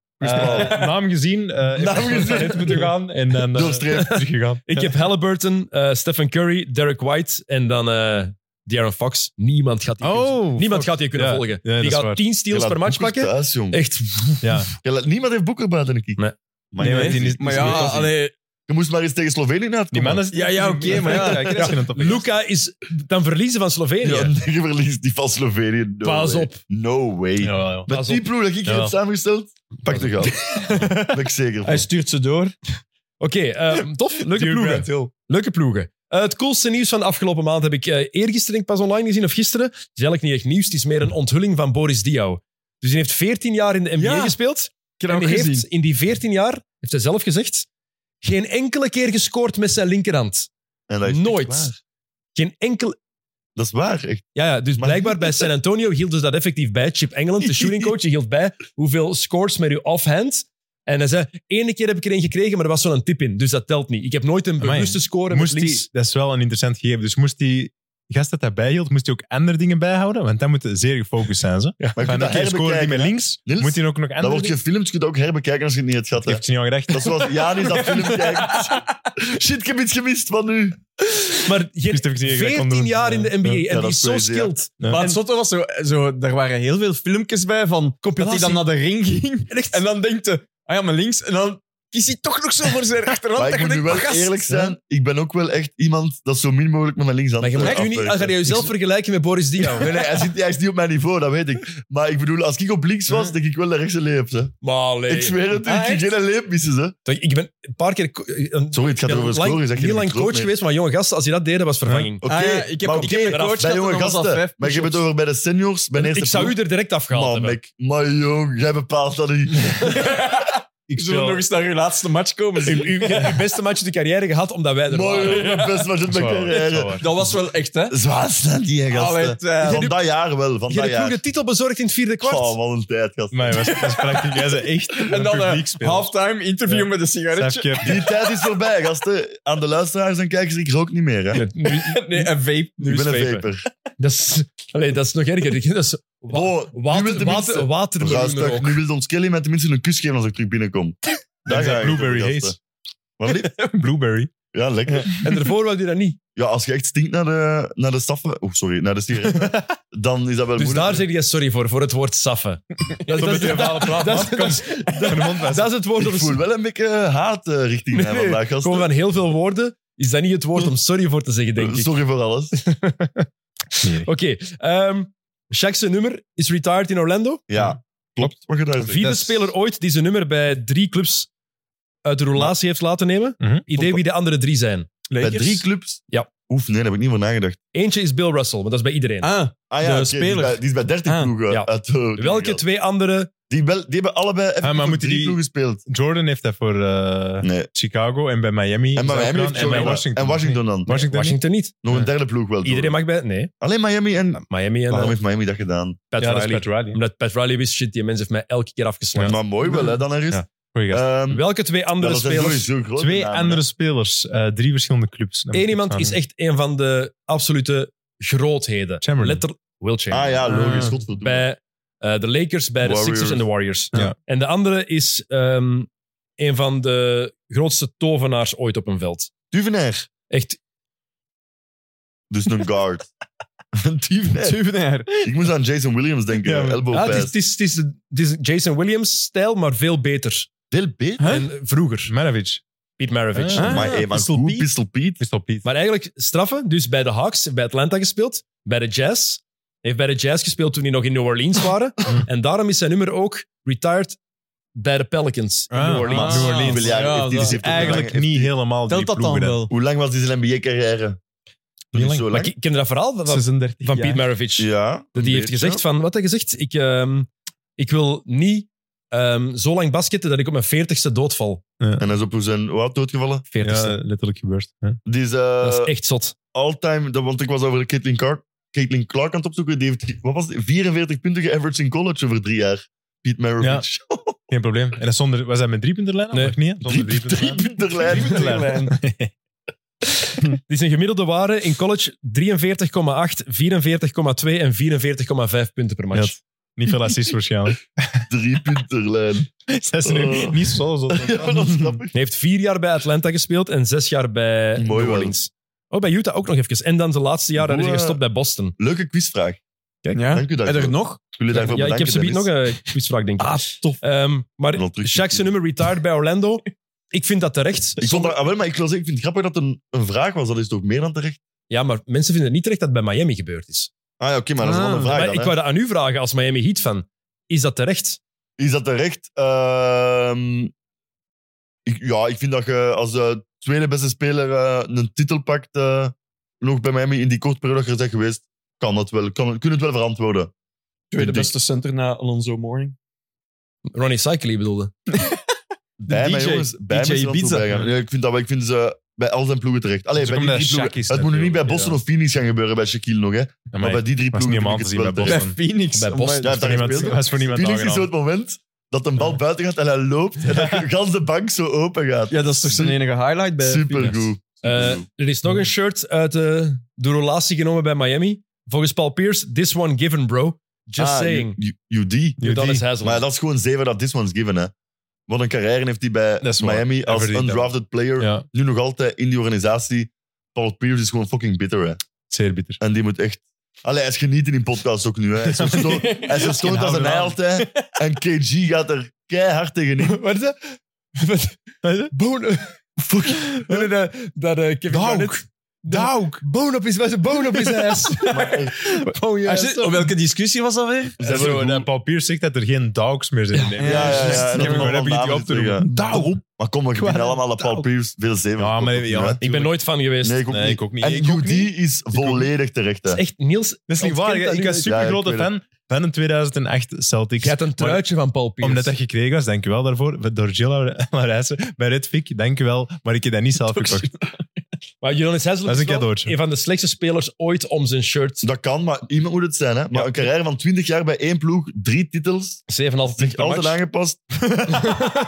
Speaker 4: naam gezien. eh
Speaker 2: Naam
Speaker 4: naam
Speaker 2: gezien.
Speaker 4: gezien. Net moeten
Speaker 1: *laughs*
Speaker 4: gaan en dan eh,
Speaker 2: Doorstreep.
Speaker 4: teruggegaan.
Speaker 1: Ik heb Halliburton, eh, Stephen Curry, Derek White en dan eh De'Aaron Fox. Niemand gaat die, kunnen,
Speaker 4: Oh,
Speaker 1: niemand
Speaker 4: fuck.
Speaker 1: gaat die kunnen
Speaker 4: Ja,
Speaker 1: volgen.
Speaker 4: ja, dat
Speaker 1: die
Speaker 4: is
Speaker 1: gaat
Speaker 4: waar.
Speaker 1: 10
Speaker 2: Je
Speaker 1: steals
Speaker 2: laat
Speaker 1: per match
Speaker 2: Booker
Speaker 1: pakken.
Speaker 2: Thuis, jong.
Speaker 1: Echt.
Speaker 4: Ja.
Speaker 2: Je laat- niemand heeft Booker buiten een
Speaker 1: Nee.
Speaker 2: Maar
Speaker 4: Nee,
Speaker 2: ja,
Speaker 4: maar die is-
Speaker 5: Maar
Speaker 4: die is
Speaker 5: ja,
Speaker 4: niet tof.
Speaker 5: allee,
Speaker 2: Je moest maar eens tegen Slovenië uitkomen.
Speaker 4: Die man is...
Speaker 5: Ja, ja, oké, maar ja.
Speaker 4: Kijk, dat is geen toppie.
Speaker 1: Luca is dan verliezen van Slovenië.
Speaker 2: Ja, *laughs* je verliest die van Slovenië. No
Speaker 1: Pas
Speaker 2: way.
Speaker 1: op.
Speaker 2: No way.
Speaker 4: Ja, ja.
Speaker 2: Met
Speaker 1: pas
Speaker 2: die
Speaker 1: op.
Speaker 2: ploeg dat ik hier
Speaker 4: Ja.
Speaker 2: heb samengesteld, pak de goud. ben ik zeker van.
Speaker 5: hij stuurt ze door.
Speaker 1: Oké, eh, tof. Leuke
Speaker 4: Dear
Speaker 1: ploegen.
Speaker 4: Grant Hill.
Speaker 1: Leuke ploegen. Eh, het coolste nieuws van de afgelopen maand heb ik eh eergisteren denk ik, pas online gezien, of gisteren. Het is eigenlijk niet echt nieuws, het is meer een onthulling van Boris Diaw. Dus hij heeft 14 jaar in de NBA
Speaker 5: Ja,
Speaker 1: gespeeld.
Speaker 5: Ik heb
Speaker 1: En
Speaker 5: dat ook
Speaker 1: hij heeft
Speaker 5: gezien.
Speaker 1: in die 14 jaar, heeft hij zelf gezegd, geen enkele keer gescoord met zijn linkerhand.
Speaker 2: En dat is echt waar.
Speaker 1: Nooit. Geen enkel...
Speaker 2: Dat is waar, echt.
Speaker 1: Ja, ja, dus
Speaker 2: Maar-
Speaker 1: blijkbaar bij San Antonio hield dus dat effectief bij. Chip Engeland, de shootingcoach, die hield bij hoeveel scores met uw offhand. En hij zei, ene keer heb ik er een gekregen, maar er was zo'n tip in. Dus dat telt niet. Ik heb nooit een
Speaker 4: Amai.
Speaker 1: bewuste score met
Speaker 4: Moest
Speaker 1: links.
Speaker 4: die, dat is wel een interessant gegeven. Dus moest die gast dat daarbij hield, moest hij ook andere dingen bijhouden? Want dan moet hij zeer gefocust zijn. Ze.
Speaker 2: Maar je
Speaker 4: Gaan
Speaker 2: kunt
Speaker 4: een
Speaker 2: dat
Speaker 4: keer scoren die
Speaker 2: herbekijken.
Speaker 4: met
Speaker 2: hè.
Speaker 4: links,
Speaker 2: Niels,
Speaker 4: moet hij ook nog
Speaker 2: Dat
Speaker 4: andere
Speaker 2: wordt
Speaker 4: dingen...
Speaker 2: gefilmd, je kunt dat ook herbekijken als je het niet hebt gehad. hè.
Speaker 4: Heeft ze niet al gedacht.
Speaker 2: Dat is zoals Janis dat film kijkt. Shit, ik heb iets gemist van nu.
Speaker 1: Maar je
Speaker 4: Wist even gezien dat ik dat kon
Speaker 1: 14
Speaker 4: doen.
Speaker 1: jaar in de NBA
Speaker 4: Ja,
Speaker 1: en
Speaker 2: dat
Speaker 1: die
Speaker 2: is
Speaker 1: is zo
Speaker 2: crazy, ja.
Speaker 1: skilled.
Speaker 4: Ja.
Speaker 5: Maar
Speaker 1: Maar
Speaker 5: het zotte was zo, zo... Er waren heel veel filmpjes bij van... Dat hij
Speaker 1: Compilatie.
Speaker 5: dan naar de ring ging.
Speaker 1: echt-
Speaker 5: En dan denkt hij... Ah ja, mijn links. En dan kiest hij toch nog zo voor
Speaker 2: *laughs*
Speaker 5: zijn rechterhand.
Speaker 2: Maar ik
Speaker 5: En je
Speaker 2: moet nu
Speaker 5: denkt,
Speaker 2: wel
Speaker 5: gast,
Speaker 2: eerlijk zijn. Ik ben ook wel echt iemand dat zo min mogelijk met mijn linkshand
Speaker 1: maar je
Speaker 2: eh,
Speaker 1: mag je niet,
Speaker 2: afwerkt.
Speaker 1: ga je jezelf vergelijken met Boris
Speaker 5: *laughs*
Speaker 1: Diaw.
Speaker 2: Nee, nee, hij, zit, hij is niet op mijn niveau, dat weet ik. Maar ik bedoel, als ik op links was, denk ik wel dat rechts een leep. Hè.
Speaker 1: Maar
Speaker 2: Ik zweer het, u, ik ging geen leep missen. Hè.
Speaker 1: Toch, Ik ben een paar keer... Een,
Speaker 2: Sorry, het gaat
Speaker 1: ik ben
Speaker 2: over
Speaker 1: lang-
Speaker 2: scoren. Zeg je
Speaker 1: heel
Speaker 2: dat
Speaker 1: lang coach
Speaker 2: ik groot mee.
Speaker 1: geweest, maar jonge gasten, als je dat deden, was vervanging.
Speaker 2: Oké,
Speaker 5: Ah, ja, ik heb,
Speaker 2: maar
Speaker 5: ik
Speaker 2: oké,
Speaker 5: heb een
Speaker 1: eraf.
Speaker 5: coach
Speaker 2: bij
Speaker 5: gehad en
Speaker 2: jonge
Speaker 5: dan was dat
Speaker 2: gasten.
Speaker 5: vijf
Speaker 2: Maar je hebt het over bij de seniors, bij de eerste
Speaker 1: Ik zou u
Speaker 2: ploeg.
Speaker 1: er direct afgehaald
Speaker 2: Man,
Speaker 1: hebben.
Speaker 2: Mac, maar jong, jij bepaalt dat niet.
Speaker 4: ik
Speaker 5: Zullen we
Speaker 4: speel-
Speaker 5: nog eens naar uw laatste match komen?
Speaker 1: U, u, je hebt uw beste match in de carrière gehad, omdat wij er
Speaker 2: Mooi,
Speaker 1: waren.
Speaker 2: hoor, de beste match uit
Speaker 4: Dat is
Speaker 2: mijn
Speaker 4: wel waar, dat is wel
Speaker 2: carrière.
Speaker 4: waar.
Speaker 5: Dat was wel echt, hè?
Speaker 2: Zwaar staan die, hè,
Speaker 5: Allee,
Speaker 2: gasten.
Speaker 5: het, eh,
Speaker 2: Van dat jaar wel, van
Speaker 1: Je
Speaker 2: dat
Speaker 1: hebt
Speaker 2: jaar.
Speaker 1: de titel bezorgd in het vierde kwart.
Speaker 2: Oh, wat een tijd, gasten.
Speaker 4: Maar dat is- dat is prachtig. Jij bent echt
Speaker 5: en dan
Speaker 1: eh,
Speaker 4: een
Speaker 5: een
Speaker 4: publiekspeler.
Speaker 5: halftime interview
Speaker 4: Ja.
Speaker 5: met een sigaretje.
Speaker 4: Stefke,
Speaker 2: Die tijd is voorbij, gasten. Aan de luisteraars en kijkers, ik rook niet meer. Hè.
Speaker 1: Ja, nu-
Speaker 5: *laughs* Nee, een vape.
Speaker 2: ik ben een
Speaker 1: vapen.
Speaker 2: vaper.
Speaker 1: dat, is, allee, dat is nog erger. *laughs* Dat is wa-
Speaker 2: Oh, nu wil
Speaker 1: water, water,
Speaker 2: tenminste...
Speaker 1: watermeloen
Speaker 2: Ruisdag,
Speaker 1: ook.
Speaker 2: nu wil ons Kelly mij tenminste een kus geven als ik terug binnenkom. Daar
Speaker 4: zijn
Speaker 2: ga ik
Speaker 4: Blueberry
Speaker 2: op,
Speaker 4: Haze.
Speaker 2: gasten. Wat
Speaker 1: *laughs*
Speaker 2: lief?
Speaker 4: Blueberry.
Speaker 2: Ja, lekker.
Speaker 1: En daarvoor wilde je dat niet.
Speaker 2: Ja, als je echt stinkt naar de, naar de staffen... Oh, sorry, naar de sigaretten.
Speaker 1: *laughs*
Speaker 2: dan is dat wel
Speaker 1: Dus
Speaker 2: moeilijk.
Speaker 1: daar zeg je sorry voor, voor het woord saffen. *laughs* Dat,
Speaker 4: Dat
Speaker 1: is-
Speaker 4: is een verhaal praat.
Speaker 1: dat is-
Speaker 4: man. Kom, van de mond was.
Speaker 1: dat is het woord om
Speaker 2: Ik voel wel een beetje haat eh, richting
Speaker 1: Nee,
Speaker 2: mij
Speaker 1: nee,
Speaker 2: vandaag, gasten.
Speaker 1: Gewoon van heel veel woorden is dat niet het woord om sorry voor te zeggen, denk ik. Oké.
Speaker 2: Sorry voor alles.
Speaker 1: ehm, Shaq's zijn nummer is retired in Orlando.
Speaker 2: Ja, klopt. Wat je daar zegt.
Speaker 1: Vierde
Speaker 3: Dat is-
Speaker 1: speler ooit die zijn nummer bij drie clubs uit de roulatie heeft laten nemen.
Speaker 4: Mhm.
Speaker 1: Idee wie de andere drie zijn.
Speaker 2: Bij drie clubs?
Speaker 1: Ja.
Speaker 2: Oef, nee, daar heb ik niet voor nagedacht.
Speaker 1: Eentje is Bill Russell, maar dat is bij iedereen.
Speaker 5: Ah,
Speaker 2: Ah
Speaker 5: De
Speaker 2: ja, oké, die,
Speaker 5: speler.
Speaker 2: is bij, die is bij 30
Speaker 5: Ah,
Speaker 2: ploegen.
Speaker 1: ja.
Speaker 2: uit, eh,
Speaker 1: Welke twee andere?
Speaker 2: Die, wel, die hebben allebei even
Speaker 4: Ah, maar
Speaker 2: voor
Speaker 4: moeten
Speaker 2: drie
Speaker 4: die-
Speaker 2: ploegen gespeeld.
Speaker 4: Jordan heeft dat voor eh,
Speaker 2: Nee.
Speaker 4: Chicago en bij Miami.
Speaker 2: En bij Miami heeft
Speaker 4: gedaan en bij
Speaker 2: Jordan-
Speaker 4: Washington.
Speaker 2: En Washington dan.
Speaker 4: Washington.
Speaker 1: Washington niet.
Speaker 2: Nog een derde ploeg wel. door.
Speaker 1: Iedereen mag bij... Nee,
Speaker 2: Alleen Miami en...
Speaker 1: Miami en eh,
Speaker 2: Waarom heeft Miami dat gedaan?
Speaker 1: Pat
Speaker 4: Ja, dat is
Speaker 1: Riley.
Speaker 4: Pat Riley.
Speaker 1: Omdat Pat Riley wist, shit, die mens heeft mij elke keer afgeslagen.
Speaker 2: Maar mooi wel, hè, dan er is.
Speaker 4: Ja. Goeie gast.
Speaker 2: Ehm,
Speaker 1: Welke twee andere
Speaker 2: dat zijn
Speaker 1: spelers?
Speaker 2: sowieso grote
Speaker 4: Twee
Speaker 2: namen, hè.
Speaker 4: andere spelers, eh, drie verschillende clubs. Dan
Speaker 1: Eén
Speaker 4: moet ik
Speaker 1: iemand
Speaker 4: het
Speaker 1: is
Speaker 4: gaan-
Speaker 1: echt een van de absolute grootheden.
Speaker 4: Chamberlain.
Speaker 1: Letter Will Chamberlain.
Speaker 2: Ah ja, logisch.
Speaker 4: Ah.
Speaker 2: godverdomme.
Speaker 1: Bij eh, de Lakers, bij de
Speaker 2: Warriors.
Speaker 1: Sixers en de Warriors.
Speaker 4: Ja.
Speaker 1: En de andere is ehm, een van de grootste tovenaars ooit op een veld.
Speaker 2: Duvenair.
Speaker 1: Echt,
Speaker 2: Dus een guard.
Speaker 4: *laughs*
Speaker 2: Duvenair.
Speaker 5: Tuvenair.
Speaker 2: Ik moest aan Jason Williams denken.
Speaker 4: Ja, maar- Ah,
Speaker 2: elbow
Speaker 1: ja, het, is,
Speaker 2: pass.
Speaker 1: het, is, het, is, het is Jason Williams-stijl, maar veel beter.
Speaker 2: Veel beter.
Speaker 5: Huh?
Speaker 1: En vroeger,
Speaker 4: Maravich.
Speaker 1: Pete Maravich.
Speaker 4: Ah.
Speaker 2: Maar hey, maar
Speaker 4: Pistol
Speaker 2: goed,
Speaker 4: Pete.
Speaker 2: Pistol Pete.
Speaker 4: Pistol Pete.
Speaker 1: Maar eigenlijk straffen, dus bij de Hawks, bij Atlanta gespeeld, bij de Jazz. Hij heeft bij de Jazz gespeeld toen hij nog in New
Speaker 4: *laughs*
Speaker 1: Orleans waren. en daarom is zijn nummer ook retired bij de Pelicans in
Speaker 4: Ah,
Speaker 1: New Orleans.
Speaker 4: ah. New Orleans.
Speaker 2: Hoeveel jaar
Speaker 5: Ja,
Speaker 2: heeft die-
Speaker 5: dat-
Speaker 2: die heeft ook
Speaker 4: Eigenlijk
Speaker 2: lang-
Speaker 4: niet
Speaker 2: heeft die-
Speaker 4: helemaal
Speaker 5: Telt
Speaker 4: die
Speaker 5: dat dan
Speaker 4: ploegen. hè.
Speaker 5: wel?
Speaker 2: Hoe lang was die zijn NBA-carrière?
Speaker 4: Niet lang.
Speaker 1: Maar ik ken je dat verhaal van, van
Speaker 5: 36
Speaker 1: Pete Maravich.
Speaker 2: Ja.
Speaker 1: Dat
Speaker 2: een
Speaker 1: die heeft
Speaker 2: beetje.
Speaker 1: gezegd van, wat hij gezegd? Ik, ehm, ik wil niet ehm, zo lang basketten dat ik op mijn veertigste doodval.
Speaker 2: En hij is op zijn hoe oud doodgevallen.
Speaker 1: Veertigste.
Speaker 4: Ja, letterlijk gebeurd. hè.
Speaker 2: Die is
Speaker 1: dat is
Speaker 2: eh
Speaker 1: echt zot.
Speaker 2: all-time... dat- Want ik was over Caitlin Clark, Caitlin Clark aan het opzoeken. Die heeft, wat was het? 44 punten geaveraged in college over drie jaar. Pete Maravich. *laughs*
Speaker 4: Geen probleem. En dat zonder, was hij met drie punten lijn?
Speaker 1: Nee.
Speaker 4: Of niet? hè?
Speaker 2: drie
Speaker 4: Zonder
Speaker 2: drie *laughs*
Speaker 4: puntenlijn.
Speaker 2: punten lijn.
Speaker 1: Die zijn gemiddelde waren in college 43,8, 44,2 en 44,5 punten per match.
Speaker 4: Niet veel assist waarschijnlijk.
Speaker 2: Drie
Speaker 1: *laughs*
Speaker 2: punten lijn.
Speaker 4: Zij is nu
Speaker 2: Oh.
Speaker 4: niet zo *laughs* zot.
Speaker 2: Ja, dat is grappig.
Speaker 1: Hij heeft vier jaar bij Atlanta gespeeld en zes jaar bij
Speaker 2: Mooi
Speaker 1: New
Speaker 2: wel.
Speaker 1: Orleans. Oh, bij Utah ook nog even. En dan zijn laatste jaar daar is hij
Speaker 2: Hoe, eh,
Speaker 1: gestopt bij Boston.
Speaker 2: Leuke quizvraag.
Speaker 5: Ja.
Speaker 2: Dank u
Speaker 5: En
Speaker 2: daarvoor.
Speaker 5: er nog?
Speaker 2: Ik wil je daarvoor
Speaker 1: Ja, ik heb
Speaker 2: bedanken,
Speaker 1: ze biedt nog
Speaker 2: Dennis.
Speaker 1: een quizvraag, denk ik.
Speaker 5: Ah, tof.
Speaker 1: Ehm, maar
Speaker 2: En dan terug-
Speaker 1: Shaq's nummer retired bij Orlando. Ik vind dat terecht.
Speaker 2: Ik vond dat, ah, wel, maar ik, wil zeggen, ik vind het grappig dat het een, een vraag was. Dat is toch meer dan terecht?
Speaker 1: Ja, maar mensen vinden het niet terecht dat het bij Miami gebeurd is.
Speaker 2: Ah ja, oké, maar dat is een
Speaker 5: Ah.
Speaker 2: andere vraag
Speaker 1: maar
Speaker 2: dan,
Speaker 1: ik
Speaker 2: hè.
Speaker 1: wou dat aan u vragen als Miami Heat van. Is dat terecht?
Speaker 2: Is dat terecht? Ehm, ik, ja, ik vind dat je als eh, tweede beste speler eh, een titel pakt, eh, nog bij Miami in die korte periode dat je er bent geweest, kan dat wel. Kan, kun je het wel verantwoorden.
Speaker 5: Tweede
Speaker 2: Dik.
Speaker 5: beste center na Alonso Morning.
Speaker 1: Ronnie Cycli bedoelde.
Speaker 2: Bijna,
Speaker 5: DJ
Speaker 2: jongens. Bijna
Speaker 5: DJ
Speaker 2: is er aan toe
Speaker 5: Ibiza.
Speaker 2: bijgaan. Nee, ik, vind dat, wel- ik vind ze bij al zijn ploegen terecht. Allee,
Speaker 4: Het is
Speaker 2: bij
Speaker 4: ook
Speaker 2: die
Speaker 4: omdat
Speaker 2: drie
Speaker 4: Shaq
Speaker 2: ploegen.
Speaker 4: is
Speaker 2: het moet nu niet bij
Speaker 4: natuurlijk,
Speaker 2: Boston
Speaker 4: ja.
Speaker 2: of Phoenix gaan gebeuren bij Shaquille nog, hè.
Speaker 4: Ja,
Speaker 2: maar bij die drie
Speaker 4: was
Speaker 2: ploegen
Speaker 4: niet om
Speaker 2: vind
Speaker 4: aan
Speaker 2: ik
Speaker 4: te
Speaker 2: het
Speaker 4: zien
Speaker 2: wel
Speaker 4: bij
Speaker 2: terecht.
Speaker 5: Bij
Speaker 4: Van-
Speaker 5: Phoenix.
Speaker 1: bij Boston.
Speaker 2: Ja,
Speaker 4: dat
Speaker 2: daar
Speaker 4: is voor
Speaker 2: speelde-
Speaker 4: niemand, was voor niemand
Speaker 2: Phoenix is zo
Speaker 4: aangenaam.
Speaker 2: het moment dat een bal buiten gaat en hij loopt
Speaker 4: *laughs*
Speaker 2: en dat de ganse bank zo open gaat.
Speaker 5: Ja, dat is toch zijn enige highlight bij *laughs*
Speaker 2: Supergoed.
Speaker 1: Eh,
Speaker 2: Supergoed.
Speaker 1: er is
Speaker 2: Hmm.
Speaker 1: nog een shirt uit de, de relatie genomen bij Miami. Volgens Paul Pierce, this one given, bro. Just
Speaker 2: Ah,
Speaker 1: saying.
Speaker 2: U- U- UD.
Speaker 1: Udonis Haslem.
Speaker 2: Maar dat is gewoon zeven dat this one's given, hè. Wat een carrière heeft hij bij
Speaker 4: Dat is waar.
Speaker 2: Miami als
Speaker 4: Everything
Speaker 2: undrafted player.
Speaker 4: Ja,
Speaker 2: Nu nog altijd in die organisatie. Paul Pierce is gewoon fucking bitter, hè.
Speaker 4: zeer bitter.
Speaker 2: En die moet echt... Allee, hij is genieten in podcasts ook nu, hè. Hij
Speaker 4: *laughs*
Speaker 2: is zo sto- hij is zo stoot als een
Speaker 4: houder
Speaker 2: ei
Speaker 4: aan.
Speaker 2: altijd. En KG gaat er keihard
Speaker 4: *laughs*
Speaker 2: tegenin.
Speaker 1: Wat is dat? Wat- Bone... Fuck. Nee, nee, dat, dat, eh, Kevin
Speaker 4: Dauk.
Speaker 1: Garnett- Dauk. Bone op is zijn bone op is ass.
Speaker 2: *laughs* Maar echt,
Speaker 1: Oh ja.
Speaker 5: Op welke discussie was dat weer?
Speaker 2: ze hebben
Speaker 4: Zo,
Speaker 2: goed-
Speaker 4: dat Paul Pierce zegt dat er geen dogs meer zijn. in de NBA.
Speaker 2: Ja, ja, ja.
Speaker 4: Juist.
Speaker 2: En
Speaker 4: Ik
Speaker 2: dat er
Speaker 4: heb hem-
Speaker 2: nog
Speaker 4: heb je die
Speaker 2: namen
Speaker 4: op te roepen?
Speaker 2: zeggen. Maar kom, we beginnen allemaal dat Paul Pierce veel zeven.
Speaker 4: Ja, maar even- ja,
Speaker 2: Nee,
Speaker 1: Ik ben nooit fan geweest.
Speaker 2: ik ook
Speaker 4: Nee,
Speaker 2: niet.
Speaker 4: ik ook niet.
Speaker 2: En
Speaker 4: Ik ook
Speaker 2: UD
Speaker 4: niet.
Speaker 2: is volledig terecht, hè.
Speaker 1: Dat is echt Niels.
Speaker 4: Dat is niet waar.
Speaker 1: ontkent
Speaker 4: Ik
Speaker 1: dat
Speaker 4: ik
Speaker 1: nu.
Speaker 4: was super
Speaker 2: Ja, ik
Speaker 4: grote
Speaker 2: weet het.
Speaker 4: fan van een 2008 Celtics.
Speaker 6: Je had een truitje van Paul Pierce.
Speaker 4: Omdat dat gekregen was, dankjewel daarvoor. Door Jill *laughs* Marijsen bij Redvick, dankjewel. Maar ik heb dat niet zelf gekocht.
Speaker 1: Maar Jonas Haslem
Speaker 4: Dat is een
Speaker 1: wel
Speaker 4: cadeautje.
Speaker 1: een van de slechtste spelers ooit om zijn shirt. 7,5
Speaker 2: Dat kan, maar iemand moet het zijn. Hè? Maar een carrière van 20 jaar bij één ploeg, drie titels, zich
Speaker 1: punten per
Speaker 2: altijd
Speaker 1: match.
Speaker 2: aangepast.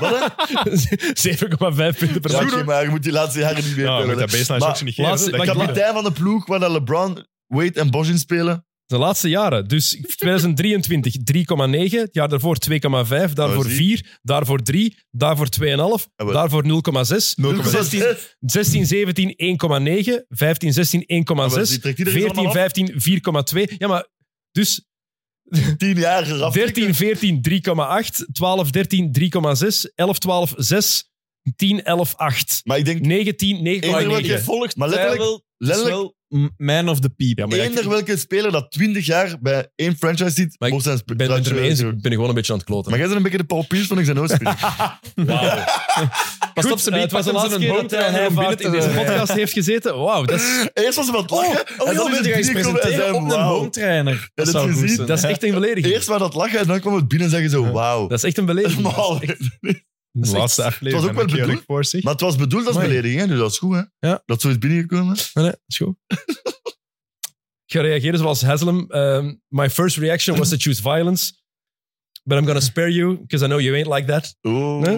Speaker 2: Wat hè?
Speaker 1: *laughs* 7,5 punten per
Speaker 2: Ja,
Speaker 1: match.
Speaker 2: oké, maar je moet die laatste jaren niet meer
Speaker 4: Ja,
Speaker 2: spelen,
Speaker 4: moet
Speaker 2: hè.
Speaker 4: dat baseline
Speaker 2: Maar
Speaker 4: shots niet geven.
Speaker 1: laatste-
Speaker 4: dat
Speaker 1: maar
Speaker 4: kan niet.
Speaker 2: Kapitein van de ploeg waar dat LeBron, Wade en Bosch in spelen.
Speaker 1: De laatste jaren. Dus 2023 3,9. Het jaar daarvoor 2,5. Daarvoor
Speaker 2: Oh, zie.
Speaker 1: 4. Daarvoor 3. Daarvoor 2,5.
Speaker 2: Ah, wel.
Speaker 1: Daarvoor 0,6.
Speaker 2: *laughs*
Speaker 1: 16, 16, 17 1,9. 15, 16 1,6. 14,
Speaker 2: 14,
Speaker 1: 15 4,2. Ja, maar dus
Speaker 2: 10 jaar gerafd.
Speaker 1: 13, 14 3,8. 12, 13 3,6. 11, 12 6. 10, 11 8.
Speaker 2: Maar ik denk,
Speaker 1: 19,
Speaker 2: Eender
Speaker 1: 9,9.
Speaker 2: welke, maar letterlijk, letterlijk
Speaker 5: man of the people.
Speaker 6: Ja, maar ja, ik-
Speaker 2: eender welke speler dat 20 jaar bij één franchise zit,
Speaker 6: Maar ik
Speaker 2: mocht zijn sp-
Speaker 6: Ik ben het ermee
Speaker 2: transfer-
Speaker 6: eens, ik ben gewoon een beetje aan het kloten.
Speaker 2: Maar jij bent een beetje de Paul Pierce van ik zijn oorsprong. *laughs*
Speaker 1: Pas op, ze eh, het was de laatste keer dat eh, hij vaak in deze podcast heeft gezeten. Wauw, dat is
Speaker 2: Eerst was ze wat lachen,
Speaker 5: Oh,
Speaker 2: en dan is het binnenkomen en zei,
Speaker 5: op een
Speaker 2: wauw.
Speaker 5: home trainer.
Speaker 2: dat zou goed zijn.
Speaker 1: Dat is echt een belediging.
Speaker 2: Eerst was dat lachen en dan kwam het binnen en zeggen zo, wauw.
Speaker 1: Dat is echt een belediging.
Speaker 2: Maar
Speaker 4: De laatste
Speaker 2: Het was
Speaker 4: aflevering
Speaker 2: ook
Speaker 4: van
Speaker 2: wel
Speaker 4: Een Keer
Speaker 2: bedoeld.
Speaker 4: voor zich.
Speaker 2: maar het was bedoeld als
Speaker 1: Amai.
Speaker 2: belediging, hè, dus dat is goed. Hè?
Speaker 6: Ja.
Speaker 2: Dat zo is binnengekomen.
Speaker 1: Ik ga reageren zoals Haslam. Um, my first reaction was to choose violence. But I'm gonna spare you, because I know you ain't like that.
Speaker 2: Oh,
Speaker 1: Nee?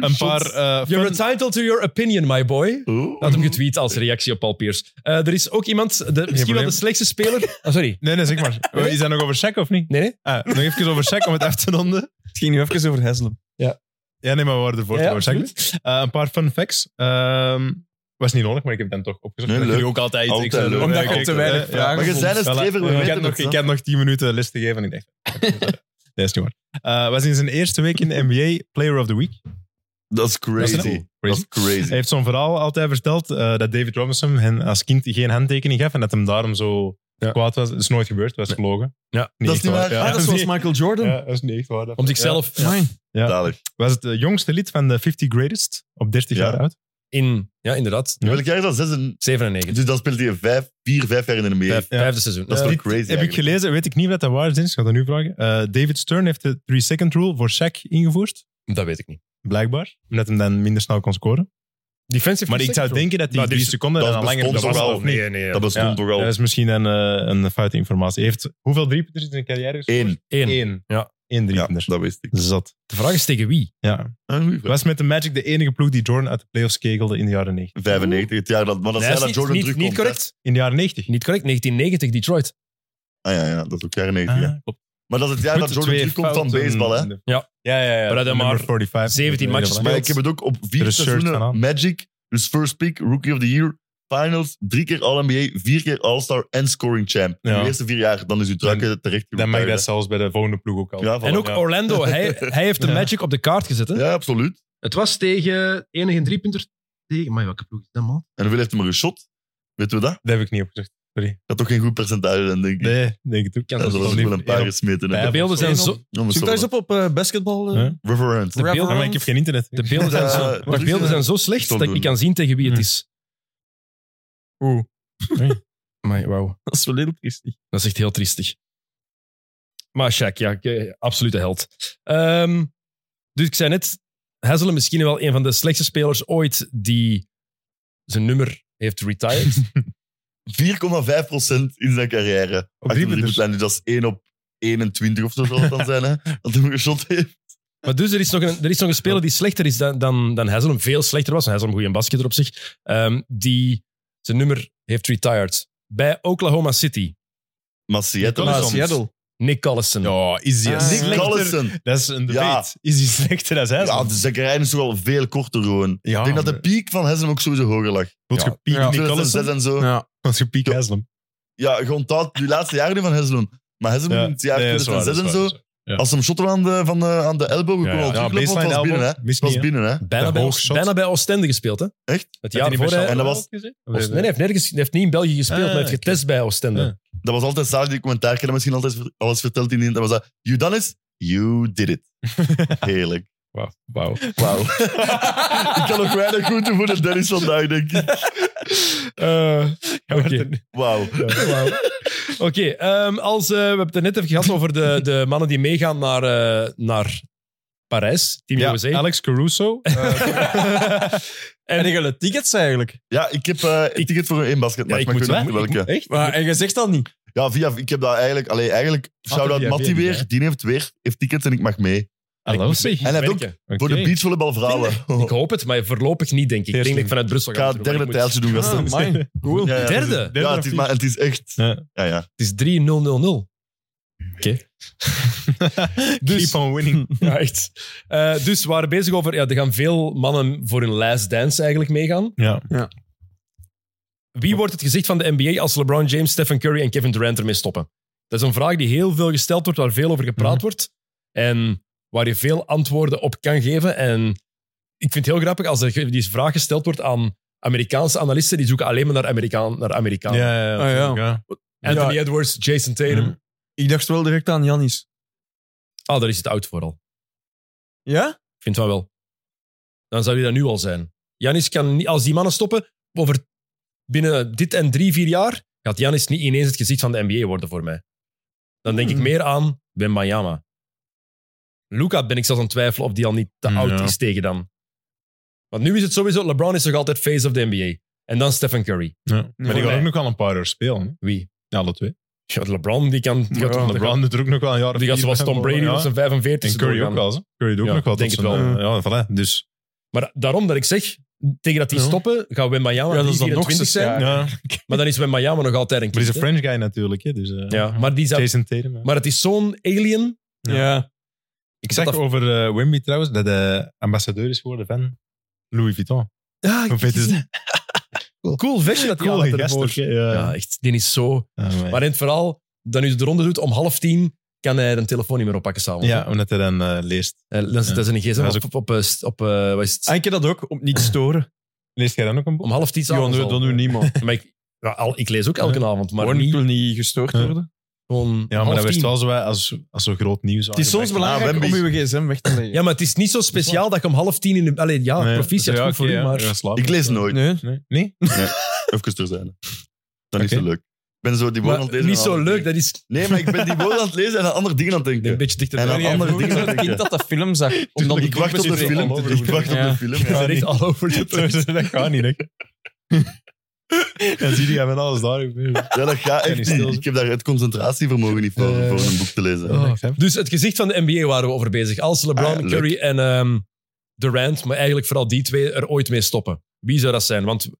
Speaker 4: Een paar eh, fun-
Speaker 1: You're entitled to your opinion, my boy.
Speaker 2: Oh.
Speaker 1: Dat had
Speaker 4: Mhm.
Speaker 1: hem getweet als reactie op Paul Pierce. Eh, er is ook iemand, de, misschien wel
Speaker 4: probleem.
Speaker 1: de slechtste
Speaker 4: *laughs*
Speaker 1: speler. Ah, sorry.
Speaker 4: Nee, nee, zeg maar. Oh, Is dat nog over Shaq of niet?
Speaker 1: Nee, nee.
Speaker 4: Ah, nog even over Shaq om het af te ronden.
Speaker 5: Het ging nu even over Haslem.
Speaker 4: Ja, nee, maar we waren ervoor.
Speaker 1: Ja, ja,
Speaker 4: over Shaq. Eh, een paar fun facts. Ehm, was niet nodig, maar ik heb het dan toch opgezocht.
Speaker 2: Nee,
Speaker 4: Dat
Speaker 2: leuk.
Speaker 4: jullie ook altijd iets
Speaker 2: Altijd
Speaker 4: extra
Speaker 2: leuk.
Speaker 4: doen.
Speaker 5: Omdat
Speaker 4: Ja,
Speaker 5: ik
Speaker 4: kijk,
Speaker 5: te weinig
Speaker 4: eh, ja.
Speaker 5: vragen
Speaker 2: Maar je
Speaker 5: vond.
Speaker 2: zei het
Speaker 4: Voilà.
Speaker 2: strever, we
Speaker 4: ik,
Speaker 2: weten
Speaker 4: had nog,
Speaker 2: het, hè.
Speaker 4: ik had nog 10 minuten les te geven en ik dacht... *laughs* Dat is niet waar. Eh, was in zijn eerste week in de NBA Player of the Week.
Speaker 2: Dat is
Speaker 4: Dat is
Speaker 2: crazy.
Speaker 4: een-
Speaker 2: Dat is crazy.
Speaker 4: Hij heeft zo'n verhaal altijd verteld eh, dat David Robinson hem als kind geen handtekening gaf en dat hem daarom zo kwaad was. Dat is nooit gebeurd, dat is gelogen.
Speaker 1: Ja.
Speaker 2: Dat
Speaker 4: Niet
Speaker 2: is
Speaker 4: echt
Speaker 2: niet waar.
Speaker 4: Ja.
Speaker 5: Ah,
Speaker 4: *laughs*
Speaker 5: dat is zoals Michael Jordan.
Speaker 4: Ja, dat is niet echt waar. dat-
Speaker 1: Om zichzelf
Speaker 4: Ja. Ja.
Speaker 2: Zalig.
Speaker 4: Was het eh, jongste lid van de 50 Greatest op 30
Speaker 2: Ja.
Speaker 4: jaar oud.
Speaker 1: in, ja, inderdaad,
Speaker 2: Welk jaar is dat? Zes en-
Speaker 1: 97.
Speaker 2: Dus dan speelt hij vijf, vier, vijf jaar in de NBA.
Speaker 1: Vijf-
Speaker 4: Ja.
Speaker 1: Vijfde seizoen.
Speaker 2: Dat is
Speaker 1: Eh,
Speaker 2: toch crazy
Speaker 4: Heb ik
Speaker 2: eigenlijk?
Speaker 4: gelezen, weet ik niet of dat waar is. Ik ga dat nu vragen. Eh, David Stern heeft de 3-second rule voor Shaq ingevoerd.
Speaker 1: dat weet ik niet.
Speaker 4: Blijkbaar. Omdat hem dan minder snel kon scoren.
Speaker 1: Defensive
Speaker 4: Maar ik zou
Speaker 1: second
Speaker 4: denken dat die
Speaker 1: Nou, die
Speaker 4: 3 seconden
Speaker 2: dus dat
Speaker 4: dan langer
Speaker 2: bestond
Speaker 4: dat
Speaker 2: toch
Speaker 4: was
Speaker 2: wel,
Speaker 4: of niet.
Speaker 1: Nee, nee.
Speaker 2: Dat bestond
Speaker 4: Ja.
Speaker 2: toch al
Speaker 4: Dat is misschien een, eh, een foute informatie. Hij heeft hoeveel driepunters in zijn carrière gescoord?
Speaker 2: één.
Speaker 1: Eén.
Speaker 4: Eén.
Speaker 1: Ja.
Speaker 4: Eén
Speaker 2: Ja,
Speaker 4: driepunters.
Speaker 2: dat wist ik.
Speaker 4: Zat.
Speaker 1: De vraag is tegen wie?
Speaker 4: Ja.
Speaker 2: Een goeie vraag.
Speaker 4: Was met de Magic de enige ploeg die Jordan uit de playoffs kegelde in de jaren 90.
Speaker 2: 95, het jaar dat, maar
Speaker 1: Nee,
Speaker 2: dat zei
Speaker 1: is
Speaker 2: dat
Speaker 1: niet-
Speaker 2: Jordan
Speaker 1: niet,
Speaker 2: terugkomt.
Speaker 1: niet
Speaker 2: hè.
Speaker 1: correct.
Speaker 4: In de jaren 90.
Speaker 1: Niet correct. 1990 Detroit.
Speaker 2: Ah ja, ja, dat is ook jaren 90. ja.
Speaker 4: Ah, klopt.
Speaker 2: Maar dat is het jaar dat
Speaker 4: Goed,
Speaker 2: Jordan
Speaker 4: twee
Speaker 2: terugkomt van
Speaker 4: fouten.
Speaker 2: baseball, hè.
Speaker 1: Ja.
Speaker 4: Ja, ja,
Speaker 1: Maar
Speaker 4: ja.
Speaker 1: dat hij
Speaker 4: Nummer
Speaker 1: maar
Speaker 4: 45.
Speaker 1: 17 matches
Speaker 4: Ja,
Speaker 1: speelt.
Speaker 2: Maar ik heb het ook op
Speaker 4: Er
Speaker 2: vier
Speaker 4: is shirt van
Speaker 2: seizoenen
Speaker 4: aan.
Speaker 2: Magic, dus first pick, rookie of the year, finals, drie keer All-NBA, vier keer All-Star en scoring champ. In
Speaker 4: Ja.
Speaker 2: de eerste vier jaar, dan is uw truiken terecht
Speaker 4: Dan mag dat
Speaker 2: geroepen,
Speaker 4: zelfs bij de volgende ploeg ook al.
Speaker 2: Ja, voilà.
Speaker 1: En ook
Speaker 4: ja.
Speaker 1: Orlando. Hij, hij heeft de
Speaker 4: *laughs* Ja.
Speaker 1: Magic op de kaart gezet. Hè?
Speaker 2: hè. Ja, absoluut.
Speaker 1: Het was tegen enige driepunter tegen... Maar welke ploeg is dat, man?
Speaker 2: En hoeveel heeft hij maar geschot? Weten we dat?
Speaker 4: Dat heb ik niet opgezocht. Sorry.
Speaker 2: Dat toch geen goed percentage, dan denk ik.
Speaker 4: Nee, denk ik ook.
Speaker 2: Ja, dat was wel een paar gesmeten.
Speaker 1: De
Speaker 2: hè.
Speaker 1: beelden zijn
Speaker 5: Eén op-
Speaker 2: *laughs*
Speaker 1: zo...
Speaker 2: Ja, maar
Speaker 5: Zoek daar
Speaker 2: sorry.
Speaker 5: eens op op eh, basketbal. eh.
Speaker 4: Huh?
Speaker 2: Reverend.
Speaker 1: De beelden,
Speaker 4: Ja, maar ik heb geen internet.
Speaker 1: de beelden zijn zo,
Speaker 2: Eh,
Speaker 1: maar
Speaker 2: wat is
Speaker 1: de beelden
Speaker 2: dat?
Speaker 1: zijn zo slecht
Speaker 2: Zal
Speaker 1: dat ik niet
Speaker 2: doen.
Speaker 1: kan zien tegen wie het
Speaker 4: Hm.
Speaker 1: is.
Speaker 5: Oeh.
Speaker 1: *laughs* Amai, wauw.
Speaker 5: Dat is wel heel triestig.
Speaker 1: Dat is echt heel triestig. Maar Shaq, ja, ik, eh, absolute held. Ehm, dus ik zei net, Hasselen misschien wel een van de slechtste spelers ooit die zijn nummer heeft retired.
Speaker 2: 4,5% in zijn carrière.
Speaker 4: Op
Speaker 2: Achter de
Speaker 4: driepunters.
Speaker 2: driepuntlijn, dus dat is 1 op 21 of zo zal het dan zijn, hè? Dat hij hem geschot heeft.
Speaker 1: Maar dus er is nog een, er is nog een speler die slechter is dan, dan, dan Hazelum. Veel slechter was. En Hazelum, goede basketer op zich. ehm, die zijn nummer heeft retired. Bij Oklahoma City.
Speaker 2: Maar Seattle
Speaker 4: Maar
Speaker 2: soms.
Speaker 4: Seattle.
Speaker 1: Nick Collison.
Speaker 4: Ja, is die
Speaker 5: Ah.
Speaker 2: Nick
Speaker 4: slechter?
Speaker 2: Collison.
Speaker 4: Dat is een
Speaker 2: Ja.
Speaker 4: debate. Is die slechter dan zij?
Speaker 2: Ja, de Zakkerijn is toch wel veel korter gewoon. Ik
Speaker 4: Ah,
Speaker 2: denk dat de piek van Hessen ook sowieso hoger lag.
Speaker 4: Wilt je piek
Speaker 5: Ja.
Speaker 4: Nick
Speaker 2: 2006
Speaker 4: Collison?
Speaker 2: en zo. Ja,
Speaker 5: Ja.
Speaker 4: Wilt je piek Haslem?
Speaker 2: gewoon dat, die laatste jaren nu van Hessen. Maar Hessen in het jaar
Speaker 4: nee, dat is waar,
Speaker 2: 2006 en
Speaker 4: dat is
Speaker 2: zo.
Speaker 4: waar, dat is waar.
Speaker 2: Als ze hem shotten aan de, van de, aan de elbow, we
Speaker 4: Ja,
Speaker 2: konden al
Speaker 4: ja. Ja,
Speaker 2: teruglopen, want
Speaker 4: baseline
Speaker 2: het was binnen, hè.
Speaker 4: elbow.
Speaker 2: Het was
Speaker 4: Misschien,
Speaker 2: binnen, hè.
Speaker 1: bijna,
Speaker 4: de
Speaker 1: bij,
Speaker 4: hoogshot.
Speaker 1: bijna bij Oostende gespeeld, hè?
Speaker 2: Echt?
Speaker 1: Het
Speaker 4: Had
Speaker 1: jaar
Speaker 4: hij
Speaker 1: voor
Speaker 4: niet bij
Speaker 1: hij...
Speaker 2: En dat
Speaker 4: Charleroi
Speaker 2: was-
Speaker 4: ook gezien?
Speaker 1: Nee, nee, hij heeft, nergens, hij heeft niet in België gespeeld, maar hij heeft
Speaker 4: Ah,
Speaker 1: getest bij Oostende.
Speaker 4: Ja.
Speaker 2: Dat was altijd zalig, die commentaar. Ik heb misschien altijd alles verteld in die... Dat was dat, you done it, you did
Speaker 4: *laughs*
Speaker 2: it. Heerlijk.
Speaker 4: Wauw. Wauw.
Speaker 2: Wauw. ik kan ook weinig goed doen voor de Dennis vandaag, denk ik.
Speaker 4: Eh, ja, maar
Speaker 1: Oké.
Speaker 4: ten-
Speaker 2: Wauw.
Speaker 1: Oké, ehm, als, eh, we hebben het er net even gehad over de, de mannen die meegaan naar, eh, naar Parijs. Team
Speaker 2: Ja,
Speaker 1: USA.
Speaker 4: Dus Alex Caruso.
Speaker 5: En regelen tickets eigenlijk.
Speaker 2: Ja, ik heb eh, een ticket voor een basketmatch,
Speaker 1: Ja, ik
Speaker 2: maar ik
Speaker 1: moet
Speaker 2: weet niet
Speaker 1: wel.
Speaker 2: welke.
Speaker 5: Echt? Maar, en je zegt dat niet.
Speaker 2: Ja, via, ik heb dat eigenlijk... Allee, eigenlijk shout-out
Speaker 4: via-
Speaker 2: Matty
Speaker 4: via die,
Speaker 2: weer.
Speaker 4: hè?
Speaker 2: Die heeft weer heeft tickets en ik mag mee.
Speaker 4: Hallo zeg.
Speaker 2: En hij heeft ook
Speaker 1: Werken.
Speaker 2: voor de beachvolleybal vrouwen.
Speaker 1: Ik hoop het, maar voorlopig niet, denk ik. Ik denk dat ik vanuit Brussel
Speaker 2: Ik
Speaker 1: ga.
Speaker 2: Oh. ga het
Speaker 1: doen, maar
Speaker 2: derde
Speaker 1: ik moet-
Speaker 2: tijdje doen, gasten.
Speaker 5: Ah, man. Cool.
Speaker 2: Ja, ja,
Speaker 1: Derde?
Speaker 2: het is-
Speaker 1: Derde
Speaker 2: Ja,
Speaker 4: of
Speaker 2: het is,
Speaker 4: vier?
Speaker 2: maar het is echt...
Speaker 4: Ja.
Speaker 2: Ja, ja.
Speaker 1: Het is 3-0-0-0.
Speaker 4: *laughs* Keep on winning.
Speaker 1: Ja, echt. Eh, dus we waren bezig over... Ja, er gaan veel mannen voor hun last dance eigenlijk meegaan.
Speaker 4: Ja.
Speaker 1: Wie wordt het gezicht van de NBA als LeBron James, Stephen Curry en Kevin Durant ermee stoppen? Dat is een vraag die heel veel gesteld wordt, waar veel over gepraat wordt. En waar je veel antwoorden op kan geven. En ik vind het heel grappig als er ge- die vraag gesteld wordt aan Amerikaanse analisten. Die zoeken alleen maar naar Amerikaan. Naar Amerikaan.
Speaker 4: Ja,
Speaker 5: Ah, ja.
Speaker 4: natuurlijk, ja.
Speaker 1: Anthony
Speaker 5: Ja.
Speaker 1: Edwards, Jason Tatum.
Speaker 4: Mhm.
Speaker 5: Ik dacht wel direct aan Janis.
Speaker 1: Ah, daar is het oud voor al.
Speaker 5: Ja?
Speaker 1: Ik vind van wel. Dan zou hij dat nu al zijn. Janis kan niet, als die mannen stoppen, over binnen dit en drie, vier jaar, gaat Janis niet ineens het gezicht van de NBA worden voor mij. Dan denk ik meer aan Ben Bayama. Luca ben ik zelfs aan het twijfelen of die al niet te
Speaker 4: Mm,
Speaker 1: oud
Speaker 4: ja.
Speaker 1: is tegen dan. Want nu is het sowieso, LeBron is nog altijd face of de NBA. En dan Stephen Curry.
Speaker 4: Ja. Oh, Maar die
Speaker 1: Voor
Speaker 4: gaat
Speaker 1: mij.
Speaker 4: ook nog wel een paar uur spelen. hè?
Speaker 1: Wie?
Speaker 4: Ja, alle twee.
Speaker 1: Ja, LeBron, die kan... Die gaat,
Speaker 5: Ja,
Speaker 1: die
Speaker 4: LeBron doet er ook nog wel een jaar of
Speaker 1: gaat, die gaat
Speaker 4: vier
Speaker 1: zoals
Speaker 4: bij
Speaker 1: Tom Brady
Speaker 4: Ja.
Speaker 1: op zijn 45
Speaker 4: En Curry ook wel. hè? Curry doet ook
Speaker 1: Ja,
Speaker 4: nog wel.
Speaker 1: denk
Speaker 4: tot
Speaker 1: het
Speaker 4: zijn,
Speaker 5: wel.
Speaker 4: eh, Ja, voilà. Dus
Speaker 1: Maar daarom dat ik zeg, tegen dat die
Speaker 4: Ja.
Speaker 1: stoppen, gaan we in Miami
Speaker 5: Ja, dat is dan nog
Speaker 1: 24
Speaker 5: zes
Speaker 1: zijn.
Speaker 5: jaar.
Speaker 4: Ja,
Speaker 1: Maar dan is Wembanyama nog altijd een
Speaker 4: maar
Speaker 1: kind.
Speaker 4: hij is een French guy natuurlijk. Hè, dus, eh,
Speaker 1: hè? Ja, maar, die zou-
Speaker 4: Jason Tatum. hè.
Speaker 1: maar het is zo'n alien.
Speaker 4: Ja. ik zag
Speaker 1: dat-
Speaker 4: over eh, Wimby trouwens dat de ambassadeur is geworden van Louis Vuitton.
Speaker 1: Ja,
Speaker 4: Hoe vet is dat?
Speaker 1: Cool vestje dat hij aan
Speaker 4: Cool
Speaker 1: had
Speaker 4: gast,
Speaker 1: ervoor.
Speaker 4: toch, hè? Ja.
Speaker 1: Ja, echt. Die is zo...
Speaker 4: Ah, maar-
Speaker 1: Maar in het verhaal, dat nu de ronde doet, om half tien kan hij de telefoon niet meer oppakken s'avonds.
Speaker 4: ja, omdat hij dan eh, leest.
Speaker 1: Eh, Dan zit hij zijn gsm
Speaker 4: Dat is
Speaker 1: op, op, op, eh, st- op, eh, wat is het?
Speaker 5: En ik heb dat ook, om niet te storen.
Speaker 4: Leest jij dan ook een boek?
Speaker 1: om half tien
Speaker 5: Ja,
Speaker 1: s'avonds
Speaker 5: nee,
Speaker 1: al.
Speaker 5: dat doet niemand.
Speaker 1: *laughs* Maar ik, ja, al, ik lees ook elke avond, maar
Speaker 5: Gewoon, ik
Speaker 1: niet
Speaker 5: wil niet gestoord
Speaker 4: Ja.
Speaker 5: worden.
Speaker 1: gewoon
Speaker 4: Ja, maar
Speaker 1: half
Speaker 4: dat werd
Speaker 1: tien.
Speaker 4: wel zo, eh, als, als zo groot nieuws.
Speaker 5: Het is soms
Speaker 4: aangebracht.
Speaker 5: belangrijk
Speaker 2: Ah,
Speaker 5: om
Speaker 2: Wemby.
Speaker 5: uw gsm weg te leggen.
Speaker 1: Ja, maar het is niet zo speciaal dat je om half tien in de... Allee, ja,
Speaker 4: Nee,
Speaker 1: proficiat,
Speaker 4: dus ja,
Speaker 1: goed voor
Speaker 4: oké,
Speaker 1: u,
Speaker 4: ja.
Speaker 1: maar...
Speaker 4: Ja, slaap.
Speaker 2: Ik lees nooit.
Speaker 5: Nee.
Speaker 4: Nee? nee?
Speaker 2: Even er zijn. Dat is
Speaker 4: Oké.
Speaker 2: zo leuk. Ik ben zo die woorden aan
Speaker 1: Maar
Speaker 2: het lezen.
Speaker 1: niet
Speaker 2: en
Speaker 1: zo
Speaker 2: andere
Speaker 1: leuk,
Speaker 2: dingen.
Speaker 1: dat is
Speaker 2: Nee, maar ik ben die woorden aan het lezen en aan andere dingen aan het
Speaker 1: een
Speaker 2: denken.
Speaker 1: beetje dichter
Speaker 2: En
Speaker 1: bij.
Speaker 2: aan
Speaker 1: Ja, *laughs*
Speaker 2: andere dingen aan
Speaker 5: Ik
Speaker 2: het
Speaker 5: denk
Speaker 2: denken.
Speaker 5: dat dat film zag. Omdat
Speaker 2: Ik wacht op de
Speaker 5: mensen-
Speaker 2: film.
Speaker 4: al over
Speaker 2: Ik wacht op
Speaker 5: Ja.
Speaker 2: de film.
Speaker 1: Je
Speaker 2: ja.
Speaker 1: bent echt all over the place.
Speaker 4: *laughs* dat gaat niet, hè. En zie je, met alles daar.
Speaker 2: Ja, dat gaat
Speaker 4: Ik ben niet
Speaker 2: echt
Speaker 4: stil. Oh.
Speaker 2: niet. Ik heb daar het concentratievermogen niet voor,
Speaker 1: Eh.
Speaker 2: voor een boek te lezen.
Speaker 1: Dus het gezicht van de NBA waren we over bezig. Als LeBron,
Speaker 2: Ah, ja,
Speaker 1: Curry en ehm, Durant, maar eigenlijk vooral die twee, er ooit mee stoppen. Wie zou dat zijn? Want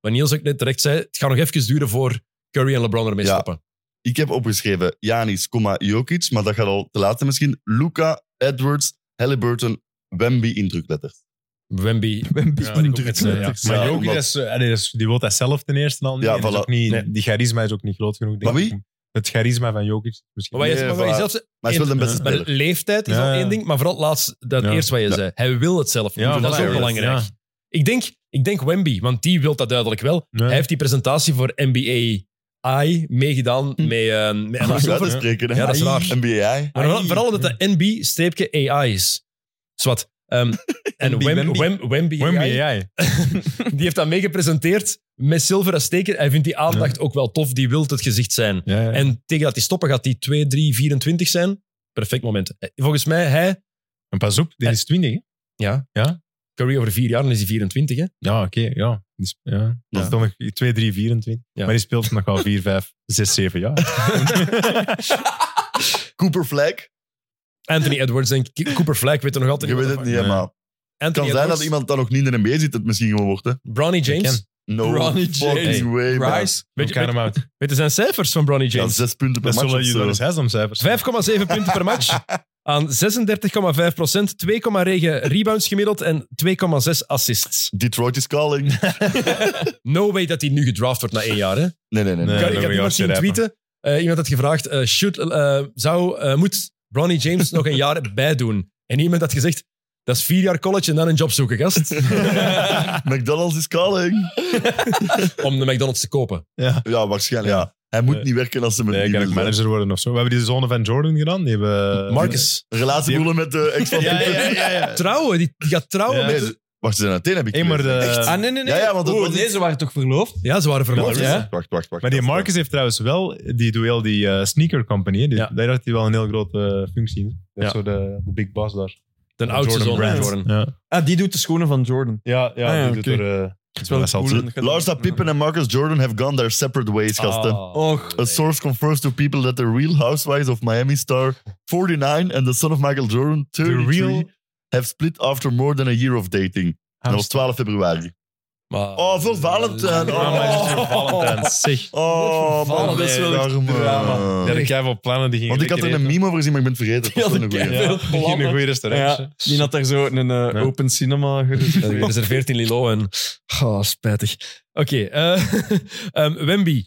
Speaker 1: wat Niels ook net terecht zei, het gaat nog even duren voor Curry en LeBron ermee
Speaker 2: Ja.
Speaker 1: stoppen.
Speaker 2: Ik heb opgeschreven Janis, comma, Jokic, maar dat gaat al te laat zijn misschien. Luca, Edwards, Halliburton, Wemby in drukletters.
Speaker 1: Wemby.
Speaker 5: Wemby.
Speaker 4: Ja, ik ook net zei, eh, ja.
Speaker 2: Ja,
Speaker 4: Maar Jokic,
Speaker 2: omdat-
Speaker 4: dat is, eh, nee, dat is- die wil dat zelf ten eerste al niet.
Speaker 2: Ja,
Speaker 4: En dat is
Speaker 2: voilà.
Speaker 4: ook niet
Speaker 1: Nee.
Speaker 4: Die charisma is ook niet groot genoeg. denk
Speaker 2: Maar
Speaker 4: ik. Het charisma van Jokic. Misschien.
Speaker 1: Maar wat je,
Speaker 2: Nee,
Speaker 1: maar wat je
Speaker 2: voilà.
Speaker 1: zelf zei,
Speaker 2: Maar hij is wel de beste
Speaker 4: Eh,
Speaker 1: maar
Speaker 2: speler.
Speaker 1: leeftijd is
Speaker 4: Ja,
Speaker 1: al
Speaker 4: ja.
Speaker 1: één ding, maar vooral het laatste, dat
Speaker 4: Ja.
Speaker 1: eerste wat je zei. Hij wil het zelf.
Speaker 4: Ja,
Speaker 1: niet. dus dat
Speaker 4: voilà,
Speaker 1: is ook
Speaker 2: ja.
Speaker 1: belangrijk.
Speaker 4: Ja.
Speaker 1: Ik, denk, ik denk Wemby, want die wil dat duidelijk wel.
Speaker 4: Nee.
Speaker 1: Hij heeft die presentatie voor NBA I meegedaan
Speaker 4: Hm.
Speaker 1: met, ehm, met
Speaker 4: Ah,
Speaker 2: Om
Speaker 1: Adam
Speaker 2: het uit
Speaker 1: Silver.
Speaker 2: te spreken, hè.
Speaker 1: Ja, dat is raar.
Speaker 2: NBA.
Speaker 1: Maar vooral, vooral omdat dat NB-AI is. Zwat.
Speaker 4: *laughs*
Speaker 1: Ehm, en
Speaker 4: NB,
Speaker 1: Wem,
Speaker 4: Wemby.
Speaker 1: Wem, Wemby,
Speaker 4: Wemby,
Speaker 1: AI,
Speaker 4: jij.
Speaker 1: die heeft dat meegepresenteerd met zilver als teken. Hij vindt die aandacht ook wel tof, die wil het gezicht zijn.
Speaker 4: Ja, ja.
Speaker 1: En tegen dat die stoppen gaat die 2, 3, 24 zijn. Perfect moment. Eh, Volgens mij, hij...
Speaker 4: En pas op, dit is 20. hè?
Speaker 1: Ja.
Speaker 4: Ja.
Speaker 1: Curry over vier jaar, dan is hij 24, hè?
Speaker 4: Ja, oké. ja. Die is- ja. Dat is dan nog 2, 3, 24.
Speaker 1: Ja.
Speaker 4: Maar die speelt nog wel 4, 5, 6, 7 jaar.
Speaker 2: Cooper Flag.
Speaker 4: *laughs*
Speaker 1: Anthony Edwards en Ki- Cooper Flag weten nog altijd
Speaker 2: Je weet het niet, hè,
Speaker 4: Nee.
Speaker 2: maar... Het
Speaker 1: Anthony
Speaker 2: kan zijn dat
Speaker 1: Edwards,
Speaker 2: iemand dan nog niet in de NBA zit, het misschien gewoon wordt, hè.
Speaker 1: Bronny James.
Speaker 4: Ken.
Speaker 2: No
Speaker 5: Bronny James.
Speaker 2: fucking way, man.
Speaker 5: Rice.
Speaker 1: Weet
Speaker 4: Weet
Speaker 1: je-
Speaker 4: je, hem uit.
Speaker 1: Weet je zijn cijfers van Bronny
Speaker 2: Ja,
Speaker 1: James?
Speaker 2: zes punten per
Speaker 4: Dat
Speaker 2: match eh,
Speaker 4: zullen
Speaker 2: of
Speaker 4: jullie dan
Speaker 2: zo.
Speaker 4: eens hebben, cijfers.
Speaker 1: 5,7 punten per match. Aan 36,5 procent, 2,9 rebounds gemiddeld en 2,6 assists.
Speaker 2: Detroit is calling.
Speaker 1: No way dat hij nu gedraft wordt na één jaar. Hè? Ik-
Speaker 2: *laughs* Nee, nee, nee. nee.
Speaker 4: Ja, dat
Speaker 1: ik heb
Speaker 4: wil je ook
Speaker 1: iemand zien
Speaker 4: zeggen,
Speaker 1: tweeten. eh, iemand had gevraagd, eh, should, eh, zou, eh, moet Bronny James nog een jaar bijdoen? En iemand had gezegd, dat is vier jaar college en dan een job zoeken, gast.
Speaker 2: *laughs* McDonald's is calling.
Speaker 1: Om de McDonald's te kopen.
Speaker 2: Ja, waarschijnlijk. Ja. Hij moet
Speaker 4: Nee.
Speaker 2: niet werken als ze met
Speaker 4: Nee,
Speaker 2: die
Speaker 4: kan ik
Speaker 2: willen.
Speaker 4: manager worden of zo. We hebben die zone van Jordan gedaan. Die hebben...
Speaker 1: Marcus.
Speaker 2: Relatieboelen met de ex van
Speaker 4: Ja, ja, ja, ja, ja.
Speaker 1: Trouwen, die, die gaat trouwen
Speaker 4: Ja.
Speaker 1: met...
Speaker 2: Nee, Wacht, ze zijn uiteen, heb ik
Speaker 4: Hey, maar
Speaker 2: gelezen.
Speaker 4: de-
Speaker 2: Echt?
Speaker 4: Ah,
Speaker 5: nee, nee,
Speaker 2: Ja, ja, want dat
Speaker 5: Oeh,
Speaker 2: was-
Speaker 5: nee, ze waren toch verloofd?
Speaker 1: Ja, ze waren verloofd.
Speaker 2: Wacht,
Speaker 1: Ja.
Speaker 2: wacht, wacht, wacht, wacht.
Speaker 4: Maar die Marcus heeft trouwens wel, die doet heel die eh, sneaker company. hè. Die,
Speaker 1: Ja.
Speaker 4: Daar had hij wel een heel grote eh, functie in. Dat is
Speaker 1: Ja.
Speaker 4: zo de, de big boss daar.
Speaker 1: De oudste zoon van Jordan.
Speaker 4: Ja,
Speaker 5: Ah, die doet de schoenen van Jordan.
Speaker 4: ja, ja
Speaker 5: Ah, ja,
Speaker 4: die doet
Speaker 5: oké.
Speaker 4: er... eh,
Speaker 5: is wel
Speaker 4: dat zal
Speaker 5: cool.
Speaker 4: ze-
Speaker 2: Larsa Pippen en Marcus Jordan have gone their separate
Speaker 1: Ah,
Speaker 2: ways, gasten.
Speaker 5: Och.
Speaker 2: A source confirms to people that the real housewives of Miami star 49 and the son of Michael Jordan, 33,
Speaker 4: real-
Speaker 2: have split after more than a year of dating. En dat was 12 februari.
Speaker 1: Maar-
Speaker 2: Oh, veel
Speaker 1: eh,
Speaker 2: Valentijn.
Speaker 4: Ah, maar het is
Speaker 2: Oh,
Speaker 4: voor Valentijns. Zeg.
Speaker 2: oh man, dat is wel een
Speaker 4: Ja,
Speaker 2: drama.
Speaker 4: er ik heb op plannen die gingen
Speaker 2: Want ik had er een meme over gezien, maar ik ben het vergeten. Dat was wel een goeie.
Speaker 5: Ja.
Speaker 4: Ja, die gingen een goede restaurant.
Speaker 5: Ja, die had daar zo een eh,
Speaker 4: Ja.
Speaker 5: open cinema gereserveerd.
Speaker 1: Er is er 14 Lilo en. Oh, spijtig. Oké, eh, *laughs* ehm, Wemby.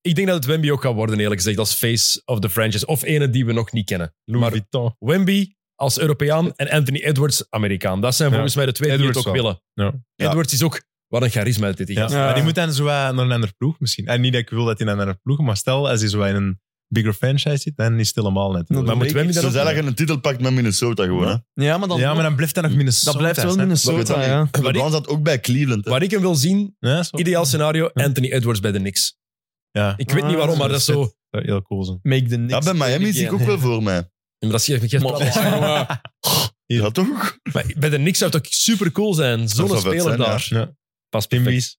Speaker 1: Ik denk dat het Wemby ook gaat worden, eerlijk gezegd, als face of the franchise. Of ene die we nog niet kennen.
Speaker 4: Louis
Speaker 1: Maar
Speaker 4: Vuitton.
Speaker 1: Wemby als Europeaan en Anthony Edwards Amerikaan. Dat zijn
Speaker 4: Ja.
Speaker 1: volgens mij de twee die het ook
Speaker 4: Edwards
Speaker 1: willen.
Speaker 4: Ja.
Speaker 2: Ja.
Speaker 1: Edwards is ook... Wat een charisma dit is.
Speaker 4: Ja. Maar die moet dan zo wat naar een andere ploeg misschien. En niet dat ik wil dat hij naar een andere ploeg, maar stel als hij zo wat in een bigger franchise zit, dan is het helemaal net.
Speaker 5: Nou,
Speaker 1: Maar moet Wemby
Speaker 2: Ze
Speaker 1: dan ook-
Speaker 2: zijn eigenlijk een titel pakt met Minnesota gewoon. Hè?
Speaker 5: Ja, maar dan,
Speaker 4: ja, maar dan blijft hij nog Minnesota.
Speaker 5: dat blijft wel
Speaker 4: snap je?
Speaker 5: Minnesota, ja.
Speaker 2: LeBron zat ook bij Cleveland. hè.
Speaker 1: Waar ik hem wil zien,
Speaker 4: Ja, zo.
Speaker 1: ideaal scenario, Anthony Edwards bij de Knicks.
Speaker 4: Ja.
Speaker 1: Ik weet niet waarom, maar dat is zo...
Speaker 4: zou heel cool zijn.
Speaker 5: Make the
Speaker 2: Ja,
Speaker 5: Knicks.
Speaker 2: bij Miami zie ik ook wel voor mij.
Speaker 1: Maar dat is geen *laughs*
Speaker 2: Ja, toch?
Speaker 1: Maar bij de Knicks zou het ook super cool zijn.
Speaker 2: Dat
Speaker 1: Zo'n
Speaker 2: zou vet
Speaker 1: speler
Speaker 2: zijn,
Speaker 1: daar.
Speaker 4: ja. Ja.
Speaker 1: Pas Pimbies.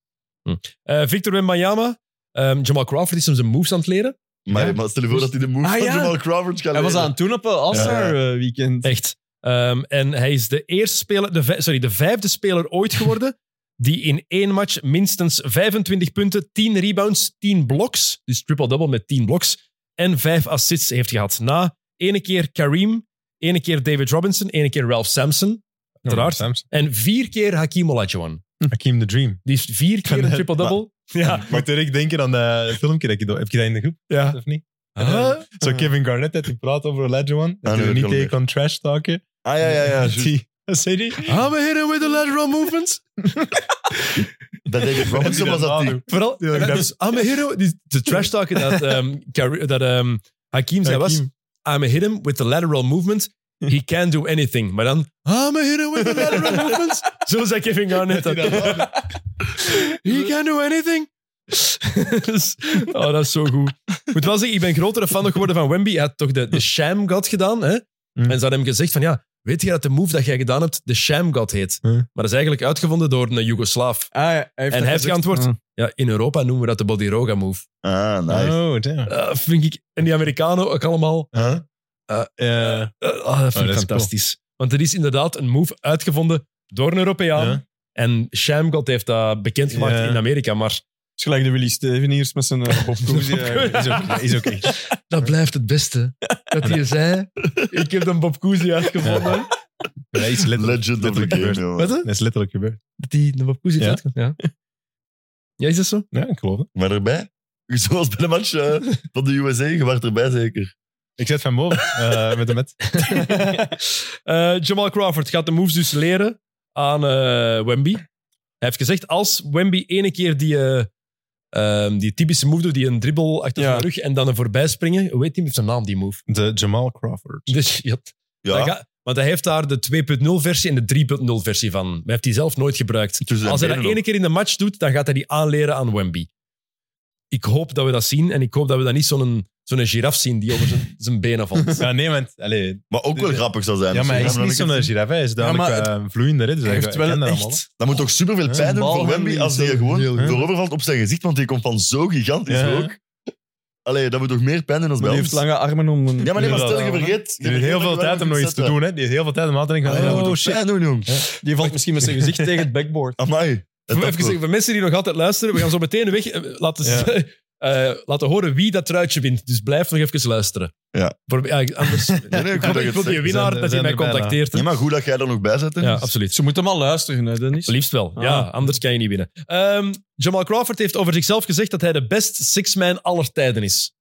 Speaker 1: Victor Wembanyama. Ehm Jamal Crawford is hem zijn moves aan het leren.
Speaker 2: Maar, maar stel je voor dat hij de move
Speaker 5: Ah,
Speaker 2: van
Speaker 5: ja.
Speaker 2: Jamal Crawford gaat
Speaker 5: Hij was
Speaker 2: leren.
Speaker 5: aan het doen op een All-Star eh, weekend.
Speaker 1: Echt. Ehm, en hij is de, eerste speler, de, vij- sorry, de vijfde speler ooit geworden *laughs* die in één match minstens 25 punten, 10 rebounds, 10 bloks, dus triple-double met 10 bloks, en 5 assists heeft gehad. Na ene keer Kareem, ene keer David Robinson, ene keer Ralph Sampson, uiteraard,
Speaker 4: Samson.
Speaker 1: en vier keer Hakim Olajuwon.
Speaker 4: Hakim the
Speaker 1: *laughs*
Speaker 4: Dream.
Speaker 1: Die heeft vier keer een triple-double. Ja.
Speaker 4: Moet er ik denken aan dat filmpje dat je... Heb je dat in de groep?
Speaker 1: Ja.
Speaker 4: Of niet?
Speaker 1: Huh?
Speaker 4: Zo Kevin Garnett dat hij praat over Olajuwon.
Speaker 2: Ah,
Speaker 4: Dat
Speaker 2: nee,
Speaker 4: hij
Speaker 2: dat
Speaker 4: er niet
Speaker 2: kan
Speaker 4: tegen
Speaker 2: niet.
Speaker 4: kan trash talken.
Speaker 2: Ah, ja, ja, *laughs* ja.
Speaker 4: Dat
Speaker 2: juist.
Speaker 4: die- dat zei hij.
Speaker 1: I'm a hitter with the lateral movements.
Speaker 2: Bij David Robinson was dat die.
Speaker 1: Vooral,
Speaker 4: Ja, ik
Speaker 1: dat
Speaker 4: dacht-
Speaker 1: is I'm a hero. Die, de trash talk dat, ehm, Kar- dat ehm, Hakim zei was,
Speaker 4: Hakim.
Speaker 1: I'm a hit him with the lateral movement.
Speaker 4: *laughs*
Speaker 1: He can do anything. Maar dan, I'm a hit him with the lateral movements. Zo zei Kevin Garnett dat. He can do anything. *laughs* Dus- oh, dat is zo goed. Ik moet wel zeggen, ik ben grotere fan nog geworden van Wemby. Hij had toch de, de Sham God gedaan. Hè? En
Speaker 4: Mm.
Speaker 1: ze hadden hem gezegd van, ja, weet je dat de move dat jij gedaan hebt de Sham God heet?
Speaker 4: Hm.
Speaker 1: Maar dat is eigenlijk uitgevonden door een Joegoslaaf.
Speaker 5: Ah, ja, hij heeft
Speaker 1: En hij heeft
Speaker 5: gezegd.
Speaker 1: geantwoord.
Speaker 5: Ah.
Speaker 1: Ja, in Europa noemen we dat de Bodiroga move.
Speaker 2: Ah, nice.
Speaker 4: Oh, damn.
Speaker 1: Eh, vind ik, en die Amerikanen ook allemaal.
Speaker 4: Huh?
Speaker 1: Eh,
Speaker 4: Eh,
Speaker 1: eh, ah, dat vind
Speaker 4: dat
Speaker 1: ik
Speaker 4: is
Speaker 1: fantastisch. Want het is inderdaad een move uitgevonden door een Europeaan.
Speaker 4: Ja.
Speaker 1: En Shamgod heeft dat bekendgemaakt
Speaker 4: Ja.
Speaker 1: in Amerika. Maar
Speaker 5: Het is gelijk de Willy Steveniers met zijn eh, Bob Cousy. eigenlijk.
Speaker 4: is ook, is ook
Speaker 2: *laughs*
Speaker 4: echt.
Speaker 1: dat blijft het beste. Dat
Speaker 4: *laughs*
Speaker 1: hij zei: Ik heb een Bob Cousy uitgevonden.
Speaker 4: Ja, iets letterlijk,
Speaker 2: Legend of the
Speaker 4: letterlijk
Speaker 2: game,
Speaker 4: gebeurd.
Speaker 2: jongen.
Speaker 1: Wat? hè?
Speaker 4: Dat is letterlijk gebeurd.
Speaker 1: Dat hij een Bob Cousy
Speaker 4: Ja.
Speaker 1: heeft uitgevonden. Ja. ja, is dat zo?
Speaker 4: Ja, ik geloof het.
Speaker 2: Maar erbij? *laughs* Zoals bij de match eh, van de USA, je was erbij zeker.
Speaker 4: Ik zet van boven eh, met de met.
Speaker 1: *laughs* Eh, Jamal Crawford gaat de moves dus leren aan eh, Wemby. Hij heeft gezegd, als Wemby ene keer die, eh, ehm, die typische move doet, die een dribbel achter
Speaker 5: Ja.
Speaker 1: zijn rug en dan een voorbij springen, hoe heet die met zijn naam, die move? *laughs*
Speaker 4: De Jamal Crawford.
Speaker 1: Dus, ja,
Speaker 2: Ja,
Speaker 1: dat gaat- want hij heeft daar de 2.0-versie en de 3.0-versie van. Maar Hij heeft die zelf nooit gebruikt.
Speaker 2: tussen zijn
Speaker 1: Als hij dat
Speaker 2: benen
Speaker 1: ene
Speaker 2: ook.
Speaker 1: keer in de match doet, dan gaat hij die aanleren aan Wemby. Ik hoop dat we dat zien en ik hoop dat we dan niet zo'n zo'n giraf zien die over zijn, zijn benen valt.
Speaker 4: Ja, nee, want... Allee,
Speaker 2: Maar ook wel grappig zou zijn.
Speaker 4: ja, maar hij is
Speaker 2: Dus
Speaker 4: niet zo'n giraffe. Hij is duidelijk
Speaker 5: maar
Speaker 4: eh, vloeiender. hè, Dus
Speaker 5: Hij heeft wel echt...
Speaker 2: Dat moet toch superveel pijn doen voor Wemby
Speaker 5: balhandeling
Speaker 2: als hij
Speaker 5: is
Speaker 2: gewoon
Speaker 5: heel-
Speaker 2: voorovervalt op zijn gezicht, want die komt van zo gigantisch
Speaker 4: Ja.
Speaker 2: ook. Allee, dat moet toch meer pijn doen dan
Speaker 5: Maar
Speaker 2: bij
Speaker 5: die
Speaker 2: ons?
Speaker 5: heeft lange armen om... een-
Speaker 2: Ja, maar nee, maar stel je
Speaker 5: Ja.
Speaker 2: vergeet... je
Speaker 4: Er is
Speaker 2: vergeet
Speaker 4: heel
Speaker 2: dat
Speaker 4: veel
Speaker 2: je wel
Speaker 4: tijd om nog
Speaker 2: moet
Speaker 4: iets te
Speaker 2: zetten.
Speaker 4: doen. Hè. Die heeft heel veel tijd om aan te denken.
Speaker 2: Allee,
Speaker 4: van,
Speaker 2: dat moet
Speaker 4: Oh,
Speaker 2: toch
Speaker 4: shit.
Speaker 2: pijn doen, jong.
Speaker 5: Die *laughs* valt misschien
Speaker 1: *laughs*
Speaker 5: met zijn gezicht tegen het backboard.
Speaker 2: Amai. Het
Speaker 1: Even zeggen, voor mensen die nog altijd luisteren, we gaan zo meteen weg eh, laten,
Speaker 4: Ja.
Speaker 1: *laughs* eh, laten horen wie dat truitje wint. Dus blijf nog even luisteren.
Speaker 2: Ja.
Speaker 1: Voor, ja, anders,
Speaker 2: nee,
Speaker 4: *laughs*
Speaker 2: goed
Speaker 1: ik hoop
Speaker 2: dat je
Speaker 1: ik
Speaker 2: het
Speaker 1: wil die
Speaker 2: zegt.
Speaker 1: winnaar
Speaker 4: Zijn-
Speaker 1: dat hij
Speaker 4: zijn
Speaker 1: mij
Speaker 4: er bijna.
Speaker 1: contacteert.
Speaker 2: Ja, maar goed dat jij er nog bij zit. hè.
Speaker 1: Ja,
Speaker 2: Dus-
Speaker 1: absoluut.
Speaker 5: Ze moeten allemaal luisteren, hè, Dennis.
Speaker 1: Liefst wel. Ja,
Speaker 5: Ah.
Speaker 1: anders kan je niet winnen. Ehm, Jamal Crawford heeft over zichzelf gezegd dat hij de best six-man aller tijden is.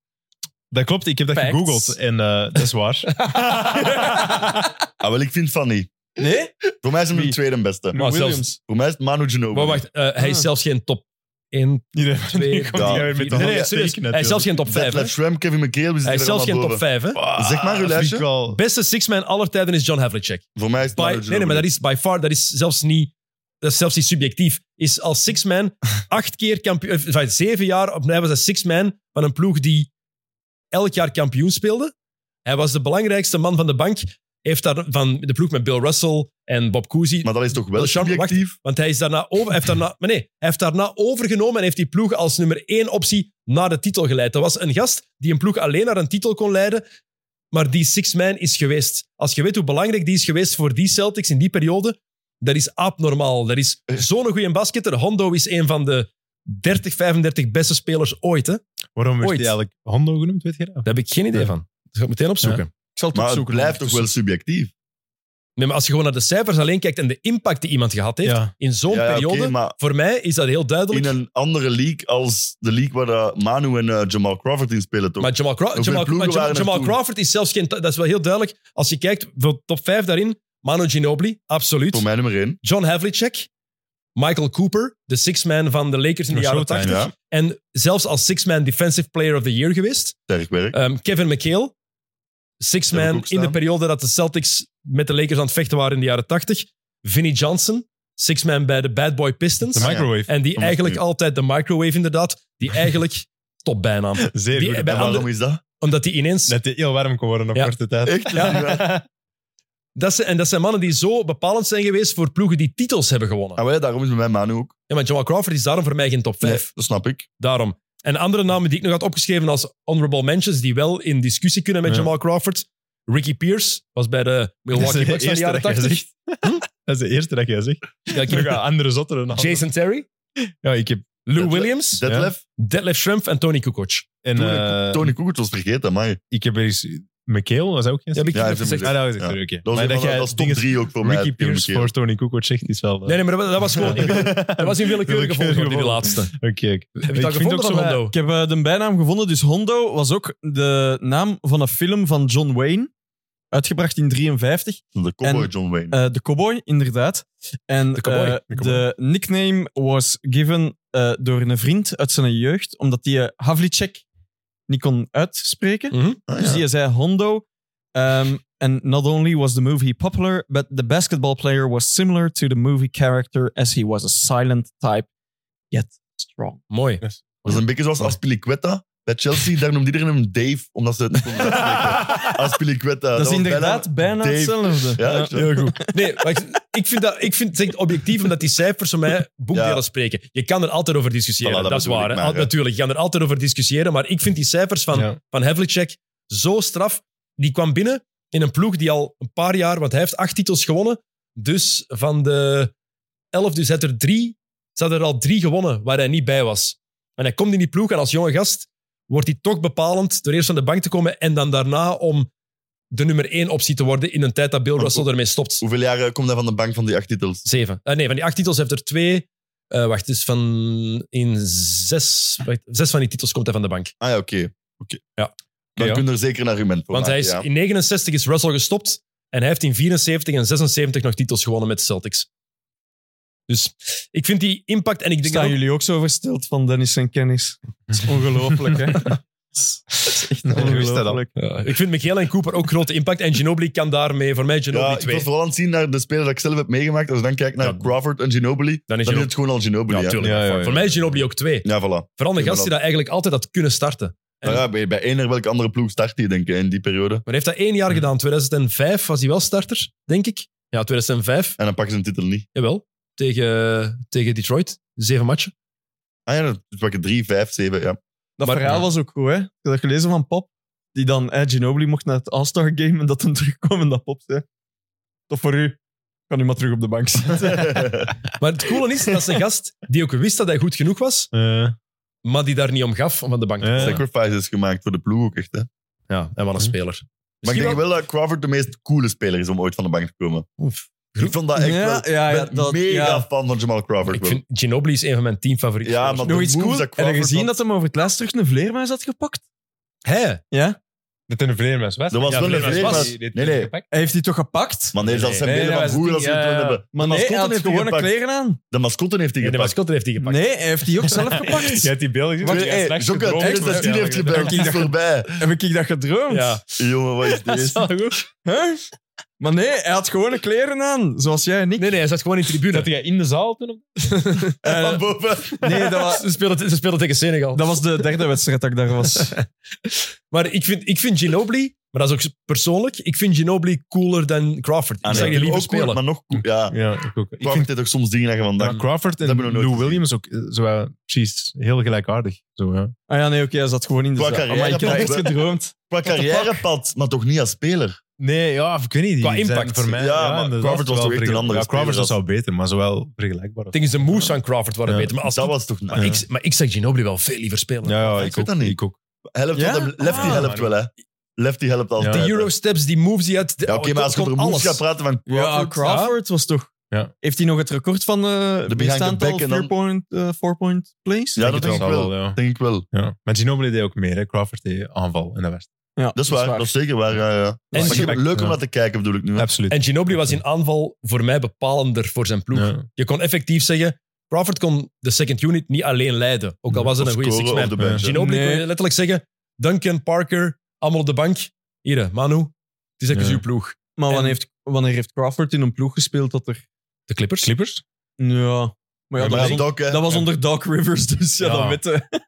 Speaker 4: Dat klopt, ik heb dat
Speaker 1: Facts.
Speaker 4: gegoogeld. En eh, dat is waar.
Speaker 2: Ah, wel, ik vind van niet.
Speaker 5: Nee?
Speaker 2: Voor mij is hem de
Speaker 5: Wie?
Speaker 2: tweede beste.
Speaker 1: Maar zelfs-
Speaker 5: Williams.
Speaker 2: Voor mij is het Manu Ginobili.
Speaker 1: Maar wacht, eh, hij is
Speaker 5: Ah.
Speaker 1: zelfs geen top 1,
Speaker 4: Iedereen
Speaker 1: 2,
Speaker 4: komt hier weer met de
Speaker 1: Nee, nee,
Speaker 4: hand steken
Speaker 1: serieus. Hij is
Speaker 4: natuurlijk.
Speaker 1: zelfs geen top 5.
Speaker 2: Fat Lab Shrimp, Kevin McHale, we zitten
Speaker 1: Hij is
Speaker 2: er
Speaker 1: zelfs geen
Speaker 2: allemaal
Speaker 1: top
Speaker 2: boven.
Speaker 1: 5. Hè?
Speaker 2: Zeg maar uw
Speaker 4: Dat vind ik
Speaker 2: lijstje.
Speaker 4: wel...
Speaker 1: Beste six-man aller tijden is John Havlicek.
Speaker 2: Voor mij is het
Speaker 1: By,
Speaker 2: Manu
Speaker 1: nee, nee, maar dat is by far, dat is zelfs niet dat is zelfs niet subjectief, is als six-man acht keer kampioen, eh, enfin, zeven jaar opnieuw was hij six-man van een ploeg die elk jaar kampioen speelde. Hij was de belangrijkste man van de bank, heeft daar van de ploeg met Bill Russell en Bob Cousy.
Speaker 2: Maar dat is toch wel
Speaker 1: Sean, wacht.
Speaker 2: subjectief?
Speaker 1: Want hij is daarna over, hij heeft daarna, maar nee, hij heeft daarna overgenomen en heeft die ploeg als nummer één optie naar de titel geleid. Dat was een gast die een ploeg alleen naar een titel kon leiden, maar die six-man is geweest. Als je weet hoe belangrijk die is geweest voor die Celtics in die periode, dat is abnormaal. Dat is
Speaker 2: Eh.
Speaker 1: zo'n goede basketter. Hondo is een van de 30, 35 beste spelers ooit. Hè? Daar
Speaker 4: Waarom werd
Speaker 1: Ooit.
Speaker 4: hij eigenlijk Hondo genoemd, weet je dat?
Speaker 1: heb ik geen idee van. Dat ga ik meteen opzoeken.
Speaker 5: Ik zal het
Speaker 2: Maar het
Speaker 5: opzoeken.
Speaker 2: blijft toch wel subjectief?
Speaker 1: Nee, maar als je gewoon naar de cijfers alleen kijkt en de impact die iemand gehad heeft
Speaker 4: Ja.
Speaker 1: in zo'n
Speaker 2: Ja, oké,
Speaker 1: periode,
Speaker 2: maar
Speaker 1: voor mij is dat heel duidelijk.
Speaker 2: in een andere league als de league waar eh, Manu en eh, Jamal Crawford in spelen, toch?
Speaker 1: Maar Jamal, Craw-
Speaker 2: Hoeveel
Speaker 1: Jamal, maar
Speaker 2: ploegen
Speaker 1: Jamal,
Speaker 2: waren er
Speaker 1: Jamal
Speaker 2: toen?
Speaker 1: Crawford is zelfs geen... Dat is wel heel duidelijk. Als je kijkt, voor top 5 daarin, Manu Ginobili, absoluut.
Speaker 2: Voor mij nummer één.
Speaker 1: John Havlicek, Michael Cooper, de six-man van de Lakers in de
Speaker 4: Maar
Speaker 1: jaren
Speaker 4: Showtime,
Speaker 1: 80.
Speaker 2: Ja,
Speaker 1: En zelfs als six-man defensive player of the year geweest.
Speaker 2: sterk werk.
Speaker 1: Ehm, Kevin McHale,
Speaker 2: Heb ik
Speaker 1: six-man
Speaker 2: ook
Speaker 1: in de
Speaker 2: staan.
Speaker 1: periode dat de Celtics met de Lakers aan het vechten waren in de jaren 80. Vinnie Johnson, six-man bij de Bad Boy Pistons.
Speaker 4: De microwave.
Speaker 1: En die
Speaker 2: Thomas
Speaker 1: eigenlijk
Speaker 2: Tuur.
Speaker 1: altijd, de microwave inderdaad, die eigenlijk top
Speaker 2: *laughs*
Speaker 1: bijnaam.
Speaker 4: Zeer
Speaker 1: Die-
Speaker 4: goed.
Speaker 1: bij
Speaker 2: en waarom
Speaker 1: andere-
Speaker 2: is dat?
Speaker 1: Omdat die ineens...
Speaker 4: Dat hij heel warm kon worden op
Speaker 1: Ja.
Speaker 4: korte tijd.
Speaker 2: Echt?
Speaker 1: Dat zijn, en dat zijn mannen die zo bepalend zijn geweest voor ploegen die titels hebben gewonnen.
Speaker 2: Ah, wel, daarom is bij mij Manu ook.
Speaker 1: Ja, maar Jamal Crawford is daarom voor mij geen top 5.
Speaker 2: Nee, dat snap ik.
Speaker 1: Daarom. En andere namen die ik nog had opgeschreven als honorable mentions, die wel in discussie kunnen met
Speaker 4: Ja.
Speaker 1: Jamal Crawford. Ricky Pierce was bij de Milwaukee
Speaker 4: de
Speaker 1: Bucks in de
Speaker 4: eerste
Speaker 1: jaren
Speaker 4: dat jij
Speaker 1: 80.
Speaker 4: zegt. Dat is de eerste dat jij zegt.
Speaker 1: Ja, ik
Speaker 4: Ik
Speaker 1: heb-
Speaker 4: ga andere zotteren dan.
Speaker 1: Jason Terry,
Speaker 4: Ja, ik heb...
Speaker 1: Lou
Speaker 2: Detlef-
Speaker 1: Williams,
Speaker 2: Detlef,
Speaker 1: Detlef Schrempf en Tony Kukoc.
Speaker 4: En,
Speaker 2: Tony-
Speaker 4: eh,
Speaker 2: Tony Koekert was vergeten, maar
Speaker 4: ik heb eens... McHale, was hij ook geen
Speaker 1: Ja, heb ik niet
Speaker 2: Ja, hij heeft
Speaker 1: gezegd.
Speaker 2: hem
Speaker 4: Ah, dat was echt
Speaker 2: Ja.
Speaker 4: oké.
Speaker 2: dat was,
Speaker 4: Maar
Speaker 2: een
Speaker 4: dat
Speaker 2: van-
Speaker 4: jij
Speaker 2: dat was top
Speaker 4: dingen-
Speaker 2: drie ook voor mij.
Speaker 4: Ricky
Speaker 2: Tim
Speaker 4: Pierce
Speaker 2: McHale.
Speaker 4: voor Tony Kukoc zegt is wel... eh,
Speaker 1: Nee, nee, maar dat, dat was
Speaker 4: *laughs*
Speaker 1: gewoon
Speaker 2: *laughs*
Speaker 1: in, wille- dat was in willekeurige
Speaker 4: Willekeurige
Speaker 1: volgorde, die
Speaker 4: volgorde.
Speaker 1: laatste. Heb
Speaker 4: *laughs* Oké, oké.
Speaker 1: je dat
Speaker 4: vind
Speaker 1: gevonden
Speaker 4: ook zo
Speaker 1: van
Speaker 4: van-
Speaker 1: Hondo?
Speaker 5: Ik heb eh, de bijnaam gevonden. Dus Hondo was ook de naam van een film van John Wayne. Uitgebracht in 53.
Speaker 2: De cowboy
Speaker 5: En-
Speaker 2: John Wayne.
Speaker 5: Eh, de cowboy, inderdaad. En
Speaker 1: De cowboy,
Speaker 5: eh,
Speaker 1: de cowboy.
Speaker 5: de nickname was given eh, door een vriend uit zijn jeugd, omdat die eh, Havlicek niet kon uitspreken.
Speaker 1: Mhm.
Speaker 2: Ah,
Speaker 5: Dus
Speaker 2: ja.
Speaker 5: die zei Hondo. Ehm, En not only was the movie popular, but the basketball player was similar to the movie character as he was a silent type, yet strong.
Speaker 1: Mooi.
Speaker 2: Dat is een beetje zoals Aspiliquetta bij Chelsea. Daar noemde iedereen hem Dave, omdat ze het niet konden uitspreken. Aspiliquetta.
Speaker 5: Dat,
Speaker 2: was
Speaker 5: is inderdaad bijna
Speaker 2: Dave.
Speaker 5: hetzelfde.
Speaker 2: Ja, ik-
Speaker 1: Heel goed. Nee, maar ik, ik vind, dat, ik vind het echt objectief omdat die cijfers voor mij boekdelen
Speaker 2: Ja. spreken.
Speaker 1: Je kan er altijd over discussiëren,
Speaker 2: Voilà,
Speaker 1: dat,
Speaker 2: dat
Speaker 1: is
Speaker 2: bedoel
Speaker 1: waar.
Speaker 2: ik
Speaker 1: hè.
Speaker 2: maar,
Speaker 1: Al-
Speaker 2: hè.
Speaker 1: Natuurlijk, je kan er altijd over discussiëren, maar ik vind die cijfers van,
Speaker 4: Ja.
Speaker 1: van Havlicek zo straf. Die kwam binnen in een ploeg die al een paar jaar, want hij heeft acht titels gewonnen, dus van de elf, dus hij had er drie, ze hadden er al drie gewonnen waar hij niet bij was. En hij komt in die ploeg en als jonge gast wordt hij toch bepalend door eerst aan de bank te komen en dan daarna om de nummer één optie te worden in een tijd dat Bill
Speaker 2: Maar
Speaker 1: Russell ermee stopt.
Speaker 2: Hoeveel jaren komt hij van de bank van die acht titels?
Speaker 1: Zeven. Eh, nee, van die acht titels heeft er twee. eh, wacht, dus van in zes, wacht, zes van die titels komt hij van de bank.
Speaker 2: Ah ja, oké. oké
Speaker 1: Ja.
Speaker 2: Dan
Speaker 1: Ja.
Speaker 2: kun je er zeker een argument voor
Speaker 1: Want hij
Speaker 2: maken,
Speaker 1: is,
Speaker 2: ja.
Speaker 1: in 69 is Russell gestopt en hij heeft in 74 en 76 nog titels gewonnen met de Celtics. Dus ik vind die impact en ik denk
Speaker 5: Staan
Speaker 1: dat ook-
Speaker 5: jullie ook zo versteld van Dennis en Kennis? Dat is
Speaker 1: *laughs*
Speaker 5: ongelooflijk, hè? Dat is echt
Speaker 4: wist dat al.
Speaker 5: ongelooflijk.
Speaker 1: Ja, ik vind Michael en Cooper ook grote impact en Ginobili kan daarmee voor mij Ginobili
Speaker 2: Ja, ik
Speaker 1: 2.
Speaker 2: was vooral aan het zien naar de speler dat ik zelf heb meegemaakt. Als je dan kijkt naar
Speaker 1: Ja.
Speaker 2: Crawford en Ginobili,
Speaker 1: Dan
Speaker 2: dan
Speaker 1: is
Speaker 2: is,
Speaker 1: Gino-
Speaker 2: het gewoon al Ginobili.
Speaker 1: Ja,
Speaker 2: hè. Ja,
Speaker 1: natuurlijk.
Speaker 4: Ja, ja, ja.
Speaker 1: Voor mij is Ginobili ook 2.
Speaker 2: voilà.
Speaker 1: Vooral een
Speaker 2: Ja,
Speaker 1: gast die dat eigenlijk altijd had kunnen starten. En-
Speaker 2: Maar ja, bij, bij één naar welke andere ploeg start hij, denk ik, in die periode.
Speaker 1: Maar hij heeft dat één jaar gedaan. 2005 was hij wel starter, denk ik. Ja, 2005.
Speaker 2: En dan pakken ze een titel niet.
Speaker 1: Jawel, tegen, tegen Detroit. Zeven matchen.
Speaker 2: Ah ja, dan pakken drie, vijf, zeven, ja.
Speaker 5: Dat
Speaker 1: Maar-
Speaker 5: verhaal
Speaker 1: ja.
Speaker 5: was ook goed, hè? Ik heb dat gelezen van Pop. Die dan eh, Ginobili mocht naar het All-Star Game en dat hem *laughs* terugkwam en dat Pop zei. Tof voor u. Ik Kan u maar terug op de
Speaker 2: *laughs*
Speaker 5: bank zitten.
Speaker 1: Maar het coole is, dat is een gast die ook wist dat hij goed genoeg was,
Speaker 4: Eh,
Speaker 1: maar die daar niet om gaf om van de bank te
Speaker 4: Ja.
Speaker 1: komen.
Speaker 2: Sacrifices gemaakt voor de ploeg ook echt, hè.
Speaker 1: Ja, en wat een speler.
Speaker 2: Maar ik
Speaker 1: Misschien
Speaker 2: denk wel dat Crawford de meest coole speler is om ooit van de bank te komen.
Speaker 1: Oef.
Speaker 2: Ik vond dat echt
Speaker 5: Ja,
Speaker 2: wel...
Speaker 5: ja, ja,
Speaker 2: ik ben
Speaker 5: dat-
Speaker 2: mega
Speaker 5: ja.
Speaker 2: fan van Jamal Crawford.
Speaker 1: Ik
Speaker 2: wel.
Speaker 1: vind Ginobili is een van mijn team favorieten.
Speaker 2: ja, maar
Speaker 5: Nog
Speaker 2: de
Speaker 5: iets
Speaker 2: moves
Speaker 5: cool.
Speaker 2: dat
Speaker 5: Heb je
Speaker 2: Crawford
Speaker 5: gezien
Speaker 2: had-
Speaker 5: dat hem over het laatst terug een vleermuis had gepakt?
Speaker 1: Hé,
Speaker 5: Ja?
Speaker 4: Dat in een vleermuis was.
Speaker 2: Dat was
Speaker 1: Ja,
Speaker 2: wel een
Speaker 1: Vleermuis
Speaker 2: vleermuis.
Speaker 1: was-
Speaker 2: Nee, nee.
Speaker 5: Hij heeft die toch gepakt?
Speaker 2: Maar nee, dat
Speaker 1: Nee,
Speaker 2: zijn
Speaker 5: nee,
Speaker 2: beelden
Speaker 5: dat
Speaker 2: van
Speaker 5: was
Speaker 2: vroeger als
Speaker 5: het
Speaker 2: we
Speaker 5: ding,
Speaker 2: het
Speaker 5: ja,
Speaker 2: willen
Speaker 5: ja.
Speaker 2: hebben.
Speaker 5: Maar nee, hij
Speaker 2: mascotte
Speaker 5: had
Speaker 2: heeft die
Speaker 5: gewone
Speaker 2: gepakt.
Speaker 5: kleren aan.
Speaker 2: De mascotte heeft die
Speaker 1: de
Speaker 2: gepakt.
Speaker 1: mascotte heeft die gepakt.
Speaker 5: Nee, hij heeft die ook
Speaker 2: *laughs*
Speaker 5: zelf gepakt.
Speaker 4: Je hebt die beelden gezien.
Speaker 2: Twee-
Speaker 4: Die gaat
Speaker 2: hey,
Speaker 4: straks
Speaker 2: Jokke,
Speaker 4: gedroogd worden.
Speaker 2: 2016 heeft je bij
Speaker 5: Ja,
Speaker 2: is voorbij.
Speaker 5: Heb ik dat gedroomd?
Speaker 1: Ja,
Speaker 2: Jongen, wat is
Speaker 5: *laughs*
Speaker 1: dat is
Speaker 2: dit?
Speaker 1: wel goed.
Speaker 5: Huh? Maar nee, hij had gewone kleren aan, zoals jij en ik.
Speaker 6: Nee, nee, hij zat gewoon in de tribune.
Speaker 4: Zat jij in de zaal toen?
Speaker 5: Eh,
Speaker 2: Van boven.
Speaker 5: nee, dat was,
Speaker 1: Ze speelden, ze speelden tegen Senegal.
Speaker 5: dat was de derde wedstrijd dat ik daar
Speaker 4: *laughs*
Speaker 5: was.
Speaker 1: Maar ik vind, ik vind Ginobili, maar dat is ook persoonlijk, ik vind Ginobili cooler dan Crawford. Ik
Speaker 2: Ah, nee,
Speaker 1: zou die
Speaker 2: ook
Speaker 1: liever
Speaker 2: cool,
Speaker 1: spelen.
Speaker 2: maar nog cool. Ja,
Speaker 4: Ja, ik ook. Ik
Speaker 2: Crawford
Speaker 4: vind
Speaker 2: deed ook soms dingen dat je van
Speaker 4: ja,
Speaker 2: dacht.
Speaker 4: Crawford en
Speaker 2: hebben we nog nooit
Speaker 4: Lou
Speaker 2: gezien.
Speaker 4: Williams ook eh, zo, eh, precies heel gelijkaardig. Zo, ja.
Speaker 5: Ah ja, nee, oké, hij zat gewoon in de
Speaker 2: Qua
Speaker 5: zaal. Ah, Maar ik heb
Speaker 2: carrièrepad,
Speaker 5: echt
Speaker 2: hè?
Speaker 5: gedroomd.
Speaker 2: Qua carrièrepad, maar toch niet als speler.
Speaker 4: Nee, ja, ik weet niet. die
Speaker 1: Qua
Speaker 4: zijn
Speaker 1: impact.
Speaker 4: Voor mij,
Speaker 2: Ja, maar
Speaker 4: inderdaad,
Speaker 2: Crawford was
Speaker 4: wel
Speaker 2: toch echt een
Speaker 4: vergelijk-
Speaker 2: andere
Speaker 4: Ja, Crawford was
Speaker 2: speler
Speaker 4: al beter, maar zowel vergelijkbaar.
Speaker 1: Tegen de moves van Crawford waren
Speaker 4: Ja.
Speaker 1: beter. Maar, als
Speaker 2: dat
Speaker 1: die-
Speaker 2: was toch...
Speaker 1: maar,
Speaker 2: ik,
Speaker 1: ik, maar ik zag Ginobili wel veel liever spelen.
Speaker 4: Ja, ja,
Speaker 2: Ik
Speaker 4: ik,
Speaker 2: weet
Speaker 4: ook,
Speaker 2: dat niet.
Speaker 4: Ik ook.
Speaker 2: helpt
Speaker 5: Ja?
Speaker 2: wel, dat- Lefty
Speaker 4: Ah.
Speaker 2: helpt wel, hè. Lefty helpt altijd.
Speaker 4: Ja,
Speaker 1: Die
Speaker 2: hè.
Speaker 1: Eurosteps, die moves, die uit...
Speaker 2: Ja, Oké, maar als je
Speaker 1: gewoon
Speaker 2: over moves gaat praten van
Speaker 5: Ja,
Speaker 2: Crawford...
Speaker 5: Crawford was toch...
Speaker 4: Ja.
Speaker 5: Heeft hij nog het record van eh
Speaker 2: the
Speaker 5: de meest aantal
Speaker 2: back en dan-
Speaker 5: four-point point plays?
Speaker 2: Ja, dat
Speaker 4: het
Speaker 2: denk ik wel.
Speaker 4: ja.
Speaker 2: Denk ik wel.
Speaker 4: Ja. Maar Ginobili deed ook meer, hè. Crawford deed aanval in de wedstrijd.
Speaker 5: Ja,
Speaker 2: Dat is waar, dat is zeker waar. ja, ja.
Speaker 1: En
Speaker 2: Maar
Speaker 1: Gin-
Speaker 2: ik- leuk om
Speaker 4: Ja.
Speaker 2: dat te kijken, bedoel ik nu. hè.
Speaker 4: Absoluut.
Speaker 1: En Ginobili was in aanval voor mij bepalender voor zijn ploeg.
Speaker 4: Ja.
Speaker 1: Je kon effectief zeggen, Crawford kon de second unit niet alleen leiden. Ook al was het
Speaker 2: Of
Speaker 1: een goede
Speaker 2: scoren op
Speaker 1: six-man.
Speaker 2: de bench. hè.
Speaker 1: Ginobili kon
Speaker 5: Nee.
Speaker 1: je letterlijk zeggen, Duncan, Parker, allemaal op de bank. Hier, hè, Manu, het is even
Speaker 4: Ja.
Speaker 1: uw ploeg.
Speaker 5: Maar wanneer
Speaker 1: En-
Speaker 5: heeft, wanneer heeft Crawford in een ploeg gespeeld dat er...
Speaker 1: De Clippers?
Speaker 4: Clippers?
Speaker 5: Ja, maar
Speaker 2: Maar
Speaker 5: ja, dat,
Speaker 2: ja,
Speaker 5: was on-
Speaker 2: Doc, hè.
Speaker 5: dat was onder Doc Rivers, dus ja,
Speaker 4: Ja.
Speaker 5: dat weten we.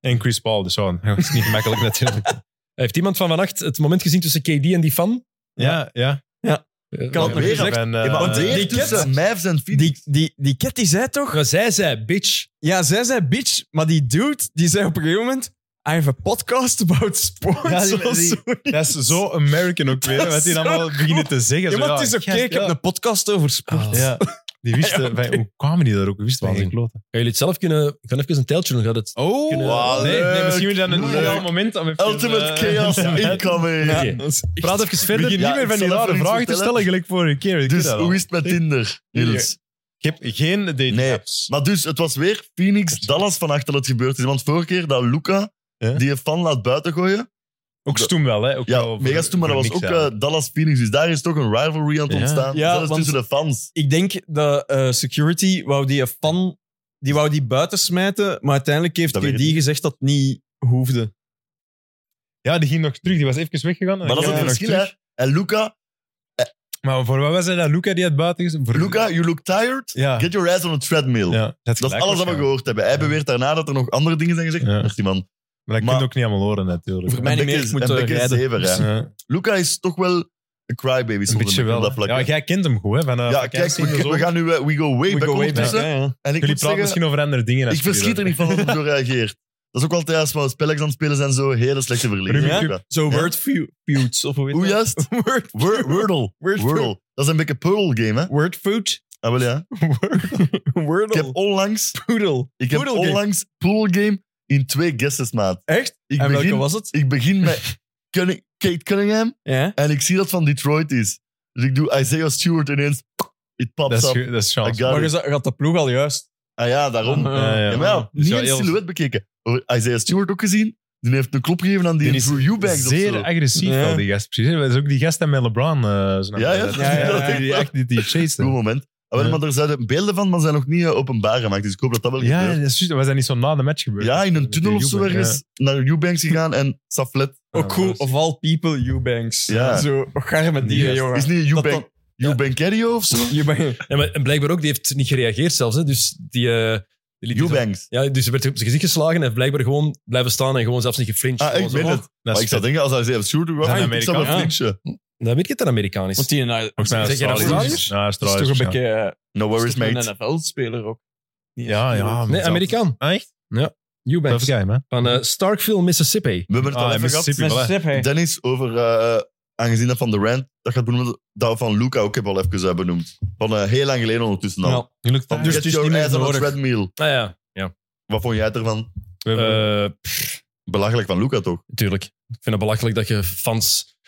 Speaker 4: En Chris Paul, dus zo. *laughs* Dat is niet gemakkelijk natuurlijk.
Speaker 1: Heeft iemand van vannacht het moment gezien tussen KD en die fan?
Speaker 4: Ja, ja.
Speaker 1: Eh,
Speaker 5: Kan het nog
Speaker 2: weer
Speaker 5: gezegd?
Speaker 4: En,
Speaker 2: Ja,
Speaker 4: eh,
Speaker 2: maar
Speaker 5: die
Speaker 2: weer
Speaker 5: Cat-
Speaker 2: tussen Mavs en Phoenix.
Speaker 5: Die, die, die cat die zei toch...
Speaker 1: Maar zij zei, bitch.
Speaker 5: Ja, zij zei bitch, maar die dude die zei op een gegeven moment... I have a podcast about
Speaker 4: Ja,
Speaker 5: sports.
Speaker 4: die-
Speaker 5: *laughs* of
Speaker 4: die-
Speaker 5: zo.
Speaker 4: dat is zo American ook weer. hè, Wat die
Speaker 5: zo
Speaker 4: dan allemaal beginnen te zeggen.
Speaker 5: Ja,
Speaker 4: zo,
Speaker 5: maar het is oké,
Speaker 4: gast,
Speaker 5: ik heb
Speaker 4: ja.
Speaker 5: een podcast over sport.
Speaker 4: Ja. Die wisten,
Speaker 5: Ja, oké.
Speaker 4: wij- hoe kwamen die daar ook? Wie wisten
Speaker 1: Waanzin.
Speaker 4: geen kloten?
Speaker 1: Gaan jullie het zelf kunnen... Ik kan even een teltje doen. Gaat het...
Speaker 4: Oh,
Speaker 1: Kunnen- wauw,
Speaker 4: nee, nee,
Speaker 2: leuk.
Speaker 4: misschien weer dan een
Speaker 2: Leuk.
Speaker 4: ideaal moment. Om even,
Speaker 2: Ultimate
Speaker 4: eh,
Speaker 2: chaos incoming.
Speaker 1: Ja.
Speaker 2: Ja.
Speaker 1: Praat even verder.
Speaker 4: Begin
Speaker 2: Ja,
Speaker 4: niet meer
Speaker 2: ik
Speaker 4: van die
Speaker 2: zal
Speaker 4: rare
Speaker 2: even iets
Speaker 4: vragen te
Speaker 2: vertellen.
Speaker 4: stellen, gelijk vorige keer. Ik
Speaker 2: Dus
Speaker 4: weet dat al.
Speaker 2: hoe is het met Tinder, Niels?
Speaker 4: *laughs* Ik heb geen dating
Speaker 2: Nee.
Speaker 4: apps.
Speaker 2: Maar dus, het was weer Phoenix, Dallas vannacht dat het gebeurd is. Want vorige keer dat Luca
Speaker 4: Ja.
Speaker 2: die een fan laat buiten gooien.
Speaker 4: Ook stoem wel, hè? Ook
Speaker 2: Ja,
Speaker 4: wel
Speaker 2: mega
Speaker 4: voor-
Speaker 2: stoem, maar dat
Speaker 4: voor
Speaker 2: was ook
Speaker 4: niks eigenlijk.
Speaker 2: eh, Dallas-Phoenix. Dus daar is toch een rivalry aan het
Speaker 4: Ja.
Speaker 2: ontstaan.
Speaker 5: Ja,
Speaker 2: Zelfs
Speaker 5: want-
Speaker 2: tussen de fans.
Speaker 5: Ik denk dat eh, security wou die fan... Die wou die buiten smijten, maar uiteindelijk heeft
Speaker 2: Dat
Speaker 5: KD
Speaker 2: weet ik niet.
Speaker 5: gezegd dat het niet hoefde.
Speaker 4: Ja, die ging nog terug. Die was even weggegaan.
Speaker 2: Maar dat is het verschil, hè. En Luca,
Speaker 4: Maar voor wat was hij dat? Luca die had buiten gezet? Voor-
Speaker 2: eh, Luca, you look tired.
Speaker 4: Ja.
Speaker 2: Get your ass on a treadmill.
Speaker 4: ja.
Speaker 2: Dat is alles wat we gehoord hebben. Hij
Speaker 4: Ja.
Speaker 2: beweert daarna dat er nog andere dingen zijn gezegd.
Speaker 4: Ja.
Speaker 2: Dacht die man.
Speaker 4: Maar dat kun
Speaker 2: Maar-
Speaker 4: je ook niet allemaal horen, natuurlijk.
Speaker 5: Voor mij niet
Speaker 2: Bekke
Speaker 5: meer,
Speaker 2: is-
Speaker 5: ik moet
Speaker 2: en
Speaker 5: eh,
Speaker 2: Bekke is
Speaker 5: rijden.
Speaker 2: zever,
Speaker 4: *laughs*
Speaker 2: hè.
Speaker 4: Ja.
Speaker 2: Luca is toch wel een crybaby. soms
Speaker 4: Een beetje
Speaker 2: op dat
Speaker 4: wel.
Speaker 2: vlak,
Speaker 4: hè. Ja,
Speaker 2: hè.
Speaker 4: jij kent hem goed, hè? Van, eh,
Speaker 2: Ja, kijk,
Speaker 4: vakantie en
Speaker 2: we,
Speaker 4: zo.
Speaker 2: we gaan nu... eh, we go way back ondertussen.
Speaker 5: Ja, ja.
Speaker 2: En ik
Speaker 4: Jullie
Speaker 2: moet
Speaker 4: praten
Speaker 2: zeggen,
Speaker 4: misschien over andere dingen. als
Speaker 2: ik verschiet er
Speaker 4: jullie
Speaker 2: niet van hoe hij zo reageert. Dat is ook altijd als we spelletjes aan het spelen zijn, zo hele slechte verliezen.
Speaker 5: Ja?
Speaker 2: Luca.
Speaker 5: Zo
Speaker 2: Ja.
Speaker 5: word feu- feuds, of hoe heet
Speaker 2: Hoe
Speaker 5: dat?
Speaker 4: *laughs*
Speaker 2: juist?
Speaker 5: Word,
Speaker 2: Wor- Wordle.
Speaker 5: word,
Speaker 2: Wordle. Dat is een beetje Pearl game, hè?
Speaker 5: word food.
Speaker 2: Ah, wel ja.
Speaker 4: *laughs*
Speaker 2: Ik heb
Speaker 5: Wordle.
Speaker 2: onlangs,
Speaker 5: Poedel.
Speaker 2: ik heb
Speaker 5: Poodle game.
Speaker 2: onlangs Pool game in twee guesses, maat.
Speaker 5: Echt?
Speaker 2: Ik
Speaker 5: en welke
Speaker 2: begin,
Speaker 5: was het?
Speaker 2: ik begin
Speaker 4: *laughs*
Speaker 2: met Cunning- Kate Cunningham
Speaker 5: Ja.
Speaker 2: en ik zie dat van Detroit is. Dus ik doe Isaiah Stewart ineens. It
Speaker 4: Dat
Speaker 2: pops
Speaker 4: is,
Speaker 2: up.
Speaker 4: ge- dat is
Speaker 2: I
Speaker 4: chance.
Speaker 2: got
Speaker 5: Maar
Speaker 2: it.
Speaker 5: je za- je had de ploeg al juist.
Speaker 2: Ah ja, daarom.
Speaker 5: Ah,
Speaker 4: Ja, ja.
Speaker 2: Ja, maar ja,
Speaker 4: Dus
Speaker 2: niet
Speaker 4: ja,
Speaker 2: een
Speaker 4: heel-
Speaker 2: silhouet bekeken. Oh, Isaiah Stewart ook gezien. Die heeft een klop gegeven aan die,
Speaker 4: Die is
Speaker 2: Drew Eubanks of zo.
Speaker 4: Zeer agressief
Speaker 5: Ja.
Speaker 4: wel, die gast. Precies. Dat is ook die gast die met LeBron... eh zijn
Speaker 2: Ja, ja.
Speaker 4: naam.
Speaker 5: Ja, ja, ja.
Speaker 4: Die, die echt die, die chased.
Speaker 2: Goed
Speaker 4: hem.
Speaker 2: moment. Ah, wel,
Speaker 4: Ja.
Speaker 2: Maar er zijn beelden van, maar zijn nog niet eh, openbaar gemaakt. Dus ik hoop dat dat wel
Speaker 4: Ja, dat
Speaker 2: gebeurt.
Speaker 4: is juist. was dat niet zo na de match gebeurd?
Speaker 2: Ja, in een
Speaker 4: Met die
Speaker 2: tunnel of zo
Speaker 4: Eubank,
Speaker 2: ergens naar Eubanks gegaan en Saflet.
Speaker 4: Ja,
Speaker 5: Ook Oh, cool.
Speaker 4: dat is-
Speaker 5: Of all people, Eubanks.
Speaker 2: Ja.
Speaker 5: Zo, wat ga je met die,
Speaker 4: Die
Speaker 5: jongen?
Speaker 2: Is niet
Speaker 5: Dat
Speaker 2: Eubank,
Speaker 5: dat-
Speaker 2: Eubankerio of zo?
Speaker 5: Eubank.
Speaker 1: Ja, maar, en blijkbaar ook, die heeft niet gereageerd zelfs. Hè. Dus die... eh, die liet dus-
Speaker 2: Eubanks.
Speaker 1: Ja, dus ze werd op zijn gezicht geslagen en heeft blijkbaar gewoon blijven staan en gewoon zelfs niet geflinched.
Speaker 2: Ah,
Speaker 1: Gewoon
Speaker 2: ik
Speaker 1: zo,
Speaker 2: weet
Speaker 1: oh,
Speaker 2: het.
Speaker 4: Dat
Speaker 2: Maar
Speaker 4: is
Speaker 2: ik zou denken, als hij zelf shooter was,
Speaker 4: Zijn
Speaker 2: ah, ik
Speaker 4: Amerikaan,
Speaker 2: zou wel
Speaker 5: ja.
Speaker 2: flinchen.
Speaker 1: Dan weet je dat een Amerikaan is.
Speaker 5: Want die nou,
Speaker 4: Volgens mij
Speaker 1: Zeg jij
Speaker 4: Australiërs.
Speaker 1: Australiërs?
Speaker 4: Ja,
Speaker 5: dat is
Speaker 4: Australiërs.
Speaker 5: toch een
Speaker 4: waarschijnlijk.
Speaker 5: beetje... eh,
Speaker 2: No worries,
Speaker 5: is toch
Speaker 2: mate.
Speaker 5: Een NFL-speler ook.
Speaker 4: Ja, ja. maar
Speaker 1: Nee,
Speaker 4: zelf-
Speaker 1: Amerikaan.
Speaker 4: Ah, Echt? Dat
Speaker 1: Eubanks.
Speaker 4: is geheim, hè?
Speaker 1: Van eh, Starkville, Mississippi.
Speaker 2: We hebben het
Speaker 4: Ah,
Speaker 2: al even
Speaker 4: Mississippi.
Speaker 2: gehad.
Speaker 4: Voilà.
Speaker 5: Stef, hè.
Speaker 2: Dennis, over, eh, aangezien dat van de Rand, dat gaat benoemen, dat van Luca ook heb al even eh, benoemd. Van eh, heel lang geleden ondertussen al.
Speaker 5: Ja.
Speaker 4: Jullie
Speaker 2: Van,
Speaker 4: dus
Speaker 2: get your ass on a treadmill.
Speaker 1: Ah ja, ja.
Speaker 2: Wat vond jij ervan?
Speaker 4: we hebben-
Speaker 2: Ehm.
Speaker 1: Eh,
Speaker 2: Belachelijk van Luca, toch?
Speaker 1: tuurlijk. Ik vind het belachelijk dat je fans...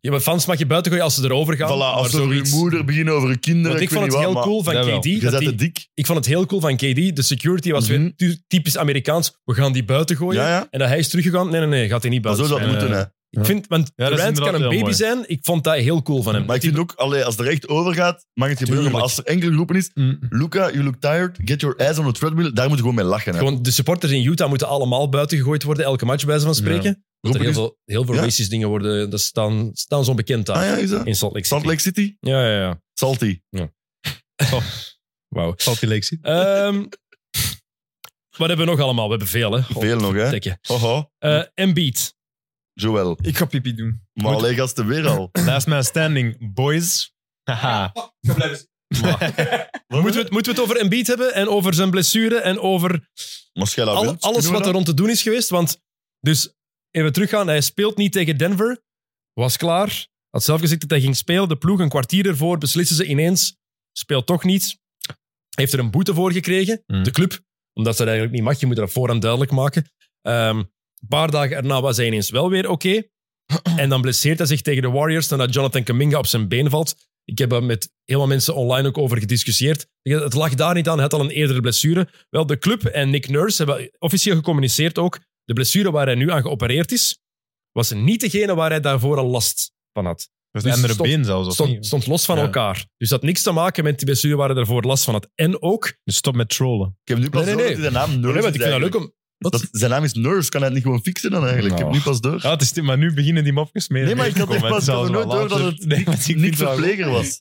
Speaker 1: Ja, maar fans mag je buiten gooien als ze erover gaan.
Speaker 2: voilà,
Speaker 1: maar
Speaker 2: als ze over je
Speaker 1: zoiets-
Speaker 2: moeder beginnen, over je kinderen,
Speaker 1: Want ik
Speaker 2: ik,
Speaker 1: vond
Speaker 2: weet
Speaker 1: het
Speaker 2: niet
Speaker 1: heel
Speaker 2: wat,
Speaker 1: cool van
Speaker 4: Dat wel.
Speaker 1: KD.
Speaker 2: maar
Speaker 1: dat
Speaker 2: je zet
Speaker 1: die-
Speaker 2: het dik.
Speaker 1: ik vond het heel cool van KD. De security was
Speaker 2: Mhm.
Speaker 1: weer tu- typisch Amerikaans. We gaan die buiten gooien.
Speaker 2: Ja, ja.
Speaker 1: En dat hij is teruggegaan. Nee, nee, nee. Gaat hij niet
Speaker 2: Maar
Speaker 1: buiten.
Speaker 2: zo zou
Speaker 1: gooien.
Speaker 2: dat
Speaker 4: eh,
Speaker 2: moeten, hè.
Speaker 1: Ik vind, want
Speaker 4: dat is
Speaker 1: Durant kan
Speaker 4: inderdaad
Speaker 1: een
Speaker 4: heel
Speaker 1: baby
Speaker 4: mooi.
Speaker 1: zijn. Ik vond dat heel cool van hem.
Speaker 2: Maar ik vind ook, allee, als het er echt over gaat, mag het gebeuren.
Speaker 1: Tuurlijk.
Speaker 2: Maar als er enkele groepen is,
Speaker 4: Mm.
Speaker 2: Luca, you look tired, get your ass on a treadmill, daar moet je gewoon mee lachen. Hè.
Speaker 1: Gewoon, de supporters in Utah moeten allemaal buiten gegooid worden, elke match bij ze van spreken. Dat er
Speaker 2: Roepen
Speaker 1: heel
Speaker 2: is-
Speaker 1: veel, heel veel
Speaker 2: Ja.
Speaker 1: racist dingen worden, eh, dat staan, staan zo bekend daar.
Speaker 2: Ah ja, is dat?
Speaker 1: In Salt Lake City.
Speaker 2: Salt Lake City?
Speaker 1: Ja, ja, ja.
Speaker 2: Salty.
Speaker 1: Wauw.
Speaker 4: Salty Lake *laughs* City.
Speaker 1: Ehm, wat hebben we nog allemaal? We hebben veel, hè?
Speaker 2: Veel nog, hè?
Speaker 1: Ontdekken.
Speaker 2: Haha,
Speaker 1: Eh, Embiid.
Speaker 2: Joel.
Speaker 5: Ik ga pipi doen.
Speaker 2: Maar
Speaker 4: Goed.
Speaker 2: allee, gasten, weer al.
Speaker 4: Last man standing, boys. Haha.
Speaker 1: Moeten we, het, moeten we het over Embiid hebben en over zijn blessure en over
Speaker 2: Maar schijl aan
Speaker 1: al-
Speaker 2: wild.
Speaker 1: alles
Speaker 2: Kunnen we
Speaker 1: wat er
Speaker 2: dat?
Speaker 1: rond te doen is geweest? Want, dus, even teruggaan. Hij speelt niet tegen Denver. Was klaar. Had zelf gezegd dat hij ging spelen. De ploeg een kwartier ervoor beslissen ze ineens. Speelt toch niet. Heeft er een boete voor gekregen.
Speaker 4: Hmm.
Speaker 1: De club. Omdat ze dat eigenlijk niet mag. Je moet dat vooraan duidelijk maken. Ehm, een paar dagen erna was hij ineens wel weer oké. En dan blesseert hij zich tegen de Warriors nadat Jonathan Kaminga op zijn been valt. Ik heb er met heel wat mensen online ook over gediscussieerd. Het lag daar niet aan, hij had al een eerdere blessure. Wel, de club en Nick Nurse hebben officieel gecommuniceerd ook. De blessure waar hij nu aan geopereerd is, was niet degene waar hij daarvoor al last van had. Dus
Speaker 4: Dat is een andere
Speaker 1: stond-
Speaker 4: been zelfs. of
Speaker 1: Stond,
Speaker 4: niet?
Speaker 1: stond los van
Speaker 4: Ja.
Speaker 1: elkaar. Dus dat had niks te maken met die blessure waar hij daarvoor last van had. En ook...
Speaker 4: Dus stop met trollen.
Speaker 2: Ik heb nu pas
Speaker 1: Nee, nee,
Speaker 2: door dat
Speaker 1: nee.
Speaker 2: hij de naam Nurse
Speaker 1: Nee, want
Speaker 2: is
Speaker 1: ik vind dat
Speaker 2: eigenlijk.
Speaker 1: leuk om... Wat?
Speaker 2: Dat- zijn naam is Nurse. Kan hij het niet gewoon fixen dan eigenlijk? Ik heb
Speaker 4: Nou.
Speaker 2: nu pas door.
Speaker 4: Ja, het is, dit, maar nu beginnen die mopjes meer.
Speaker 2: Nee, maar ik had
Speaker 4: Komen
Speaker 2: echt
Speaker 4: en
Speaker 2: pas- ik had
Speaker 4: zelfs
Speaker 2: er nooit
Speaker 4: wel
Speaker 2: door dat
Speaker 4: later.
Speaker 2: het
Speaker 4: Nee, want ik
Speaker 2: Nick
Speaker 4: vind dat-
Speaker 2: verpleger was.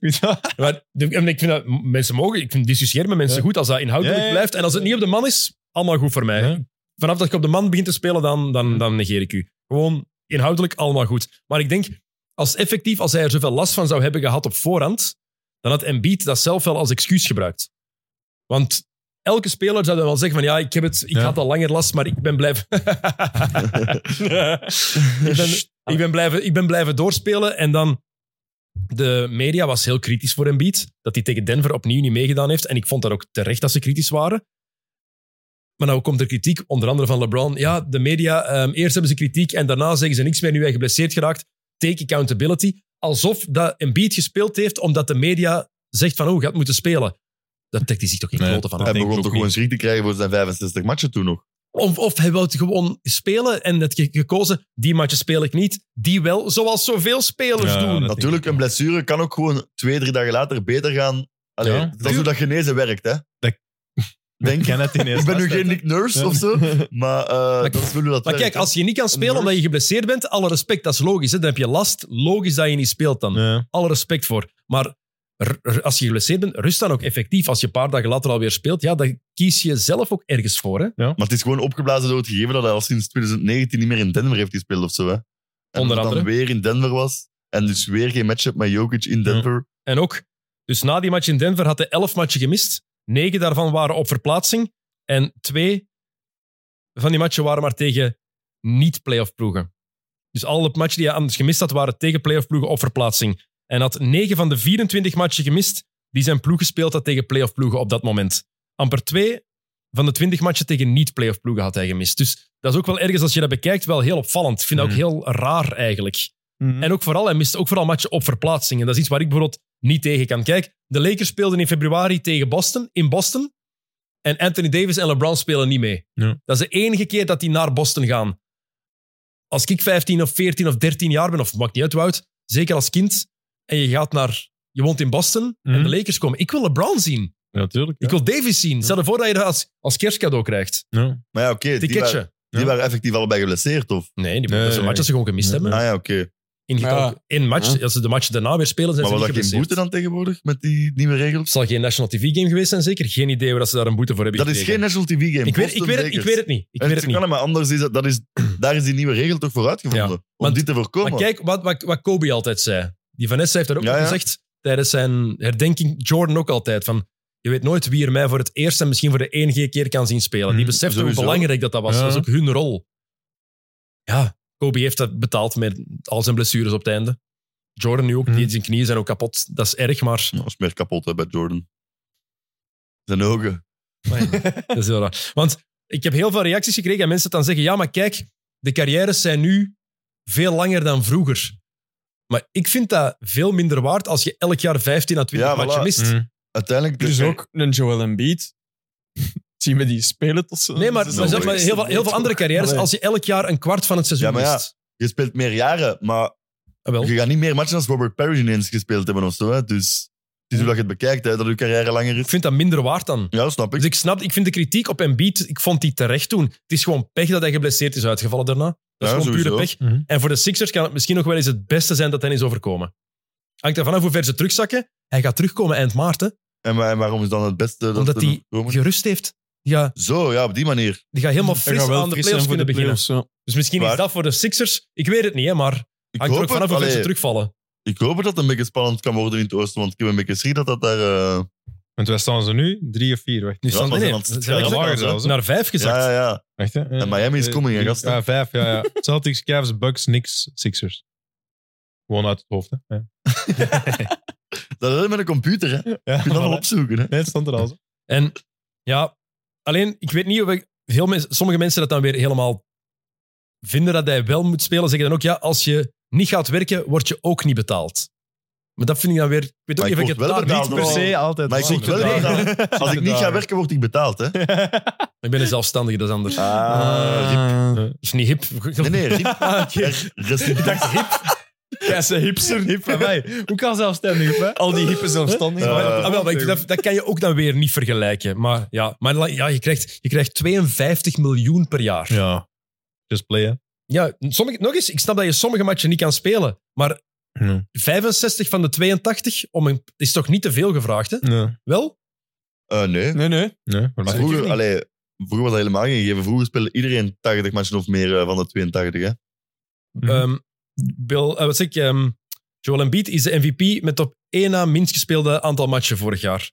Speaker 1: Maar, de- en ik vind dat m- mensen mogen, ik vind discussiëren met mensen
Speaker 4: Ja.
Speaker 1: goed als dat inhoudelijk
Speaker 4: Ja, ja, ja.
Speaker 1: blijft. En als het niet op de man is, allemaal goed voor mij.
Speaker 4: Ja.
Speaker 1: Vanaf dat ik op de man begin te spelen, dan, dan, dan negeer ik u. Gewoon inhoudelijk allemaal goed. Maar ik denk, als effectief, als hij er zoveel last van zou hebben gehad op voorhand, dan had Embiid dat zelf wel als excuus gebruikt. Want elke speler zou dan wel zeggen van ja, ik, heb het, ik
Speaker 4: Ja.
Speaker 1: had al langer last, maar ik ben blijven... *laughs* ik, ben, ik, ben blijven ik ben blijven doorspelen en dan... De media was heel kritisch voor Embiid, dat hij tegen Denver opnieuw niet meegedaan heeft. En ik vond dat ook terecht dat ze kritisch waren. Maar nou komt er kritiek, onder andere van LeBron. Ja, de media, ehm, eerst hebben ze kritiek en daarna zeggen ze niks meer nu hij geblesseerd geraakt. Take accountability. Alsof dat Embiid gespeeld heeft omdat de media zegt van, oh, gaat moeten spelen. Dat trekt hij zich toch geen
Speaker 4: Nee,
Speaker 1: klote van
Speaker 2: Hij
Speaker 1: aan.
Speaker 4: denk ik
Speaker 2: begon
Speaker 4: ook
Speaker 2: toch
Speaker 4: niet.
Speaker 2: gewoon schrik te krijgen voor zijn 65 matchen toen nog.
Speaker 1: Of, of hij wou gewoon spelen en dat ge- gekozen, die matchen speel ik niet, die wel, zoals zoveel spelers
Speaker 4: Ja,
Speaker 1: doen.
Speaker 4: dat-
Speaker 2: Natuurlijk, een blessure kan ook gewoon twee, drie dagen later beter gaan. Allee,
Speaker 4: Ja.
Speaker 2: Dat is hoe dat genezen werkt, hè.
Speaker 4: Dat-
Speaker 2: Denk
Speaker 4: Ik *laughs*
Speaker 2: ik.
Speaker 4: ken het
Speaker 2: *laughs*
Speaker 4: ineens.
Speaker 2: Ik ben nu
Speaker 4: vast, hè.
Speaker 2: geen Nick Nurse
Speaker 4: Ja.
Speaker 2: of zo, maar, eh, dat is wel hoe dat
Speaker 1: Maar
Speaker 2: werkt,
Speaker 1: kijk,
Speaker 2: hè.
Speaker 1: als je niet kan spelen omdat je geblesseerd bent, alle respect, dat is logisch. Hè? Dan heb je last, logisch dat je niet speelt dan.
Speaker 4: Ja.
Speaker 1: alle respect voor. Maar r- r- als je geblesseerd bent, rust dan ook effectief. Als je een paar dagen later alweer speelt, ja, dan kies je zelf ook ergens voor. Hè?
Speaker 2: Maar het is gewoon opgeblazen door het gegeven dat hij al sinds 2019 niet meer in Denver heeft gespeeld of zo. Hè. En
Speaker 1: Onder
Speaker 2: dat
Speaker 1: andere.
Speaker 2: dan weer in Denver was. En dus weer geen matchup met Jokic in Denver.
Speaker 1: En ook, dus na die match in Denver had hij elf matchen gemist. Negen daarvan waren op verplaatsing. En twee van die matchen waren maar tegen niet-playoff ploegen. Dus alle matchen die hij anders gemist had, waren tegen playoff ploegen op verplaatsing. En had negen van de 24 matchen gemist die zijn ploeg gespeeld had tegen playoff ploegen op dat moment. Amper twee van de 20 matchen tegen niet-playoff ploegen had hij gemist. Dus dat is ook wel ergens, als je dat bekijkt, wel heel opvallend. Ik vind dat ook
Speaker 4: Mhm.
Speaker 1: heel raar eigenlijk. En ook vooral, hij mist ook vooral matchen op verplaatsing. En dat is iets waar ik bijvoorbeeld niet tegen kan. Kijk, de Lakers speelden in februari tegen Boston, in Boston. En Anthony Davis en LeBron spelen niet mee.
Speaker 4: Ja.
Speaker 1: Dat is de enige keer dat die naar Boston gaan. Als ik 15 of 14 of 13 jaar ben, of maakt niet uit hoe oud, zeker als kind, en je gaat naar, je woont in Boston, en
Speaker 4: Mhm.
Speaker 1: de Lakers komen. Ik wil LeBron zien.
Speaker 4: Ja, natuurlijk.
Speaker 1: Ik wil Davis zien. Stel je voor dat je dat als, als kerstcadeau krijgt.
Speaker 4: Ja.
Speaker 2: Maar ja, oké, die,
Speaker 1: Ticketje.
Speaker 2: waren, die
Speaker 4: Ja.
Speaker 2: waren effectief allebei geblesseerd, of?
Speaker 1: Nee, die
Speaker 4: Nee,
Speaker 1: dat zijn
Speaker 4: nee,
Speaker 1: matches ze gewoon gemist
Speaker 4: Nee.
Speaker 1: hebben.
Speaker 2: Ah ja, oké.
Speaker 1: In,
Speaker 5: Ja.
Speaker 1: in match,
Speaker 5: Ja.
Speaker 1: als ze de match daarna weer spelen, zijn
Speaker 2: Maar
Speaker 1: ze
Speaker 2: was
Speaker 1: niet
Speaker 2: dat geen
Speaker 1: geblesseerd.
Speaker 2: boete dan tegenwoordig, met die nieuwe regels?
Speaker 1: Het zal geen National TV-game geweest zijn, zeker. Geen idee waar dat ze daar een boete voor hebben
Speaker 2: Dat is geen
Speaker 1: gekregen.
Speaker 2: National TV-game.
Speaker 1: ik weet, ik, weet het, ik weet het niet. Ik weet het niet.
Speaker 2: maar anders is dat, dat
Speaker 1: *clears throat*
Speaker 2: is, daar is die nieuwe regel toch voor uitgevonden.
Speaker 1: Ja.
Speaker 2: Om
Speaker 1: Want-
Speaker 2: dit te voorkomen.
Speaker 1: Maar kijk wat, wat, wat Kobe altijd zei. Die Vanessa heeft dat ook
Speaker 2: Ja,
Speaker 1: al
Speaker 2: ja.
Speaker 1: gezegd tijdens zijn herdenking. Jordan ook altijd. Van, je weet nooit wie er mij voor het eerst en misschien voor de enige keer kan zien spelen. Die
Speaker 4: Mhm,
Speaker 1: besefte hoe
Speaker 2: sowieso.
Speaker 1: belangrijk dat dat was.
Speaker 4: Ja.
Speaker 1: Dat was ook hun rol. Ja, Kobe heeft dat betaald met al zijn blessures op het einde. Jordan nu ook,
Speaker 4: Mhm.
Speaker 1: die, zijn knieën zijn ook kapot. Dat is erg, maar
Speaker 2: Dat is meer kapot hè, bij Jordan. Zijn ogen.
Speaker 1: Dat is heel raar. Want ik heb heel veel reacties gekregen en mensen dan zeggen: ja, maar kijk, de carrières zijn nu veel langer dan vroeger. Maar ik vind dat veel minder waard als je elk jaar 15 à 20
Speaker 2: Ja, voilà.
Speaker 1: matchen mist.
Speaker 4: Mm.
Speaker 2: Uiteindelijk...
Speaker 5: Dus ook een Joel Embiid. *laughs* Zie je met die spelen tot ze...
Speaker 1: Nee, maar,
Speaker 5: ze
Speaker 1: maar,
Speaker 2: is
Speaker 1: zeg
Speaker 2: wel
Speaker 1: maar
Speaker 2: leuk.
Speaker 1: heel, veel, heel veel andere carrières,
Speaker 5: Allee.
Speaker 1: als je elk jaar een kwart van het seizoen
Speaker 2: Ja, maar ja.
Speaker 1: mist.
Speaker 2: Je speelt meer jaren, maar
Speaker 1: Ah, wel.
Speaker 2: je gaat niet meer matchen als Robert Parrish ineens gespeeld hebben of zo. Hè. Dus het is hoe dat je het bekijkt, hè, dat je carrière langer
Speaker 1: Ik
Speaker 2: is.
Speaker 1: vind dat minder waard dan.
Speaker 2: Ja, snap
Speaker 1: Dus
Speaker 2: ik.
Speaker 1: ik snap, ik vind de kritiek op Embiid, ik vond die terecht toen. Het is gewoon pech dat hij geblesseerd is uitgevallen daarna. Dat is
Speaker 2: Ja,
Speaker 1: gewoon pure
Speaker 2: sowieso.
Speaker 1: pech.
Speaker 5: Mhm.
Speaker 1: En voor de Sixers kan het misschien nog wel eens het beste zijn dat hen is overkomen. Hangt er vanaf hoe ver ze terugzakken. Hij gaat terugkomen eind maart, hè,
Speaker 2: En, wa- en waarom is dan het beste dat
Speaker 1: omdat
Speaker 2: er nog
Speaker 1: hij
Speaker 2: komen?
Speaker 1: gerust heeft. Ja,
Speaker 2: Zo, ja, op die manier.
Speaker 1: die gaat helemaal fris
Speaker 5: gaat wel
Speaker 1: aan de
Speaker 5: fris
Speaker 1: playoffs
Speaker 5: zijn
Speaker 1: kunnen
Speaker 5: voor de
Speaker 1: beginnen.
Speaker 5: playoffs,
Speaker 1: Dus misschien is
Speaker 2: Waar?
Speaker 1: dat voor de Sixers. Ik weet het niet, hè, maar
Speaker 2: Ik
Speaker 1: hangt er ook
Speaker 2: hoop,
Speaker 1: vanaf
Speaker 2: het,
Speaker 1: hoe ver ze
Speaker 2: allee,
Speaker 1: terugvallen.
Speaker 2: ik hoop het dat het een beetje spannend kan worden in het oosten, want ik heb een beetje schrik dat dat daar... eh,
Speaker 4: Want waar staan ze nu? Drie of vier, wacht.
Speaker 1: Nu
Speaker 2: Ja,
Speaker 1: staan
Speaker 2: dat
Speaker 1: nee, nee,
Speaker 2: was een-
Speaker 1: ze
Speaker 2: dat
Speaker 1: zijn
Speaker 2: was een-
Speaker 1: naar-
Speaker 4: dat was-
Speaker 1: naar vijf gezakt.
Speaker 2: ja, ja, ja.
Speaker 4: Wacht, hè. Eh,
Speaker 2: En Miami is
Speaker 4: eh,
Speaker 2: coming, hè,
Speaker 4: drie-
Speaker 2: gasten.
Speaker 4: Ja, vijf, ja, ja. Celtics, Cavs, Bucks, Knicks, Sixers. Gewoon uit het hoofd, hè. Ja.
Speaker 2: Dat is met een computer, hè. Je
Speaker 4: Ja,
Speaker 2: kunt dat wel
Speaker 4: voilà.
Speaker 2: opzoeken, hè.
Speaker 4: Nee, het stond er al zo.
Speaker 1: En ja, alleen ik weet niet of ik. Veel mensen, sommige mensen dat dan weer helemaal vinden dat hij wel moet spelen. Zeggen dan ook: ja, als je niet gaat werken, word je ook niet betaald. Maar dat vind ik dan weer. Ik weet ook
Speaker 2: Maar
Speaker 1: niet of
Speaker 2: ik
Speaker 1: ik
Speaker 2: word
Speaker 1: het
Speaker 2: wel
Speaker 1: daar
Speaker 2: betaald,
Speaker 1: niet
Speaker 2: hoor.
Speaker 1: per se.
Speaker 5: Oh.
Speaker 4: altijd.
Speaker 2: Maar ik word wel betaald.
Speaker 1: *laughs*
Speaker 2: Als ik niet ga werken, word ik betaald, hè.
Speaker 1: Ik ben een zelfstandige, dat is anders.
Speaker 2: Ah,
Speaker 5: eh,
Speaker 2: hip.
Speaker 1: Dat is niet hip.
Speaker 2: Nee,
Speaker 1: *laughs*
Speaker 2: nee, hip. Er-
Speaker 1: Ah, Ik
Speaker 2: rest-
Speaker 1: dacht hip.
Speaker 5: Ja, ze hipster.
Speaker 4: Hip van mij. Hoe kan zelfstandig, hè?
Speaker 5: Al die hippe zelfstandigen.
Speaker 2: Eh,
Speaker 1: Maar- ah, wel, maar ik- dat, dat kan je ook dan weer niet vergelijken. Maar ja, maar la- ja je, krijgt, je krijgt 52 miljoen per jaar.
Speaker 4: Ja. Just play, hè.
Speaker 1: Ja, sommige, nog eens, ik snap dat je sommige matchen niet kan spelen, maar
Speaker 4: Ja.
Speaker 1: 65 van de 82 om een, is toch niet te veel gevraagd, hè?
Speaker 4: Nee.
Speaker 1: Wel?
Speaker 2: Eh, nee.
Speaker 5: Nee, nee.
Speaker 4: Nee, maar
Speaker 2: Maar
Speaker 4: goed.
Speaker 2: vroeger, allee, vroeger was dat helemaal geen gegeven. Vroeger speelde iedereen 80 matchen of meer eh, van de 82, hè.
Speaker 4: Mhm.
Speaker 1: Ehm, Bill, eh, wat zeg ik? ehm, Joel Embiid is de MVP met op één na minst gespeelde aantal matchen vorig jaar.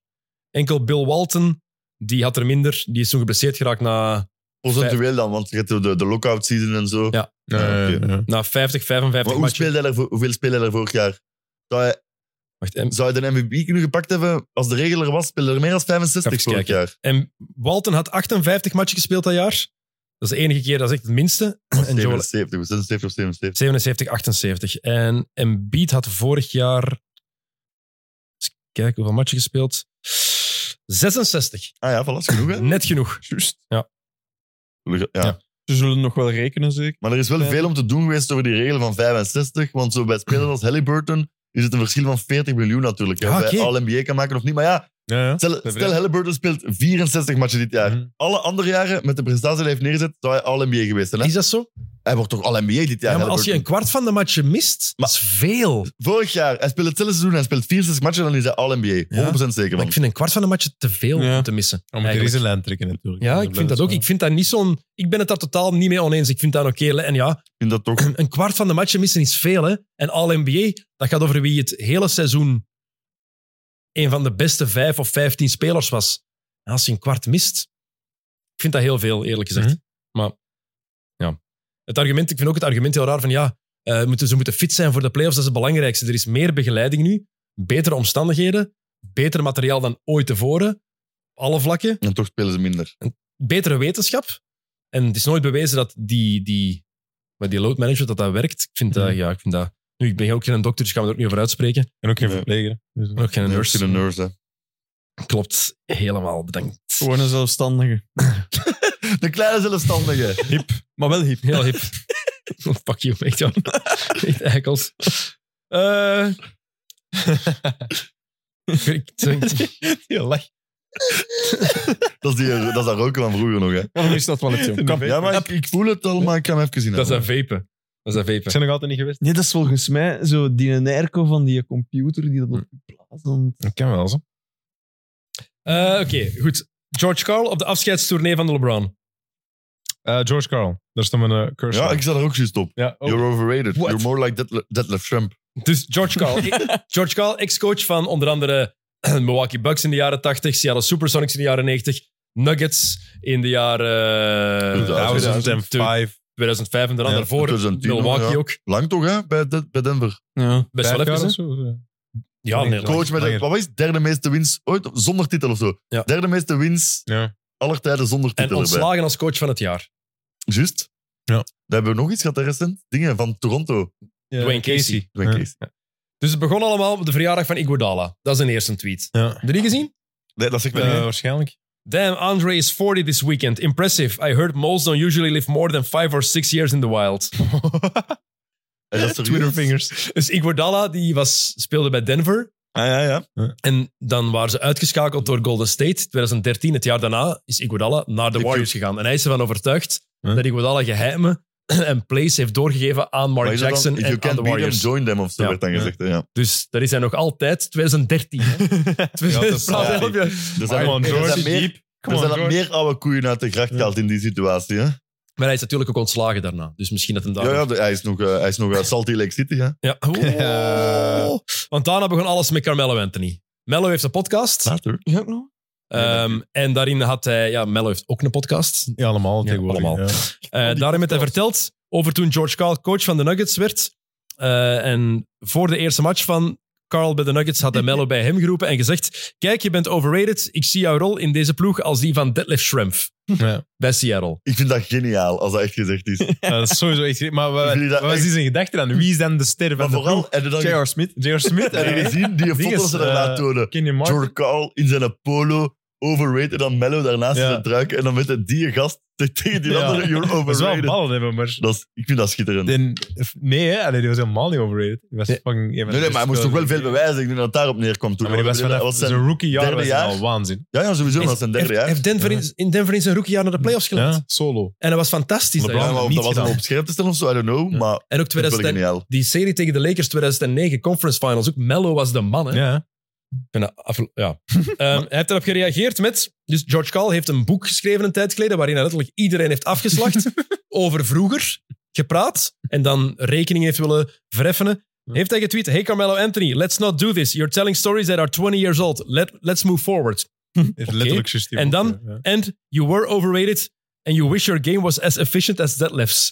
Speaker 1: Enkel Bill Walton, die had er minder. Die is toen geblesseerd geraakt na,
Speaker 2: Procentueel dan, want je hebt de, de lockout season en zo.
Speaker 1: Ja,
Speaker 4: Nee,
Speaker 2: Ja, oké.
Speaker 4: nee, nee.
Speaker 1: eh, na 50, 55
Speaker 2: maar hoe
Speaker 1: matchen.
Speaker 2: speelde hij er, voor- hoeveel speelde hij er vorig jaar? Zou hij,
Speaker 1: Wacht, en,
Speaker 2: zou hij de MVP kunnen gepakt hebben? Als de regel er was, speelde hij er meer dan 65
Speaker 1: Even
Speaker 2: vorig
Speaker 1: kijken.
Speaker 2: jaar.
Speaker 1: en Walton had 58 matchen gespeeld dat jaar. Dat is de enige keer, dat is echt het minste. En Joel
Speaker 2: 77 of 76 of 77.
Speaker 1: 77, 78. En Embiid had vorig jaar... Eens kijken, hoeveel matchen gespeeld? 66.
Speaker 2: Ah ja, voilà, is genoeg, hè?
Speaker 1: Net genoeg.
Speaker 5: Juist.
Speaker 2: Ja.
Speaker 5: Ze zullen nog wel rekenen, zeker.
Speaker 2: Maar er is wel
Speaker 5: Ja.
Speaker 2: veel om te doen geweest over die regel van 65. Want zo bij spelers als Halliburton is het een verschil van 40 miljoen natuurlijk. hè.
Speaker 1: Ja,
Speaker 2: Of hij
Speaker 1: oké.
Speaker 2: All-NBA kan maken of niet. Maar ja,
Speaker 4: Ja, ja.
Speaker 2: stel, stel Halliburton speelt 64 matchen dit jaar.
Speaker 4: Mhm.
Speaker 2: Alle andere jaren, met de prestatie die hij heeft neergezet, zou hij All-NBA geweest zijn. Hè?
Speaker 1: Is dat zo?
Speaker 2: Hij wordt toch All-NBA dit jaar,
Speaker 1: Ja, maar als je een
Speaker 2: Halliburton?
Speaker 1: kwart van de matchen mist,
Speaker 2: Maar-
Speaker 1: dat is veel.
Speaker 2: Vorig jaar, hij speelt hetzelfde seizoen, hij speelt 64 matchen, dan is hij All-NBA.
Speaker 1: Ja.
Speaker 2: 100% zeker
Speaker 1: Maar
Speaker 2: van.
Speaker 1: ik vind een kwart van de matchen te veel
Speaker 5: Ja.
Speaker 1: om te missen.
Speaker 4: Om het er
Speaker 1: Eigenlijk.
Speaker 4: is een lijn trekken, natuurlijk.
Speaker 1: Ja, ik vind dat ook. Ik vind dat niet zo'n... Ik ben het daar totaal niet mee oneens. Ik vind dat oké. En ja,
Speaker 2: Ik vind dat toch...
Speaker 1: een kwart van de matchen missen is veel. Hè? En All-NBA, dat gaat over wie het hele seizoen een van de beste vijf of vijftien spelers was. En als je een kwart mist, ik vind dat heel veel, eerlijk gezegd.
Speaker 4: Mhm.
Speaker 1: Maar ja, het argument, ik vind ook het argument heel raar van ja, eh, moeten, ze moeten fit zijn voor de playoffs, dat is het belangrijkste. Er is meer begeleiding nu, betere omstandigheden, beter materiaal dan ooit tevoren, op alle vlakken
Speaker 2: En toch spelen ze minder.
Speaker 1: betere wetenschap. En het is nooit bewezen dat die, die, maar die load management dat dat werkt. Ik vind dat,
Speaker 4: Mhm.
Speaker 1: ja, ik vind dat. Nu, ik ben ook geen dokter, dus ik ga me er ook niet over uitspreken. Ik
Speaker 4: En ook geen
Speaker 2: Nee.
Speaker 4: verpleger. Dus,
Speaker 1: ben ook geen
Speaker 2: Nee,
Speaker 1: nurse.
Speaker 2: ik vind een nurse, hè.
Speaker 1: Klopt, helemaal bedankt.
Speaker 5: Gewoon een zelfstandige.
Speaker 2: De kleine zelfstandige.
Speaker 5: Maar wel hip.
Speaker 1: Heel
Speaker 4: *laughs*
Speaker 1: hip. Fuck you, echt wel. Echt eikels. Eh. *laughs* Ik- ik-
Speaker 2: dat, is die, dat is dat roken van vroeger nog, hè.
Speaker 5: Waarom is dat wel
Speaker 4: *laughs*
Speaker 5: het, jong?
Speaker 2: Ja, maar ik, ik voel het al, maar ik kan even zien.
Speaker 1: dat is een vapen. Dat is een
Speaker 4: Ik
Speaker 1: vapen.
Speaker 4: zijn nog altijd niet geweest.
Speaker 5: Nee, dat is volgens mij zo die nerko van die computer die dat op je plaats dan-
Speaker 4: Ik ken wel zo.
Speaker 1: Eh, Oké, goed. George Carl op de afscheidstournee van de LeBron.
Speaker 4: Eh, George Carl. Daar stond mijn uh, curse.
Speaker 2: Ja, ik zat er ook juist op.
Speaker 4: Ja, ook.
Speaker 2: You're overrated.
Speaker 1: What?
Speaker 2: You're more like Detlef, Detlef Trump.
Speaker 1: Dus George Karl, George Karl ex-coach van onder andere *clears throat* Milwaukee Bucks in de jaren 80, Seattle Supersonics in de jaren 90, Nuggets in de jaren eh,
Speaker 4: 2005.
Speaker 1: 2005 en de andere
Speaker 4: Ja,
Speaker 1: voor
Speaker 2: 2010
Speaker 1: Milwaukee
Speaker 2: ja.
Speaker 1: ook.
Speaker 2: Lang toch, hè? Bij, De- bij Denver.
Speaker 5: Ja.
Speaker 1: Best wel
Speaker 4: Vijf
Speaker 1: even.
Speaker 4: jaar of
Speaker 1: hè?
Speaker 4: zo, eh. ja.
Speaker 1: Ja, nee,
Speaker 4: Langer.
Speaker 2: Coach met de,
Speaker 4: Langer.
Speaker 2: wat was het? derde meeste winst ooit? Zonder titel of zo.
Speaker 1: Ja.
Speaker 2: Derde meeste winst
Speaker 4: Ja.
Speaker 2: aller tijden zonder
Speaker 1: En
Speaker 2: titel erbij.
Speaker 1: ontslagen als coach van het jaar.
Speaker 2: Juist.
Speaker 4: Ja.
Speaker 2: Daar hebben we nog iets gehad hè, recent. Dingen van Toronto.
Speaker 1: Dwayne Casey.
Speaker 2: Dwayne
Speaker 4: Ja.
Speaker 2: Casey.
Speaker 1: Dus het begon allemaal op de verjaardag van Iguodala. Dat is een eerste tweet.
Speaker 4: Ja.
Speaker 1: Heb je die gezien?
Speaker 2: Nee, dat zegt mij
Speaker 4: Eh,
Speaker 2: niet.
Speaker 4: waarschijnlijk.
Speaker 1: Damn, Andre is 40 this weekend. Impressive. I heard moles don't usually live more than 5 or 6 years in the wild.
Speaker 2: En dat is serieus.
Speaker 4: Twittervingers.
Speaker 1: Dus Iguodala die was, speelde bij Denver.
Speaker 2: Ah, ja, ja.
Speaker 1: En dan waren ze uitgeschakeld door Golden State. 2013, het jaar daarna, is Iguodala naar de
Speaker 2: Ik
Speaker 1: Warriors gegaan. En hij is ervan overtuigd
Speaker 4: Huh?
Speaker 1: dat Iguodala geheimen *clears throat* en Place heeft doorgegeven aan Mark
Speaker 2: Maar is dat dan,
Speaker 1: Jackson
Speaker 2: if you
Speaker 1: en aan
Speaker 2: can't
Speaker 1: de
Speaker 2: beat them,
Speaker 1: Warriors.
Speaker 2: join them, of zo
Speaker 1: Ja.
Speaker 2: werd dan
Speaker 1: Ja.
Speaker 2: gezegd. hè, Ja.
Speaker 1: Dus dat is hij nog altijd 2013.
Speaker 2: *laughs*
Speaker 1: Hè?
Speaker 4: dat is
Speaker 1: Praat
Speaker 2: saai.
Speaker 1: elf jaar.
Speaker 2: Er zijn,
Speaker 4: on,
Speaker 2: er zijn
Speaker 4: George.
Speaker 2: meer,
Speaker 4: Diep.
Speaker 2: er zijn
Speaker 4: on,
Speaker 2: dan
Speaker 4: George.
Speaker 2: meer oude koeien uit de gracht gehaald in die situatie. Hè?
Speaker 1: Maar hij is natuurlijk ook ontslagen daarna. Dus misschien dat hem daar...
Speaker 2: Ja, ja, de- hij is nog, eh, hij is nog uit Salt Lake City. Hè?
Speaker 1: Ja.
Speaker 2: *laughs*
Speaker 1: Oeh. Want daarna begon alles met Carmelo Anthony. Mello heeft een podcast.
Speaker 2: Later.
Speaker 5: Ja, ook nog?
Speaker 1: ehm, en daarin had hij... Ja, Mello heeft ook een podcast.
Speaker 4: Ja, allemaal
Speaker 1: Ja,
Speaker 4: tegenwoordig.
Speaker 1: allemaal.
Speaker 4: ja.
Speaker 1: Eh, daarin heeft hij verteld over toen George Karl coach van de Nuggets werd. Eh, en voor de eerste match van Carl bij de Nuggets had hij Mello bij hem geroepen en gezegd: Kijk, je bent overrated. Ik zie jouw rol in deze ploeg als die van Detlef Schrempf
Speaker 4: Ja.
Speaker 1: bij Seattle.
Speaker 2: Ik vind dat geniaal, als dat echt gezegd is.
Speaker 4: *laughs* Ja, dat is sowieso echt... Maar wa-
Speaker 2: Jullie dat
Speaker 4: wat was
Speaker 2: echt-
Speaker 4: die zijn gedachte dan? Wie is dan de ster
Speaker 2: Maar
Speaker 4: van de
Speaker 2: vooral,
Speaker 4: ploeg?
Speaker 2: heb je dan
Speaker 4: J.R. Smith. J.R. Smith.
Speaker 2: heb je
Speaker 4: eh,
Speaker 2: gezien die
Speaker 4: Ding
Speaker 2: foto's
Speaker 4: is,
Speaker 2: ze daarna
Speaker 4: eh,
Speaker 2: tonen?
Speaker 4: Kenny Martin.
Speaker 2: George Carl in zijn polo, overrated, dan Mello daarnaast
Speaker 4: Ja.
Speaker 2: in zijn truik. En dan met de die gast tegen die
Speaker 4: Ja.
Speaker 2: andere, you're
Speaker 4: Dat is wel
Speaker 2: overrated.
Speaker 4: ballen hebben, maar...
Speaker 2: Dat is, ik vind dat schitterend.
Speaker 4: Den, nee, hè? Allee, die was helemaal niet overrated. Die was
Speaker 1: Nee.
Speaker 4: fucking, een van de
Speaker 2: Nee, nee, maar
Speaker 4: beste
Speaker 2: hij moest toch wel
Speaker 4: spelers.
Speaker 2: veel bewijzen. Ik denk dat het daarop neerkwam toen.
Speaker 4: Maar die was
Speaker 2: Dat
Speaker 4: vanaf
Speaker 2: was zijn-
Speaker 4: zijn rookie jaar
Speaker 2: derde
Speaker 4: was hij
Speaker 2: jaar.
Speaker 4: al waanzin.
Speaker 2: ja, ja, sowieso, maar dat is zijn derde
Speaker 1: heeft,
Speaker 2: jaar.
Speaker 1: heeft Denver in, in Denver in zijn rookiejaar naar de playoffs gelaten.
Speaker 4: Ja, solo.
Speaker 1: En dat was fantastisch. dat
Speaker 2: Ja,
Speaker 1: jaar.
Speaker 2: maar of
Speaker 4: niet
Speaker 2: dat was hem
Speaker 4: gedaan.
Speaker 2: op scherp te stellen of zo, I don't know.
Speaker 4: Ja.
Speaker 1: En
Speaker 2: Maar
Speaker 1: ook
Speaker 2: dat is wel
Speaker 1: 2000,
Speaker 2: geniaal.
Speaker 1: die serie tegen de Lakers 2009 Conference Finals. Ook Mello was de man. Hè?
Speaker 4: Ja.
Speaker 1: Ik ben af- ja. *laughs* Ehm, hij heeft erop gereageerd met... Dus George Carl heeft een boek geschreven een tijd geleden waarin hij letterlijk iedereen heeft afgeslacht over vroeger gepraat en dan rekening heeft willen vereffenen. Heeft hij getweet, hey Carmelo Anthony, let's not do this. You're telling stories that are 20 years old. Let, let's move forward.
Speaker 4: Heeft Letterlijk systeem.
Speaker 1: En dan- And you were overrated and you wish your game was as efficient as Detlef's.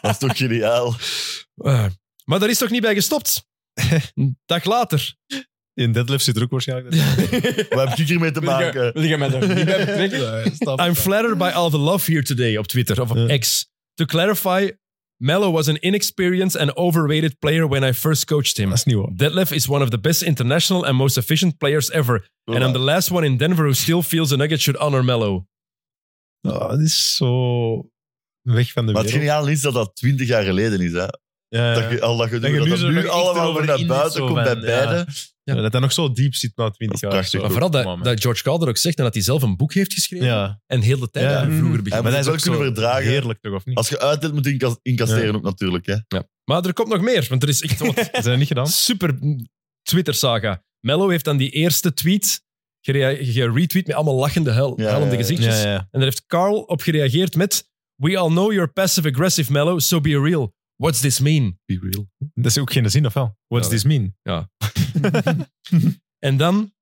Speaker 2: Dat is toch
Speaker 4: *laughs*
Speaker 2: geniaal.
Speaker 1: Eh, maar daar is toch niet bij gestopt? Een dag later.
Speaker 4: In Deadlift zit er ook
Speaker 1: *laughs*
Speaker 4: waarschijnlijk.
Speaker 2: Wat heb ik hiermee te maken?
Speaker 5: Wil jij mij daar niet bij betrekken?
Speaker 1: I'm flattered by all the love here today op Twitter of op
Speaker 4: Ja.
Speaker 1: X. To clarify, Mello was an inexperienced and overrated player when I first coached him.
Speaker 4: Dat is niet waar.
Speaker 1: Detlef is one of the best international and most efficient players ever. And I'm the last one in Denver who still feels the Nuggets should honor Mello.
Speaker 4: Oh, dat is zo weg van de
Speaker 2: Maar het
Speaker 4: wereld.
Speaker 2: geniaal is dat dat twintig jaar geleden is. Hè?
Speaker 4: Ja, ja.
Speaker 2: Dat je, al dat gedoe,
Speaker 4: Dat je
Speaker 2: dat
Speaker 4: nu
Speaker 2: dat
Speaker 4: zo nog
Speaker 2: nu
Speaker 4: echt
Speaker 2: allemaal
Speaker 4: erover
Speaker 2: weer naar
Speaker 4: in
Speaker 2: buiten
Speaker 4: zo
Speaker 2: komt bij
Speaker 4: van, ja.
Speaker 2: beide.
Speaker 4: Ja, Dat dat nog zo diep zit na 20
Speaker 2: Dat
Speaker 4: jaar.
Speaker 2: is prachtig.
Speaker 1: Maar vooral dat, dat George Calder ook zegt en dat hij zelf een boek heeft geschreven
Speaker 4: Ja.
Speaker 1: en heel de tijd
Speaker 4: Ja.
Speaker 1: daar vroeger begint.
Speaker 2: Ja,
Speaker 1: maar,
Speaker 2: maar dat is
Speaker 4: ook
Speaker 2: wel kunnen
Speaker 4: zo
Speaker 2: verdragen.
Speaker 4: Heerlijk toch, of niet?
Speaker 2: Als je uitdeelt, moet je incas- incasseren ook natuurlijk. Hè?
Speaker 1: er komt nog meer, want er is
Speaker 2: *laughs*
Speaker 1: echt wat
Speaker 4: Is dat niet gedaan?
Speaker 1: super Twitter-saga. Mello heeft dan die eerste tweet gere- geretweet met allemaal lachende, huil,
Speaker 2: Ja,
Speaker 1: huilende
Speaker 2: ja, ja.
Speaker 1: gezichtjes. En daar heeft Carl op gereageerd met: We all know you're passive-aggressive, Mello, so be real. What's this mean?
Speaker 2: Be real.
Speaker 4: Dat is ook geen zin, of wel? What's
Speaker 1: Ja,
Speaker 4: this mean?
Speaker 1: En dan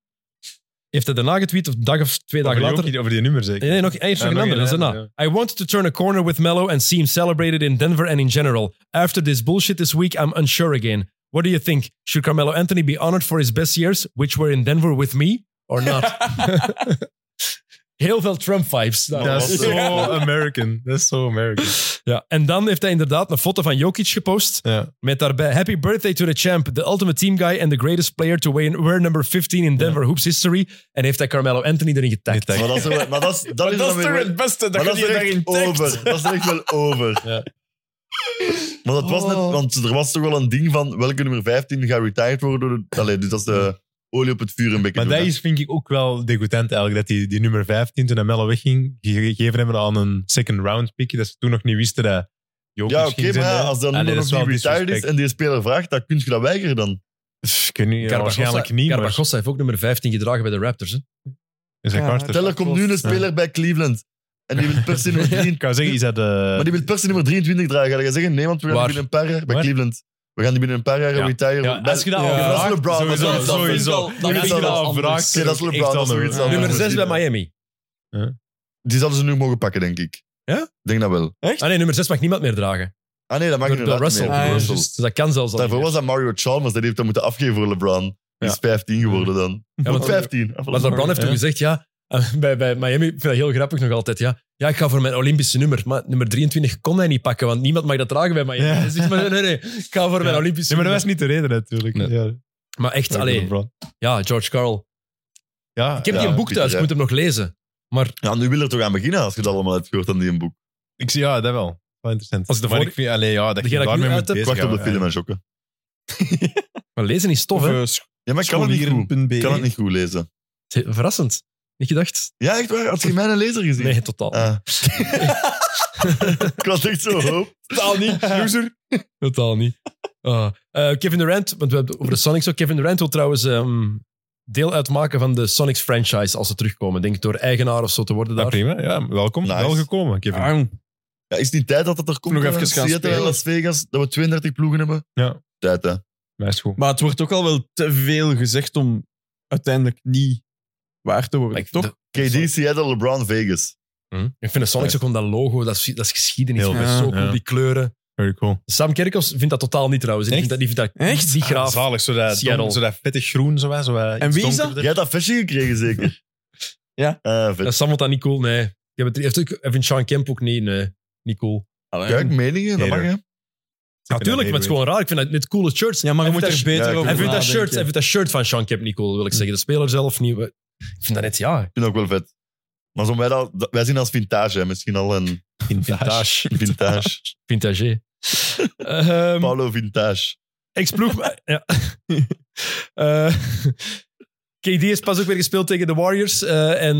Speaker 1: heeft hij daarna getweet, of een dag of twee dagen
Speaker 4: Over die
Speaker 1: later.
Speaker 4: ook niet- Over die nummer zeker?
Speaker 1: Nee, nee, nog, hij heeft
Speaker 4: Ja,
Speaker 1: nog een
Speaker 4: nog
Speaker 1: andere. Dat is
Speaker 4: een,
Speaker 1: daarna. I want to turn a corner with Mello and see him celebrated in Denver and in general. After this bullshit this week, I'm unsure again. What do you think? Should Carmelo Anthony be honored for his best years, which were in Denver with me, or not? Heel veel Trump-vibes. daar.
Speaker 4: Dat is
Speaker 2: Ja.
Speaker 4: zo American. Dat is zo American.
Speaker 1: Ja. En dan heeft hij inderdaad een foto van Jokic gepost.
Speaker 4: Ja.
Speaker 1: Met daarbij Happy Birthday to the Champ, the ultimate team guy and the greatest player to win- wear number 15 in Denver Hoops history. En heeft hij Carmelo Anthony erin getagd.
Speaker 2: Maar dat is, er wel- maar dat
Speaker 4: *laughs*
Speaker 2: is, dat is, dan weer wel-
Speaker 5: beste,
Speaker 2: maar dat is er echt over. Dat is er echt wel over.
Speaker 4: *laughs* Ja. Oh.
Speaker 2: Maar dat was net, want er was toch wel een ding van welke nummer 15 gaat retired worden. Door de, allee, dus dat is de olie op het vuur een beetje.
Speaker 4: Maar
Speaker 2: doen,
Speaker 4: dat
Speaker 2: hè.
Speaker 4: is, vind ik ook wel degoutant eigenlijk. Dat die, die nummer 15, toen dat Mello wegging, gegeven hebben aan een second round pick. Dat ze toen nog niet wisten dat Jokic
Speaker 2: Ja, oké,
Speaker 4: ging
Speaker 2: maar
Speaker 4: zijn,
Speaker 2: ja,
Speaker 4: hè.
Speaker 2: als dat
Speaker 4: Allee,
Speaker 2: nummer nog
Speaker 4: is
Speaker 2: niet
Speaker 4: wel
Speaker 2: retired is
Speaker 4: disrespect.
Speaker 2: en die speler vraagt, dan kun je dat weigeren dan.
Speaker 4: Pff, ik weet niet, ja, waarschijnlijk niet, maar...
Speaker 1: Garbagosa heeft ook nummer 15 gedragen bij de Raptors. Hè?
Speaker 4: Is dat
Speaker 5: Ja,
Speaker 4: Carter?
Speaker 2: Stel, er komt nu een speler bij Cleveland en die wil per
Speaker 4: *laughs*
Speaker 2: se nummer 23
Speaker 4: Ik kan zeggen, is dat... eh,
Speaker 2: Maar die wil per se nummer 23 dragen. Ga je zeggen, nee, want we gaan
Speaker 1: Waar?
Speaker 2: die binnen een paar jaar... Bij
Speaker 4: Waar?
Speaker 2: Cleveland. We gaan die binnen een paar jaar
Speaker 4: Ja.
Speaker 2: retire.
Speaker 4: Ja,
Speaker 2: Bij-
Speaker 4: als je dat
Speaker 5: Ja.
Speaker 4: al
Speaker 2: Dat is
Speaker 4: vraagt,
Speaker 2: LeBron, dat is
Speaker 4: sowieso,
Speaker 2: wel- dat
Speaker 5: is
Speaker 4: sowieso.
Speaker 5: wel- dat
Speaker 4: Als
Speaker 5: is
Speaker 4: je dat
Speaker 5: wel
Speaker 4: al
Speaker 5: anders.
Speaker 4: vraagt,
Speaker 2: Oké, dat is
Speaker 4: echt
Speaker 2: LeBron, dat is
Speaker 4: anders.
Speaker 2: zoiets anders.
Speaker 1: Nummer 6 bij
Speaker 2: misschien, ja.
Speaker 1: Miami.
Speaker 2: Die zouden ze nu mogen pakken, denk ik.
Speaker 1: Ja?
Speaker 2: Ik Denk dat wel.
Speaker 1: Ah nee, nummer 6 mag niemand meer dragen.
Speaker 2: Ah nee, dat mag
Speaker 1: Door-
Speaker 2: inderdaad
Speaker 1: door Russell.
Speaker 2: niet meer, door
Speaker 5: Ah, ja,
Speaker 2: Russell.
Speaker 1: Dus dat kan zelfs al.
Speaker 2: Daarvoor
Speaker 1: niet
Speaker 2: was
Speaker 1: meer.
Speaker 2: dat Mario Chalmers. Dat heeft dat moeten afgeven voor LeBron. Die is 15 geworden dan.
Speaker 1: Ja,
Speaker 2: Of
Speaker 1: want-
Speaker 2: 15.
Speaker 1: Maar LeBron heeft toen gezegd, ja, eh, bij, bij Miami, ik vind dat heel grappig nog altijd, ja. Ja, ik ga voor mijn Olympische nummer. Maar nummer 23 kon hij niet pakken, want niemand mag dat dragen bij Miami.
Speaker 4: Ja.
Speaker 1: Hij zegt, maar nee, nee, nee, ik ga voor mijn
Speaker 4: Ja.
Speaker 1: Olympische
Speaker 4: Nee, maar dat
Speaker 1: nummer.
Speaker 4: was niet de reden natuurlijk.
Speaker 1: Nee.
Speaker 4: Ja,
Speaker 1: Maar echt, alleen,
Speaker 4: LeBron.
Speaker 1: ja, George Carl.
Speaker 4: Ja,
Speaker 1: Ik heb
Speaker 2: Ja,
Speaker 1: die een boek
Speaker 2: Pieter,
Speaker 1: thuis, ik
Speaker 2: ja.
Speaker 1: moet hem nog lezen. Maar
Speaker 2: Ja, nu wil er toch aan beginnen als je dat allemaal hebt gehoord aan die een boek.
Speaker 4: ik zie, ja, dat wel. Wel interessant.
Speaker 1: Als ik de
Speaker 4: Maar
Speaker 1: vorige-
Speaker 4: ik vind, allee, ja, dat
Speaker 1: Degene
Speaker 4: je
Speaker 1: dat ik
Speaker 4: daarmee
Speaker 1: nu
Speaker 4: moet
Speaker 1: uit heb,
Speaker 4: bezig
Speaker 2: Wacht op de
Speaker 4: houden,
Speaker 2: film en jokken.
Speaker 1: Maar lezen is tof, hè? eh,
Speaker 2: Ja, maar ik kan het niet goed. Ik kan het niet goed lezen.
Speaker 1: Verrassend. Niet gedacht?
Speaker 2: Ja, echt waar? Had je mijn laser gezien?
Speaker 1: Nee, totaal.
Speaker 2: Ah. *laughs* ik was echt zo hoop.
Speaker 1: Totaal
Speaker 5: *laughs*
Speaker 1: niet, loser. Totaal niet. Ah. Eh, Kevin Durant, want we hebben het over de Sonics ook. Kevin Durant wil trouwens ehm, deel uitmaken van de Sonics franchise als ze terugkomen. Denk ik door eigenaar of zo te worden
Speaker 4: Ja,
Speaker 1: daar.
Speaker 4: prima. Ja, welkom.
Speaker 2: Nice.
Speaker 4: Wel gekomen, Kevin.
Speaker 2: Ja, is het niet tijd dat dat er komt?
Speaker 5: Nog
Speaker 2: eh,
Speaker 5: even gaan
Speaker 2: Seattle en
Speaker 5: spelen.
Speaker 2: Las Vegas, dat we 32 ploegen hebben?
Speaker 4: Ja.
Speaker 2: Tijd, hè.
Speaker 4: Maar is goed.
Speaker 5: Maar het wordt ook al wel te veel gezegd om uiteindelijk niet waar te worden,
Speaker 1: Maar ik-
Speaker 5: toch?
Speaker 1: de-
Speaker 2: KD, Seattle, LeBron, Vegas.
Speaker 1: ik vind de Sonics ook gewoon dat logo, dat is, dat is geschiedenis.
Speaker 4: Heel
Speaker 1: Ik vind
Speaker 5: Hm? vet.
Speaker 1: het zo
Speaker 4: Ja.
Speaker 1: cool, die kleuren.
Speaker 4: Very cool.
Speaker 1: Sam Kerkhoffs vindt dat totaal niet trouwens. Die
Speaker 5: Echt?
Speaker 1: vindt dat, die vindt dat
Speaker 5: Echt? Ah,
Speaker 1: niet graaf.
Speaker 4: Zalig, zo dat,
Speaker 1: Seattle.
Speaker 4: zo dat vettig groen. Zo, hè, zo, eh,
Speaker 5: En
Speaker 4: iets
Speaker 5: wie is dat?
Speaker 4: donkerder.
Speaker 2: Jij hebt dat vestje gekregen, zeker?
Speaker 5: Ja.
Speaker 2: Eh,
Speaker 1: Ja,
Speaker 2: vet.
Speaker 1: Sam vond dat niet cool, nee. Die hebben het- heeft ook- Hij vindt Sean Kemp ook niet, nee, niet cool.
Speaker 2: Kijk, meningen, dat mag, hè.
Speaker 1: Natuurlijk, maar het is gewoon raar. Ik vind dat net coole shirts.
Speaker 5: Ja, maar je
Speaker 1: Hij
Speaker 5: moet
Speaker 1: vindt
Speaker 5: er
Speaker 1: dat-
Speaker 5: beter
Speaker 2: ja, ik
Speaker 5: over
Speaker 1: Hij vindt dat
Speaker 5: nadenken. Hm.
Speaker 1: shirt- hij vindt dat shirt van Sean Kemp niet cool, wil ik zeggen. De speler zelf niet. Ik vind dat net, ja,
Speaker 2: Ik vind dat ook wel vet. Maar zo, wij, dat, dat- wij zien dat als vintage, hè. misschien al een
Speaker 1: vintage.
Speaker 2: vintage.
Speaker 5: *laughs*
Speaker 1: Vintage. Ehm
Speaker 2: Paulo Vintage.
Speaker 4: *laughs*
Speaker 1: Ex-ploeg. ja. Eh, KD is pas ook weer gespeeld tegen de Warriors. eh, en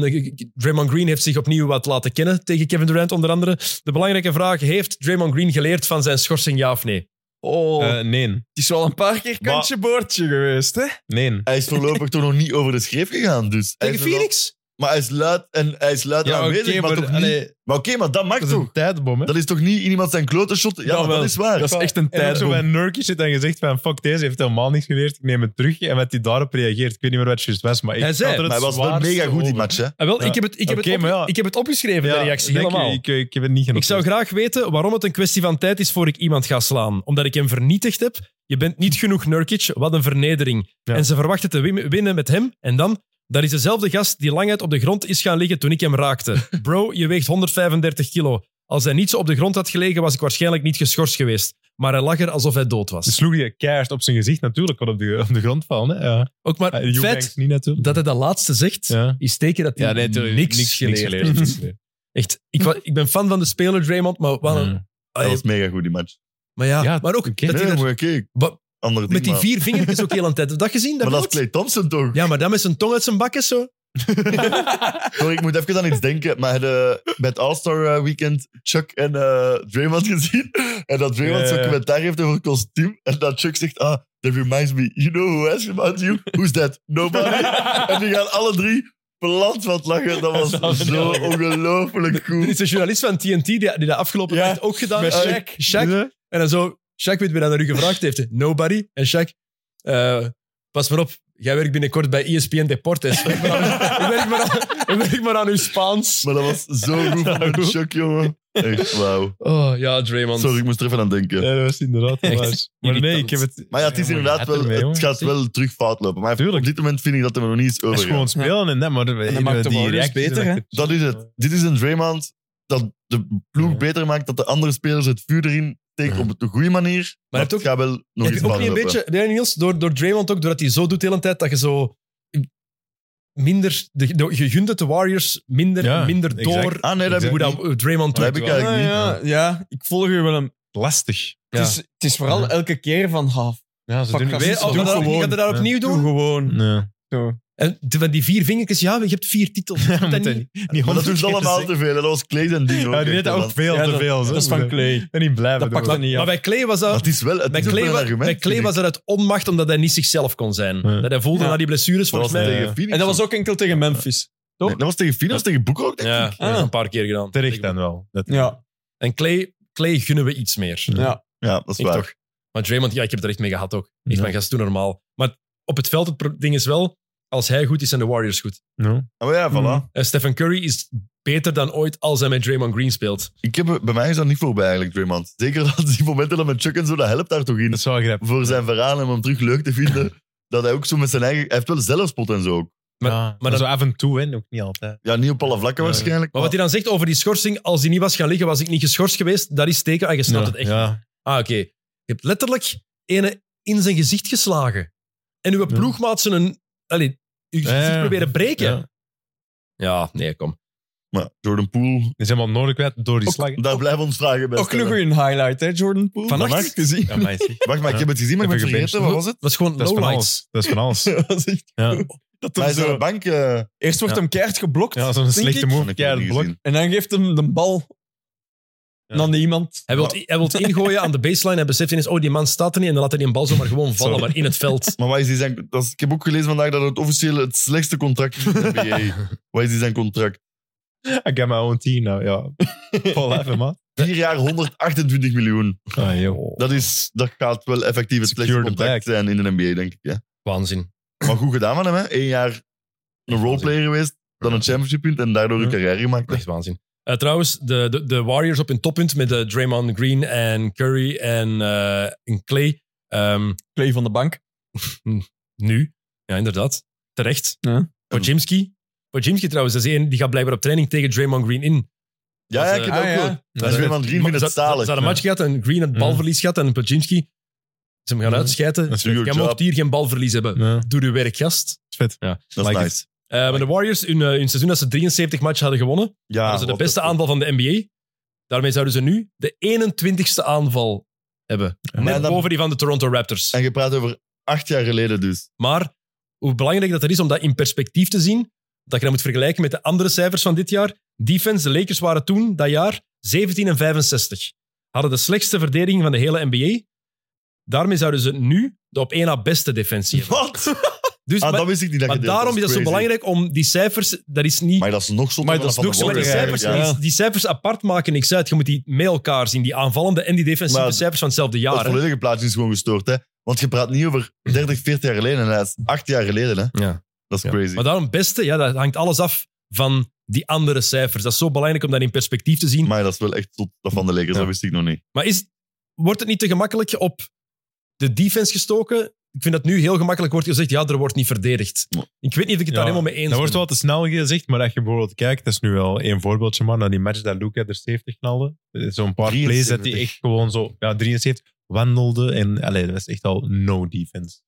Speaker 1: Draymond Green heeft zich opnieuw wat laten kennen tegen Kevin Durant, onder andere. De belangrijke vraag: heeft Draymond Green geleerd van zijn schorsing, ja of nee?
Speaker 5: Oh,
Speaker 4: Eh, nee.
Speaker 5: het is wel een paar keer
Speaker 2: maar-
Speaker 5: kantje boordje geweest, hè?
Speaker 4: Nee.
Speaker 2: Hij is voorlopig toch nog niet over de schreef gegaan, dus... hij
Speaker 1: Tegen
Speaker 2: is er wel-
Speaker 1: Phoenix?
Speaker 2: maar hij is luid en hij is luid en
Speaker 4: oké,
Speaker 2: aanwezig, maar, toch niet...
Speaker 4: allee,
Speaker 2: Maar oké, maar dat mag
Speaker 4: dat is een
Speaker 2: toch?
Speaker 4: tijdbom, hè?
Speaker 2: Dat is toch niet in iemand zijn klote shot? Ja, maar
Speaker 5: wel.
Speaker 2: dat is waar.
Speaker 5: Dat is echt een
Speaker 4: En ook zo
Speaker 5: tijdboom.
Speaker 4: bij Nurkic zit en gezegd van fuck deze heeft helemaal niks geleerd, ik neem het terug. En wat hij daarop reageert, ik weet niet meer wat het juist was, maar ik
Speaker 1: Hij zei,
Speaker 4: had er
Speaker 2: Maar
Speaker 4: het
Speaker 2: hij was wel
Speaker 4: zwaarste
Speaker 2: mega goed, die
Speaker 4: over.
Speaker 2: match, hè.
Speaker 1: Ah, wel,
Speaker 4: Ja.
Speaker 1: ik, heb het, ik, heb
Speaker 4: Oké,
Speaker 1: het op-
Speaker 4: maar ja.
Speaker 1: ik heb het opgeschreven, de
Speaker 4: Ja,
Speaker 1: reactie,
Speaker 4: denk je,
Speaker 1: helemaal.
Speaker 4: Ik, ik heb het niet genoeg.
Speaker 1: Ik zou graag weten waarom het een kwestie van tijd is voor ik iemand ga slaan. Omdat ik hem vernietigd heb. Je bent niet genoeg Nurkic, wat een vernedering.
Speaker 4: Ja.
Speaker 1: En ze verwachten te win- winnen met hem. En dan, dat is dezelfde gast die lang uit op de grond is gaan liggen toen ik hem
Speaker 4: *laughs*
Speaker 1: raakte. Bro, je weegt 135 kilo. Als hij niet zo op de grond had gelegen, was ik waarschijnlijk niet geschorst geweest. Maar hij lag er alsof hij dood
Speaker 4: Ze
Speaker 1: was.
Speaker 4: sloeg je keihard op zijn gezicht natuurlijk, kon op de, op de grond vallen. Hè? Ja.
Speaker 1: Ook maar
Speaker 4: Ja,
Speaker 1: het
Speaker 4: Eubanks
Speaker 1: feit
Speaker 4: niet natuurlijk.
Speaker 1: dat hij dat laatste zegt,
Speaker 4: ja.
Speaker 1: is teken dat hij niks, geleerd heeft.
Speaker 4: *laughs*
Speaker 1: Echt, ik, wa- ik ben fan van de speler Draymond, maar, wat een-
Speaker 2: Dat was mega goed, die match.
Speaker 1: maar, ja,
Speaker 4: Ja,
Speaker 1: maar ook
Speaker 4: oké.
Speaker 1: dat
Speaker 2: Nee,
Speaker 1: hij er
Speaker 2: maar oké.
Speaker 1: Wat-
Speaker 2: Ander ding,
Speaker 1: Met die
Speaker 2: maar-
Speaker 1: vier vingertjes ook heel aan tijd. Heb je dat gezien? Dat
Speaker 2: Maar dat is
Speaker 1: beeld?
Speaker 2: Clay Thompson toch?
Speaker 1: Ja, maar dan met zijn tong uit zijn bak is zo.
Speaker 2: Sorry, ik moet even aan iets denken. Maar de, bij het All-Star eh, Weekend Chuck en eh, Draymond gezien. En dat Draymond
Speaker 4: Ja, ja,
Speaker 2: zo'n
Speaker 4: ja.
Speaker 2: commentaar heeft over kostuum. En dat Chuck zegt, ah, that reminds me, you know who asked about you? Who's that?
Speaker 1: *laughs*
Speaker 2: Nobody. en die gaan alle drie plat wat lachen. Dat
Speaker 1: *laughs*
Speaker 2: was zo ongelooflijk
Speaker 1: Er *laughs*
Speaker 2: goed.
Speaker 1: is een journalist van TNT die, die dat afgelopen
Speaker 2: Ja,
Speaker 1: tijd ook gedaan
Speaker 2: met
Speaker 1: heeft. Eh,
Speaker 2: Shaq.
Speaker 1: Shaq. En dan zo, Shaq weet weer aan u gevraagd heeft. Nobody. En Shaq, eh, pas maar op. Jij werkt binnenkort bij E ESPN Deportes. Werk maar
Speaker 2: *laughs*
Speaker 1: aan- werk maar aan- werk maar aan uw Spaans.
Speaker 2: Maar dat was zo goed van Chuck, jongen. Echt, wauw.
Speaker 1: Oh, ja, Draymond.
Speaker 2: Sorry, ik moest er even aan denken.
Speaker 4: Ja, dat was inderdaad
Speaker 1: Echt
Speaker 4: waar. Maar nee, ik heb het...
Speaker 2: Maar ja, het is inderdaad wel, het gaat wel terug fout lopen. Maar
Speaker 4: Tuurlijk.
Speaker 2: op dit moment vind ik dat er nog niet is
Speaker 4: Het
Speaker 2: over.
Speaker 4: is gewoon spelen en dat, maar
Speaker 5: En dat maakt de
Speaker 4: die
Speaker 5: Warriors
Speaker 4: reacties
Speaker 5: beter, hè?
Speaker 2: Dat is het. Dit is een Draymond dat de ploeg
Speaker 4: Ja.
Speaker 2: beter maakt, dat de andere spelers het vuur erin steken
Speaker 4: Ja.
Speaker 2: op de goede manier. Maar,
Speaker 1: hebt
Speaker 2: het
Speaker 1: ook-
Speaker 2: gaat wel nog
Speaker 1: Heb
Speaker 2: iets
Speaker 1: je ook niet een
Speaker 2: fout lopen.
Speaker 1: beetje, nee, Niels, door, door Draymond ook, doordat hij zo doet de hele tijd, dat je zo minder, de, de, je gunt het de Warriors minder,
Speaker 4: Ja,
Speaker 1: minder
Speaker 4: exact.
Speaker 1: door
Speaker 2: Ah nee, dat heb
Speaker 1: hoe
Speaker 2: ik
Speaker 1: dat
Speaker 2: niet.
Speaker 1: eh, Draymond
Speaker 2: Dat heb
Speaker 1: doet.
Speaker 2: ik eigenlijk
Speaker 5: Ja,
Speaker 2: niet.
Speaker 5: ja, ja, ik volg u wel een...
Speaker 4: Lastig.
Speaker 1: Ja.
Speaker 5: Het, is, het is vooral elke keer van, ha,
Speaker 4: Ja, ze
Speaker 5: Pak
Speaker 4: doen
Speaker 5: dat
Speaker 4: het
Speaker 5: weer-
Speaker 4: niet
Speaker 5: oh,
Speaker 4: zo.
Speaker 5: dat-
Speaker 4: Doe
Speaker 1: Gaat hij dat
Speaker 4: Ja.
Speaker 1: opnieuw
Speaker 5: doe
Speaker 1: doen?
Speaker 5: gewoon.
Speaker 4: Nee.
Speaker 1: En de- van die vier vingertjes, ja, je hebt vier titels. Doet dat
Speaker 4: moet
Speaker 1: niet?
Speaker 2: Maar dat doen ze allemaal te veel. hè. Dat was Clay en ding.
Speaker 4: Ja, die
Speaker 2: echt,
Speaker 4: weten ook
Speaker 2: man.
Speaker 4: veel
Speaker 5: Ja,
Speaker 4: te
Speaker 5: dat-
Speaker 4: veel.
Speaker 5: Dat is van Clay.
Speaker 4: En die blijven
Speaker 5: Dat
Speaker 4: doen.
Speaker 5: pakt dat niet
Speaker 1: Maar
Speaker 5: af.
Speaker 1: bij Clay was dat...
Speaker 2: Dat is wel het
Speaker 1: Bij
Speaker 2: is ook
Speaker 1: Clay,
Speaker 2: wel een
Speaker 1: wa-
Speaker 2: argument.
Speaker 1: bij Clay
Speaker 2: vind
Speaker 1: was
Speaker 2: ik.
Speaker 1: dat uit onmacht omdat hij niet zichzelf kon zijn.
Speaker 4: Ja.
Speaker 1: Dat hij voelde
Speaker 5: Ja.
Speaker 1: na die blessures,
Speaker 2: dat was
Speaker 1: volgens mij.
Speaker 2: tegen Phoenix.
Speaker 5: En dat was ook enkel tegen Memphis.
Speaker 2: Nee, dat was tegen Phoenix, tegen Boek ook. denk ik.
Speaker 1: Ja,
Speaker 5: Ah.
Speaker 1: een paar keer gedaan.
Speaker 4: Terecht dan wel. Dat-
Speaker 5: Ja,
Speaker 1: En Clay, Clay gunnen we iets meer.
Speaker 5: ja.
Speaker 2: Ja, dat is
Speaker 1: Ik
Speaker 2: waar.
Speaker 1: toch. Maar Draymond, ja, ik heb het er echt mee gehad ook. Ik
Speaker 4: Ja.
Speaker 1: ben gast toen normaal. Maar op het veld, het pro- ding is wel, als hij goed is, zijn de Warriors goed.
Speaker 4: No.
Speaker 2: Maar ja, voilà.
Speaker 1: En Stephen Curry is beter dan ooit als hij met Draymond Green speelt.
Speaker 2: Ik heb, bij mij is dat niet voorbij eigenlijk, Draymond. Zeker *laughs* dat die momenten dat met Chuck en zo, dat helpt daar toch in.
Speaker 4: Dat is wel grappig.
Speaker 2: Voor zijn verhaal en om hem terug leuk te vinden. Dat hij ook zo met zijn eigen... Hij heeft wel zelfspot en zo ook.
Speaker 1: Maar-
Speaker 4: ja,
Speaker 1: maar dat-
Speaker 4: zo af en toe, hè, ook niet altijd.
Speaker 2: Ja, niet op alle vlakken
Speaker 4: Ja.
Speaker 2: waarschijnlijk.
Speaker 1: Maar wat
Speaker 4: Oh.
Speaker 1: hij dan zegt over die schorsing, als die niet was gaan liggen, was ik niet geschorst geweest, dat is teken. Ah, je snapt
Speaker 4: Ja,
Speaker 1: het echt.
Speaker 4: Ja.
Speaker 1: Ah, oké. Je hebt letterlijk ene in zijn gezicht geslagen. En uw ploegmaat zijn een... Allee, uw
Speaker 4: Ja, ja,
Speaker 1: gezicht
Speaker 4: ja.
Speaker 1: proberen breken. Ja.
Speaker 4: Ja.
Speaker 1: nee, kom.
Speaker 2: Maar Jordan Poole,
Speaker 4: Die zijn wel nodig kwijt door die
Speaker 5: Ook-
Speaker 4: slag.
Speaker 2: daar blijven ons vragen bij
Speaker 5: Ook nog
Speaker 2: stellen.
Speaker 5: een highlight, hè, Jordan Poole.
Speaker 1: Vannacht?
Speaker 5: Vannacht gezien.
Speaker 4: Ja, maar is-
Speaker 2: Wacht, maar ik heb het gezien, maar ik ben
Speaker 4: Even
Speaker 2: het vergeten. Wat was het?
Speaker 1: Dat is gewoon
Speaker 4: Dat is van
Speaker 1: lowlights.
Speaker 2: *laughs*
Speaker 4: alles. Dat is van alles.
Speaker 2: Dat was echt...
Speaker 4: Ja.
Speaker 5: Dat
Speaker 2: Maar
Speaker 5: hem
Speaker 2: hij is
Speaker 5: zo-
Speaker 2: door de bank... eh,
Speaker 5: Eerst wordt
Speaker 4: Ja.
Speaker 5: hem keihard geblokt.
Speaker 4: Ja, zo'n
Speaker 5: denk
Speaker 4: slechte
Speaker 5: ik.
Speaker 4: move.
Speaker 2: van de
Speaker 4: Keihard
Speaker 2: Kennedy
Speaker 4: blok.
Speaker 2: gezien.
Speaker 5: En dan geeft hem de bal
Speaker 4: Ja.
Speaker 5: aan iemand.
Speaker 1: Hij wil hij wilt ingooien aan de baseline. Hij beseft ineens, oh, die man staat er niet. En dan laat hij die bal zomaar gewoon vallen,
Speaker 4: Sorry.
Speaker 1: maar in het
Speaker 4: *laughs*
Speaker 1: veld.
Speaker 2: Maar wat is die zijn... Dat is- ik heb ook gelezen vandaag dat het officieel het slechtste contract is in de NBA. wat is die zijn contract?
Speaker 4: I got my own team now, ja. Paul even, man.
Speaker 2: Vier jaar 128 miljoen.
Speaker 4: Ah, joh.
Speaker 2: Dat, is, dat gaat wel effectief het
Speaker 4: Secure
Speaker 2: slechtste
Speaker 4: the
Speaker 2: contract
Speaker 4: bag.
Speaker 2: zijn in de NBA, denk ik. Ja.
Speaker 1: Waanzin.
Speaker 2: Maar goed gedaan van hem, hè. Eén jaar een roleplayer geweest, dan een championship punt en daardoor een carrière gemaakt. hè.
Speaker 1: Echt waanzin. Eh, trouwens, de, de, de Warriors op hun toppunt met de Draymond Green en Curry en, eh, en Clay. Ehm,
Speaker 5: Clay van de bank.
Speaker 1: nu, ja, inderdaad. Terecht.
Speaker 5: Ja.
Speaker 1: Podzimski. Podzimski trouwens, dat is één, die gaat blijkbaar op training tegen Draymond Green in.
Speaker 2: Ja, ja, ik
Speaker 1: eh,
Speaker 2: heb dat
Speaker 5: ah, ja.
Speaker 2: ook gehoord. Dat is weer van Green vindt het
Speaker 1: Ze hadden-
Speaker 2: zalig.
Speaker 1: ze hadden een match gehad en Green het balverlies gehad en Podzimski. Ze hem gaan
Speaker 4: Ja.
Speaker 1: uitschijten.
Speaker 4: Dat is
Speaker 2: your
Speaker 1: Jij
Speaker 2: job.
Speaker 1: mocht hier geen balverlies hebben.
Speaker 4: Ja,
Speaker 1: Doe uw werk, gast.
Speaker 4: vet.
Speaker 2: Dat is
Speaker 4: Like
Speaker 2: nice.
Speaker 1: Eh, maar de Warriors, hun, eh, hun seizoen dat ze 73 matchen hadden gewonnen,
Speaker 2: Ja,
Speaker 1: dat is de
Speaker 2: Ah, wat
Speaker 1: beste
Speaker 2: een-
Speaker 1: aanval van de NBA. Daarmee zouden ze nu de 21ste aanval hebben.
Speaker 2: Maar
Speaker 1: Net
Speaker 2: dan-
Speaker 1: boven die van de Toronto Raptors.
Speaker 2: En je praat over acht jaar geleden dus.
Speaker 1: Maar hoe belangrijk dat er is om dat in perspectief te zien, dat je dat moet vergelijken met de andere cijfers van dit jaar. Defense, de Lakers waren toen, dat jaar, 17 en 65. Hadden de slechtste verdediging van de hele NBA. Daarmee zouden ze nu de op één na beste defensie hebben.
Speaker 2: Wat?
Speaker 1: Dus,
Speaker 2: Ah,
Speaker 1: maar,
Speaker 2: dat wist ik niet. Dat
Speaker 1: maar
Speaker 2: je deed.
Speaker 1: daarom is dat zo
Speaker 2: crazy.
Speaker 1: belangrijk om die cijfers, dat is niet...
Speaker 2: Maar dat is nog zo.
Speaker 5: Maar dat is
Speaker 2: van de
Speaker 5: nog zo-
Speaker 1: Maar die
Speaker 2: Warriors
Speaker 1: cijfers,
Speaker 2: eigenlijk, ja.
Speaker 1: die, die cijfers apart maken niks uit. Je moet die met elkaar zien, die aanvallende en die defensieve
Speaker 2: Maar
Speaker 1: cijfers van hetzelfde
Speaker 2: Dat
Speaker 1: jaar. hè.
Speaker 2: volledige plaatje is gewoon gestoord, hè. Want je praat niet over 30, 40 jaar geleden. En dat is acht jaar geleden, hè.
Speaker 1: Ja.
Speaker 2: Dat is
Speaker 1: Ja.
Speaker 2: crazy.
Speaker 1: Maar daarom beste, ja, dat hangt alles af van die andere cijfers. Dat is zo belangrijk om dat in perspectief te zien.
Speaker 2: Maar dat is wel echt tot dat van de Lakers. Dat wist ik nog niet.
Speaker 1: Maar is, wordt het niet te gemakkelijk op de defense gestoken? Ik vind dat nu heel gemakkelijk wordt gezegd, ja, er wordt niet verdedigd.
Speaker 2: Ja.
Speaker 1: Ik weet niet of ik het
Speaker 4: Ja,
Speaker 1: daar helemaal mee eens
Speaker 4: Dat
Speaker 1: ben.
Speaker 4: wordt wel te snel gezegd, maar als je bijvoorbeeld kijkt, dat is nu wel één voorbeeldje, maar naar die match dat Luca er 70 knalde. Eh, Zo'n paar plays dat hij
Speaker 2: 73.
Speaker 4: echt gewoon zo, ja, 73 wandelde en allee, dat is echt al no defense.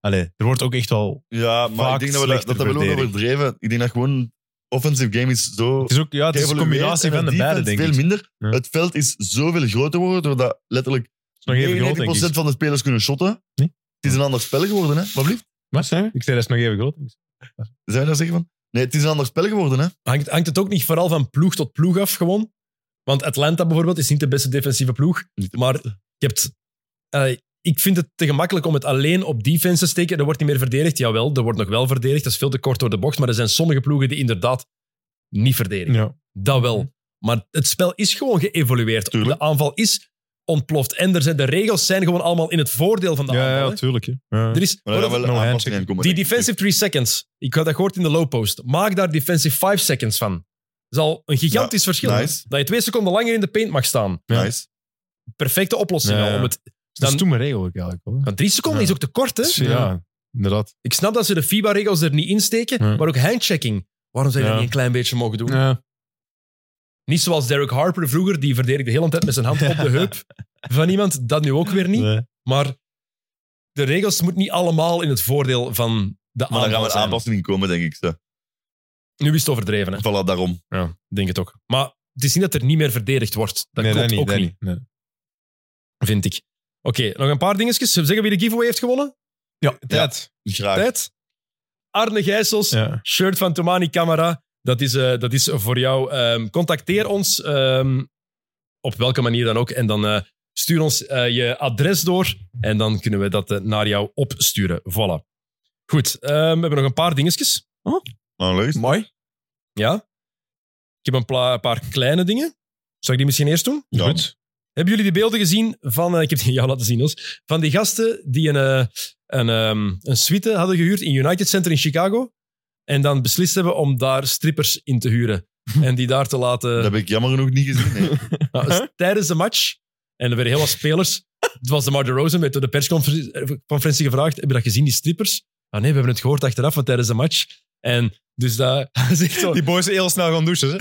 Speaker 4: Allee, er wordt ook echt al.
Speaker 2: Ja, maar
Speaker 4: Vaak
Speaker 2: ik denk dat we dat,
Speaker 4: slechter
Speaker 2: dat hebben we ook
Speaker 4: verdedigd.
Speaker 2: overdreven. Ik denk dat gewoon offensive game is zo...
Speaker 4: Het is ook, ja, het is een
Speaker 2: geëvolueerd
Speaker 4: combinatie
Speaker 2: en
Speaker 4: van de
Speaker 2: defense
Speaker 4: beide, denk ik.
Speaker 2: veel minder.
Speaker 4: Ja.
Speaker 2: Het veld is zoveel groter geworden, doordat letterlijk 99%
Speaker 4: Het is nog even groot, denk ik.
Speaker 2: van de spelers kunnen shotten.
Speaker 4: Nee.
Speaker 2: Het is een ander spel geworden, hè. Wat blieft?
Speaker 4: Wat zei je? Ik zei, dat is nog even groot.
Speaker 2: Zou je dat zeggen van? Nee, het is een ander spel geworden, hè.
Speaker 1: hangt, hangt het ook niet vooral van ploeg tot ploeg af gewoon? Want Atlanta bijvoorbeeld is niet de beste defensieve ploeg.
Speaker 2: Niet de
Speaker 1: Maar je hebt, eh, ik vind het te gemakkelijk om het alleen op defense te steken. Er wordt niet meer verdedigd. Jawel, er wordt nog wel verdedigd. Dat is veel te kort door de bocht. Maar er zijn sommige ploegen die inderdaad niet verdedigen.
Speaker 4: Ja.
Speaker 1: Dat
Speaker 4: Mhm.
Speaker 1: wel. Maar het spel is gewoon geëvolueerd.
Speaker 2: Tuurlijk.
Speaker 1: De aanval is ontploft. En er zijn, de regels zijn gewoon allemaal in het voordeel van de
Speaker 4: Ja,
Speaker 1: aanval.
Speaker 4: ja,
Speaker 1: hè.
Speaker 4: tuurlijk. hè. Ja.
Speaker 1: er is,
Speaker 2: Maar daar
Speaker 1: hoor,
Speaker 2: gaan wel
Speaker 4: no handshake.
Speaker 2: aanpassingen aan komen.
Speaker 1: die
Speaker 2: denk ik.
Speaker 1: defensive 3 seconds. Ik had dat gehoord in de low post. Maak daar defensive 5 seconds van. Dat is al een gigantisch verschil. hè.
Speaker 2: nice.
Speaker 1: Dat je twee seconden langer in de paint mag staan.
Speaker 4: Ja.
Speaker 2: Nice.
Speaker 1: Perfecte oplossing
Speaker 4: Ja,
Speaker 1: al
Speaker 4: ja.
Speaker 1: om het
Speaker 4: dat
Speaker 1: dan-
Speaker 4: is toen mijn regel ook eigenlijk. Hoor.
Speaker 1: maar drie seconden
Speaker 4: Ja.
Speaker 1: is ook te kort, hè?
Speaker 4: Dus, Ja, inderdaad.
Speaker 1: Ik snap dat ze de FIBA-regels er niet insteken,
Speaker 4: Ja.
Speaker 1: maar ook handchecking. Waarom zou je dat
Speaker 4: Ja.
Speaker 1: niet een klein beetje mogen doen?
Speaker 4: Ja.
Speaker 1: Niet zoals Derek Harper vroeger, die verdedigde de hele tijd met zijn hand op de heup van iemand. Dat nu ook weer niet.
Speaker 4: Nee.
Speaker 1: Maar de regels moeten niet allemaal in het voordeel van de
Speaker 2: Maar daar gaan
Speaker 1: aanval
Speaker 2: we
Speaker 1: zijn.
Speaker 2: aanpassingen komen, denk ik. Zo.
Speaker 1: Nu is het overdreven, hè?
Speaker 2: Voilà, daarom.
Speaker 1: denk het ook. Maar het is niet dat er niet meer verdedigd wordt. Dat
Speaker 4: nee,
Speaker 1: klopt
Speaker 4: niet,
Speaker 1: ook
Speaker 4: dat
Speaker 1: niet,
Speaker 4: Nee.
Speaker 1: vind ik. Oké, nog een paar dingetjes. Zullen we zeggen wie de giveaway heeft gewonnen?
Speaker 4: Ja,
Speaker 2: tijd. Graag.
Speaker 1: Tijd? Arne Gijsels,
Speaker 4: Ja.
Speaker 1: shirt van Tomani Camara. Dat is, eh, dat is voor jou. Ehm, contacteer ons ehm, op welke manier dan ook. En dan eh, stuur ons eh, je adres door. En dan kunnen we dat eh, naar jou opsturen. Voilà. Goed, ehm, we hebben nog een paar dingetjes.
Speaker 2: Nou, leuk.
Speaker 5: Mooi.
Speaker 1: Ja? Ik heb een pla- paar kleine dingen. Zou ik die misschien eerst doen?
Speaker 2: Ja.
Speaker 4: Goed.
Speaker 1: Hebben jullie die beelden gezien van... eh, ik heb die aan jou laten zien, Os. Van die gasten die een, eh, een, ehm, een suite hadden gehuurd in United Center in Chicago. En dan beslist hebben om daar strippers in te huren. En die daar te laten...
Speaker 4: Eh.
Speaker 2: Dat heb ik jammer genoeg niet gezien.
Speaker 4: *laughs*
Speaker 2: nee.
Speaker 1: *laughs* Nou, dus tijdens de match, en er werden heel wat spelers. Het was de Mar de Rosen, werd door de persconferentie eh, conferentie gevraagd: Heb je dat gezien, die strippers? Ah nee, we hebben het gehoord achteraf, want tijdens de match. En dus *laughs* dat is echt zo.
Speaker 4: Die boys zijn heel snel gaan *laughs* douchen. Hè.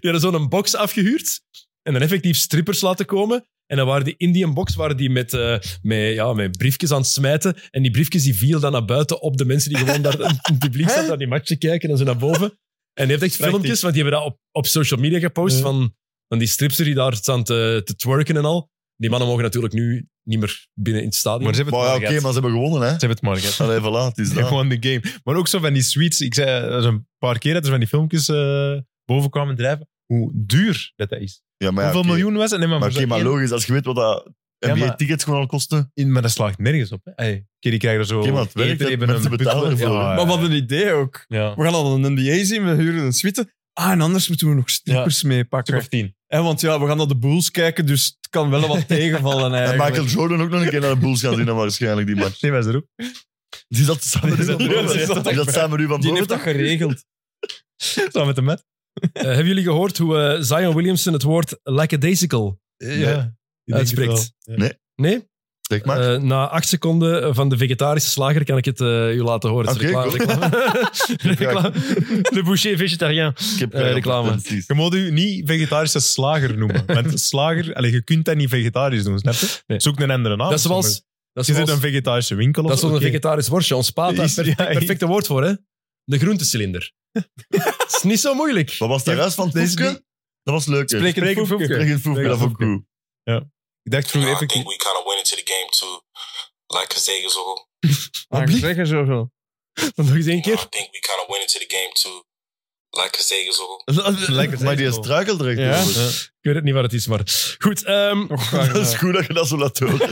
Speaker 1: Die hadden zo'n box afgehuurd en dan effectief strippers laten komen. En dan waren die in die box waren die met, eh, met, ja, met briefjes aan het smijten. En die briefjes die vielen dan naar buiten op de mensen die gewoon daar in het publiek zaten naar die match te kijken en zo naar boven. En die heeft echt filmpjes, want die hebben dat op, op social media gepost van, van die stripster die daar staan te, te twerken en al. Die mannen mogen natuurlijk nu niet meer binnen in het stadion.
Speaker 4: Maar ze hebben
Speaker 2: Maar
Speaker 4: het
Speaker 2: ja,
Speaker 4: maar
Speaker 2: oké,
Speaker 4: gehad.
Speaker 2: maar ze hebben gewonnen, hè.
Speaker 4: Ze hebben het maar gehad.
Speaker 2: Allee, voilà, *laughs* het is
Speaker 4: Ja.
Speaker 2: dat.
Speaker 4: Gewoon de game. Maar ook zo van die suites. Ik zei er is een paar keer dat er van die filmpjes eh, boven kwamen drijven. Hoe duur dat, dat is.
Speaker 2: Ja, maar ja,
Speaker 4: Hoeveel
Speaker 2: oké.
Speaker 4: miljoen was het? Nee, maar,
Speaker 2: Maar
Speaker 4: voor
Speaker 2: oké,
Speaker 4: zo'n
Speaker 2: maar
Speaker 4: één-
Speaker 2: logisch, als je weet wat dat
Speaker 4: Ja, maar-
Speaker 2: NBA-tickets gewoon al kosten.
Speaker 4: in- maar dat slaagt nergens op. Hè. Hey, oké, die krijgen er zo
Speaker 2: Oké, maar het werkt,
Speaker 4: eten,
Speaker 2: hè.
Speaker 4: die hebben
Speaker 2: Mensen
Speaker 4: een
Speaker 2: betalen
Speaker 4: butler.
Speaker 2: ervoor,
Speaker 4: Ja,
Speaker 5: Maar wat een idee ook.
Speaker 4: ja.
Speaker 5: We gaan al een NBA zien, we huren een suite. Ah, en anders moeten we nog strippers meepakken.
Speaker 4: Stuk of tien.
Speaker 5: Hè, want ja, we gaan naar de Bulls kijken, dus het kan wel wat tegenvallen
Speaker 2: En
Speaker 5: eigenlijk.
Speaker 2: Michael Jordan ook nog een keer naar de Bulls gaan zien, dan waarschijnlijk die
Speaker 4: *laughs*
Speaker 2: match.
Speaker 4: Nee, was er ook.
Speaker 2: Die zat samen met u van
Speaker 4: Die zat- die
Speaker 2: boven.
Speaker 4: zat-
Speaker 2: Die zat samen met u van
Speaker 5: Die
Speaker 2: boven.
Speaker 5: heeft dat
Speaker 2: toch?
Speaker 5: geregeld.
Speaker 4: *laughs* Samen met de mat.
Speaker 1: Eh, hebben jullie gehoord hoe eh, Zion Williamson het woord lackadaisical...
Speaker 4: Ja.
Speaker 1: Uitspreekt.
Speaker 4: Nee.
Speaker 1: Nee?
Speaker 2: Zeg maar.
Speaker 1: Eh, na acht seconden van de vegetarische slager kan ik het eh, u laten horen. Het is
Speaker 2: Oké,
Speaker 1: reclame.
Speaker 4: *laughs*
Speaker 1: reclame. *laughs* Le boucher vegetarien.
Speaker 2: Ik heb
Speaker 1: eh,
Speaker 2: geen
Speaker 1: reclame.
Speaker 2: advertenties.
Speaker 4: Je moet u niet vegetarische slager
Speaker 5: *laughs*
Speaker 4: noemen. Want slager, allee, je kunt dat niet vegetarisch doen, snap je?
Speaker 1: Nee.
Speaker 4: Zoek een andere naam.
Speaker 1: Dat is zoals... Dat
Speaker 4: Je
Speaker 1: is
Speaker 4: zit
Speaker 1: zoals,
Speaker 4: een vegetarische winkel of
Speaker 1: dat is
Speaker 4: zo,
Speaker 1: zoals een
Speaker 4: oké.
Speaker 1: vegetarisch worstje. Ons paat, daar
Speaker 4: Is-
Speaker 1: perfect,
Speaker 4: ja, is-
Speaker 1: perfecte woord voor, hè? De
Speaker 4: *laughs*
Speaker 1: groentecilinder. Het is niet zo moeilijk.
Speaker 2: Wat was de rest van het
Speaker 4: Deze
Speaker 2: Foefke? Dat was leuk.
Speaker 5: Spreek in
Speaker 1: Spreken
Speaker 5: Foefke.
Speaker 2: Spreek in Foefke,
Speaker 4: Spreek
Speaker 2: dat
Speaker 4: in
Speaker 2: vond ik
Speaker 4: Foefke.
Speaker 2: goed.
Speaker 4: Ik dacht vroeger
Speaker 5: Ah,
Speaker 7: I
Speaker 4: effectief.
Speaker 7: think we kind of went into the game too, like Kazegazool.
Speaker 5: Ah, ik zeg er zo veel.
Speaker 1: Nog eens één keer.
Speaker 7: I think we kind of went into the game too, like Kazegazool.
Speaker 2: Maar die struikelt er echt
Speaker 5: Ja.
Speaker 2: over.
Speaker 1: Ik weet het niet wat het is, maar... Goed, ehm,
Speaker 4: Oh,
Speaker 2: *laughs* Dat is goed dat je dat zo laat horen.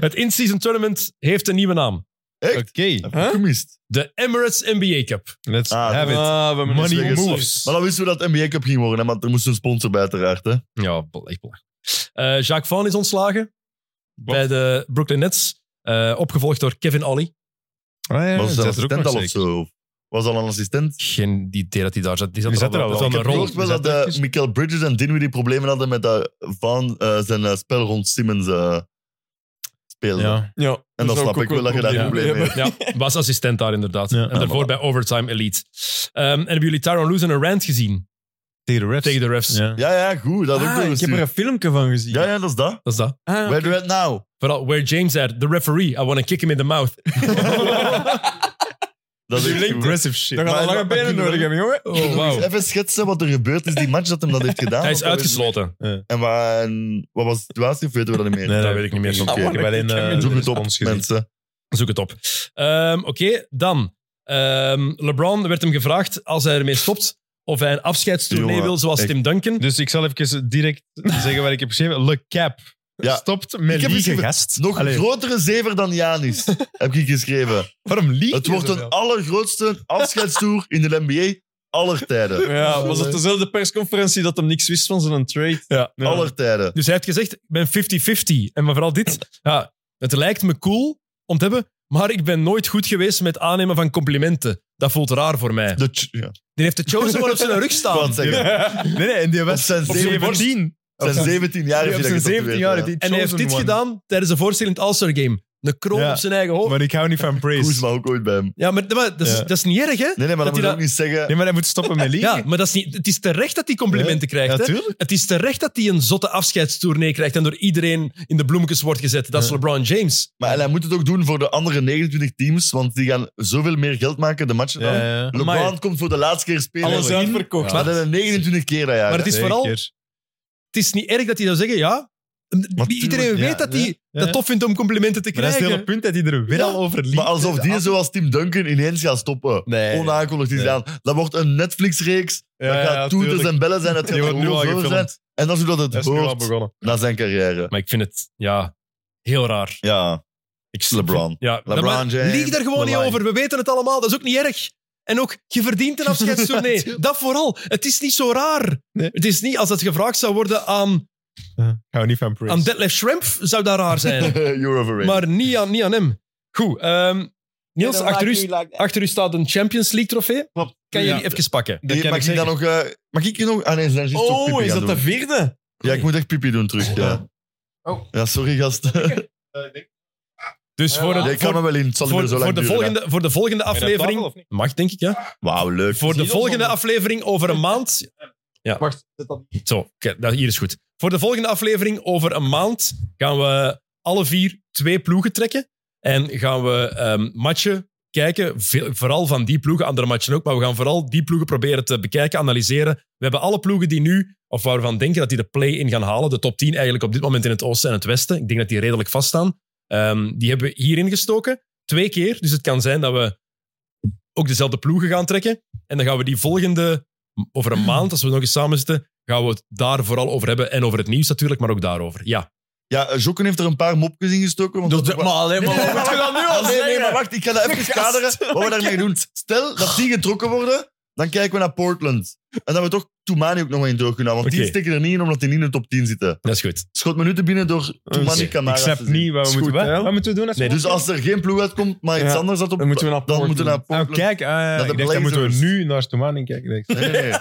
Speaker 1: het in-season tournament heeft een nieuwe naam.
Speaker 2: Echt?
Speaker 4: Oké,
Speaker 2: Heb
Speaker 5: Huh?
Speaker 2: ik gemist.
Speaker 1: De Emirates NBA Cup.
Speaker 4: let's
Speaker 2: Ah,
Speaker 4: have it.
Speaker 5: Ah, we hebben
Speaker 2: Money
Speaker 5: een
Speaker 2: moves.
Speaker 5: moves.
Speaker 2: Maar dan wisten we dat het NBA Cup ging worden, hè, maar er moest een sponsor bij, uiteraard. Hè.
Speaker 1: Ja, bel- echt belachelijk. Eh, Jacques Van is ontslagen bij de Brooklyn Nets. eh, opgevolgd door Kevin Ollie.
Speaker 4: Ah, ja,
Speaker 2: Was
Speaker 4: zet
Speaker 2: dat een
Speaker 4: er ook nog
Speaker 2: assistent al of
Speaker 4: zeker.
Speaker 2: zo? Of Was al een assistent?
Speaker 1: Geen idee dat hij daar zat. Die zat,
Speaker 4: Die
Speaker 1: er al, wel-
Speaker 4: wel.
Speaker 1: dat
Speaker 2: Ik
Speaker 1: is
Speaker 2: heb
Speaker 1: wel een
Speaker 2: gehoord
Speaker 1: rol.
Speaker 2: wel dat eh, Michael Bridges en Dinwiddie problemen hadden met dat Van eh, zijn eh, spel rond Simmons eh speelde.
Speaker 4: Ja.
Speaker 5: Ja,
Speaker 2: En dan
Speaker 5: zou
Speaker 2: snap ik
Speaker 5: ook
Speaker 2: wel dat je daar
Speaker 5: een
Speaker 2: probleem mee hebt.
Speaker 1: Ja, was assistent daar inderdaad.
Speaker 4: Ja.
Speaker 1: en daarvoor bij Overtime Elite. Ehm, en hebben jullie Tyron Lewis en een rant gezien
Speaker 4: Tegen de refs.
Speaker 1: tegen de refs?
Speaker 4: Ja.
Speaker 2: Ja, ja, goed. Dat heb ik
Speaker 5: Ah, ik heb
Speaker 2: doorgestuurd.
Speaker 5: er een filmpje van gezien.
Speaker 2: Ja, ja, dat is dat.
Speaker 1: Dat is dat.
Speaker 5: Ah,
Speaker 2: Where do it now?
Speaker 1: Vooral where James at, the referee, I want to kick him in the mouth.
Speaker 4: Dus
Speaker 2: Dat is echt goed.
Speaker 4: Aggressive shit.
Speaker 5: Dan gaan
Speaker 2: Maar-
Speaker 5: we lange
Speaker 2: maar-
Speaker 5: benen
Speaker 2: maar-
Speaker 5: nodig hebben, jongen.
Speaker 1: Oh, wow.
Speaker 2: Even schetsen wat er gebeurd is, die match dat hem dat heeft gedaan.
Speaker 1: Hij is
Speaker 2: Want dat
Speaker 1: uitgesloten.
Speaker 2: En, wa- en wat was de situatie? Of weten we dat niet meer? Ah,
Speaker 4: Nee,
Speaker 1: dat weet ik niet meer.
Speaker 2: Oké.
Speaker 4: Ik heb alleen eh,
Speaker 2: Zoek
Speaker 4: de
Speaker 2: het op,
Speaker 4: respons gezien.
Speaker 2: mensen.
Speaker 1: Zoek het op. Ehm, Oké, dan. Ehm, LeBron werd hem gevraagd als hij ermee stopt of hij een afscheidstournee
Speaker 2: Jongen,
Speaker 1: wil zoals
Speaker 2: echt.
Speaker 1: Tim Duncan.
Speaker 4: Dus ik zal even direct zeggen wat ik heb geschreven. Le Cap
Speaker 2: Ja.
Speaker 4: stopt met
Speaker 2: Ik heb
Speaker 4: liegen,
Speaker 2: geschreven,
Speaker 4: gast.
Speaker 2: Nog een
Speaker 4: Allee,
Speaker 2: grotere zever dan Janis, heb ik geschreven.
Speaker 4: Waarom liegen?
Speaker 2: Het wordt
Speaker 4: zoveel?
Speaker 2: een allergrootste afscheidstoer in de NBA aller tijden.
Speaker 5: Ja, was dat dezelfde persconferentie dat hem niks wist van zijn trade?
Speaker 1: Ja.
Speaker 2: Aller tijden.
Speaker 1: Dus hij heeft gezegd, ik ben 50-50. En maar vooral dit, ja, het lijkt me cool om te hebben, maar ik ben nooit goed geweest met aannemen van complimenten. Dat voelt raar voor mij.
Speaker 2: De ch- ja.
Speaker 1: Die heeft de chosen maar op zijn rug
Speaker 2: Ik wou
Speaker 1: staan.
Speaker 2: het zeggen.
Speaker 4: Nee, nee, en die
Speaker 2: Op
Speaker 4: was
Speaker 2: zijn
Speaker 4: op zijn
Speaker 2: 17
Speaker 4: 14.
Speaker 2: zijn 17 jaar.
Speaker 4: Ja,
Speaker 2: heeft
Speaker 4: op
Speaker 2: hij
Speaker 4: zijn
Speaker 2: dat
Speaker 4: 17 jaar.
Speaker 2: getatoeëerd, ja.
Speaker 4: die
Speaker 1: En hij heeft
Speaker 4: chosen
Speaker 1: dit
Speaker 4: one.
Speaker 1: gedaan tijdens de voorstelling in het All-Star Game. Een kroon
Speaker 4: Ja.
Speaker 1: op zijn eigen hoofd.
Speaker 4: Maar ik hou niet van praise.
Speaker 2: Koesma ook ooit bij hem.
Speaker 1: ja, maar, maar dat, is,
Speaker 4: Ja.
Speaker 1: dat is niet erg, hè?
Speaker 2: Nee, nee, maar
Speaker 1: Dat hij
Speaker 2: dat moet je
Speaker 1: dat-
Speaker 2: ook niet zeggen.
Speaker 4: Nee, maar hij moet stoppen met liegen.
Speaker 1: Ja, maar dat is niet, het is terecht dat hij complimenten krijgt. hè?
Speaker 4: Natuurlijk.
Speaker 1: Het is terecht dat hij een zotte afscheidstournee krijgt en door iedereen in de bloemetjes wordt gezet. Dat is
Speaker 4: Ja.
Speaker 1: LeBron James.
Speaker 2: Maar en hij moet het ook doen voor de andere 29 teams, want die gaan zoveel meer geld maken de matchen dan. LeBron
Speaker 5: Amai.
Speaker 2: komt voor de laatste keer spelen.
Speaker 5: Alles uitverkocht.
Speaker 2: Maar dat is 29 keer dat jaar.
Speaker 1: Maar
Speaker 2: hè.
Speaker 1: het is vooral, het is niet erg dat hij zou zeggen, ja. iedereen
Speaker 4: tuurlijk,
Speaker 1: weet
Speaker 4: ja,
Speaker 1: dat hij
Speaker 4: ja, ja.
Speaker 1: dat tof vindt om complimenten te
Speaker 4: Maar dat is
Speaker 1: krijgen.
Speaker 4: het hele punt dat hij er weer
Speaker 2: Ja.
Speaker 4: al over liegt.
Speaker 2: Maar alsof die
Speaker 4: Ja.
Speaker 2: zoals Tim Duncan ineens gaat stoppen.
Speaker 4: Nee.
Speaker 2: Onaankondigd is
Speaker 4: Nee.
Speaker 2: aan. Dat wordt een Netflix-reeks.
Speaker 4: Ja,
Speaker 2: dat
Speaker 4: ja,
Speaker 2: gaat
Speaker 4: ja,
Speaker 2: toeters
Speaker 4: tuurlijk.
Speaker 2: en bellen zijn. Het gaat
Speaker 4: Die wordt nu al
Speaker 2: gewoon zo zijn.
Speaker 4: gefilmd.
Speaker 2: En dat is hoe dat het
Speaker 4: Dat is nu al
Speaker 2: hoort
Speaker 4: begonnen.
Speaker 2: na zijn carrière.
Speaker 1: Maar ik vind het, ja, heel raar.
Speaker 2: Ja, ik LeBron.
Speaker 1: Ja,
Speaker 2: LeBron
Speaker 1: maar
Speaker 2: James,
Speaker 1: Lieg daar gewoon
Speaker 2: the
Speaker 1: niet
Speaker 2: line.
Speaker 1: over. We weten het allemaal. Dat is ook niet erg. En ook, je verdient een
Speaker 2: *laughs*
Speaker 1: afscheidstournee. dat vooral. Het is niet zo raar.
Speaker 4: Nee.
Speaker 1: Het is niet als dat gevraagd zou worden aan,
Speaker 4: Ja, Ik hou niet van
Speaker 1: aan
Speaker 4: praise.
Speaker 1: Detlef Schrempf, zou dat raar
Speaker 2: *laughs*
Speaker 1: zijn.
Speaker 2: You're overrated.
Speaker 1: Maar niet aan, niet aan hem. Goed. ehm, Niels, achter, u, achter u staat een Champions League trofee.
Speaker 2: Klopt.
Speaker 1: Kan je
Speaker 2: Ja.
Speaker 1: die even pakken?
Speaker 2: Die- mag, ik dan nog, eh, mag ik je nog... Ah nee, ze zijn juist toch
Speaker 5: Oh,
Speaker 2: pipi
Speaker 5: is
Speaker 2: gaan
Speaker 5: dat de
Speaker 2: doen.
Speaker 5: vierde?
Speaker 2: Ja, ik moet echt pipi doen terug. Ja, ja sorry gast.
Speaker 1: Dus voor, het-
Speaker 2: Jij kan me wel in. Het zal niet
Speaker 1: voor, voor,
Speaker 2: meer zo lang
Speaker 1: de
Speaker 2: duren, hè.
Speaker 1: volgende, voor de volgende aflevering... Mag, denk ik, ja.
Speaker 2: Wauw, leuk.
Speaker 1: Voor de volgende aflevering over een maand... Ja. Wacht, Zo, oké, dat hier is goed. Voor de volgende aflevering over een maand gaan we alle vier twee ploegen trekken. En gaan we ehm, matchen kijken, veel- vooral van die ploegen, andere matchen ook, maar we gaan vooral die ploegen proberen te bekijken, analyseren. We hebben alle ploegen die nu, of waar we van denken dat die de play-in gaan halen, de top 10 eigenlijk op dit moment in het oosten en het westen, ik denk dat die redelijk vaststaan, ehm, die hebben we hierin gestoken. Twee keer, dus het kan zijn dat we ook dezelfde ploegen gaan trekken. En dan gaan we die volgende, over een maand, als we nog eens samen zitten, gaan we het daar vooral over hebben. En over het nieuws natuurlijk, maar ook daarover. Ja.
Speaker 2: Ja, eh, Jokken heeft er een paar mopjes in gestoken. Want dat-
Speaker 5: alleen maar.
Speaker 2: Nee, maar wacht, nee, nee, maar wacht, ik ga dat even kaderen wat we daarmee doen. Stel dat die getrokken worden, dan kijken we naar Portland. En dat we toch Toumani ook nog in door kunnen halen. Want die
Speaker 1: Oké.
Speaker 2: steken er niet in omdat die niet in de top 10 zitten.
Speaker 1: Dat is goed.
Speaker 2: Schot minuten binnen door Toumani Kamara.
Speaker 4: ik snap
Speaker 2: te zien.
Speaker 4: niet wat we
Speaker 8: Is
Speaker 4: moeten
Speaker 8: goed,
Speaker 4: doen.
Speaker 8: hè?
Speaker 4: Wat moeten we doen? als we-
Speaker 2: Nee, dus als er geen ploeg uitkomt, maar iets
Speaker 8: Ja.
Speaker 2: anders dat op...
Speaker 8: Dan moeten we naar
Speaker 2: dan moeten we naar
Speaker 4: Oh,
Speaker 2: Portland.
Speaker 4: kijk, ah,
Speaker 2: Dat de
Speaker 4: ik denk, dan moeten we
Speaker 2: Blazers-
Speaker 4: nu naar Stoemaning kijken. denk ik. eh,
Speaker 2: Nee, nee, nee.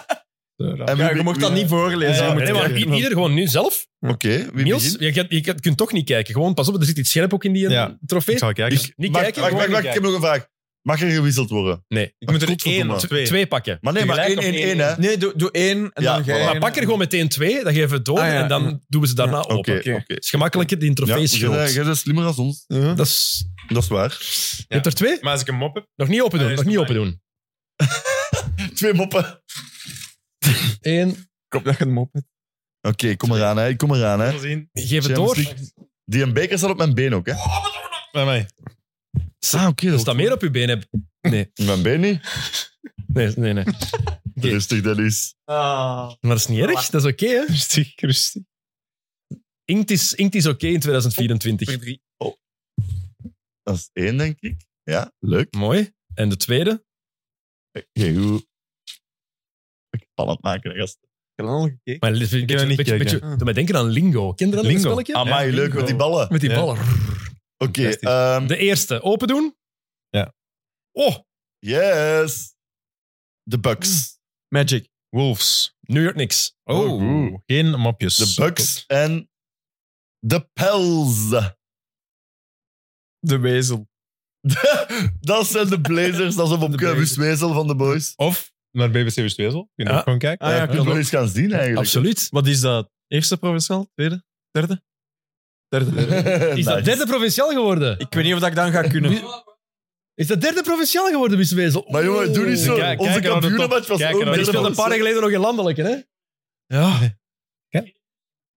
Speaker 2: En wie
Speaker 5: Ja, je
Speaker 2: be-
Speaker 5: mocht dat
Speaker 2: wie-
Speaker 5: niet voorlezen.
Speaker 2: Ja,
Speaker 5: je moet
Speaker 1: Nee, maar
Speaker 5: kijken.
Speaker 1: i- ieder gewoon nu zelf.
Speaker 2: Oké, wie
Speaker 1: Niels,
Speaker 2: begint?
Speaker 1: je, gaat- je gaat- kunt toch niet kijken. Gewoon, pas op, er zit iets scherp ook in die eh,
Speaker 4: Ja.
Speaker 1: trofee.
Speaker 4: Ik zal kijken.
Speaker 1: Dus niet
Speaker 2: Wacht,
Speaker 1: kijken, gewoon
Speaker 2: wacht, wacht,
Speaker 1: niet
Speaker 2: wacht, ik heb nog een vraag. Mag er gewisseld worden?
Speaker 1: Nee.
Speaker 4: ik moet er
Speaker 2: Godverdomme.
Speaker 4: één of twee.
Speaker 1: Twee pakken.
Speaker 2: Maar nee, maar
Speaker 1: Tegelijk
Speaker 2: één,
Speaker 1: op
Speaker 2: één, één, hè.
Speaker 5: Nee, doe, doe één en
Speaker 2: Ja,
Speaker 5: dan ga
Speaker 2: voilà.
Speaker 5: je.
Speaker 1: Maar pak er gewoon meteen twee, dan geven we het door
Speaker 5: Ah, ja.
Speaker 1: en dan doen we ze daarna open.
Speaker 2: Oké,
Speaker 1: Het
Speaker 2: oké.
Speaker 1: is gemakkelijker, die
Speaker 2: Ja,
Speaker 1: trofee is
Speaker 2: jij bent-
Speaker 1: groot.
Speaker 2: jij bent slimmer dan ons.
Speaker 1: Dat is,
Speaker 2: Dat is waar.
Speaker 1: Je hebt er twee?
Speaker 4: Maar als ik een mop heb...
Speaker 1: Nog niet open doen,
Speaker 4: Ah,
Speaker 1: nog
Speaker 4: dat is
Speaker 1: niet
Speaker 4: de
Speaker 1: open doen.
Speaker 2: Twee moppen.
Speaker 1: Eén.
Speaker 8: Ik hoop dat je hem op hebt.
Speaker 2: Oké, kom eraan, hè. Ik kom eraan, hè.
Speaker 4: zien.
Speaker 1: Geef het
Speaker 2: Champions
Speaker 1: door.
Speaker 2: League. Die een beker staat op mijn been ook, hè. Ah,
Speaker 4: Bij mij.
Speaker 2: oké. dat
Speaker 1: Als dus dat meer op je been hebt.
Speaker 2: Mijn been niet.
Speaker 1: Nee, nee, nee. Oké.
Speaker 2: Rustig, dat is...
Speaker 5: Ah.
Speaker 1: Maar dat is niet erg, dat is oké, hè?
Speaker 4: Rustig, rustig.
Speaker 1: Inkt is, inkt is oké in 2024.
Speaker 2: Dat is één, denk ik. Ja, leuk.
Speaker 1: Mooi. En de tweede?
Speaker 2: Oké, hoe... Ik kan het maken, gast.
Speaker 1: Maar dit vind ik een beetje, beetje, beetje, doe mij denken aan Lingo. Ken je dat
Speaker 4: Lingo.
Speaker 1: spelletje?
Speaker 2: Amai, leuk, met die ballen.
Speaker 1: Met die
Speaker 4: Ja.
Speaker 1: ballen.
Speaker 2: Oké,
Speaker 4: Fantastisch.
Speaker 2: ehm,
Speaker 1: De eerste, open doen.
Speaker 4: Ja.
Speaker 1: Oh,
Speaker 2: yes. De Bucks.
Speaker 5: Magic.
Speaker 4: Wolves.
Speaker 1: New York niks.
Speaker 4: Oh, geen mopjes.
Speaker 2: De Bucks en de Pels.
Speaker 5: De wezel.
Speaker 2: *laughs* dat zijn de Blazers, dat is een opke-
Speaker 1: Blazers.
Speaker 2: wiswezel van de boys.
Speaker 4: Of naar BBC Westwezel. Kun je
Speaker 1: Ja.
Speaker 4: ook gewoon kijken?
Speaker 5: Ah, ja,
Speaker 2: ja, kunnen we eens gaan zien, eigenlijk. *laughs*
Speaker 1: Absoluut.
Speaker 5: Wat is dat? Eerste provinciaal? Tweede? Derde? Derde.
Speaker 1: Is dat derde provinciaal geworden?
Speaker 5: Ik weet niet of dat ik dan ga kunnen.
Speaker 1: Is dat derde provinciaal geworden, Oh. Wiswezel?
Speaker 2: Maar jongen, doe niet zo.
Speaker 4: Kijk, kijk
Speaker 2: Onze
Speaker 4: naar de top.
Speaker 2: kampioenenmatch was
Speaker 4: Kijk
Speaker 2: ook
Speaker 4: naar
Speaker 1: Maar
Speaker 4: de
Speaker 1: die
Speaker 2: derde
Speaker 1: speelde een paar jaar
Speaker 2: plaats.
Speaker 1: geleden nog in landelijke, hè? Ja.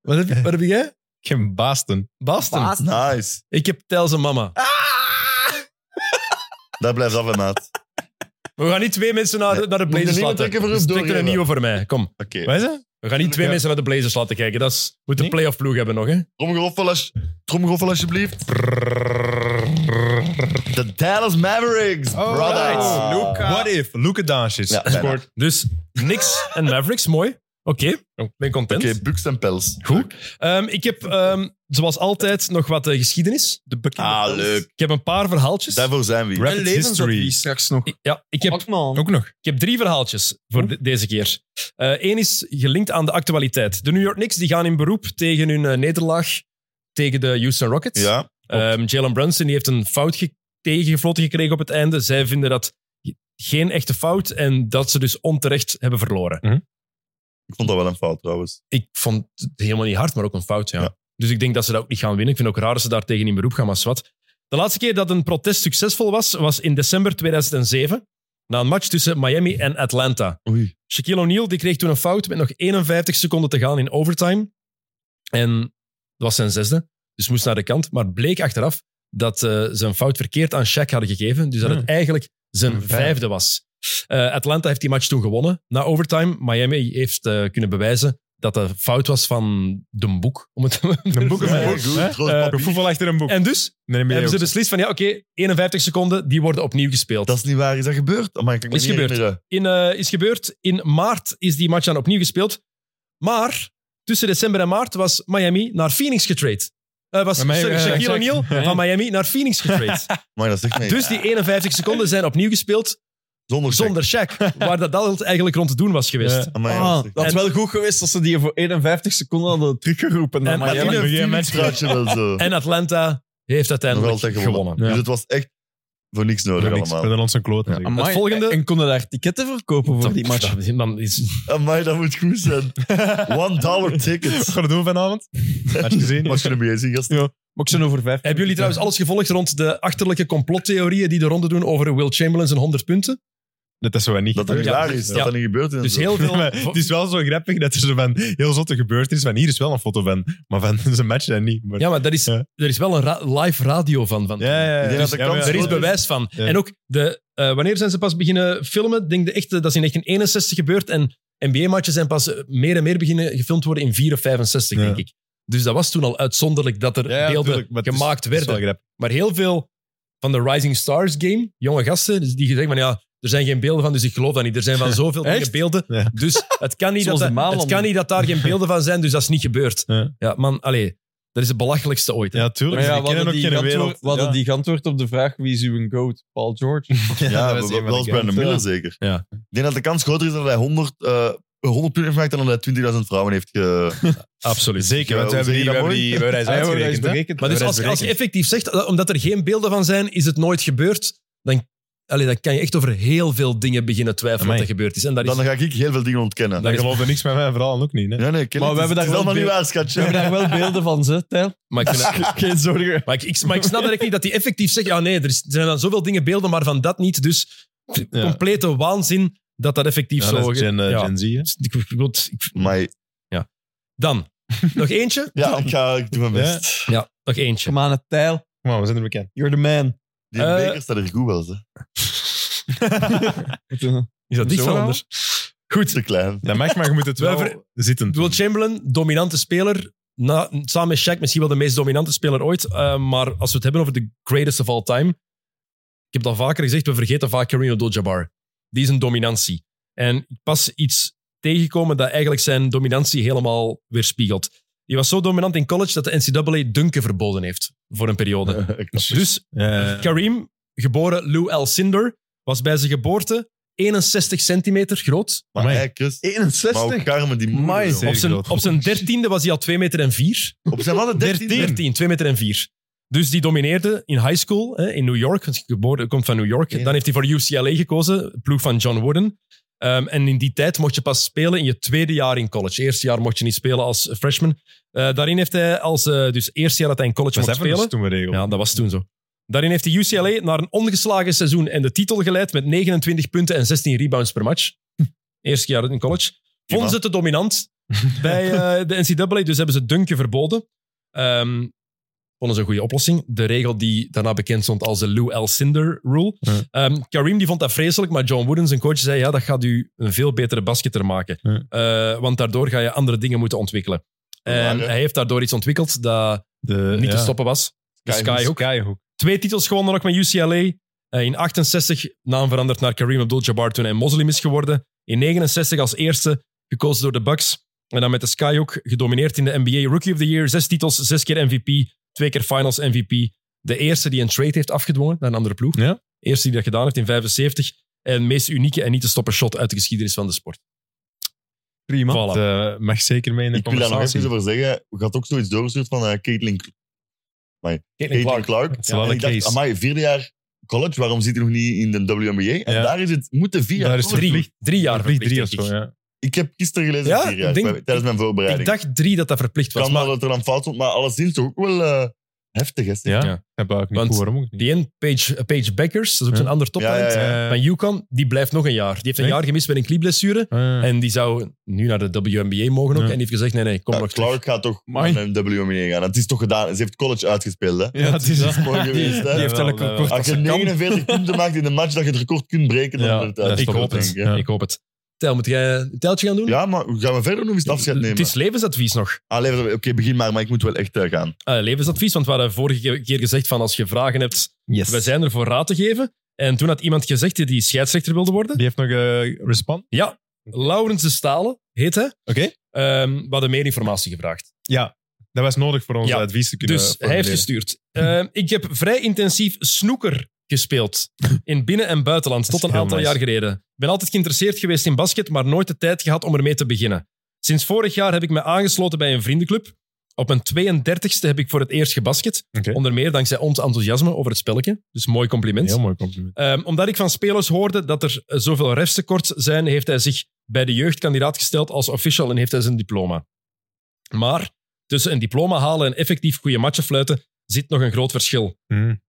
Speaker 1: Wat heb, je- wat heb jij?
Speaker 4: Geen baasten.
Speaker 1: Basten.
Speaker 5: Nou,
Speaker 2: Nice.
Speaker 1: Ik heb Tijl zijn mama.
Speaker 2: Ah. Dat blijft af, hè, maat.
Speaker 1: We gaan niet twee mensen naar de, naar de
Speaker 2: Moet je
Speaker 1: Blazers
Speaker 2: niet
Speaker 1: laten.
Speaker 2: trekken voor
Speaker 1: Dus
Speaker 2: ons
Speaker 1: trek er een
Speaker 2: doorgeven.
Speaker 1: nieuwe voor mij. Kom.
Speaker 2: Oké.
Speaker 4: Wij zijn?
Speaker 1: We gaan niet twee
Speaker 4: Ja.
Speaker 1: mensen naar de Blazers laten kijken. Dat is, moet de
Speaker 4: Nee?
Speaker 1: playoff ploeg hebben nog, hè?
Speaker 2: Tromgeroffel, als, tromgeroffel alsjeblieft. De Dallas Mavericks, brother.
Speaker 4: Alright.
Speaker 5: Luka.
Speaker 4: What if Luka Doncic
Speaker 2: Ja, bijna.
Speaker 4: scoort
Speaker 1: Dus niks en Mavericks, mooi. Oké, ben content.
Speaker 2: Oké, Bucks en Pels.
Speaker 1: Goed. Ehm, ik heb, ehm, zoals altijd, nog wat eh, geschiedenis.
Speaker 5: De bekende.
Speaker 2: Ah, leuk.
Speaker 1: Ik heb een paar verhaaltjes.
Speaker 2: Daarvoor zijn we hier.
Speaker 5: Een
Speaker 4: Rapid History.
Speaker 5: levensadvies straks nog.
Speaker 1: Ik- Ja, ik heb,
Speaker 5: Fuck, man.
Speaker 4: Ook nog.
Speaker 1: ik heb drie verhaaltjes voor de- deze keer. Eén is gelinkt aan de actualiteit. De New York Knicks die gaan in beroep tegen hun eh, nederlaag tegen de Houston Rockets.
Speaker 2: Ja,
Speaker 1: Ehm, Jalen Brunson die heeft een fout ge- tegengefloten gekregen op het einde. Zij vinden dat geen echte fout en dat ze dus onterecht hebben verloren.
Speaker 2: ik vond dat wel een fout trouwens.
Speaker 1: Ik vond het helemaal niet hard, maar ook een fout. Ja.
Speaker 2: Ja.
Speaker 1: Dus ik denk dat ze dat ook niet gaan winnen. Ik vind het ook raar dat ze daar tegen in beroep gaan, maar wat. De laatste keer dat een protest succesvol was, was in december 2007. Na een match tussen Miami en Atlanta.
Speaker 2: Oei.
Speaker 1: Shaquille O'Neal die kreeg toen een fout met nog 51 seconden te gaan in overtime. En dat was zijn zesde, dus moest naar de kant. Maar bleek achteraf dat eh, ze een fout verkeerd aan Shaq hadden gegeven. Dus dat
Speaker 2: Hmm.
Speaker 1: het eigenlijk zijn vijfde was. Eh, Atlanta heeft die match toen gewonnen na overtime. Miami heeft eh, kunnen bewijzen dat de fout was van de boek. Om het *laughs* de boek
Speaker 2: Ja, goed, groot papier.
Speaker 4: Voetbal achter een boek.
Speaker 1: Eh, En dus
Speaker 4: Nee, nee,
Speaker 1: hebben ze
Speaker 4: nee,
Speaker 1: beslist van ja, oké, 51 seconden, die worden opnieuw gespeeld.
Speaker 2: Dat is niet waar, is dat gebeurd? Maar ik kan me
Speaker 1: Is
Speaker 2: niet
Speaker 1: gebeurd.
Speaker 2: herinneren.
Speaker 1: in, eh, is gebeurd. In maart is die match dan opnieuw gespeeld. Maar tussen december en maart was Miami naar Phoenix getrade. Eh, was
Speaker 4: Maar Miami-
Speaker 1: sorry,
Speaker 4: eh,
Speaker 1: Shaquille
Speaker 4: Shaq.
Speaker 1: O'Neal
Speaker 4: Ja.
Speaker 1: van Miami naar Phoenix
Speaker 4: *laughs*
Speaker 1: getrade.
Speaker 2: Maar dat zegt niks.
Speaker 1: Dus die 51 seconden zijn opnieuw gespeeld
Speaker 2: zonder check.
Speaker 1: zonder Shaq. Waar dat altijd eigenlijk rond te doen was geweest.
Speaker 4: Ja.
Speaker 2: Amai,
Speaker 5: Ah,
Speaker 2: dat
Speaker 5: dat is wel goed geweest als ze die voor 51 seconden hadden teruggeroepen.
Speaker 1: En-
Speaker 5: naar
Speaker 2: is
Speaker 5: Miami.
Speaker 2: echt-
Speaker 1: maar
Speaker 2: Maar
Speaker 4: begin
Speaker 2: die een
Speaker 4: met-
Speaker 2: Phoenix-truitje wel zo.
Speaker 1: En Atlanta heeft
Speaker 2: Nog
Speaker 1: uiteindelijk
Speaker 2: altijd gewonnen.
Speaker 1: gewonnen.
Speaker 2: Dus het was echt voor niks nodig
Speaker 4: Voor niks. We
Speaker 2: allemaal.
Speaker 4: zijn ons een kloot.
Speaker 2: Ja.
Speaker 4: natuurlijk.
Speaker 5: Amai.
Speaker 1: Het volgende-
Speaker 5: En konden daar tickets verkopen voor die
Speaker 1: Dat-
Speaker 5: match.
Speaker 1: dat- dan is-
Speaker 2: Amai, dat moet goed zijn. One dollar tickets.
Speaker 4: Wat gaan we doen vanavond? Had je gezien?
Speaker 2: Wat kunnen we zien, gasten?
Speaker 5: Maar ik zijn over vijf.
Speaker 1: Hebben jullie trouwens alles gevolgd rond de achterlijke complottheorieën die de ronde doen over Will Chamberlain zijn 100 punten?
Speaker 4: Dat is zo wat niet
Speaker 2: Dat dat niet
Speaker 4: gebeurd.
Speaker 2: waar is, dat
Speaker 1: Ja.
Speaker 2: dat niet gebeurd is.
Speaker 1: Dus heel veel...
Speaker 4: *laughs* Maar het is wel zo grappig dat er zo van heel zotte gebeurtenis van hier is wel een foto van, maar van *laughs* zijn match dan niet. Maar,
Speaker 1: Ja, maar daar is,
Speaker 4: Ja.
Speaker 1: er is wel een ra- live radio van. van
Speaker 4: ja, ja, ja.
Speaker 2: Ik denk dat de
Speaker 4: Ja,
Speaker 2: kans
Speaker 4: maar-
Speaker 1: Er is
Speaker 2: groot
Speaker 1: bewijs van.
Speaker 4: Ja.
Speaker 1: En ook, de, eh, wanneer zijn ze pas beginnen filmen? Ik Denk de echte, dat is in 1961 gebeurd. En NBA-matches zijn pas eh, meer en meer beginnen gefilmd worden in 4 of 65,
Speaker 4: Ja.
Speaker 1: denk ik. Dus dat was toen al uitzonderlijk dat er
Speaker 4: Ja,
Speaker 1: beelden
Speaker 4: tuurlijk, maar het is-
Speaker 1: gemaakt
Speaker 4: het is wel
Speaker 1: werden.
Speaker 4: grappig.
Speaker 1: Maar heel veel van de Rising Stars game, jonge gasten, dus die zeggen van ja, er zijn geen beelden van, dus ik geloof dat niet. Er zijn
Speaker 4: *laughs*
Speaker 1: van zoveel dingen beelden,
Speaker 4: Ja.
Speaker 1: dus het kan,
Speaker 4: *laughs*
Speaker 1: niet dat,
Speaker 5: Zoals de
Speaker 1: dat- het
Speaker 5: Malanden.
Speaker 1: kan niet dat daar geen beelden van zijn, dus dat is niet gebeurd.
Speaker 4: Ja.
Speaker 1: Ja, man, allee, dat is het belachelijkste ooit. hè.
Speaker 4: Ja, tuurlijk.
Speaker 5: Maar ja,
Speaker 4: die
Speaker 5: we
Speaker 4: kennen ook
Speaker 5: hadden, die
Speaker 4: geen
Speaker 5: geantwoord,
Speaker 4: wereld.
Speaker 5: we hadden
Speaker 4: Ja.
Speaker 5: die geantwoord op de vraag wie is uw goat? Paul *laughs* George.
Speaker 2: Ja,
Speaker 4: dat is een
Speaker 2: wel
Speaker 4: van
Speaker 2: als
Speaker 4: de
Speaker 2: Brandon
Speaker 4: kanten.
Speaker 2: Miller zeker.
Speaker 4: Ja.
Speaker 2: Ik denk dat de kans groter is dat hij 100, eh 100 punten heeft gemaakt dan dat hij 20.000 vrouwen heeft ge...
Speaker 1: Absoluut.
Speaker 4: Zeker, want we
Speaker 2: Ja,
Speaker 4: hebben die,
Speaker 2: hoe
Speaker 4: we hebben
Speaker 2: zeg
Speaker 4: die, we *laughs* hebben die
Speaker 5: Ah, ja, dat is
Speaker 4: uitgerekend, hè.
Speaker 5: berekend.
Speaker 1: Maar dus
Speaker 4: Maar
Speaker 1: als,
Speaker 4: dat
Speaker 1: als
Speaker 4: is
Speaker 1: je effectief zegt, dat- omdat er geen beelden van zijn, is het nooit gebeurd, dan, allee, dan kan je echt over heel veel dingen beginnen twijfelen
Speaker 4: Amai.
Speaker 1: wat er gebeurd is. En dat is
Speaker 2: Dan ga ik heel veel dingen ontkennen.
Speaker 4: Dan geloofde niks met mij, vooral ook niet. Hè?
Speaker 2: Ja, nee, Kelly,
Speaker 5: Maar we
Speaker 2: het is-
Speaker 5: hebben daar
Speaker 2: het is
Speaker 5: wel
Speaker 2: allemaal niet
Speaker 5: beeld-
Speaker 2: waar, schatje.
Speaker 5: We hebben daar wel beelden van, ze, Tijl.
Speaker 1: maar, ik
Speaker 4: *laughs*
Speaker 1: vind dat-
Speaker 2: *laughs*
Speaker 5: Geen zorgen.
Speaker 1: maar, ik, ik, maar ik snap dat ik niet dat die effectief zegt, ja nee, er is- er zijn dan zoveel dingen beelden, maar van dat niet. Dus
Speaker 4: Ja.
Speaker 1: complete waanzin dat dat effectief
Speaker 4: Ja,
Speaker 1: zo...
Speaker 4: dat is Gen, eh,
Speaker 1: ja.
Speaker 4: Gen Z. hè.
Speaker 1: Ik- ik wil het- ik-
Speaker 2: Maar
Speaker 4: *laughs*
Speaker 1: Dan. Nog eentje?
Speaker 2: ja, ik, ga, ik doe mijn
Speaker 4: Ja.
Speaker 2: best.
Speaker 1: Ja, nog eentje.
Speaker 5: Kom aan het Tijl.
Speaker 4: Maar we zijn er bekend.
Speaker 5: You're the man.
Speaker 2: Die
Speaker 1: Eh,
Speaker 2: beker staat er goed wel, hè.
Speaker 1: Is dat dicht
Speaker 5: Zo
Speaker 1: van
Speaker 5: wel?
Speaker 1: anders? Goed.
Speaker 2: Te klein.
Speaker 4: Dat mag, maar je moet het wel
Speaker 1: Wij ver-
Speaker 4: zitten.
Speaker 1: Will Chamberlain, dominante speler. Na, samen met Shaq misschien wel de meest dominante speler ooit. Eh, maar als we het hebben over de greatest of all time. Ik heb het al vaker gezegd, we vergeten vaak Kareem Abdul-Jabbar. Die is een dominantie. En ik pas iets tegengekomen dat eigenlijk zijn dominantie helemaal weerspiegelt. Die was zo dominant in college dat de NCAA dunken verboden heeft voor een periode. Dus
Speaker 4: Ja,
Speaker 1: Kareem, geboren Lou Alcindor, was bij zijn geboorte 61 centimeter groot.
Speaker 2: Maar
Speaker 4: Amai.
Speaker 2: hij kus. Maar
Speaker 5: 61.
Speaker 2: ook Carmen, die moeder,
Speaker 5: Amai,
Speaker 2: jongen.
Speaker 1: Op zijn,
Speaker 4: groot.
Speaker 1: op zijn dertiende was hij al 2 meter en 4.
Speaker 2: Op zijn wat? 13?
Speaker 1: 13, 2 meter en 4. Dus die domineerde in high school hè, in New York. Want hij geboren, komt van New York. Dan heeft hij voor UCLA gekozen, ploeg van John Wooden. Ehm, en in die tijd mocht je pas spelen in je tweede jaar in college. Eerste jaar mocht je niet spelen als freshman. Eh, daarin heeft hij als... eh, dus eerste jaar dat hij in college
Speaker 4: dat
Speaker 1: mocht
Speaker 4: hebben
Speaker 1: spelen...
Speaker 4: we toen geregeld.
Speaker 1: Ja, dat was toen zo. Daarin heeft de UCLA naar een ongeslagen seizoen en de titel geleid met 29 punten en 16 rebounds per match. Hm. Eerste jaar in college. Vonden ze te dominant
Speaker 4: *laughs*
Speaker 1: bij eh, de NCAA, dus hebben ze dunken verboden. Ehm vonden ze een goede oplossing. De regel die daarna bekend stond als de Lou Alcindor Rule.
Speaker 4: Ja.
Speaker 1: Ehm, Kareem die vond dat vreselijk, maar John Wooden, zijn coach, zei ja, dat gaat u een veel betere basketter maken.
Speaker 4: Ja.
Speaker 1: Eh, want daardoor ga je andere dingen moeten ontwikkelen. En
Speaker 2: Waar, hè?
Speaker 1: hij heeft daardoor iets ontwikkeld dat
Speaker 4: De,
Speaker 1: niet
Speaker 4: Eh, ja.
Speaker 1: te stoppen was. De Skyhook. Twee titels gewonnen nog met UCLA. Eh, in 68 naam veranderd naar Kareem Abdul-Jabbar toen hij moslim is geworden. In 69 als eerste gekozen door de Bucks. En dan met de Skyhook gedomineerd in de NBA Rookie of the Year. Zes titels, zes keer MVP, twee keer Finals MVP. De eerste die een trade heeft afgedwongen naar een andere ploeg.
Speaker 4: Ja.
Speaker 1: De eerste die dat gedaan heeft in 75. En de meest unieke en niet te stoppen shot uit de geschiedenis van de sport.
Speaker 5: Prima.
Speaker 1: Voilà.
Speaker 4: Dat eh, mag zeker mee in de
Speaker 2: Ik wil daar nog
Speaker 4: conversatie.
Speaker 2: even over zeggen. Je had ook zoiets doorgestuurd van eh, Caitlin,
Speaker 1: Caitlin
Speaker 2: Caitlin
Speaker 1: Clark.
Speaker 2: Clark.
Speaker 4: Het is wel
Speaker 2: En
Speaker 4: een
Speaker 2: ik dacht,
Speaker 4: case.
Speaker 2: amai, vierde jaar college, waarom zit hij nog niet in de WNBA? En
Speaker 4: Ja.
Speaker 2: daar is het, moeten vier jaar
Speaker 4: Daar is
Speaker 2: college.
Speaker 1: Drie, drie jaar
Speaker 4: Vlieg
Speaker 1: verplicht,
Speaker 4: drie of
Speaker 1: denk
Speaker 4: zo,
Speaker 1: ik.
Speaker 4: ja.
Speaker 2: Ik heb gisteren gelezen
Speaker 1: Ja,
Speaker 2: vier jaar,
Speaker 1: ik denk-
Speaker 2: bij- tijdens mijn
Speaker 1: Ik
Speaker 2: voorbereiding.
Speaker 1: dacht drie dat dat verplicht was.
Speaker 2: kan
Speaker 1: maar
Speaker 2: wel dat er dan fout stond, maar alleszins toch ook wel eh, heftig. Hè, zeg.
Speaker 4: Ja,
Speaker 1: Ja.
Speaker 4: ik heb ook niet Ah,
Speaker 1: Want
Speaker 4: goed, waarom ook niet.
Speaker 1: die een, Page, eh, Page Beckers, dat is ook
Speaker 4: Ja.
Speaker 1: zijn ander toptalent.
Speaker 2: Ja, ja, ja.
Speaker 4: Eh,
Speaker 1: Van UConn, die blijft nog een jaar. Die heeft een
Speaker 4: Echt?
Speaker 1: jaar gemist met een knieblessure.
Speaker 4: eh,
Speaker 1: En die zou nu naar de WNBA mogen ook.
Speaker 4: Ja.
Speaker 1: En die heeft gezegd, nee, nee, kom
Speaker 2: Ja,
Speaker 1: nog terug.
Speaker 2: Clark gaat toch
Speaker 5: Amai.
Speaker 2: naar de WNBA gaan. Het is toch gedaan. Ze heeft college uitgespeeld. Hè?
Speaker 4: Ja, het is
Speaker 2: Dat is mooi
Speaker 5: Die,
Speaker 2: geweest.
Speaker 5: die
Speaker 2: Hè?
Speaker 5: heeft
Speaker 4: Jawel,
Speaker 5: elke
Speaker 4: jawel.
Speaker 5: kort
Speaker 2: Als
Speaker 5: als
Speaker 2: je
Speaker 5: een kamp.
Speaker 2: 49 punten maakt in een match, dat je het record kunt breken. dan
Speaker 4: Ja,
Speaker 2: wordt eh,
Speaker 4: dat is
Speaker 2: uit.
Speaker 1: Ik
Speaker 4: toch
Speaker 1: hoop
Speaker 4: wel
Speaker 1: het.
Speaker 2: denk, hè.
Speaker 4: Ja.
Speaker 1: Ik hoop het. Tel, moet jij een teltje gaan doen?
Speaker 2: Ja, maar gaan we verder nog eens het afscheid nemen?
Speaker 1: Het is levensadvies nog.
Speaker 2: Ah, lever- Oké, begin maar, maar ik moet wel echt eh, gaan.
Speaker 1: Eh, levensadvies, want we hadden vorige keer gezegd van als je vragen hebt, we zijn er voor raad te geven. En toen had iemand gezegd die die scheidsrechter wilde worden.
Speaker 4: Die heeft nog eh respond.
Speaker 1: Laurens de Stalen heet hij.
Speaker 4: Oké.
Speaker 1: Ehm, we hadden meer informatie gevraagd.
Speaker 4: Ja, dat was nodig voor ons
Speaker 1: Ja,
Speaker 4: advies te kunnen
Speaker 1: Dus hij heeft
Speaker 4: formuleren.
Speaker 1: gestuurd. Eh, ik heb vrij intensief snoeker gespeeld. In binnen- en buitenland,
Speaker 4: Dat is
Speaker 1: tot een
Speaker 4: heel
Speaker 1: aantal
Speaker 4: nice.
Speaker 1: jaar geleden. Ik ben altijd geïnteresseerd geweest in basket, maar nooit de tijd gehad om ermee te beginnen. Sinds vorig jaar heb ik me aangesloten bij een vriendenclub. Op mijn 32e heb ik voor het eerst gebasket.
Speaker 4: Oké.
Speaker 1: Onder meer dankzij ons enthousiasme over het spelletje. Dus mooi compliment.
Speaker 4: Heel mooi compliment.
Speaker 1: Ehm, omdat ik van spelers hoorde dat er eh, zoveel refstekort zijn, heeft hij zich bij de jeugdkandidaat gesteld als official en heeft hij zijn diploma. Maar tussen een diploma halen en effectief goede matchen fluiten zit nog een groot verschil.
Speaker 4: Mm.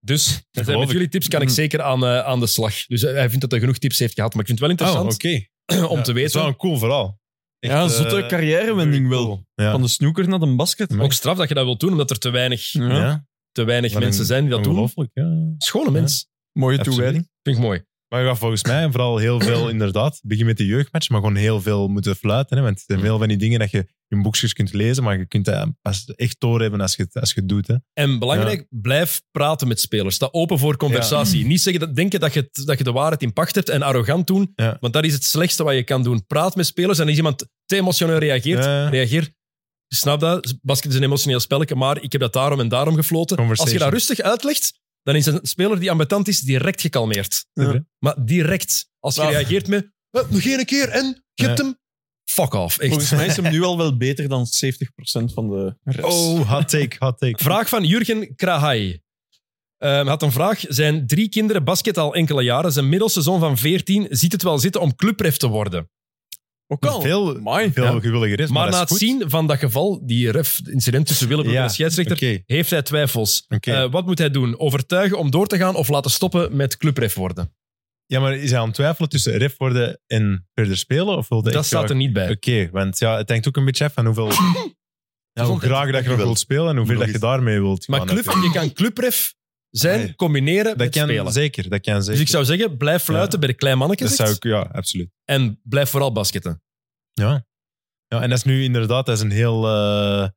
Speaker 1: Dus met
Speaker 4: geloof ik. Hmm.
Speaker 1: jullie tips kan ik zeker aan, eh, aan de slag. Dus eh, hij vindt dat hij genoeg tips heeft gehad. Maar ik vind het wel
Speaker 4: Oh, oké.
Speaker 1: interessant om te
Speaker 4: Het is
Speaker 1: weten.
Speaker 4: wel een cool verhaal.
Speaker 5: Ja, een zotte
Speaker 4: eh,
Speaker 5: carrièrewending
Speaker 4: very
Speaker 5: wel.
Speaker 4: cool. Ja.
Speaker 5: Van de snoeker naar de basket.
Speaker 4: Ja.
Speaker 1: Ook straf dat je dat wilt doen, omdat er te weinig,
Speaker 5: Ja.
Speaker 4: Ja.
Speaker 1: te weinig
Speaker 4: Wat Hmm. een-
Speaker 1: mensen zijn die dat doen.
Speaker 4: Ongelooflijk, ja.
Speaker 1: Schone mens.
Speaker 5: Mooie
Speaker 4: Absoluut.
Speaker 5: toewijding.
Speaker 1: Vind ik mooi.
Speaker 4: Maar je gaat volgens mij vooral heel
Speaker 1: *clears throat*
Speaker 4: veel, inderdaad, begin met de jeugdmatch, maar gewoon heel veel moeten fluiten. Hè? Want er zijn
Speaker 1: Mm.
Speaker 4: veel van die dingen dat je in boekjes kunt lezen, maar je kunt dat pas echt doorhebben als je het, als je het doet. Hè?
Speaker 1: En belangrijk, blijf praten met spelers. Sta open voor conversatie. Niet zeggen dat, denken dat je, het- dat je de waarheid in pacht hebt en arrogant doen.
Speaker 4: Ja.
Speaker 1: Want dat is het slechtste wat je kan doen. Praat met spelers en als iemand te emotioneel reageert,
Speaker 4: Ja.
Speaker 1: reageer. Snap dat? Basket is een emotioneel spelletje, maar ik heb dat daarom en daarom gefloten. Als je
Speaker 4: Conversation.
Speaker 1: dat rustig uitlegt, dan is een speler die ambetant is direct gekalmeerd.
Speaker 4: Ja.
Speaker 1: Maar direct. Als je
Speaker 5: Nou.
Speaker 1: reageert met, "Eh, nog één keer en, je hebt
Speaker 4: Ja.
Speaker 1: hem. Fuck off, echt.
Speaker 5: Volgens mij is hem nu al wel beter dan 70% van de rest.
Speaker 4: Oh, hot take, hot take.
Speaker 1: Vraag van Jurgen Krahai. Ehm had een vraag. Zijn drie kinderen basket al enkele jaren. Zijn middelste zoon van 14 ziet het wel zitten om clubref te worden.
Speaker 5: Ook al.
Speaker 4: Veel,
Speaker 5: Amai.
Speaker 4: veel
Speaker 5: Ja.
Speaker 4: gewilliger is,
Speaker 1: Maar,
Speaker 4: maar,
Speaker 1: na
Speaker 4: dat
Speaker 1: het
Speaker 4: is goed.
Speaker 1: zien van dat geval, die ref, het incident tussen Willebroek
Speaker 4: Ja,
Speaker 1: en de scheidsrechter,
Speaker 4: Oké,
Speaker 1: heeft hij twijfels.
Speaker 4: oké.
Speaker 1: Eh, wat moet hij doen? Overtuigen om door te gaan of laten stoppen met clubref worden?
Speaker 4: ja, maar is hij aan het twijfelen tussen ref worden en verder spelen? Of wilde
Speaker 1: Dat staat er niet bij.
Speaker 4: Oké, want ja, het hangt ook een beetje af van hoeveel... Ja, hoe
Speaker 1: Gezondheid.
Speaker 4: graag dat je nog
Speaker 2: Dankjewel.
Speaker 4: wilt spelen en hoeveel
Speaker 2: Nog
Speaker 4: dat je
Speaker 2: eens.
Speaker 4: daarmee wilt
Speaker 1: Maar
Speaker 4: gaan,
Speaker 1: club,
Speaker 4: natuurlijk.
Speaker 1: je kan clubref zijn,
Speaker 4: Nee.
Speaker 1: combineren
Speaker 4: Dat
Speaker 1: met
Speaker 4: kan
Speaker 1: spelen.
Speaker 4: zeker, dat kan zeker.
Speaker 1: Dus ik zou zeggen, blijf fluiten bij de klein
Speaker 4: dat
Speaker 1: mannetjes.
Speaker 4: zou ik, ja, absoluut.
Speaker 1: En blijf vooral basketten.
Speaker 4: Ja. ja. En dat is nu inderdaad dat is een heel eh,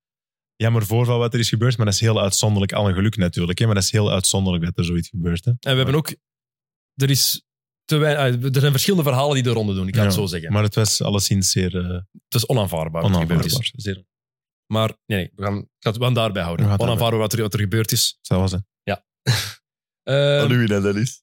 Speaker 4: jammer voorval wat er is gebeurd, maar dat is heel uitzonderlijk. Al een geluk natuurlijk, hè, maar dat is heel uitzonderlijk dat er zoiets gebeurt. Hè.
Speaker 1: En we hebben ook... Er, is te wein- ah, er zijn verschillende verhalen die de ronde doen, ik kan
Speaker 4: Ja,
Speaker 1: het zo zeggen.
Speaker 4: Maar het was alleszins zeer eh
Speaker 1: het is onaanvaardbaar wat er gebeurd
Speaker 4: onaanvaardbaar.
Speaker 1: is.
Speaker 4: Zeer-
Speaker 1: Maar nee, nee, we gaan, ik ga het wel daarbij houden.
Speaker 4: We gaan het
Speaker 1: Onaanvaardbaar wat er, wat er gebeurd is.
Speaker 4: Dat was het.
Speaker 1: Ehm,
Speaker 2: Alduin, hè, dat is.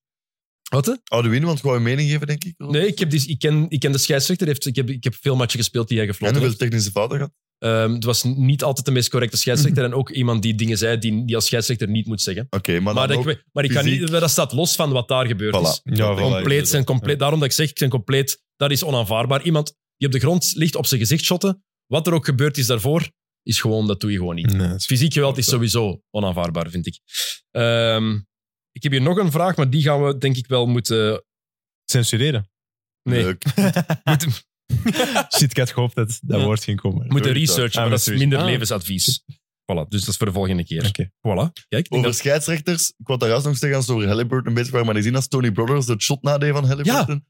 Speaker 1: wat? hè?
Speaker 2: Alduin, want gewoon een mening geven, denk ik.
Speaker 1: Nee, ik, heb die, ik, ken, ik ken de scheidsrechter. Heeft, ik, heb, ik heb veel matchen gespeeld die hij
Speaker 2: En
Speaker 1: gefloten
Speaker 2: hoeveel
Speaker 1: heeft.
Speaker 2: technische fouten gehad?
Speaker 1: Ehm, het was niet altijd de meest correcte scheidsrechter. En ook iemand die dingen zei die, die als scheidsrechter niet moet zeggen.
Speaker 2: Oké, maar,
Speaker 1: Maar,
Speaker 2: dan
Speaker 1: dat
Speaker 2: ook...
Speaker 1: ik, maar ik kan niet,
Speaker 2: fysiek.
Speaker 1: dat staat los van wat daar gebeurd is.
Speaker 2: Voilà.
Speaker 4: Ja, voilà.
Speaker 1: compleet zijn compleet.
Speaker 4: Ja.
Speaker 1: Daarom dat ik zeg, ik zijn compleet. Dat is onaanvaardbaar. Iemand die op de grond ligt op zijn gezicht shotten, wat er ook gebeurd is daarvoor, is gewoon, dat doe je gewoon niet.
Speaker 4: Nee, dat is-
Speaker 1: Fysiek geweld is sowieso onaanvaardbaar, vind ik. Ehm, ik heb hier nog een vraag, maar die gaan we denk ik wel moeten... *laughs*
Speaker 4: Censureren.
Speaker 1: Nee,
Speaker 2: Leuk.
Speaker 4: Shit, ik had gehoopt dat dat woord ging komen.
Speaker 1: moeten
Speaker 2: Sorry,
Speaker 1: researchen,
Speaker 4: daar.
Speaker 1: maar
Speaker 4: Ah,
Speaker 1: dat is
Speaker 4: sorry.
Speaker 1: minder
Speaker 4: Ah.
Speaker 1: levensadvies. Voilà, dus dat is voor de volgende keer.
Speaker 4: Oké.
Speaker 1: Voilà. Kijk, ik denk
Speaker 2: Over
Speaker 1: dat-
Speaker 2: scheidsrechters, ik wou daar juist nog zeggen als we over Halliburton bezig waren, maar ik zie dat Tony Brothers het shot nadeed van Halliburton.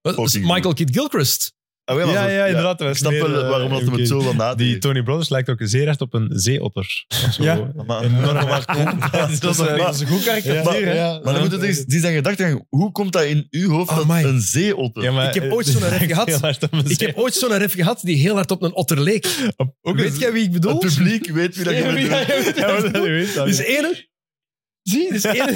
Speaker 1: Wat is
Speaker 2: fucking
Speaker 1: Michael Kidd Gilchrist.
Speaker 2: Ah, maar
Speaker 4: Ja,
Speaker 2: zo-
Speaker 4: ja, inderdaad.
Speaker 2: Ik snap wel waarom dat
Speaker 4: dat
Speaker 2: hem het zo dan
Speaker 4: Die
Speaker 2: nadeed.
Speaker 4: Tony Brothers lijkt ook zeer hard op een zeeotter. Of zo.
Speaker 5: Ja.
Speaker 2: Maar- *laughs*
Speaker 4: *laughs* Enorm hard.
Speaker 2: Dat
Speaker 4: eh,
Speaker 2: is een-
Speaker 5: een goed
Speaker 2: Ja, maar, maar dan moet het eens, die zijn gedacht hebben, hoe komt dat in uw hoofd dat
Speaker 1: Amai.
Speaker 2: een zeeotter?
Speaker 4: Ja, maar- eh,
Speaker 1: Ik heb ooit
Speaker 4: *laughs*
Speaker 1: zo'n ref gehad.
Speaker 4: Heel hard op een
Speaker 1: Ik heb ooit zo'n ref gehad die heel hard op een otter leek.
Speaker 4: Op- ook
Speaker 1: Weet
Speaker 4: een-
Speaker 1: jij wie ik bedoel?
Speaker 2: het publiek weet wie dat je
Speaker 1: Ja,
Speaker 2: bent.
Speaker 1: ja, ja,
Speaker 4: *laughs* Ja, maar dat weet dat
Speaker 1: Er is
Speaker 4: niet.
Speaker 1: ene... Zie, er is ene...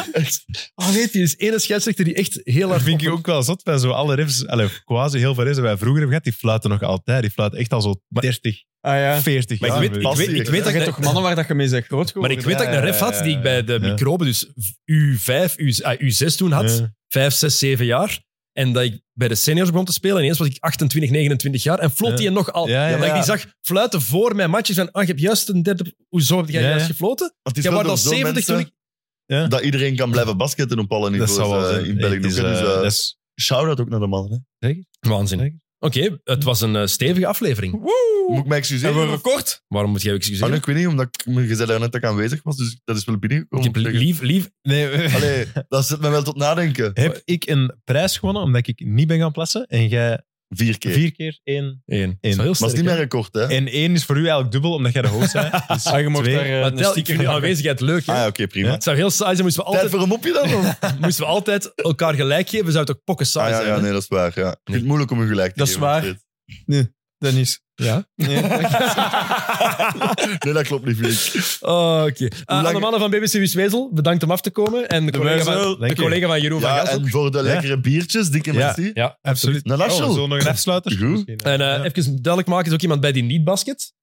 Speaker 1: *laughs* Oh, weet je, er is ene scheidsrechter die echt heel
Speaker 4: Dat
Speaker 1: hard...
Speaker 4: vind ik ook wel zot bij zo alle refs, allee, quasi heel veel refs die wij vroeger hebben gehad, die fluiten nog altijd. Die fluiten echt al zo 30,
Speaker 5: Ah ja.
Speaker 4: 40
Speaker 1: Maar ik
Speaker 4: jaar.
Speaker 1: weet, ik weet, ik weet dat
Speaker 5: Dat
Speaker 1: ik
Speaker 5: zijn toch mannen waar dat je mee zegt groot
Speaker 1: Maar
Speaker 5: geworden.
Speaker 1: ik weet dat ik een ref had die ik bij de
Speaker 4: Ja.
Speaker 1: microben, dus U5, U, ah, U6 toen had.
Speaker 4: Ja.
Speaker 1: Vijf, zes, zeven jaar. En dat ik bij de seniors begon te spelen. En ineens was ik 28, 29 jaar. En floot
Speaker 4: Ja.
Speaker 1: die en nog al.
Speaker 4: Ja, ja,
Speaker 1: dat ik
Speaker 4: ja.
Speaker 1: die zag fluiten voor mijn match. Ik zei, ah, je hebt juist een derde... Hoezo heb jij
Speaker 4: Ja,
Speaker 1: juist
Speaker 4: ja.
Speaker 1: gefloten?
Speaker 2: Want het is
Speaker 1: Jij
Speaker 2: wel
Speaker 1: wordt al
Speaker 2: door zo'n
Speaker 1: 70 toen
Speaker 2: mensen
Speaker 1: ik...
Speaker 4: Ja.
Speaker 2: Dat iedereen kan blijven basketten op alle niveaus
Speaker 4: zal
Speaker 2: eh,
Speaker 4: zijn.
Speaker 2: in België.
Speaker 4: Het is,
Speaker 2: dus,
Speaker 4: eh,
Speaker 2: eh,
Speaker 4: dat is-
Speaker 2: Shout-out ook naar de mannen. hè.
Speaker 1: Waanzin. Oké, het was een eh, stevige aflevering.
Speaker 2: Moet ik mij excuseren?
Speaker 5: Hebben we een
Speaker 2: of-
Speaker 5: record?
Speaker 1: Waarom moet jij ook
Speaker 2: Ah, nee,
Speaker 1: excuseren?
Speaker 2: ik weet niet, omdat ik me gezegd daar net dat ik aanwezig was, dus dat is wel
Speaker 1: Ik
Speaker 2: binnengekomen.
Speaker 1: heb lief, lief...
Speaker 4: nee,
Speaker 2: Allee, dat zet me wel tot nadenken.
Speaker 4: heb ik een prijs gewonnen omdat ik niet ben gaan plassen en jij
Speaker 2: Vier keer.
Speaker 4: vier keer één.
Speaker 1: Eén. Dat is
Speaker 4: Eén.
Speaker 1: wel heel
Speaker 2: maar het is
Speaker 1: sterk,
Speaker 2: niet
Speaker 1: hè?
Speaker 2: mijn record, hè?
Speaker 4: En één is voor u eigenlijk dubbel omdat jij de host bent. Dus
Speaker 5: Ah, je mocht
Speaker 4: twee.
Speaker 5: daar eh,
Speaker 1: Maar
Speaker 5: een
Speaker 1: tel, ik *laughs*
Speaker 5: sticker
Speaker 1: vind de
Speaker 5: van maken.
Speaker 1: aanwezigheid leuk, hè?
Speaker 2: Ah ja, oké, prima.
Speaker 4: Ja.
Speaker 1: Het zou heel saai zijn, moesten we
Speaker 2: Tijd
Speaker 1: altijd,
Speaker 2: voor een mopje dan? of?
Speaker 1: moesten we altijd elkaar gelijk geven. Zou het ook pokken
Speaker 2: Ah
Speaker 1: saai
Speaker 2: ja,
Speaker 1: zijn,
Speaker 2: ja,
Speaker 1: hè?
Speaker 2: nee, dat is waar. Ja. Ik vind het moeilijk om een gelijk te
Speaker 5: Dat is
Speaker 2: geven.
Speaker 5: waar.
Speaker 2: nog steeds.
Speaker 5: Dennis.
Speaker 1: Ja?
Speaker 2: Nee, dat klopt niet, Filip.
Speaker 1: Oh, Oké. Eh,
Speaker 2: lang-
Speaker 1: aan de mannen van BBC Wiswezel, bedankt om af te komen. En de collega
Speaker 4: Wijzel,
Speaker 1: van, de
Speaker 4: dank je.
Speaker 1: collega van Jeroen van
Speaker 2: Ja,
Speaker 1: Gas ook.
Speaker 2: en voor de lekkere biertjes, dikke merci.
Speaker 1: Ja,
Speaker 4: Absoluut.
Speaker 2: Een lasje.
Speaker 4: Oh, zullen we nog een afsluiter?
Speaker 2: Goed.
Speaker 4: Misschien, eh.
Speaker 1: En eh,
Speaker 4: Ja.
Speaker 1: even duidelijk maken, is ook iemand bij die niet basket.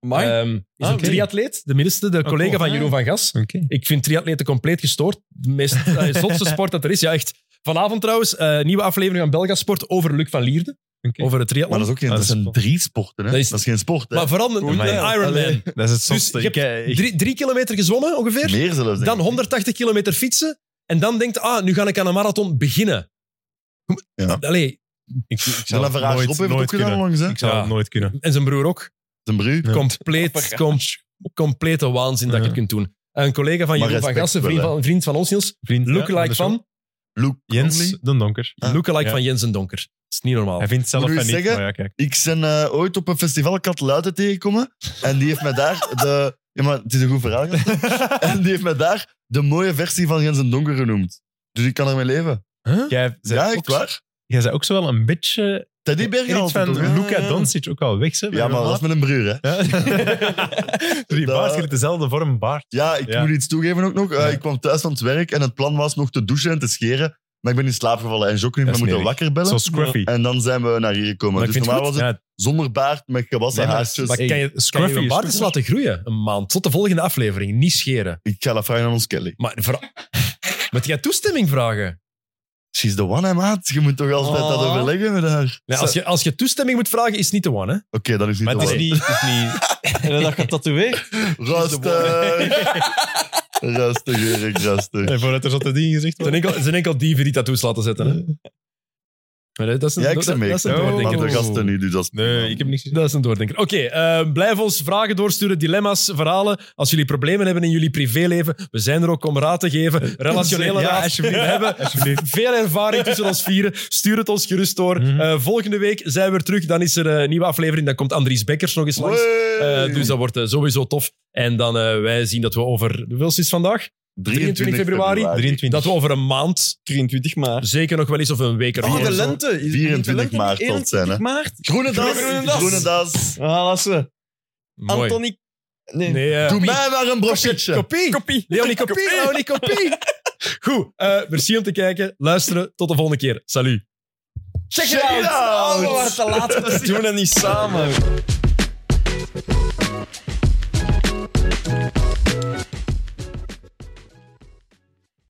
Speaker 5: Amai.
Speaker 1: Ehm, is een
Speaker 4: oké.
Speaker 1: triatleet, de minste, de collega
Speaker 4: cool.
Speaker 1: van Jeroen van Gas.
Speaker 4: Oké.
Speaker 1: Ik vind triatleten compleet gestoord. De meest eh, zotste sport dat er is. Ja, echt. Vanavond trouwens, eh, nieuwe aflevering van Belgasport over Luc van Lierde.
Speaker 4: Oké.
Speaker 1: over het
Speaker 2: Maar
Speaker 1: triathlon.
Speaker 2: dat is ook geen,
Speaker 4: Ah,
Speaker 2: dat
Speaker 4: dat is
Speaker 2: zijn
Speaker 4: sport.
Speaker 2: drie sporten, hè?
Speaker 1: Dat
Speaker 2: Dat
Speaker 1: is-
Speaker 2: is, geen sport, hè?
Speaker 1: Maar vooral een,
Speaker 4: Goed,
Speaker 1: een
Speaker 4: ja.
Speaker 1: Ironman.
Speaker 4: Dat is
Speaker 1: eh,
Speaker 4: het
Speaker 1: Dus
Speaker 4: zotste.
Speaker 1: je hebt
Speaker 4: Ik, eh, ik-
Speaker 1: Drie, drie kilometer gezwommen ongeveer.
Speaker 2: Meer zelfs. denk
Speaker 1: Dan
Speaker 2: ik.
Speaker 1: 180 kilometer fietsen. En dan denkt, ah, nu ga ik aan een marathon beginnen.
Speaker 2: Ja.
Speaker 1: Allee,
Speaker 4: ik, ik zou
Speaker 2: Dan
Speaker 4: het
Speaker 2: een verhaal op
Speaker 4: nooit-
Speaker 2: heeft het
Speaker 4: nooit
Speaker 2: ook gedaan
Speaker 4: kunnen.
Speaker 2: onlangs, hè?
Speaker 4: Ik zou het
Speaker 1: Ja.
Speaker 4: nooit kunnen.
Speaker 1: en zijn broer ook.
Speaker 2: Zijn broer.
Speaker 4: Ja.
Speaker 1: Compleet, com- complete waanzin dat je
Speaker 4: Ja.
Speaker 1: het kunt doen. Een collega van
Speaker 2: Maar
Speaker 1: Jeroen van
Speaker 2: respect
Speaker 1: Gassen,
Speaker 2: wel,
Speaker 1: vriend
Speaker 2: hè.
Speaker 1: van, vriend van ons, Niels.
Speaker 4: Vriend, ja,
Speaker 1: Lookalike
Speaker 4: de show.
Speaker 1: van,
Speaker 2: Luke
Speaker 4: Jens
Speaker 2: Conley.
Speaker 4: de Donker.
Speaker 2: Ah.
Speaker 1: lookalike
Speaker 4: Ja.
Speaker 1: van Jens en Donker. Dat is niet normaal.
Speaker 4: Hij vindt het zelf
Speaker 2: Moet u
Speaker 4: van niet.
Speaker 2: eens zeggen?
Speaker 4: maar ja, kijk.
Speaker 2: Ik ben eh, ooit op een festival Kat Luiten tegengekomen. En die heeft mij daar de... Ja, maar het is een goed verhaal. gast. en die heeft mij daar de mooie versie van Jens en Donker genoemd. Dus ik kan ermee leven.
Speaker 4: Jij zei
Speaker 2: ja,
Speaker 4: ook,
Speaker 2: echt waar.
Speaker 4: Jij zei ook zo wel een beetje...
Speaker 2: Teddy Bergen
Speaker 4: iets van
Speaker 2: altijd, toch?
Speaker 4: Luca
Speaker 2: Ja,
Speaker 4: Doncic ook al weg, ze.
Speaker 2: Ja, maar dat is met een broer, hè.
Speaker 4: Ja. Die
Speaker 2: Dat-
Speaker 4: baard heeft dezelfde vorm baard.
Speaker 2: Ja, ik
Speaker 4: Ja.
Speaker 2: moet iets toegeven ook nog. Eh,
Speaker 4: Ja.
Speaker 2: Ik kwam thuis van het werk en het plan was nog te douchen en te scheren. Maar ik ben in slaap gevallen en Jokken heeft
Speaker 4: Dat
Speaker 2: me
Speaker 4: is
Speaker 2: moeten wakker bellen.
Speaker 4: Zo scruffy.
Speaker 2: En dan zijn we naar hier gekomen.
Speaker 1: Maar ik
Speaker 2: dus
Speaker 1: vind het
Speaker 2: normaal was het
Speaker 4: Ja,
Speaker 2: zonder baard, met gewassen
Speaker 4: Nee, maar-
Speaker 2: haartjes.
Speaker 1: maar kan je, kan
Speaker 4: scruffy
Speaker 1: je je
Speaker 4: is
Speaker 1: baard
Speaker 4: toch
Speaker 1: eens
Speaker 4: wel-
Speaker 1: laten groeien? Een maand. Tot de volgende aflevering. Niet scheren.
Speaker 2: Ik ga dat vragen aan ons Kelly.
Speaker 1: Maar vera- *laughs* moet jij toestemming vragen?
Speaker 2: She's the one, hè, maat. Je moet toch altijd dat overleggen met haar. Oké,
Speaker 1: Nee, als, je, als je toestemming moet vragen, is het niet de one, hè?
Speaker 2: dat is niet
Speaker 4: maar
Speaker 2: te
Speaker 4: het
Speaker 2: warm.
Speaker 4: is niet... het is niet-
Speaker 5: *laughs* En dat getatoeëerd.
Speaker 2: Rustig. rustig, Erik, rustig.
Speaker 4: Nee, voordat er zotte dingen
Speaker 1: Het zijn
Speaker 4: gezegd worden.
Speaker 1: enkel, het zijn enkel dieven die tattoos laten zetten, hè? Maar dat- dat is een,
Speaker 2: Ja, ik
Speaker 1: dat-
Speaker 2: zei
Speaker 1: dat,
Speaker 2: mee.
Speaker 1: dat
Speaker 2: Ik
Speaker 1: is een
Speaker 2: zei mee.
Speaker 1: doordenker.
Speaker 2: Want de gasten nu, dus dat is-
Speaker 4: Nee, ik heb niks gezegd.
Speaker 1: Dat is een doordenker. Oké, eh, blijf ons vragen doorsturen, dilemma's, verhalen. Als jullie problemen hebben in jullie privéleven, we zijn er ook om raad te geven. Relationele
Speaker 4: Ja,
Speaker 1: raad.
Speaker 4: alsjeblieft.
Speaker 1: We hebben veel ervaring tussen ons vieren. Stuur het ons gerust door.
Speaker 4: Mhm.
Speaker 1: Eh, volgende week zijn we er terug. Dan is er een nieuwe aflevering. Dan komt Andries Bekkers nog eens langs.
Speaker 2: Hey.
Speaker 1: Eh, dus dat wordt eh, sowieso tof. En dan eh, wij zien dat we over... Hoeveel is het vandaag? 23 februari.
Speaker 4: 23.
Speaker 1: Dat we over een maand
Speaker 5: 23 maart.
Speaker 1: zeker nog wel eens of een week eraf.
Speaker 2: Vier
Speaker 5: Vierde
Speaker 2: zo.
Speaker 5: Oh, lente. Is het
Speaker 2: 24
Speaker 5: lente niet
Speaker 2: maart tot
Speaker 5: 21
Speaker 2: zijn, hè?
Speaker 5: maart.
Speaker 2: Groene das.
Speaker 5: Groene das.
Speaker 2: Groene das.
Speaker 5: Ah, lassen.
Speaker 1: Mooi.
Speaker 5: Anthony... Nee.
Speaker 1: Nee, eh,
Speaker 2: Doe mij maar een brochetje.
Speaker 5: Kopie. Kopie.
Speaker 1: Leonie Kopie, Leonie Kopie. Goed, eh, merci om te kijken. Luisteren. Tot de volgende keer. Salut.
Speaker 5: Check it out. Oh, we waren te laat. We doen dat niet samen.